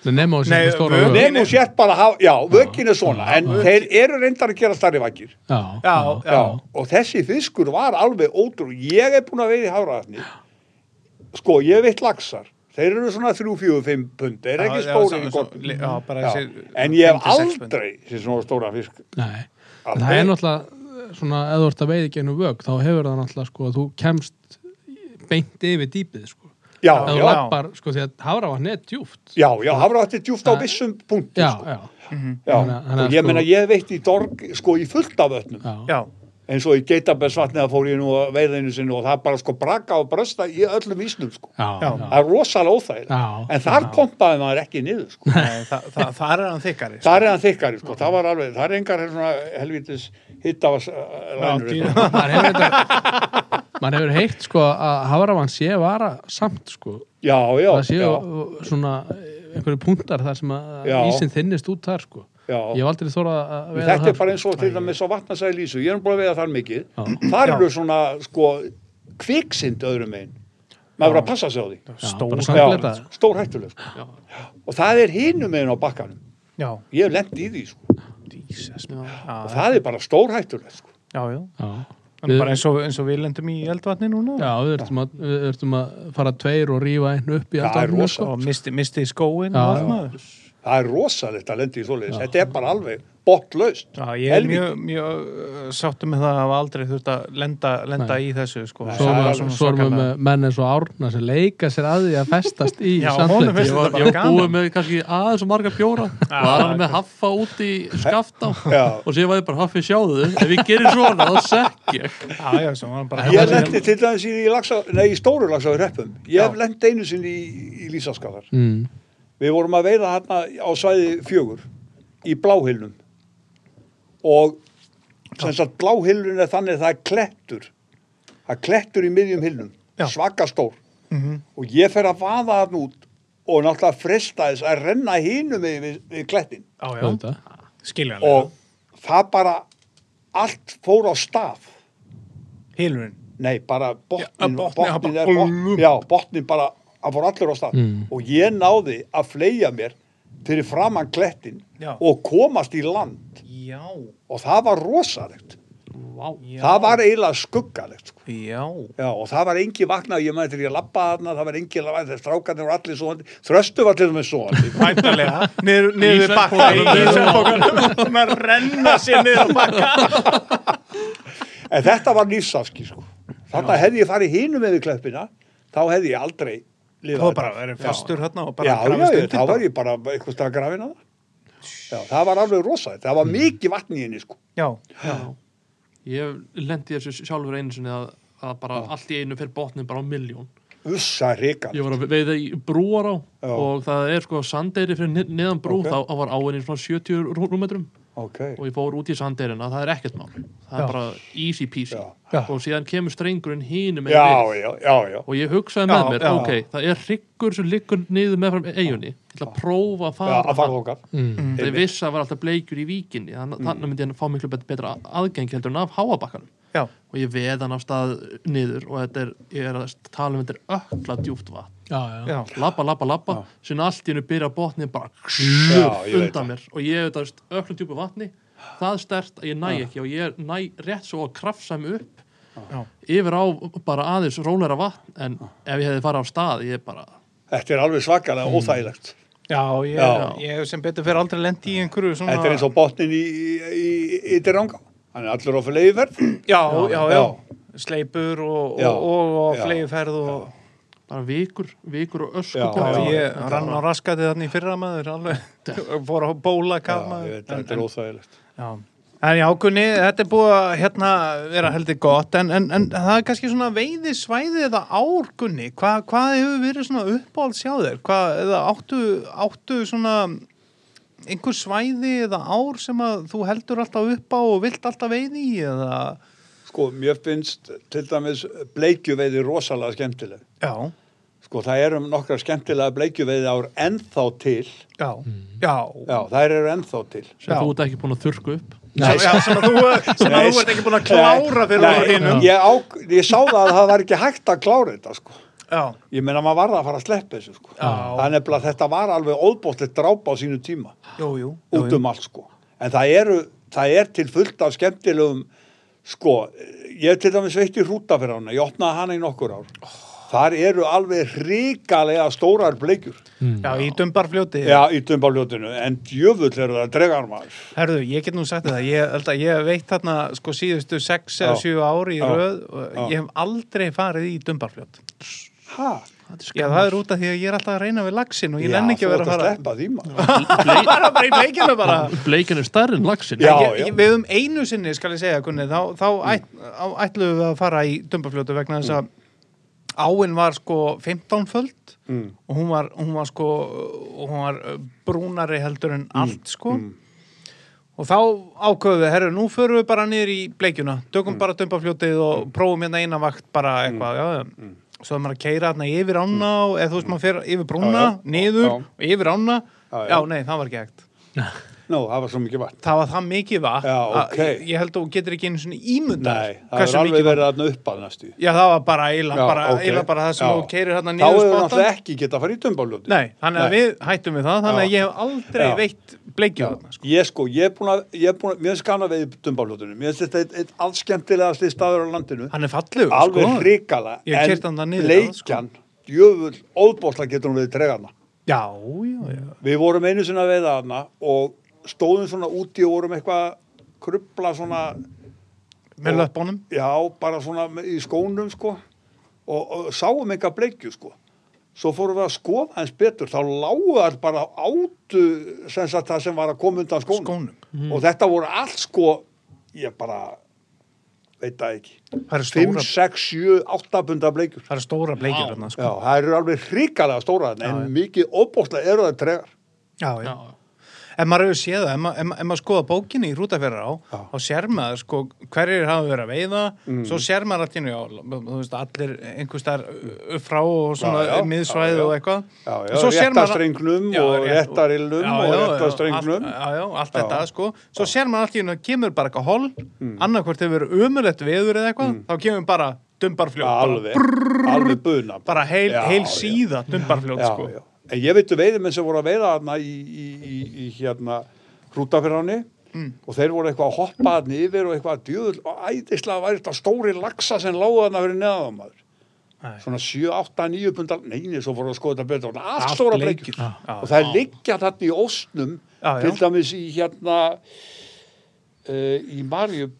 Speaker 2: Það nefnum á
Speaker 1: Nei,
Speaker 2: sér stóra
Speaker 1: vöku-
Speaker 2: vöku.
Speaker 5: nefnum sér bara, að hafa- já, vökin er svona en þeir eru reyndar að gera starri vakir
Speaker 2: Já,
Speaker 1: já, já,
Speaker 5: Já, og þessi fiskur var alveg ótrú. Ég er búin að veiða í háraðatni. Sko, ég veit laxar. Þeir eru svona 3, 4, 5 pund. Þeir eru ekki
Speaker 1: Já, já,
Speaker 5: stóri
Speaker 1: svo-
Speaker 5: í
Speaker 1: svo-
Speaker 5: gott.
Speaker 1: Já, bara þessir
Speaker 5: En ég
Speaker 1: 5-6
Speaker 5: hef
Speaker 1: pund.
Speaker 5: aldrei sér svona stóra fisk.
Speaker 2: nei.
Speaker 5: Aldrei.
Speaker 2: Það er náttúrulega eh, svona, ef þú ert að veiði genið vög, þá hefur það náttúrulega sko að þú kemst beint yfir dýpið sko.
Speaker 5: Já, sko.
Speaker 2: Ef þú
Speaker 5: já,
Speaker 2: lappar, sko, því að hafravatn er djúft.
Speaker 5: já, já, hafraðatni djúft á vissum punkti.
Speaker 2: Já,
Speaker 5: sko.
Speaker 2: já,
Speaker 5: já.
Speaker 2: Þannig að- þannig að
Speaker 5: Og ég
Speaker 2: sko-
Speaker 5: meina, ég hef veitt í dorg, sko, í fullt af vötnum.
Speaker 2: já.
Speaker 1: já,
Speaker 5: Eins og í geitabensvatni það fór ég nú að veiða einu sinni og það bara sko braka og brösta í öllum ísnum, sko.
Speaker 2: Já,
Speaker 1: Já.
Speaker 2: já.
Speaker 5: Það er rosalega óþægilegt.
Speaker 2: Já,
Speaker 5: En þar
Speaker 2: já.
Speaker 5: kompaði maður ekki niður, sko.
Speaker 1: Nei, þa þa þar er hann þykkari sko.
Speaker 5: Þar er hann þykkari, sko, það var alveg, það er engar svona helvitis eh, hittavaslænur.
Speaker 1: Já,
Speaker 2: maður hefur þetta maður hefur heilt sko að hafravann sé vara samt sko
Speaker 5: Já, já,
Speaker 2: það séu
Speaker 5: já,
Speaker 2: svona einhverju punktar þar sem að
Speaker 5: Já.
Speaker 2: ísinn þinnist út þar sko ég
Speaker 5: já.
Speaker 2: hef aldrei þórað að veiða
Speaker 5: Þetta er
Speaker 2: þar,
Speaker 5: bara eins
Speaker 2: sko.
Speaker 5: og til dæmis á vatnasæði lísu, ég er nú búin að veiða þar mikið.
Speaker 2: Já.
Speaker 5: Þar eru svona, sko, kviksind öðrum einn. Maður verður að passa sig á því.
Speaker 2: Já,
Speaker 1: Stór-
Speaker 2: bara
Speaker 5: Já,
Speaker 2: sandleta.
Speaker 5: stór hættuleg. sko.
Speaker 3: já,
Speaker 5: Og það er hinum einn á bakkanum.
Speaker 1: Já,
Speaker 5: Ég hef lent í því, sko.
Speaker 1: Jesus
Speaker 3: já.
Speaker 5: Og
Speaker 1: Já,
Speaker 5: það er bara stór hættuleg, sko.
Speaker 1: já, já.
Speaker 2: já
Speaker 1: En bara eins og, eins og við lendum í eldvatni núna
Speaker 2: Já, við ertum að, við ertum að fara tveir og rífa einn upp í
Speaker 5: Já, það er
Speaker 2: eldvarninu,
Speaker 5: rosa.
Speaker 2: sko.
Speaker 1: og misti, misti skóin
Speaker 2: Já,
Speaker 1: og
Speaker 2: já.
Speaker 1: allt maður
Speaker 5: Það er rosalegt að lendi í svoleiðis. Þetta er bara alveg botlaust.
Speaker 1: Já, ég er
Speaker 5: Helvíti.
Speaker 1: mjög, mjög uh, sáttu með það að hafa aldrei þurft að lenda, lenda í þessu sko.
Speaker 5: Nei,
Speaker 2: Svo erum
Speaker 5: það er
Speaker 2: við-
Speaker 5: alveg
Speaker 2: svo erum við
Speaker 1: svakalega.
Speaker 2: með menn eins og árna sem leika sér að því að festast í
Speaker 1: Já, honum
Speaker 2: sandleti
Speaker 1: finnst
Speaker 3: Ég
Speaker 1: þetta bara
Speaker 3: var, ég var búið
Speaker 1: gaman
Speaker 3: með kannski aðeins og marga bjóra var hann með haffa út í skafta
Speaker 5: Já.
Speaker 3: og sér var ég bara haffi sjáðu ef ég gerir svona þá sekk ég
Speaker 1: Já, já, svo var hann bara
Speaker 5: Ég lendi til dæmis í, laxa, nei, í stóru lagsa í reppum. Ég hef
Speaker 1: Já.
Speaker 5: lent einu sinni í, í Lísaskadar.
Speaker 2: mm.
Speaker 5: Við vorum að veiða hérna á svæði fjögur í bláhilnum og sem sagt bláhilnun er þannig að það er klettur það er klettur í miðjum hilnum
Speaker 1: Já. Mhm.
Speaker 5: svaka stór og ég fer að vaða hann út og náttúrulega fresta þess að renna hínum við, við, við klettin
Speaker 1: Já, já,
Speaker 2: auðvitað.
Speaker 1: skiljanlega
Speaker 5: og það bara allt fór á staf
Speaker 1: Hilurinn.
Speaker 5: nei, bara botnin,
Speaker 1: botninn,
Speaker 5: botnin,
Speaker 1: já, bara-
Speaker 5: er botnin já, botnin bara, hann fór allur á stað og ég náði að fleia mér fyrir framann klettin
Speaker 1: Já.
Speaker 5: og komast í land
Speaker 1: Já.
Speaker 5: og það var rosalegt
Speaker 1: Vá. Já.
Speaker 5: það var eiginlega skuggalegt sko.
Speaker 1: Já.
Speaker 5: Já, og það var engi vaknað, ég maður til ég lappaði þarna, það var engi, þeir strákarnir voru allir svoandi, þröstu var til þeim svoandi,
Speaker 1: Mæntalega. Niður, niður bakka.
Speaker 2: svefnpokanum.
Speaker 1: Í svefnpokanum. Maður renna sér niður bakka.
Speaker 5: En þetta var lífsafski, sko. Þarna hefði ég farið hinum með kleppina, þá hefði ég aldrei lifað.
Speaker 1: Það var bara að vera fastur hérna og bara
Speaker 5: já, já,
Speaker 1: grafast
Speaker 5: já,
Speaker 1: undir bara.
Speaker 5: þá var ég bara eitthvað stað grafin að það. Já, það var alveg rosaðið. Það var mikið vatn í henni, sko.
Speaker 1: Já.
Speaker 3: Ég lendi þessu sjálfur einu sinni að, að bara allt í einu fyrir botnin bara á miljón.
Speaker 5: Ussa reykan.
Speaker 3: Ég var að veiða í brúar á
Speaker 5: Já.
Speaker 3: og það er sko sandeyri fyrir ni- neðan brú,
Speaker 5: Ok.
Speaker 3: þá þá var áinni svona 70 rú- rúmmetrum
Speaker 5: Ok.
Speaker 3: og ég fór út í sandeirina, það er ekkert mál. Það
Speaker 2: Já.
Speaker 3: er bara easy peasy.
Speaker 5: Já.
Speaker 2: Já.
Speaker 3: Og síðan kemur strengurinn hínum
Speaker 5: Já, já, já, já.
Speaker 3: og ég hugsaði
Speaker 1: Já,
Speaker 3: með mér,
Speaker 1: já.
Speaker 3: ok, það er hryggur sem liggur niður meðfram eigunni ég ætla að prófa að
Speaker 5: Já,
Speaker 3: fara,
Speaker 5: að fara þókar.
Speaker 2: Mm.
Speaker 3: þegar ég vissi að það var alltaf bleikur í víkinni þannig mm. myndi ég að fá miklu bet- betra aðgengi heldur en af háabakkanum
Speaker 1: Já.
Speaker 3: og ég veð hann af stað niður og þetta er, ég er að tala um þetta er ökla djúpt vatn
Speaker 2: já, já.
Speaker 1: Já.
Speaker 3: labba, labba, labba, síðan allt í hennu byrja botnið bara
Speaker 5: Já, ég veit það.
Speaker 3: undan mér og ég auðvitað veist, ökla djúpu vatni það er stert að ég næ ekki og ég næ rétt svo að krafsa mig upp
Speaker 1: Já.
Speaker 3: yfir á bara aðeins róleira vatn en ef ég hefði farið á stað ég bara,
Speaker 5: Þetta er alveg svakalega
Speaker 3: Mm.
Speaker 5: óþægilegt.
Speaker 1: Já, ég,
Speaker 5: Já.
Speaker 1: ég hef sem betur fyrir aldrei lendi í einhverju
Speaker 3: Mm.
Speaker 1: svona...
Speaker 5: Þetta er eins og botnin í, í, í, í Diranga. Hann er allur á fleiðverð.
Speaker 3: Mm.
Speaker 1: Já, já, já.
Speaker 5: Já.
Speaker 1: Sleipur og,
Speaker 5: Já.
Speaker 1: og, og, og
Speaker 5: Já.
Speaker 1: fleiðferð og...
Speaker 3: bara vikur, vikur og ösku
Speaker 5: Já,
Speaker 1: Já,
Speaker 3: bara.
Speaker 1: ég rann á raskatið þannig í fyrra maður alveg, fór á bóla
Speaker 5: Já,
Speaker 1: kaf
Speaker 5: ég
Speaker 1: maður
Speaker 5: veit, þetta er óþægilegt.
Speaker 1: Já. En já, Gunni, þetta er búið að hérna, vera heldur gott, en, en, en það er kannski svona veiði svæði eða ár, Gunni. Hva, hvað hefur verið svona uppáhald sjá þér? Hvað, eða áttu, áttu svona einhver svæði eða ár sem að þú heldur alltaf upp á og vilt alltaf veiði í? Eða...
Speaker 5: Sko, mér finnst til dæmis bleikjuveiði rosalega skemmtileg.
Speaker 1: Já,
Speaker 5: Sko, það eru nokkar skemmtilega bleikjuveiði ár ennþá til.
Speaker 1: já,
Speaker 5: Mm.
Speaker 1: já.
Speaker 5: Já, þær eru ennþá til.
Speaker 3: sem
Speaker 1: Já.
Speaker 3: þú ert ekki búin að þurrku upp
Speaker 1: Já, já, sem að þú, sem að
Speaker 5: Nei,
Speaker 1: þú ert ekki búin að klára fyrir
Speaker 5: Nei,
Speaker 1: úr hinum.
Speaker 5: Ég, á, ég sá það að það var ekki hægt að klára þetta, sko.
Speaker 1: Já,
Speaker 5: Ég meina, maður varða að fara að sleppa þessu, sko.
Speaker 1: Já.
Speaker 5: Það er nefnilega að þetta var alveg óbóttið drápa á sínu tíma.
Speaker 1: jú, jú. jú,
Speaker 5: út
Speaker 1: jú.
Speaker 5: um allt sko en það, eru, það er til fullt af skemmtilegum sko, ég hef til dæmis veitt í hrúta fyrir hana, ég opnaði hana í nokkur ár þar eru alveg hrikalega stórar bleikjur
Speaker 1: Já, í dömbarfljóti.
Speaker 5: já, í dömbaljótinu, en djöfull eru það dregarmar
Speaker 1: Herðu, ég get nú sagt þetta, ég held að ég hef veitt þarna sko síðustu 6 eða
Speaker 5: Já.
Speaker 1: 7 ári í
Speaker 5: Já.
Speaker 1: röð og
Speaker 5: Já.
Speaker 1: ég hef aldrei farið í Dumbarfljót.
Speaker 5: ha,
Speaker 1: Já, það er út af því að ég er alltaf að reyna við laxin og ég
Speaker 5: já,
Speaker 1: nenni ekki
Speaker 5: þú
Speaker 1: að vera
Speaker 5: ert
Speaker 1: að
Speaker 5: að
Speaker 1: fara
Speaker 5: sleppa því maður
Speaker 1: Ég var að bara í bleikinu bara.
Speaker 3: bleikin er stærri en laxin
Speaker 5: Já.
Speaker 1: ég, ég, við um einu sinni, skal ég segja, kunni, þá, þá æt, á, ætluðum við að fara í Dumbarfljótu vegna þess að áin var sko 15 föld
Speaker 5: Mm.
Speaker 1: og hún var, hún var sko og hún var uh, brúnari heldur en
Speaker 5: Mm.
Speaker 1: allt sko. Og þá ákveðum við, herru, nú förum við bara niður í bleikjuna,
Speaker 5: Mm.
Speaker 1: tökum bara dömbafljótið og prófum hérna eina vakt bara eitthvað, já,
Speaker 5: Mm.
Speaker 1: já. Svo er maður að keira hérna yfir ána og eða þú veist maður fer yfir brúna,
Speaker 5: Já, já.
Speaker 1: niður
Speaker 5: Já.
Speaker 1: og yfir ána, já,
Speaker 5: Já, já.
Speaker 1: nei, það var ekki hægt.
Speaker 5: nú, það var svo mikið vatn
Speaker 1: Það var það mikið vatn,
Speaker 5: Já,
Speaker 1: að
Speaker 5: ok.
Speaker 1: ég- ég held að þú getur ekki einu svona ímyndar
Speaker 5: nei, það er alveg verið að upp að næstu
Speaker 1: Já, það var bara eila,
Speaker 5: Já,
Speaker 1: bara,
Speaker 5: ok.
Speaker 1: eila bara það sem
Speaker 5: Já.
Speaker 1: þú keirir hérna
Speaker 5: þá
Speaker 1: niður
Speaker 5: hefur
Speaker 1: spotan.
Speaker 5: náttúrulega ekki getað að fara í dömbaljótinu
Speaker 1: Nei, þannig að
Speaker 5: Nei.
Speaker 1: við hættum við það, þannig að ég
Speaker 5: Já.
Speaker 1: hef aldrei
Speaker 5: Já.
Speaker 1: veitt bleikju
Speaker 5: Já,
Speaker 1: þarna, sko.
Speaker 5: ég sko, ég er búin að, ég er búin að, mér finnst gana við dumbaljótunum, mér finnst þetta einn ein allskemmtilegasti staður á landinu,
Speaker 1: Hann er fallegur,
Speaker 5: alveg
Speaker 1: sko.
Speaker 5: hrikala,
Speaker 1: Ég hef keyrt hann þar niður, sko.
Speaker 5: bleikjan, djöfull, óðbóðsla getur hún við tregarna.
Speaker 1: Já, já, já.
Speaker 5: Við vorum einu sinna að veiða hana og stóðum svona úti og vorum eitthvað að krupla svona,
Speaker 1: Með
Speaker 5: Og-
Speaker 1: löpunum.
Speaker 5: já, bara svona með- í skónum sko og, og sáum eitthvað bleikju sko. Svo fórum við að skoða eins betur, þá lágu þar bara átu sem sagt það sem var að koma undan skónum.
Speaker 1: skónum.
Speaker 5: og þetta voru allt sko ég bara veit það ekki
Speaker 1: Það eru
Speaker 5: 5,
Speaker 1: stóra,
Speaker 5: 6, 7, 8 bunda bleikjur
Speaker 1: það eru stóra bleikir hérna,
Speaker 5: já,
Speaker 1: sko.
Speaker 5: það eru alveg hrikalega stóra þarna, en mikið óbóðslega eru það tregar
Speaker 1: Já, já.
Speaker 3: Já, já.
Speaker 1: ef maður hefur séð það, ef, ma- ef, ma- ef maður skoða bókinni í rútafjörðar á,
Speaker 5: Já. Mm.
Speaker 1: þá sér maður sko hverjir hafa verið að veiða svo sér maður allt í einu, já, þú veist allir einhvers þar frá og svona
Speaker 5: Já, já, já,
Speaker 1: miðsvæði
Speaker 5: já.
Speaker 1: og eitthvað
Speaker 5: Já, já,
Speaker 1: En svo sér maður-
Speaker 5: réttarstrengnum
Speaker 1: Já,
Speaker 5: og
Speaker 1: rétt-
Speaker 5: réttarillum
Speaker 1: Já,
Speaker 5: og
Speaker 1: já, já, allt-
Speaker 5: réttarstrengnum.
Speaker 1: Já, já, allt
Speaker 5: Já. Mm.
Speaker 1: þetta sko svo sér maður allt í einu, að kemur bara eitthvað hol annarkvort hefur umurlegt veður eða eitthvað þá kemur bara dumbarfljóð bara,
Speaker 5: alveg, alveg buna
Speaker 1: bara heil,
Speaker 5: Já,
Speaker 1: heil
Speaker 5: já.
Speaker 1: síða dumbarfljóð
Speaker 5: já,
Speaker 1: sko
Speaker 5: já. En ég veitu veiðumenn sem voru að veiða hana í, í, í, í hérna hrútafyrrani
Speaker 1: Mm.
Speaker 5: og þeir voru eitthvað að hoppa hann yfir og eitthvað að djöðul og æðislega væri þetta stóri laxa sem láða hann að vera neðan maður.
Speaker 1: Æ.
Speaker 5: Svona 7, 8, 9 pundar, neini, svo voru að skoða þetta betur, allt stóra bleikjur.
Speaker 1: Já,
Speaker 5: og það er
Speaker 1: já.
Speaker 5: liggja þarna í ósnum
Speaker 1: Já, já.
Speaker 5: til dæmis í hérna uh, í Marju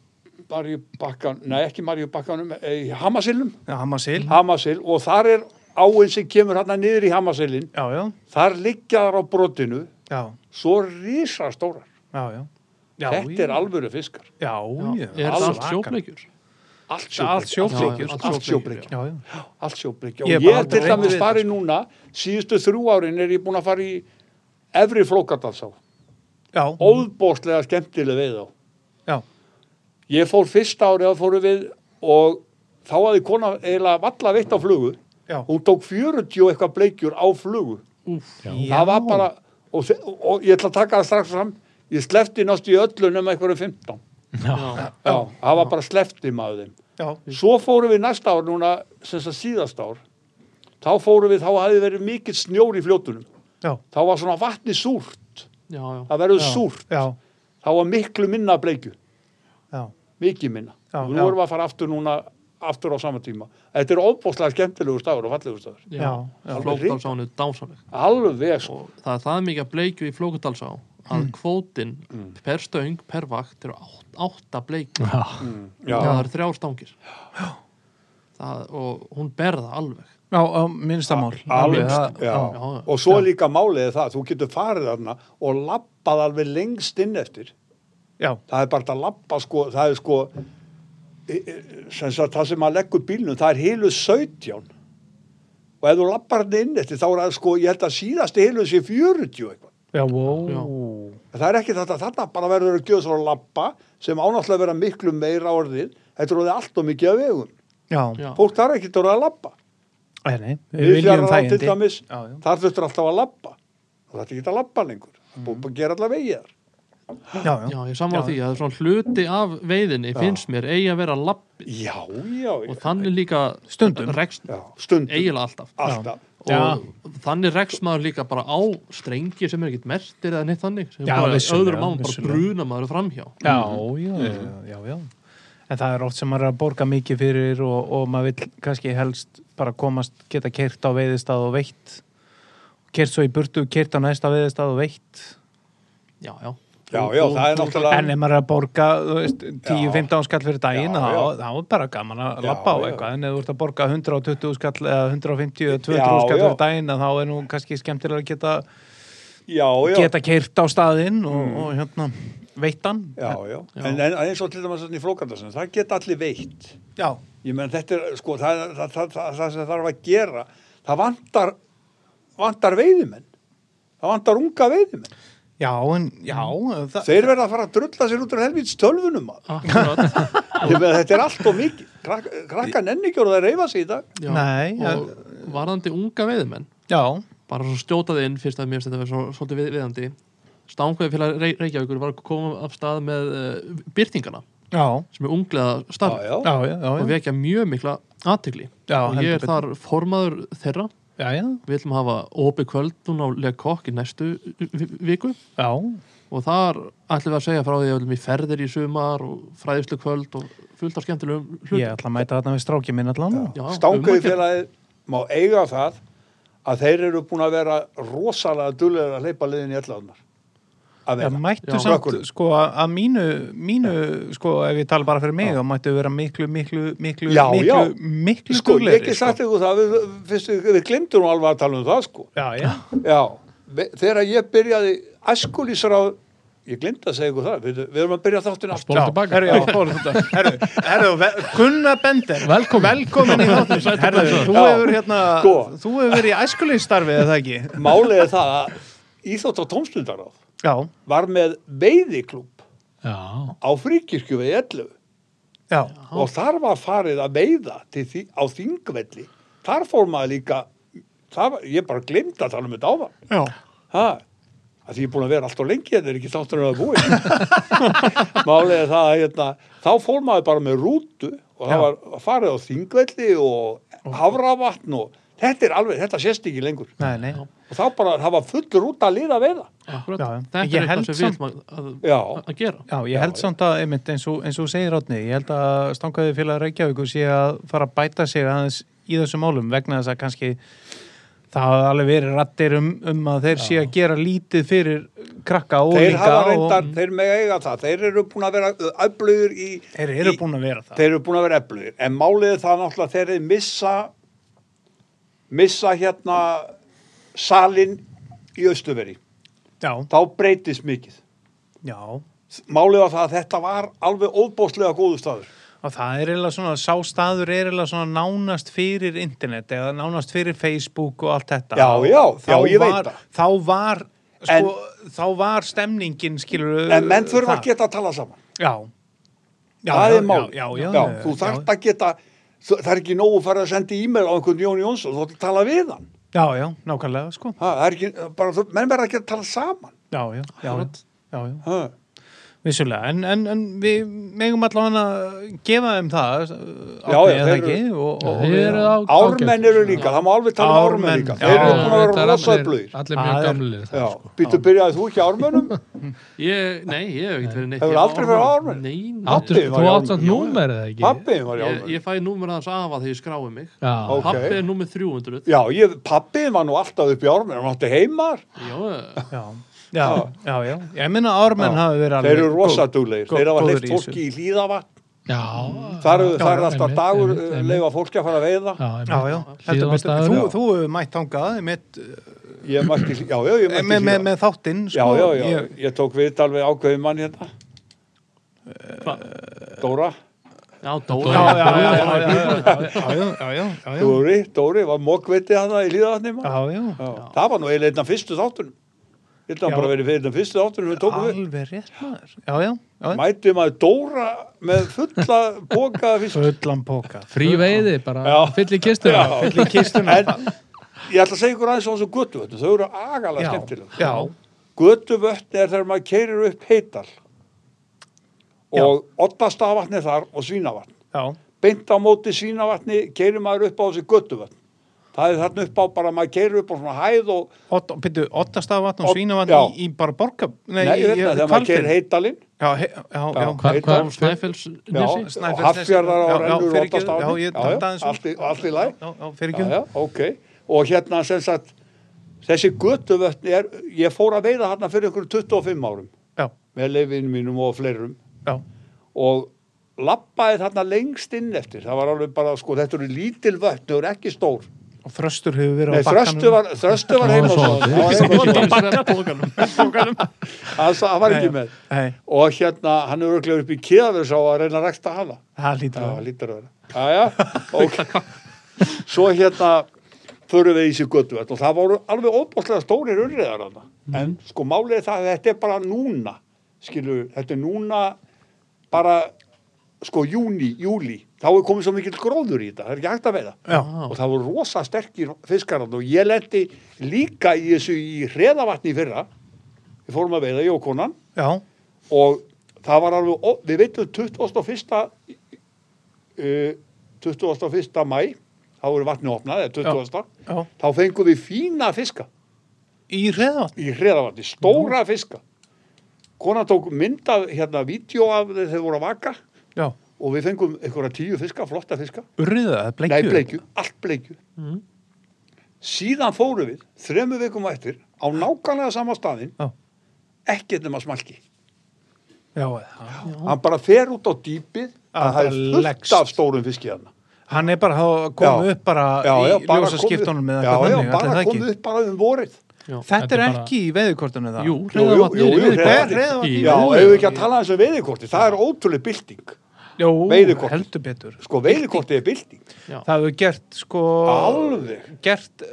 Speaker 5: Marju bakkan, nei ekki Marju bakkanum í Hamasilnum,
Speaker 1: Já, hann maður síl
Speaker 5: Hamasil og þar er áin sem kemur hérna niður í Hamasilin,
Speaker 1: Já, já,
Speaker 5: þar liggja þar á brotinu,
Speaker 1: já,
Speaker 5: svo risastórar
Speaker 1: já, já. já
Speaker 5: þetta er alvöru fiskar,
Speaker 1: Já, já,
Speaker 3: Er það allt
Speaker 1: svakar.
Speaker 3: sjóbleikjur?
Speaker 5: allt
Speaker 1: Allt
Speaker 5: sjóbleikjur
Speaker 1: sjóbleikjur,
Speaker 3: Já, já,
Speaker 5: allt sjóbleikjur,
Speaker 1: Já, já,
Speaker 5: allt
Speaker 1: Ég
Speaker 5: sjóbleikjur og
Speaker 1: hef
Speaker 5: ég
Speaker 1: bara sko.
Speaker 5: er til
Speaker 1: aldrei
Speaker 5: dæmis
Speaker 1: reynt við
Speaker 5: farið núna síðustu þrjú árin er ég búin að fara í efri flókardalsá,
Speaker 1: Mm. já,
Speaker 5: óðbóstlega skemmtileg veið á
Speaker 1: já,
Speaker 5: Ég fór fyrsta árið að fóru við og þá hafði kona eiginlega valla veitt á flugu.
Speaker 1: já.
Speaker 5: Hún tók 40 og eitthvað bleikjur á flugu. Það var bara, og, þe- og, og ég ætla að taka það strax fram, ég slefti nástu í öllu nema einhverju 15.
Speaker 3: Já.
Speaker 5: Já, það var bara slefti maður þeim.
Speaker 1: Já,
Speaker 5: Svo fórum við næsta ár núna, sem það síðast ár, þá fórum við, þá hafði verið mikill snjór í fljótunum.
Speaker 1: já,
Speaker 5: Þá var svona vatni súrt,
Speaker 3: Já, já.
Speaker 5: það verður
Speaker 1: Já.
Speaker 5: súrt.
Speaker 1: já,
Speaker 5: Þá var miklu minna bleikju.
Speaker 1: já,
Speaker 5: mikið minna
Speaker 1: Já,
Speaker 5: og
Speaker 1: já.
Speaker 5: nú erum við að fara aftur núna aftur á sama tíma þetta er óbúslega skemmtilegu stafur og fallegu stafur
Speaker 1: já, já, já.
Speaker 3: Flókdalsáin er dásaleg
Speaker 5: alveg sko
Speaker 3: og það er það mikið að bleikju í Flókdalsá að
Speaker 1: Mm.
Speaker 3: kvótin per stöng, per vakt eru átt, átta bleikjur
Speaker 2: Já.
Speaker 5: já,
Speaker 3: það eru þrjár stangir það, og hún berða alveg
Speaker 1: Já, á minnstamál
Speaker 5: alveg,
Speaker 1: það-
Speaker 5: já.
Speaker 3: já.
Speaker 5: og svo er líka málið er það þú getur farið þarna og lappað alveg lengst inn eftir
Speaker 1: Já,
Speaker 5: það er bara hægt að lappa sko það er sko e- e- sem sagt, það sem maður leggur bílnum það er heilu 17 og ef þú lappar hann inn eftir þá er það sko ég held að síðasti heilu sé 40 eitthvað
Speaker 1: já, wow
Speaker 3: Já.
Speaker 5: En Það er ekki þetta, þarna bara verður að gjöða svo að lappa sem ánáttúrulega að vera miklu meira orðið, þetta er orðið allt og mikið af vegum.
Speaker 1: Já,
Speaker 3: Já.
Speaker 5: Fólk þarf ekki að orðið að lappa.
Speaker 1: Nei, nei, við viljum
Speaker 5: Viðfjara til
Speaker 1: þægindi
Speaker 5: dæmis,
Speaker 1: Já, já.
Speaker 5: þar þurftur alltaf að lappa. Það þarf ekki að lappa lengur. Það er
Speaker 1: Mm.
Speaker 5: búið að gera allavega vegið þar.
Speaker 1: Já,
Speaker 3: já,
Speaker 1: já,
Speaker 3: ég samar því að svona hluti af veiðinni finnst mér eigi að vera lappi
Speaker 5: Já, já,
Speaker 3: og
Speaker 5: já.
Speaker 3: þannig líka
Speaker 1: Stundum.
Speaker 3: rekst,
Speaker 5: já. Stundum,
Speaker 3: eiginlega alltaf
Speaker 5: alltaf.
Speaker 3: og þannig rekst maður líka bara á strengi sem er ekkert mertir eða neitt þannig sem
Speaker 1: Já,
Speaker 3: bara
Speaker 1: vissulega,
Speaker 3: öðrum án bara
Speaker 1: vissulega.
Speaker 3: bruna maður framhjá
Speaker 1: já, já, já, já, já. En það er oft sem maður er að borga mikið fyrir og, og maður vill kannski helst bara komast, geta kert á veiðistað og veitt kert svo í burtu, kert á næsta veiðistað og veitt
Speaker 3: já, já,
Speaker 5: Já, já, það er
Speaker 1: En
Speaker 5: náttúrulega,
Speaker 1: ef maður er að borga þú veist, 10-15 skall fyrir daginn
Speaker 5: Já,
Speaker 1: þá
Speaker 5: já.
Speaker 1: þá er bara gaman að
Speaker 5: Já,
Speaker 1: lappa á
Speaker 5: já.
Speaker 1: eitthvað en ef þú ert að borga 120 skall eða 150 eða 200
Speaker 5: Já,
Speaker 1: skall
Speaker 5: já.
Speaker 1: fyrir daginn að þá er nú kannski skemmtilega að geta,
Speaker 5: já, já. Mm.
Speaker 1: geta keirt á staðinn og, og hérna veittan
Speaker 5: Já, já. En, en eins og til dæmis þarna í flókandarsin, það geta allir veitt.
Speaker 1: Já,
Speaker 5: Ég menn þetta er, sko, það, það, það, það, það sem þarf að gera, það vantar, vantar veiðimenn. Það vantar unga veiðimenn.
Speaker 1: já, en, já það,
Speaker 5: Þeir verða að fara að drulla sér út úr helvíts tölvunum maður.
Speaker 3: akkurat
Speaker 5: Ég með þetta er allt og mikið. Krak, krakka nenni ekki voru að reyfa sig í dag.
Speaker 3: já.
Speaker 1: Nei,
Speaker 3: og varðandi unga veiðimenn
Speaker 1: já,
Speaker 3: bara svo stjótaði inn fyrst að mér finnst þetta verið svo, svolítið við, viðandi stangveið félag Rey- Reykjavíkur var að koma af stað með uh, byrtingana
Speaker 1: já,
Speaker 3: sem er unglega starf
Speaker 5: Já, já.
Speaker 1: já, já,
Speaker 3: og
Speaker 1: já, já,
Speaker 3: vekja mjög mikla aðtegli
Speaker 1: Já,
Speaker 3: og ég
Speaker 1: heldur
Speaker 3: er þar formaður þeirra
Speaker 1: já, já,
Speaker 3: við ætlum að hafa opið kvöld núna á Lega Kokk í næstu eh, vi- viku
Speaker 1: já,
Speaker 3: og þar ætlum við að segja frá því að við ætlum í ferðir í sumar og fræðislu kvöld og fullt af skemmtilegum hlutum
Speaker 1: ég ætla að mæta þarna við strákið minn allan
Speaker 3: Já,
Speaker 5: Stangaði
Speaker 3: um að gera.
Speaker 5: félagið má eiga það að þeir eru búin að vera rosalega dullir að hleypa liðin í elláðunar. Að
Speaker 1: Já,
Speaker 5: vera.
Speaker 1: mættu
Speaker 3: Já.
Speaker 1: samt,
Speaker 5: Krökkunum.
Speaker 1: sko, að mínu, mínu, sko, ef ég tala bara fyrir mig, þá mættu vera miklu, miklu, miklu,
Speaker 5: Já,
Speaker 1: miklu,
Speaker 5: já.
Speaker 1: miklu
Speaker 5: Sko, ég
Speaker 1: duglegri,
Speaker 5: ekki sagt ykkur það, við, fyrst, við við glemdum nú alveg að tala um það, sko.
Speaker 1: Já, já,
Speaker 5: Já, ve- þegar ég byrjaði æskulísráð, ég glemd að segja ykkur það, við, við erum að byrja þáttin aftur.
Speaker 2: Spólum tilbaka.
Speaker 1: herru, já, fórum þetta. Herru, herru, ve- Gunnar Bender,
Speaker 2: Velkomin.
Speaker 1: velkomin í þáttum.
Speaker 3: Sæll og
Speaker 1: Herru,
Speaker 3: blessaður.
Speaker 1: þú
Speaker 5: Já.
Speaker 1: hefur hérna,
Speaker 5: Sko.
Speaker 1: þú hefur verið í æskulíðstarfið, eða ekki?
Speaker 5: Málið er það að Íþótt og tómstundaráð
Speaker 1: já,
Speaker 5: var með veiðiklúb
Speaker 2: já,
Speaker 5: á fríkirkju við 11
Speaker 1: já,
Speaker 5: og þar var farið að veiða til, því- á þingvelli þar fór maður líka það, var- ég bara glemd að tala um þetta áðan
Speaker 1: já.
Speaker 5: ha, að því ég er búin að vera allt og lengi þetta er ekki þáttur að búi málega það að hérna, þá fór maður bara með rútu og það var farið á þingvelli og hafravatn og þetta er alveg, þetta sést ekki lengur
Speaker 1: Nei, nei.
Speaker 5: og þá bara, það var full rúta að liða veiða
Speaker 3: Akkurat.
Speaker 1: Já, já.
Speaker 3: Þetta
Speaker 1: Ég
Speaker 3: er
Speaker 1: held
Speaker 3: eitthvað sem við
Speaker 1: samt-
Speaker 3: ætlum að, að,
Speaker 5: já,
Speaker 3: að gera.
Speaker 1: Já, ég held samt að, einmitt, eins og, eins og þú segir átni, ég held að stangaði félag Reykjavíkur sé að fara að bæta sig aðeins í þessum málum vegna þess að kannski það hafa alveg verið rattir um, um að þeir sé að gera lítið fyrir krakka og
Speaker 5: þeir hafa
Speaker 1: og
Speaker 5: reyndar, þeir með eiga það þeir eru búin að vera öflugur í
Speaker 1: þeir eru
Speaker 5: í-
Speaker 1: búin að vera það.
Speaker 5: þeir eru búin að vera eflugir en málið er það náttúrulega þeir eru missa missa hérna salin í austuveri
Speaker 1: Já,
Speaker 5: þá breytist mikið
Speaker 1: já,
Speaker 5: málið var það að þetta var alveg óbóðslega góðu staður
Speaker 1: og það er eiginlega svona, sá staður er eiginlega svona nánast fyrir internet eða nánast fyrir Facebook og allt þetta.
Speaker 5: Já, já,
Speaker 1: Þá
Speaker 5: já, ég veit
Speaker 1: var,
Speaker 5: það.
Speaker 1: Þá var, sko,
Speaker 5: En-
Speaker 1: þá var stemningin, skilur
Speaker 5: en menn þurfa að geta að tala saman
Speaker 1: Já, Uh, já
Speaker 5: það
Speaker 1: já,
Speaker 5: er málið
Speaker 1: já, já, já,
Speaker 5: þú
Speaker 1: já,
Speaker 5: þarft að geta þú- það er ekki nógu að fara að senda e-mail á einhvern Jón Jónsson þú þarft að tala við hann
Speaker 1: Já, já, nákvæmlega, sko
Speaker 5: ha, það er ekki, bara, þú- menn verða að geta að tala saman
Speaker 1: Já, já, já, já, já, já.
Speaker 5: ha.
Speaker 1: vissulega en, en, en við megum allan að gefa þeim það uh,
Speaker 5: Já,
Speaker 1: Árni,
Speaker 5: já,
Speaker 1: er
Speaker 5: þeir
Speaker 1: það
Speaker 5: eru-
Speaker 1: ekki og, og,
Speaker 2: þeir eru á
Speaker 5: ármenn eru líka, það má alveg tala um ármenn
Speaker 1: Ármenn,
Speaker 5: líka
Speaker 1: já.
Speaker 5: þeir eru búin að
Speaker 2: þetta
Speaker 5: vera
Speaker 2: er
Speaker 5: rosa
Speaker 2: allir-
Speaker 5: öflugir
Speaker 2: allir
Speaker 1: Það
Speaker 2: mjög
Speaker 1: er-
Speaker 2: gamlir
Speaker 5: Já,
Speaker 2: það, sko.
Speaker 5: býttu byrjaði þú ekki á ármönum?
Speaker 3: Ég, nei, ég hef ekkert verið neitt.
Speaker 5: Hefur
Speaker 3: Ég
Speaker 5: aldrei verið á ármenn?
Speaker 3: Nei, nei.
Speaker 2: Áttu-
Speaker 5: Pabbi var í
Speaker 2: þú átt samt
Speaker 5: alvöru.
Speaker 2: númerið eða ekki
Speaker 5: Pappiðin var í
Speaker 3: Ég,
Speaker 5: ármönum.
Speaker 3: ég fæ númer aðeins afa þegar ég skrái mig.
Speaker 2: já,
Speaker 5: Ó.
Speaker 3: Pappi er númer 300.
Speaker 5: Já, ég, pappiðin var nú alltaf upp í ármönum, hann átti heimar.
Speaker 3: Já, já.
Speaker 1: já, já, já, já ég minna ármenn
Speaker 5: Já.
Speaker 1: hafi verið
Speaker 5: Þeir
Speaker 1: alveg
Speaker 5: eru rosa
Speaker 1: góð-
Speaker 5: duglegir.
Speaker 1: gó-
Speaker 5: Þeir hafa
Speaker 1: góður
Speaker 5: leitt
Speaker 1: í
Speaker 5: fólki í hlýðavatn.
Speaker 2: já
Speaker 5: Þar eru-
Speaker 2: Já,
Speaker 5: þar er alltaf
Speaker 2: einmitt,
Speaker 5: dagur
Speaker 2: einmitt, einmitt.
Speaker 5: leifa fólki að fara að veiða.
Speaker 2: já,
Speaker 1: Já, já, heldur betur.
Speaker 2: Hlíðarvatnsdagur,
Speaker 1: Þú,
Speaker 2: já.
Speaker 1: þú hefur mætt þangað mitt, eh,
Speaker 5: Ég mætti, hlý- já, já, ég mætti
Speaker 1: með, með,
Speaker 5: hlýða.
Speaker 1: með þáttinn
Speaker 5: Já,
Speaker 1: sko.
Speaker 5: já, já,
Speaker 1: Ég,
Speaker 5: ég tók við alveg ákveðin mann hérna. Dóra,
Speaker 3: Já,
Speaker 1: já, já, já,
Speaker 3: Dóra.
Speaker 1: já, já, já, já, já, já, já, já, já.
Speaker 5: Dóri, Dóri var mokkveiti hana í hlýðavatni maður.
Speaker 1: Já, já,
Speaker 5: Já, Það var nú eiginlega einn af fyrstu þáttunum. Ég held
Speaker 1: Já.
Speaker 5: að hann bara verið fyrir einn af fyrstu þáttunum við tókum við.
Speaker 1: alveg rétt maður Já, já, já,
Speaker 5: mæti maður Dóra með fulla boka af fisk.
Speaker 1: fullan póka
Speaker 2: frí veiði bara
Speaker 5: Já.
Speaker 2: fyll í kistu
Speaker 5: Já.
Speaker 1: Fulli kistuna
Speaker 5: En ég ætla að segja ykkur aðeins á þessu götuvötn, þau eru agalega
Speaker 1: Já,
Speaker 5: skemmtileg.
Speaker 1: já,
Speaker 5: Götuvötn er þegar maður keirir upp heital
Speaker 1: Já.
Speaker 5: og ottastavatni þar og svínavatn.
Speaker 1: já,
Speaker 5: Beint á móti svínavatni keirir maður upp á þessu götuvötn. Það er þarna upp á bara maður keirir upp á svona hæð og
Speaker 1: Ot, byrju, Ottastavatn og
Speaker 5: Odd-
Speaker 1: Svínavatn
Speaker 5: já.
Speaker 1: í, í bara borga Nei,
Speaker 5: nei, ég veit það, þegar maður
Speaker 1: Hvalfirði.
Speaker 5: keirir heitalinn.
Speaker 1: Já, he, já, já,
Speaker 5: Já.
Speaker 2: hvað,
Speaker 5: Heitar-
Speaker 2: hvað,
Speaker 3: Kom Snæfells
Speaker 5: Já,
Speaker 3: nesi.
Speaker 5: og
Speaker 1: Snæfellsnesi.
Speaker 5: Hafnfjörðar
Speaker 1: Já,
Speaker 5: á
Speaker 1: já,
Speaker 5: rennur
Speaker 1: fyrirgefðu.
Speaker 5: ottast á
Speaker 1: Já, ég datt aðeins um- út.
Speaker 5: allt, í- allt í læg.
Speaker 1: já, já, fyrir
Speaker 5: já, já,
Speaker 1: ekki
Speaker 5: ok og hérna sem sagt þessi götuvötn er, ég fór að veiða hérna fyrir ykkur 25 árum
Speaker 1: Já,
Speaker 5: með leifinu mínum og fleirum
Speaker 1: já,
Speaker 5: og lappaði þarna lengst inn eftir það var alveg bara, sko, þetta eru lítil vötn þau eru ekki stór
Speaker 1: og Þröstur hefur verið
Speaker 5: Nei,
Speaker 1: á bakkanum
Speaker 5: þröstu var, þröstu var heim og svo
Speaker 2: Svolítið.
Speaker 5: það var ekki með
Speaker 1: Nei,
Speaker 5: og hérna, hann er örglega upp í kefis á að reyna að reksta hana
Speaker 1: það lítur
Speaker 5: Já,
Speaker 1: að
Speaker 5: lítur að vera. Jæja, ok. Svo hérna förum við í sig göttuvætt og það voru alveg óbúslega stórir urriðar þarna. En sko málið er það að þetta er bara núna, skilur, þetta er núna bara sko júni, júli. Þá er komið svo mikill gróður í þetta, það er ekki hægt að veiða.
Speaker 1: Já,
Speaker 5: Og það voru rosa sterkir fiskar þarna og ég lendi líka í þessu í hreðavatni í fyrra. Við fórum að veiða, ég og konan
Speaker 1: já,
Speaker 5: og það var alveg, ó- við veitum 21. Uh, 21. mæ þá voru vatni opnað, eða 20.
Speaker 1: já
Speaker 5: þá fengum við fína fiska
Speaker 1: Í reðvatn
Speaker 5: í hreðavatni, stóra fiska konan tók mynd af hérna, vídeo af þeir þeir voru að vaka
Speaker 1: Já,
Speaker 5: og við fengum einhverja tíu fiska, flotta fiska
Speaker 1: urriða, bleikju Mm.
Speaker 5: nei, bleikju, allt bleikju síðan fórum við þremur vikum á eftir á nákvæmlega sama staðin
Speaker 1: Já.
Speaker 5: ekkert nema smalki
Speaker 1: Já, já.
Speaker 5: hann bara fer út á dýpið
Speaker 1: Að
Speaker 5: að það er
Speaker 1: það
Speaker 5: fullt
Speaker 1: leggst.
Speaker 5: af stórum fiski hérna
Speaker 1: Hann er bara að koma
Speaker 5: Já.
Speaker 1: upp bara í
Speaker 5: bara
Speaker 1: ljósaskiptunum
Speaker 5: komið-
Speaker 1: með
Speaker 5: já,
Speaker 1: eitthvað
Speaker 5: já,
Speaker 1: þannig, ætli
Speaker 5: bara
Speaker 1: það ekki?
Speaker 5: komið upp bara um vorið
Speaker 1: Þetta er
Speaker 2: Þetta er bara-
Speaker 1: ekki í veðukortunum það
Speaker 3: Jú,
Speaker 5: Jú, jú, jú,
Speaker 3: hreðavatnið er
Speaker 5: jú,
Speaker 3: í
Speaker 1: Hreðavatn.
Speaker 3: veðurkorti.
Speaker 1: Hreðavatn.
Speaker 3: Í-
Speaker 5: já, ef við ekki að tala þessu um veiðikorti það er ótrúlega bylting
Speaker 1: Jú,
Speaker 5: Veiðikortið.
Speaker 1: heldur betur
Speaker 5: sko veiðikorti er bylting
Speaker 1: Það hefur gert sko
Speaker 5: alveg
Speaker 1: gert uh,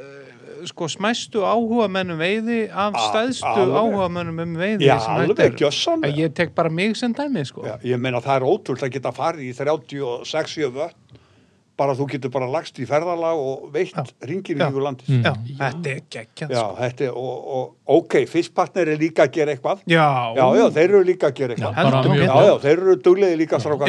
Speaker 1: sko smæstu áhugamennum veiði af
Speaker 5: A-
Speaker 1: stæðstu
Speaker 5: alveg.
Speaker 1: áhugamennum um veiði
Speaker 5: Já,
Speaker 1: sem hægt
Speaker 5: alveg,
Speaker 1: er.
Speaker 5: gjössanlega.
Speaker 1: En Ég tek bara mig sem dæmi sko.
Speaker 5: Já, ég meina það er ótrúld að geta farið í 36 vötn bara þú getur bara lagst í ferðalag og veitt ringir í
Speaker 1: Já.
Speaker 5: ykkur landis.
Speaker 1: Mm. Já, þetta er geggjað
Speaker 5: Já,
Speaker 1: sko.
Speaker 5: þetta er, og, og ok, fiskpartner er líka að gera eitthvað.
Speaker 1: Já,
Speaker 5: Já, já, þeir eru líka að gera eitthvað.
Speaker 2: bara
Speaker 1: heldur
Speaker 2: mjög
Speaker 5: Já,
Speaker 1: betur.
Speaker 5: já, þeir eru duglegið líka strákar.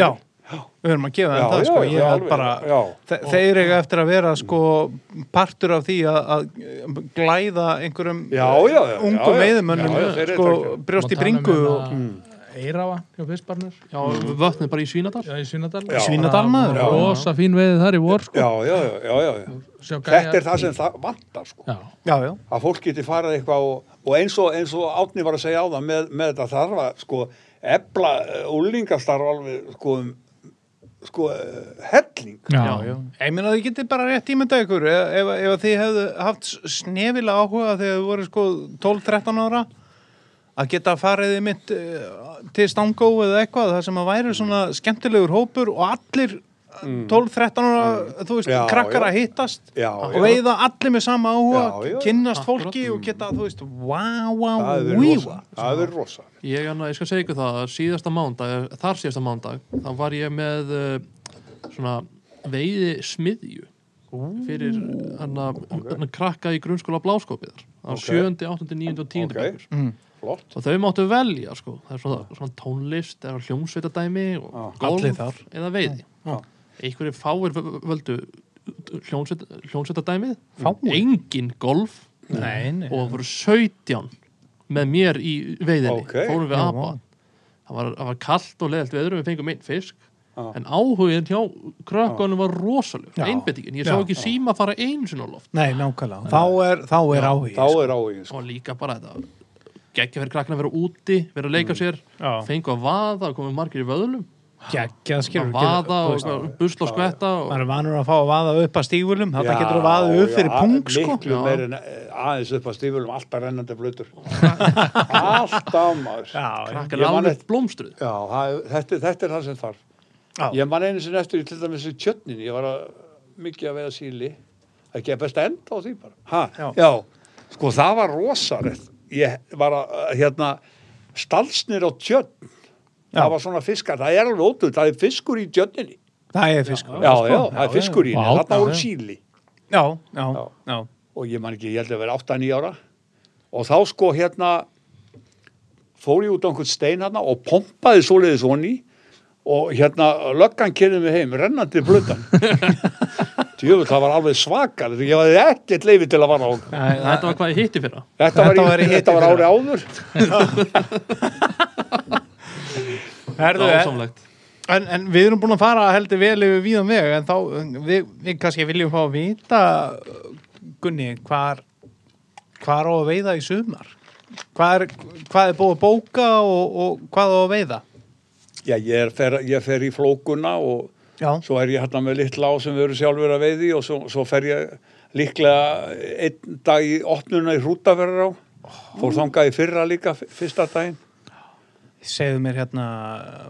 Speaker 1: Já, við höfum að gefa þeim
Speaker 5: Já,
Speaker 1: það
Speaker 5: já,
Speaker 1: sko,
Speaker 5: já,
Speaker 1: ég held
Speaker 5: alveg,
Speaker 1: bara,
Speaker 5: já.
Speaker 1: þe- þeir eiga eftir að vera sko partur af því að, að eh, glæða einhverjum eh,
Speaker 5: Já, já, já, já,
Speaker 1: ungum
Speaker 5: já.
Speaker 1: veiðumönnum
Speaker 5: Já, já, þeir eru
Speaker 1: sko
Speaker 5: takkir.
Speaker 1: brjóst í bringu og
Speaker 5: Hmm.
Speaker 2: Eirafa um hérna hjá fyrstbarnir
Speaker 3: Já, vötnið bara í Svínadal
Speaker 2: Já, í Svínadal
Speaker 1: hérna
Speaker 5: Já.
Speaker 1: Svínadal, maður.
Speaker 2: Bara Rosa fín veiði þar í vor sko.
Speaker 5: Já, já, já, já, já, já.
Speaker 2: Sjá gæja-
Speaker 5: Þetta er það sem það vantar, sko.
Speaker 2: Já,
Speaker 1: já, já,
Speaker 5: Að fólk geti farið eitthvað og, og eins og, eins og Átni var að segja á það með, með þetta þarfa, sko, ebla úlingastarf alveg, sko, um, sko, eh, helling.
Speaker 2: já,
Speaker 1: já, já. Ég meina þið getið bara rétt ímynda ykkur ef, ef, ef þið hefðu haft snefilega áhuga þegar þið voru sko 12-13 ára að geta farið mitt eh, til stangó eða eitthvað það sem að væri svona skemmtilegur hópur og allir eh, 12-13 ára þú veist,
Speaker 5: Mm. Já,
Speaker 1: krakkar
Speaker 5: já.
Speaker 1: að hittast
Speaker 5: Já,
Speaker 1: og
Speaker 5: já.
Speaker 1: veiða allir með sama áhuga
Speaker 5: Já, já.
Speaker 1: kynnast fólki og geta, þú veist, wow, wow,
Speaker 5: Það hefur verið
Speaker 1: víva
Speaker 5: rosa. Það hefur verið rosa.
Speaker 3: Ég, anna, ég skal segja ykkur það, að síðasta mándag, þar síðasta mándag, þá var ég með uh, svona veiði smiðju fyrir hana, hana krakka í grunnskóla bláskópiðar á
Speaker 5: Ok.
Speaker 3: 7., 8., 9. og 10.
Speaker 5: Ok.
Speaker 3: Okay.
Speaker 5: Flott.
Speaker 3: Og þau máttu velja, sko, það er svona, svona tónlist, það er hljómsveitadæmi og
Speaker 5: Já.
Speaker 1: Allir
Speaker 3: golf
Speaker 1: þar.
Speaker 3: eða veiði.
Speaker 5: Já.
Speaker 3: Einhverjir fáir vö- vö- völdu hljómsveit, hljómsveitadæmið,
Speaker 1: Fáir?
Speaker 3: engin golf
Speaker 1: Nei, nei,
Speaker 3: og það voru 17 með mér í veiðinni
Speaker 5: Ókei.
Speaker 3: fórum við
Speaker 1: Já,
Speaker 3: apa það var, það var kallt og leðalt veður og við fengum einn fisk
Speaker 5: Já.
Speaker 3: en áhugin hjá krökkunum var rosalur
Speaker 1: Já.
Speaker 3: einbettingin, ég sá
Speaker 1: Já.
Speaker 3: ekki síma fara einu sinna á loft
Speaker 1: nei, nákvæmlega þá er, þá er áhugi
Speaker 5: Þá er áhugin, sko.
Speaker 3: og líka bara þetta geggja fyrir krakkana að vera úti, vera að leika sér
Speaker 1: Mm. Já.
Speaker 3: fengu að vaða, komum margir í vöðlum
Speaker 1: geggjað skilur
Speaker 3: að vaða og busla og skvetta og
Speaker 1: maður er vanur að fá að vaða upp að stígvölum þetta
Speaker 5: Sko. Já,
Speaker 1: getur að vaða upp fyrir
Speaker 5: já,
Speaker 1: pung sko
Speaker 5: miklu
Speaker 3: Já.
Speaker 5: meir en eh, aðeins upp að stífulum alltaf rennandi blötur alltaf maður já,
Speaker 1: já,
Speaker 3: krakkana
Speaker 5: Ég man
Speaker 3: alveg
Speaker 5: eftir-
Speaker 3: blómstruð
Speaker 5: það, er- þetta, er- þetta er það sem þarf
Speaker 1: já, já,
Speaker 5: ég man einu sinni eftir í til dæmis í tjötnin ég var að, mikið að veiða síli það gefast enda á því bara ha,
Speaker 1: Já.
Speaker 5: já. sko það var rosalegt ég var að eh, hérna stalsnir á tjötn
Speaker 1: Já.
Speaker 5: það var svona fiskar, það er alveg ótrúð það er fiskur í tjötninni
Speaker 1: það er sko. fiskur
Speaker 5: já, já, það er fiskur í
Speaker 2: Vá, já,
Speaker 5: henni, þarna voru
Speaker 2: já.
Speaker 5: síli
Speaker 1: já, já,
Speaker 5: Já.
Speaker 1: já,
Speaker 5: og ég man ekki, ég held að vera 8-9 ára og þá sko hérna fór ég út á einhvern stein hérna og pompaði svoleiðis honni og hérna löggan kynni mig heim rennandi blötan djöfull, það var alveg svakar ég hafði ekkert leifi til að vara á
Speaker 3: þetta var hvað ég hitti fyrir
Speaker 5: þetta var,
Speaker 1: Þetta
Speaker 5: í-
Speaker 1: var í hiti
Speaker 5: þetta var
Speaker 1: fyrir
Speaker 5: ári áður
Speaker 1: Herðu, en,
Speaker 3: það
Speaker 1: en, en við erum búin að fara heldur vel yfir víðan veg en þá, við, við kannski viljum fá að vita Gunni, hvar hvar á að veiða í sumar hvað er, hvað er búið að bóka og, og hvað á að veiða
Speaker 5: já, ég, er, fer, ég fer í flókuna og
Speaker 1: já,
Speaker 5: svo er ég hérna með litla á sem við erum sjálfur að veiði og svo, svo fer ég líklega einn dag í opnuna í hrútaferðar á fór þangað í fyrra líka f- fyrsta daginn
Speaker 1: segðu mér hérna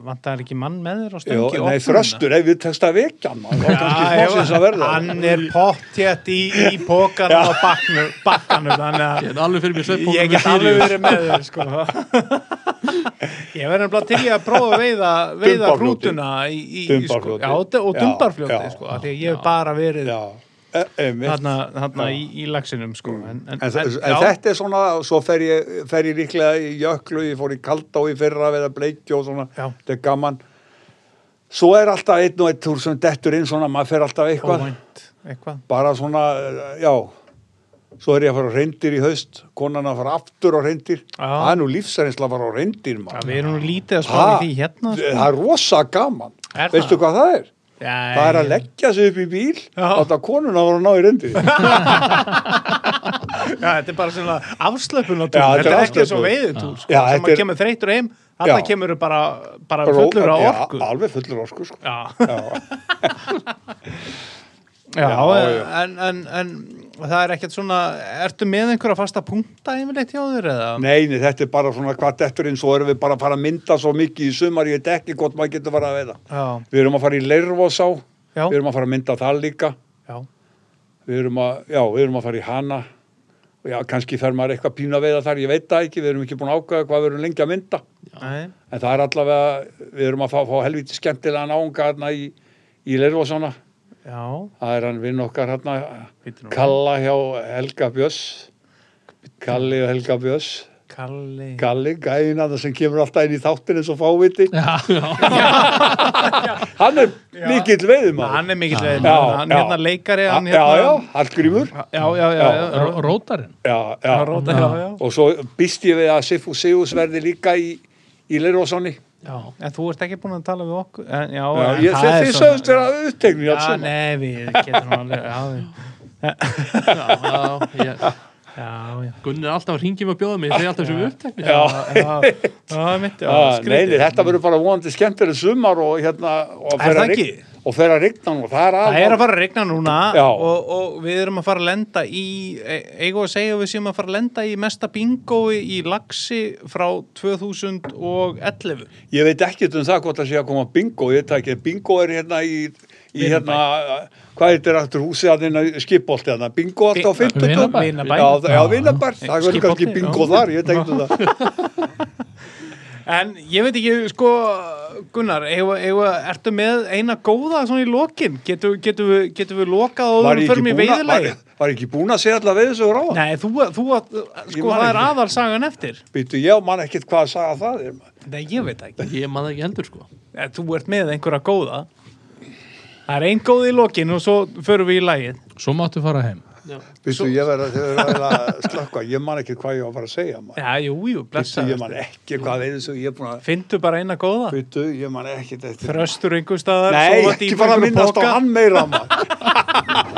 Speaker 1: vantar ekki mann með þér á
Speaker 5: Jó,
Speaker 1: stöngi
Speaker 5: nei, þröstur, ef við tekst að vekja hann, maður, þá kannski
Speaker 1: Já,
Speaker 5: smásins að
Speaker 1: ef-
Speaker 5: verða.
Speaker 1: hann er pottjætt í, í pókana og bakkanum, bakkanum þannig að
Speaker 3: er alveg fyrir mér svefnpókum
Speaker 1: ég get alveg verið með þér sko. ég verður nefnilega til í að prófa að veiða, veiða
Speaker 5: Dumbarfljótið.
Speaker 1: hrútuna í, í, í, sko,
Speaker 5: Dumbarfljótið.
Speaker 1: já, d- og
Speaker 5: Já, já.
Speaker 1: dumbarfljóti sko, af því að ég hef bara verið
Speaker 5: Já, e, einmitt.
Speaker 1: þarna, þarna í, í laxinum sko. en, en,
Speaker 5: Mm. En, þa- en,
Speaker 1: já,
Speaker 5: þetta er svona, svo fer ég, fer ég líklega í jöklu, ég fór í kaldá í fyrra við að bleikja og svona,
Speaker 1: Já.
Speaker 5: þetta er gaman. Svo er alltaf einn og einn túr sem dettur inn svona, maður fer alltaf eitthvað,
Speaker 1: óvænt, eitthvað
Speaker 5: bara svona, eh, já, svo er ég að fara á reyndir í haust, konan að fara aftur á reyndir,
Speaker 1: Já.
Speaker 5: það er nú lífsærinsla að fara á reyndir,
Speaker 1: Já,
Speaker 5: maður.
Speaker 1: við erum nú lítið að spána
Speaker 5: Ha,
Speaker 1: því hérna sko.
Speaker 5: það er rosa gaman,
Speaker 1: Er það?
Speaker 5: veistu hvað það er?
Speaker 1: já,
Speaker 5: Það er að
Speaker 1: ég-
Speaker 5: leggja sig upp í bíl
Speaker 1: Já.
Speaker 5: Þetta konuna var að ná í reyndir Já,
Speaker 1: Já, þetta er bara svona afslöpunatúr,
Speaker 5: Já, þetta er
Speaker 1: þetta er ekki svo
Speaker 5: afslöpun.
Speaker 1: veiðutúr, sko,
Speaker 5: Já,
Speaker 1: sem
Speaker 5: þetta er-
Speaker 1: maður kemur þreytur heim, þetta
Speaker 5: Já.
Speaker 1: kemur bara, bara fullur á orku. Já,
Speaker 5: Alveg fullur á orku sko.
Speaker 1: já.
Speaker 5: Já.
Speaker 1: já,
Speaker 5: Já, já.
Speaker 1: En, en, en það er ekkert svona, ertu með einhverja fasta punkta yfirleitt hjá þér eða?
Speaker 5: Nei, nei, þetta er bara svona hvað detturinn Svo erum við bara að fara að mynda svo mikið í sumar Ég veit ekki hvort maður getur fara að veiða
Speaker 1: Já,
Speaker 5: Við erum að fara í leirvosá
Speaker 1: Já.
Speaker 5: Við erum að fara að mynda það líka
Speaker 1: já,
Speaker 5: Við erum að, já, við erum að fara í hana og já, kannski fer maður eitthvað pínu að veiða þar, ég veit það ekki, við erum ekki búin að ákveða hvað við erum lengi að mynda,
Speaker 1: Nei.
Speaker 5: en það er allavega, við erum að fá, fá helviti skemmtilega náunga hérna í, í Lervosana,
Speaker 1: Já,
Speaker 5: það er hann vinn okkar hérna,
Speaker 1: Bíddu nú.
Speaker 5: Kalla hjá Helga Björs, Kalli og Helga Björs,
Speaker 1: Kalli
Speaker 5: Kalli, gæðina það sem kemur alltaf inn í þáttin eins og fáviti, hann er mikill veiðumann.
Speaker 1: Hann er mikill veginn,
Speaker 5: Já,
Speaker 1: hann
Speaker 5: já.
Speaker 1: hérna leikari hann
Speaker 5: já,
Speaker 1: hérna,
Speaker 5: já, Hallgrímur,
Speaker 1: já, já, já,
Speaker 5: Já.
Speaker 1: já,
Speaker 2: Ró- Rótarinn
Speaker 5: já, já,
Speaker 1: já, róta, já, já.
Speaker 5: og svo býst ég við að Sifu Sigus verði líka í, í Lervosani.
Speaker 3: Já,
Speaker 1: En þú ert ekki búin að tala við okkur en, Já,
Speaker 5: Já,
Speaker 1: en það
Speaker 5: ég, þið
Speaker 1: er
Speaker 5: þið
Speaker 1: svona-
Speaker 5: sögumst þér að upptegnu
Speaker 1: Já,
Speaker 5: allt saman.
Speaker 1: nei, við getum alveg Já, við-
Speaker 3: já, ég,
Speaker 1: já, já
Speaker 3: Gunni er alltaf að ringi mig að bjóða mig, ég segi alltaf sem upptekni
Speaker 5: Já,
Speaker 1: Já, já, mitt, já,
Speaker 5: já, Ah, nei, nei,
Speaker 1: skrítið
Speaker 5: þetta verður bara vonandi skemmtileg sumar og hérna og
Speaker 1: Er það
Speaker 5: að rign-
Speaker 1: ekki?
Speaker 5: og fer að rigna nú, það er
Speaker 1: Það er að
Speaker 5: alveg
Speaker 1: fara að regna núna
Speaker 5: Já.
Speaker 1: og, og við erum að fara að lenda í e- eigum við að segja að við séum að fara að lenda í mesta bingói í Laxi frá 2011
Speaker 5: ég veit ekkert um það hvort það sé að koma bingo, ég veit það ekki, bingo er hérna í, í hérna, hvað er þetta aftur húsið að hérna skipolti hérna, bingo allt á
Speaker 1: Bin-
Speaker 5: 50
Speaker 2: Vinabær.
Speaker 5: já,
Speaker 1: Vinabær.
Speaker 5: það- já, vinnabær, það verður
Speaker 1: Skipholti,
Speaker 5: kannski bingo
Speaker 1: já.
Speaker 5: þar, ég veit ekkert um það
Speaker 1: En ég veit ekki, sko, Gunnar, eigum við- eigum við- ertu með eina góða svona í lokin? Getum getu, getu við lokað og
Speaker 5: var
Speaker 1: við
Speaker 5: ég ekki
Speaker 1: förum í
Speaker 5: búin að-
Speaker 1: veiðilegi?
Speaker 5: var- var ég ekki búin að segja allavega þessu ráðan
Speaker 1: Nei, þú, þú
Speaker 5: Ég
Speaker 1: sko,
Speaker 5: man
Speaker 1: það er
Speaker 5: ekki.
Speaker 1: aðalsagan eftir.
Speaker 5: býtu, ég man ekkert hvað að saga það er
Speaker 1: Nei, ég veit það ekki.
Speaker 3: Ég man það ekki heldur sko
Speaker 1: Eh, Þú ert með einhverja góða. Það er einn góð í lokin og svo förum við í lagið.
Speaker 2: Svo máttu fara heim
Speaker 5: Býttu, ég verður að, verð að slökka, ég man ekki hvað ég var að fara að segja maður.
Speaker 1: Já, jú, jú,
Speaker 5: Býttu, ég man
Speaker 1: blessaður.
Speaker 5: ekki hvað veiðið sem ég er búin að
Speaker 1: Findu bara eina góða.
Speaker 5: Býttu, ég man ekki þetta
Speaker 1: Þröstur einhver staðar.
Speaker 5: Nei,
Speaker 1: sofa
Speaker 5: ekki
Speaker 1: dýpra
Speaker 5: fara að
Speaker 1: einhverjum
Speaker 5: minnast á
Speaker 1: poka.
Speaker 5: hann meira maður.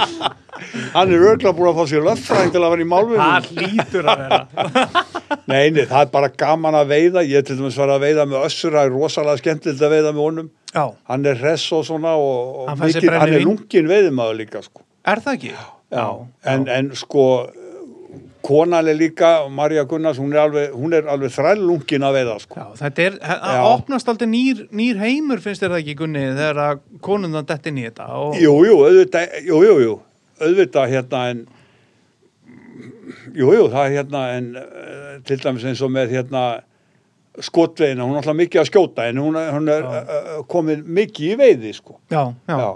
Speaker 5: Hann er örgla búin að fá sér löffræðing til að vera í
Speaker 1: Það
Speaker 5: málvinni
Speaker 1: hlýtur að vera.
Speaker 5: Nei, nei, það er bara gaman að veiða Ég til dæmis var að veiða með össur Það er rosalega skemmtilegt að veiða með honum
Speaker 1: Já.
Speaker 5: Hann er hress og svona og, og
Speaker 1: Hann fær sér
Speaker 5: mikið- hann er
Speaker 1: brennivín.
Speaker 5: lungin veiðimaður líka sko.
Speaker 1: Er það ekki?
Speaker 5: Já, en, en sko konan er líka, Marja Gunnars hún er alveg, hún er alveg þrællungin að veiða sko.
Speaker 1: Já, þetta er, það
Speaker 5: Já.
Speaker 1: opnast aldrei nýr, nýr heimur finnst þér það ekki Gunni þegar að konundan detti inn í þetta og
Speaker 5: Jú, jú, auðvitað, jú, jú, jú, auðvitað hérna en jú, jú, það er hérna en eh, til dæmis eins og með hérna skotveina, hún er alltaf mikið að skjóta en hún, er- hún er uh, komin mikið í veiði sko.
Speaker 1: já, já, já,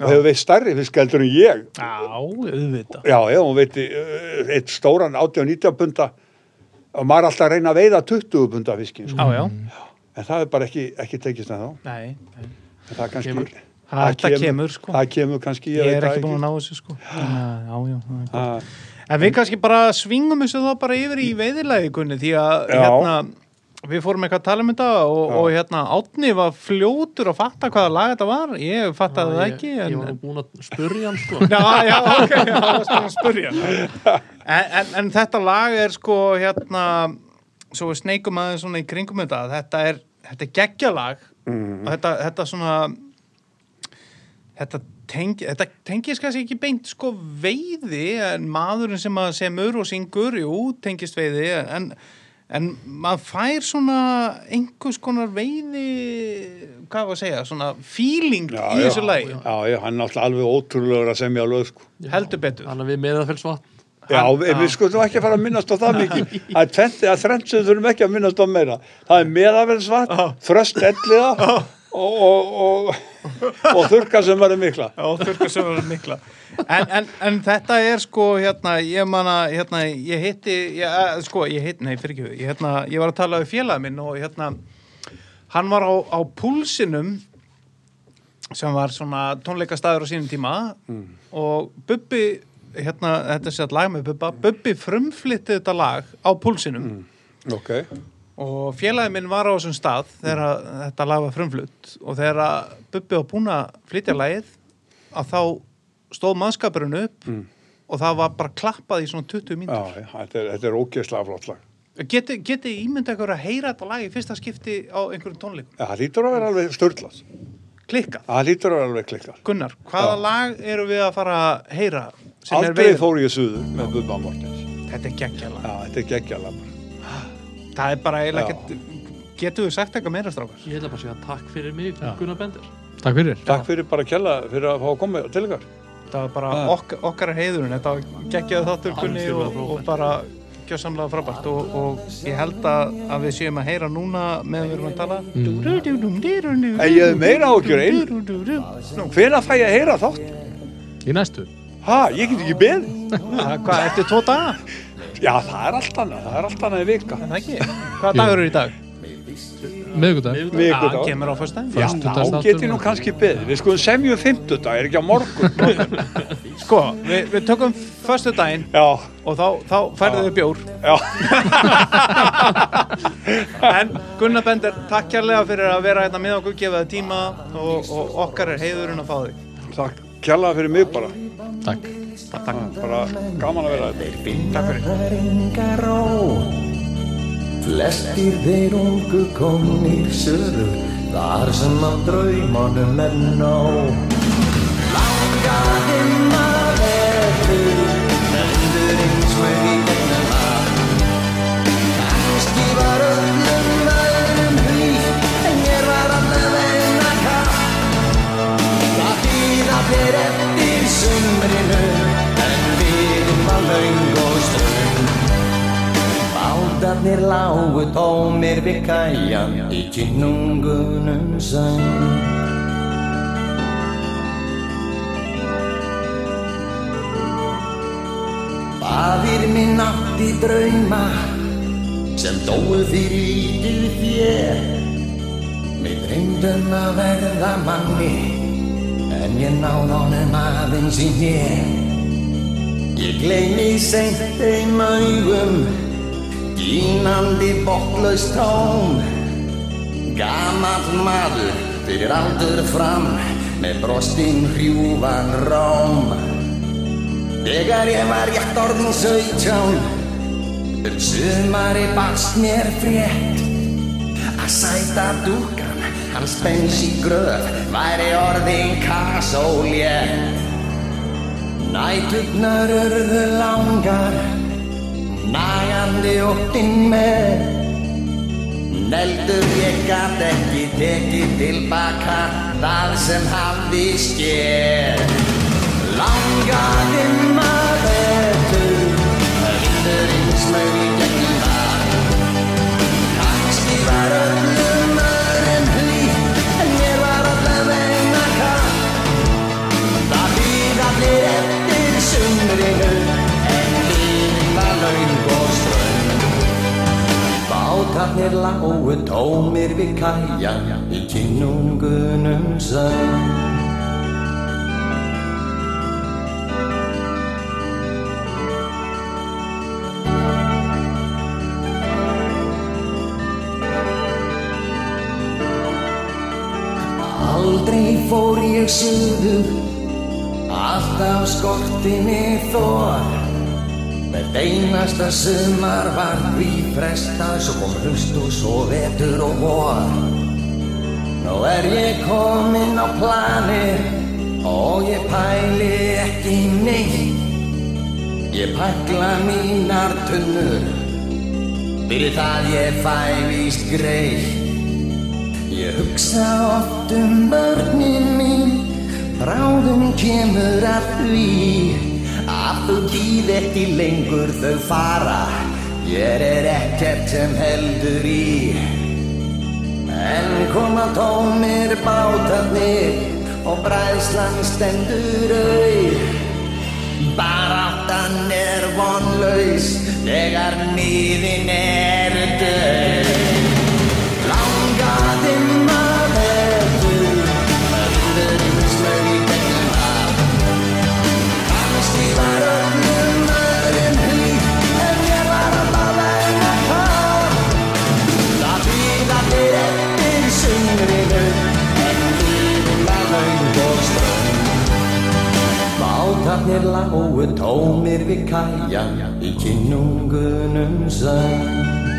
Speaker 5: og hefur veist stærri fisk heldur en ég.
Speaker 1: auðvitað
Speaker 5: Já, já, hún veit eh, eitt stóran 80-90 punta og maður er alltaf að reyna að veiða 20 punta fiskin sko.
Speaker 1: Já, já,
Speaker 5: en það er bara ekki, ekki tekist en þá
Speaker 1: nei, nei.
Speaker 5: það er kannski
Speaker 3: Kemur.
Speaker 1: Það kemur, sko.
Speaker 5: það kemur kannski
Speaker 1: ég er
Speaker 5: veit
Speaker 1: ekki
Speaker 5: það
Speaker 1: búin að ná þessu sko Þannig að, Já, já, það er gott.
Speaker 5: Ha,
Speaker 1: En við kannski bara svingum þessu þá bara yfir í veiðilagi Gunni því að
Speaker 5: Já.
Speaker 1: hérna Við fórum eitthvað að tala um þetta og,
Speaker 5: Já.
Speaker 1: og hérna Átni var fljótur að fatta hvaða lag þetta var Ég fattaði það
Speaker 3: ég,
Speaker 1: ekki
Speaker 3: Ég
Speaker 1: en,
Speaker 3: var nú búin að spurja hann sko
Speaker 1: Já, já, ok, já, það var svona að spurja en, en, en þetta lag er sko hérna svo við sneikum aðeins svona í kringum þetta þetta er, þetta er geggjalag
Speaker 5: Mhm.
Speaker 1: og þetta, þetta svona þetta tengi þetta tengist kannski ekki beint sko veiði en maðurinn sem að semur og syngur, jú, tengist veiði en, en maður fær svona einhvers konar veiði hvað var að segja, svona feeling
Speaker 5: Já,
Speaker 1: í
Speaker 5: já.
Speaker 1: þessu lagi,
Speaker 5: já, já, hann er alltaf alveg ótrúlegur að semja lög sko.
Speaker 1: heldur betur
Speaker 3: Þannig að við meðanfellsvatn
Speaker 5: já, við, við skuldum ekki að fara að minnast á það mikið það er tvennt eða þrennt sem við þurfum ekki að minnast á meira það er meðafelsvatt, þröst elliða og, og, og, og þurka sem verður mikla
Speaker 1: Já, þurrkasöfur er mikla en, en, en þetta er sko hérna, ég manna, hérna, ég hitti ég, eh, sko, ég hitti, nei, fyrir ekki ég, hérna, ég var að tala við félag minn og hérna hann var á, á púlsinum sem var svona tónleikastæður á sínum tíma og Bubbi hérna, þetta er sér lag með Bubba Bubbi frumflytti þetta lag á púlsinum
Speaker 5: ok,
Speaker 1: og félagin minn var á þessum stað þegar að þetta lag var frumflutt og þegar að Bubbi var búin að flytja lagið að þá stóð mannskapurinn upp
Speaker 5: Mm.
Speaker 1: og það var bara klappað í svona 20
Speaker 5: já,
Speaker 1: mínútur.
Speaker 5: já, þetta er, þetta er ógeðslega flott lag
Speaker 1: Geti, geti ímyndið ykkur að heyra þetta lag í fyrsta skipti á einhverjum tónleikum?
Speaker 5: Já, það lítur að vera alveg störtlað
Speaker 1: Klikkað.
Speaker 5: það lítur að vera alveg klikkað
Speaker 1: Gunnar, hvaða
Speaker 5: Já.
Speaker 1: lag eru við að fara að heyra sem er
Speaker 5: Aldrei
Speaker 1: veiðin?
Speaker 5: fór ég suður með Bubba Mortens.
Speaker 1: Þetta er geggjala.
Speaker 5: Já, þetta er geggjala bara.
Speaker 1: Það er bara
Speaker 5: Já.
Speaker 1: eiginlega ekkert, getur við sagt eitthvað meira strákar?
Speaker 3: Ég ætla bara að segja takk fyrir mig, Gunnar Bender
Speaker 2: Takk fyrir
Speaker 5: Takk fyrir bara að kjalla fyrir að fá að koma til ykkar.
Speaker 1: þetta var bara
Speaker 5: Ah.
Speaker 1: ok, okkar heiðurinn þetta var geggjaði þáttur kunni og,
Speaker 3: Algjörlega
Speaker 1: og bara gjössamlega frábært og, og ég held að, að við séum að heyra núna meðan við erum að tala mm.
Speaker 5: En ég hef meira áhyggjur, ein- Hvenær fæ ég að heyra þátt?
Speaker 2: í næstu
Speaker 5: Ha, ég get ekki beðið.
Speaker 1: Hvað, eftir tvo daga?
Speaker 5: Já, það er allt annað, það er allt annað að vika.
Speaker 1: Er það ekki? Hvaða dagur er í dag?
Speaker 2: miðvikudag
Speaker 1: Það
Speaker 5: Vikudag.
Speaker 1: kemur á föstudaginn
Speaker 5: Já,
Speaker 2: Föstudagsþáttur
Speaker 5: þá get ég nú
Speaker 2: núna.
Speaker 5: kannski beðið. Við skoðum semjum fimmtudag, er ekki á morgun.
Speaker 1: Sko, við, við tökum föstudaginn
Speaker 5: Já,
Speaker 1: og þá, þá færðu þau bjór
Speaker 5: já.
Speaker 1: En Gunnar Bender, takk kærlega fyrir að vera hérna með okkur, gefa þið tíma og, og okkar er heiðurinn að fá þig
Speaker 5: Takk kjærlega fyrir mig bara.
Speaker 2: takk
Speaker 5: Bara gaman að vera hérna. þetta.
Speaker 6: Berlingar á Flestir þeir ungu komnir söður Þar sem að draumanum er ná Langaðum að verður Endur eins með í gegnum að Kannski var öllum værum hví En ég var annað en að kapp Það býða fyrir eftir sumrinu En við um að laung og ströng Bátarnir lágu tómir við kæjan í kynungunum sæn. Bafir minn átti drauma sem dóu fyrir ítið þér. Mér dreyndum að verða manni en ég náð honum aðeins í mér. Ég gleymi seint þeim augum Gínandi botlaust tóm Gamall maður fyrir aldur fram Með brostinn hrjúvan róm Þegar ég var rétt orðin sautján Um sumari barst mér frétt Að sæta dúkan hans bens í gröð Væri orðin kasólétt Næturnar örðu langar Nægandi óttinn með Neldur ég gat ekki tekið tilbaka Það sem hafði skér Langaðum að betur Vindur eins með í gegnum það Kannski var öllum öðrum hlý En ég var allavegna katt Það býða mér eftir sumrinu En lífa laung og strönd Bátarnir lágu tómir við kæjan Í kynungunum sönd Aldrei fór ég suður Alltaf skorti mig þór Með einasta sumar var því frestað Svo kom hlust og svo vetur og vor Nú er ég kominn á planir Og ég pæli ekki neitt Ég pakla mínar tunnur Fyrir það ég fæ víst greitt Ég hugsa oft um börnin mín Bráðum kemur að því Að þú gíð ekki lengur þau fara Ég er ekkert sem heldur í En koma tómir bátarnir Og bræðslan stendur auð Baráttan er vonlaus Þegar nýðin er döð Langaði maður Verður einslag í beinum af Kannski var öllum öðrum hý En ég var alltaf enn að fá Það býða mér eftir sumrinu En lífum var laung og strönd Bátarnir lágu tómir við kæja Í kynungunum sönd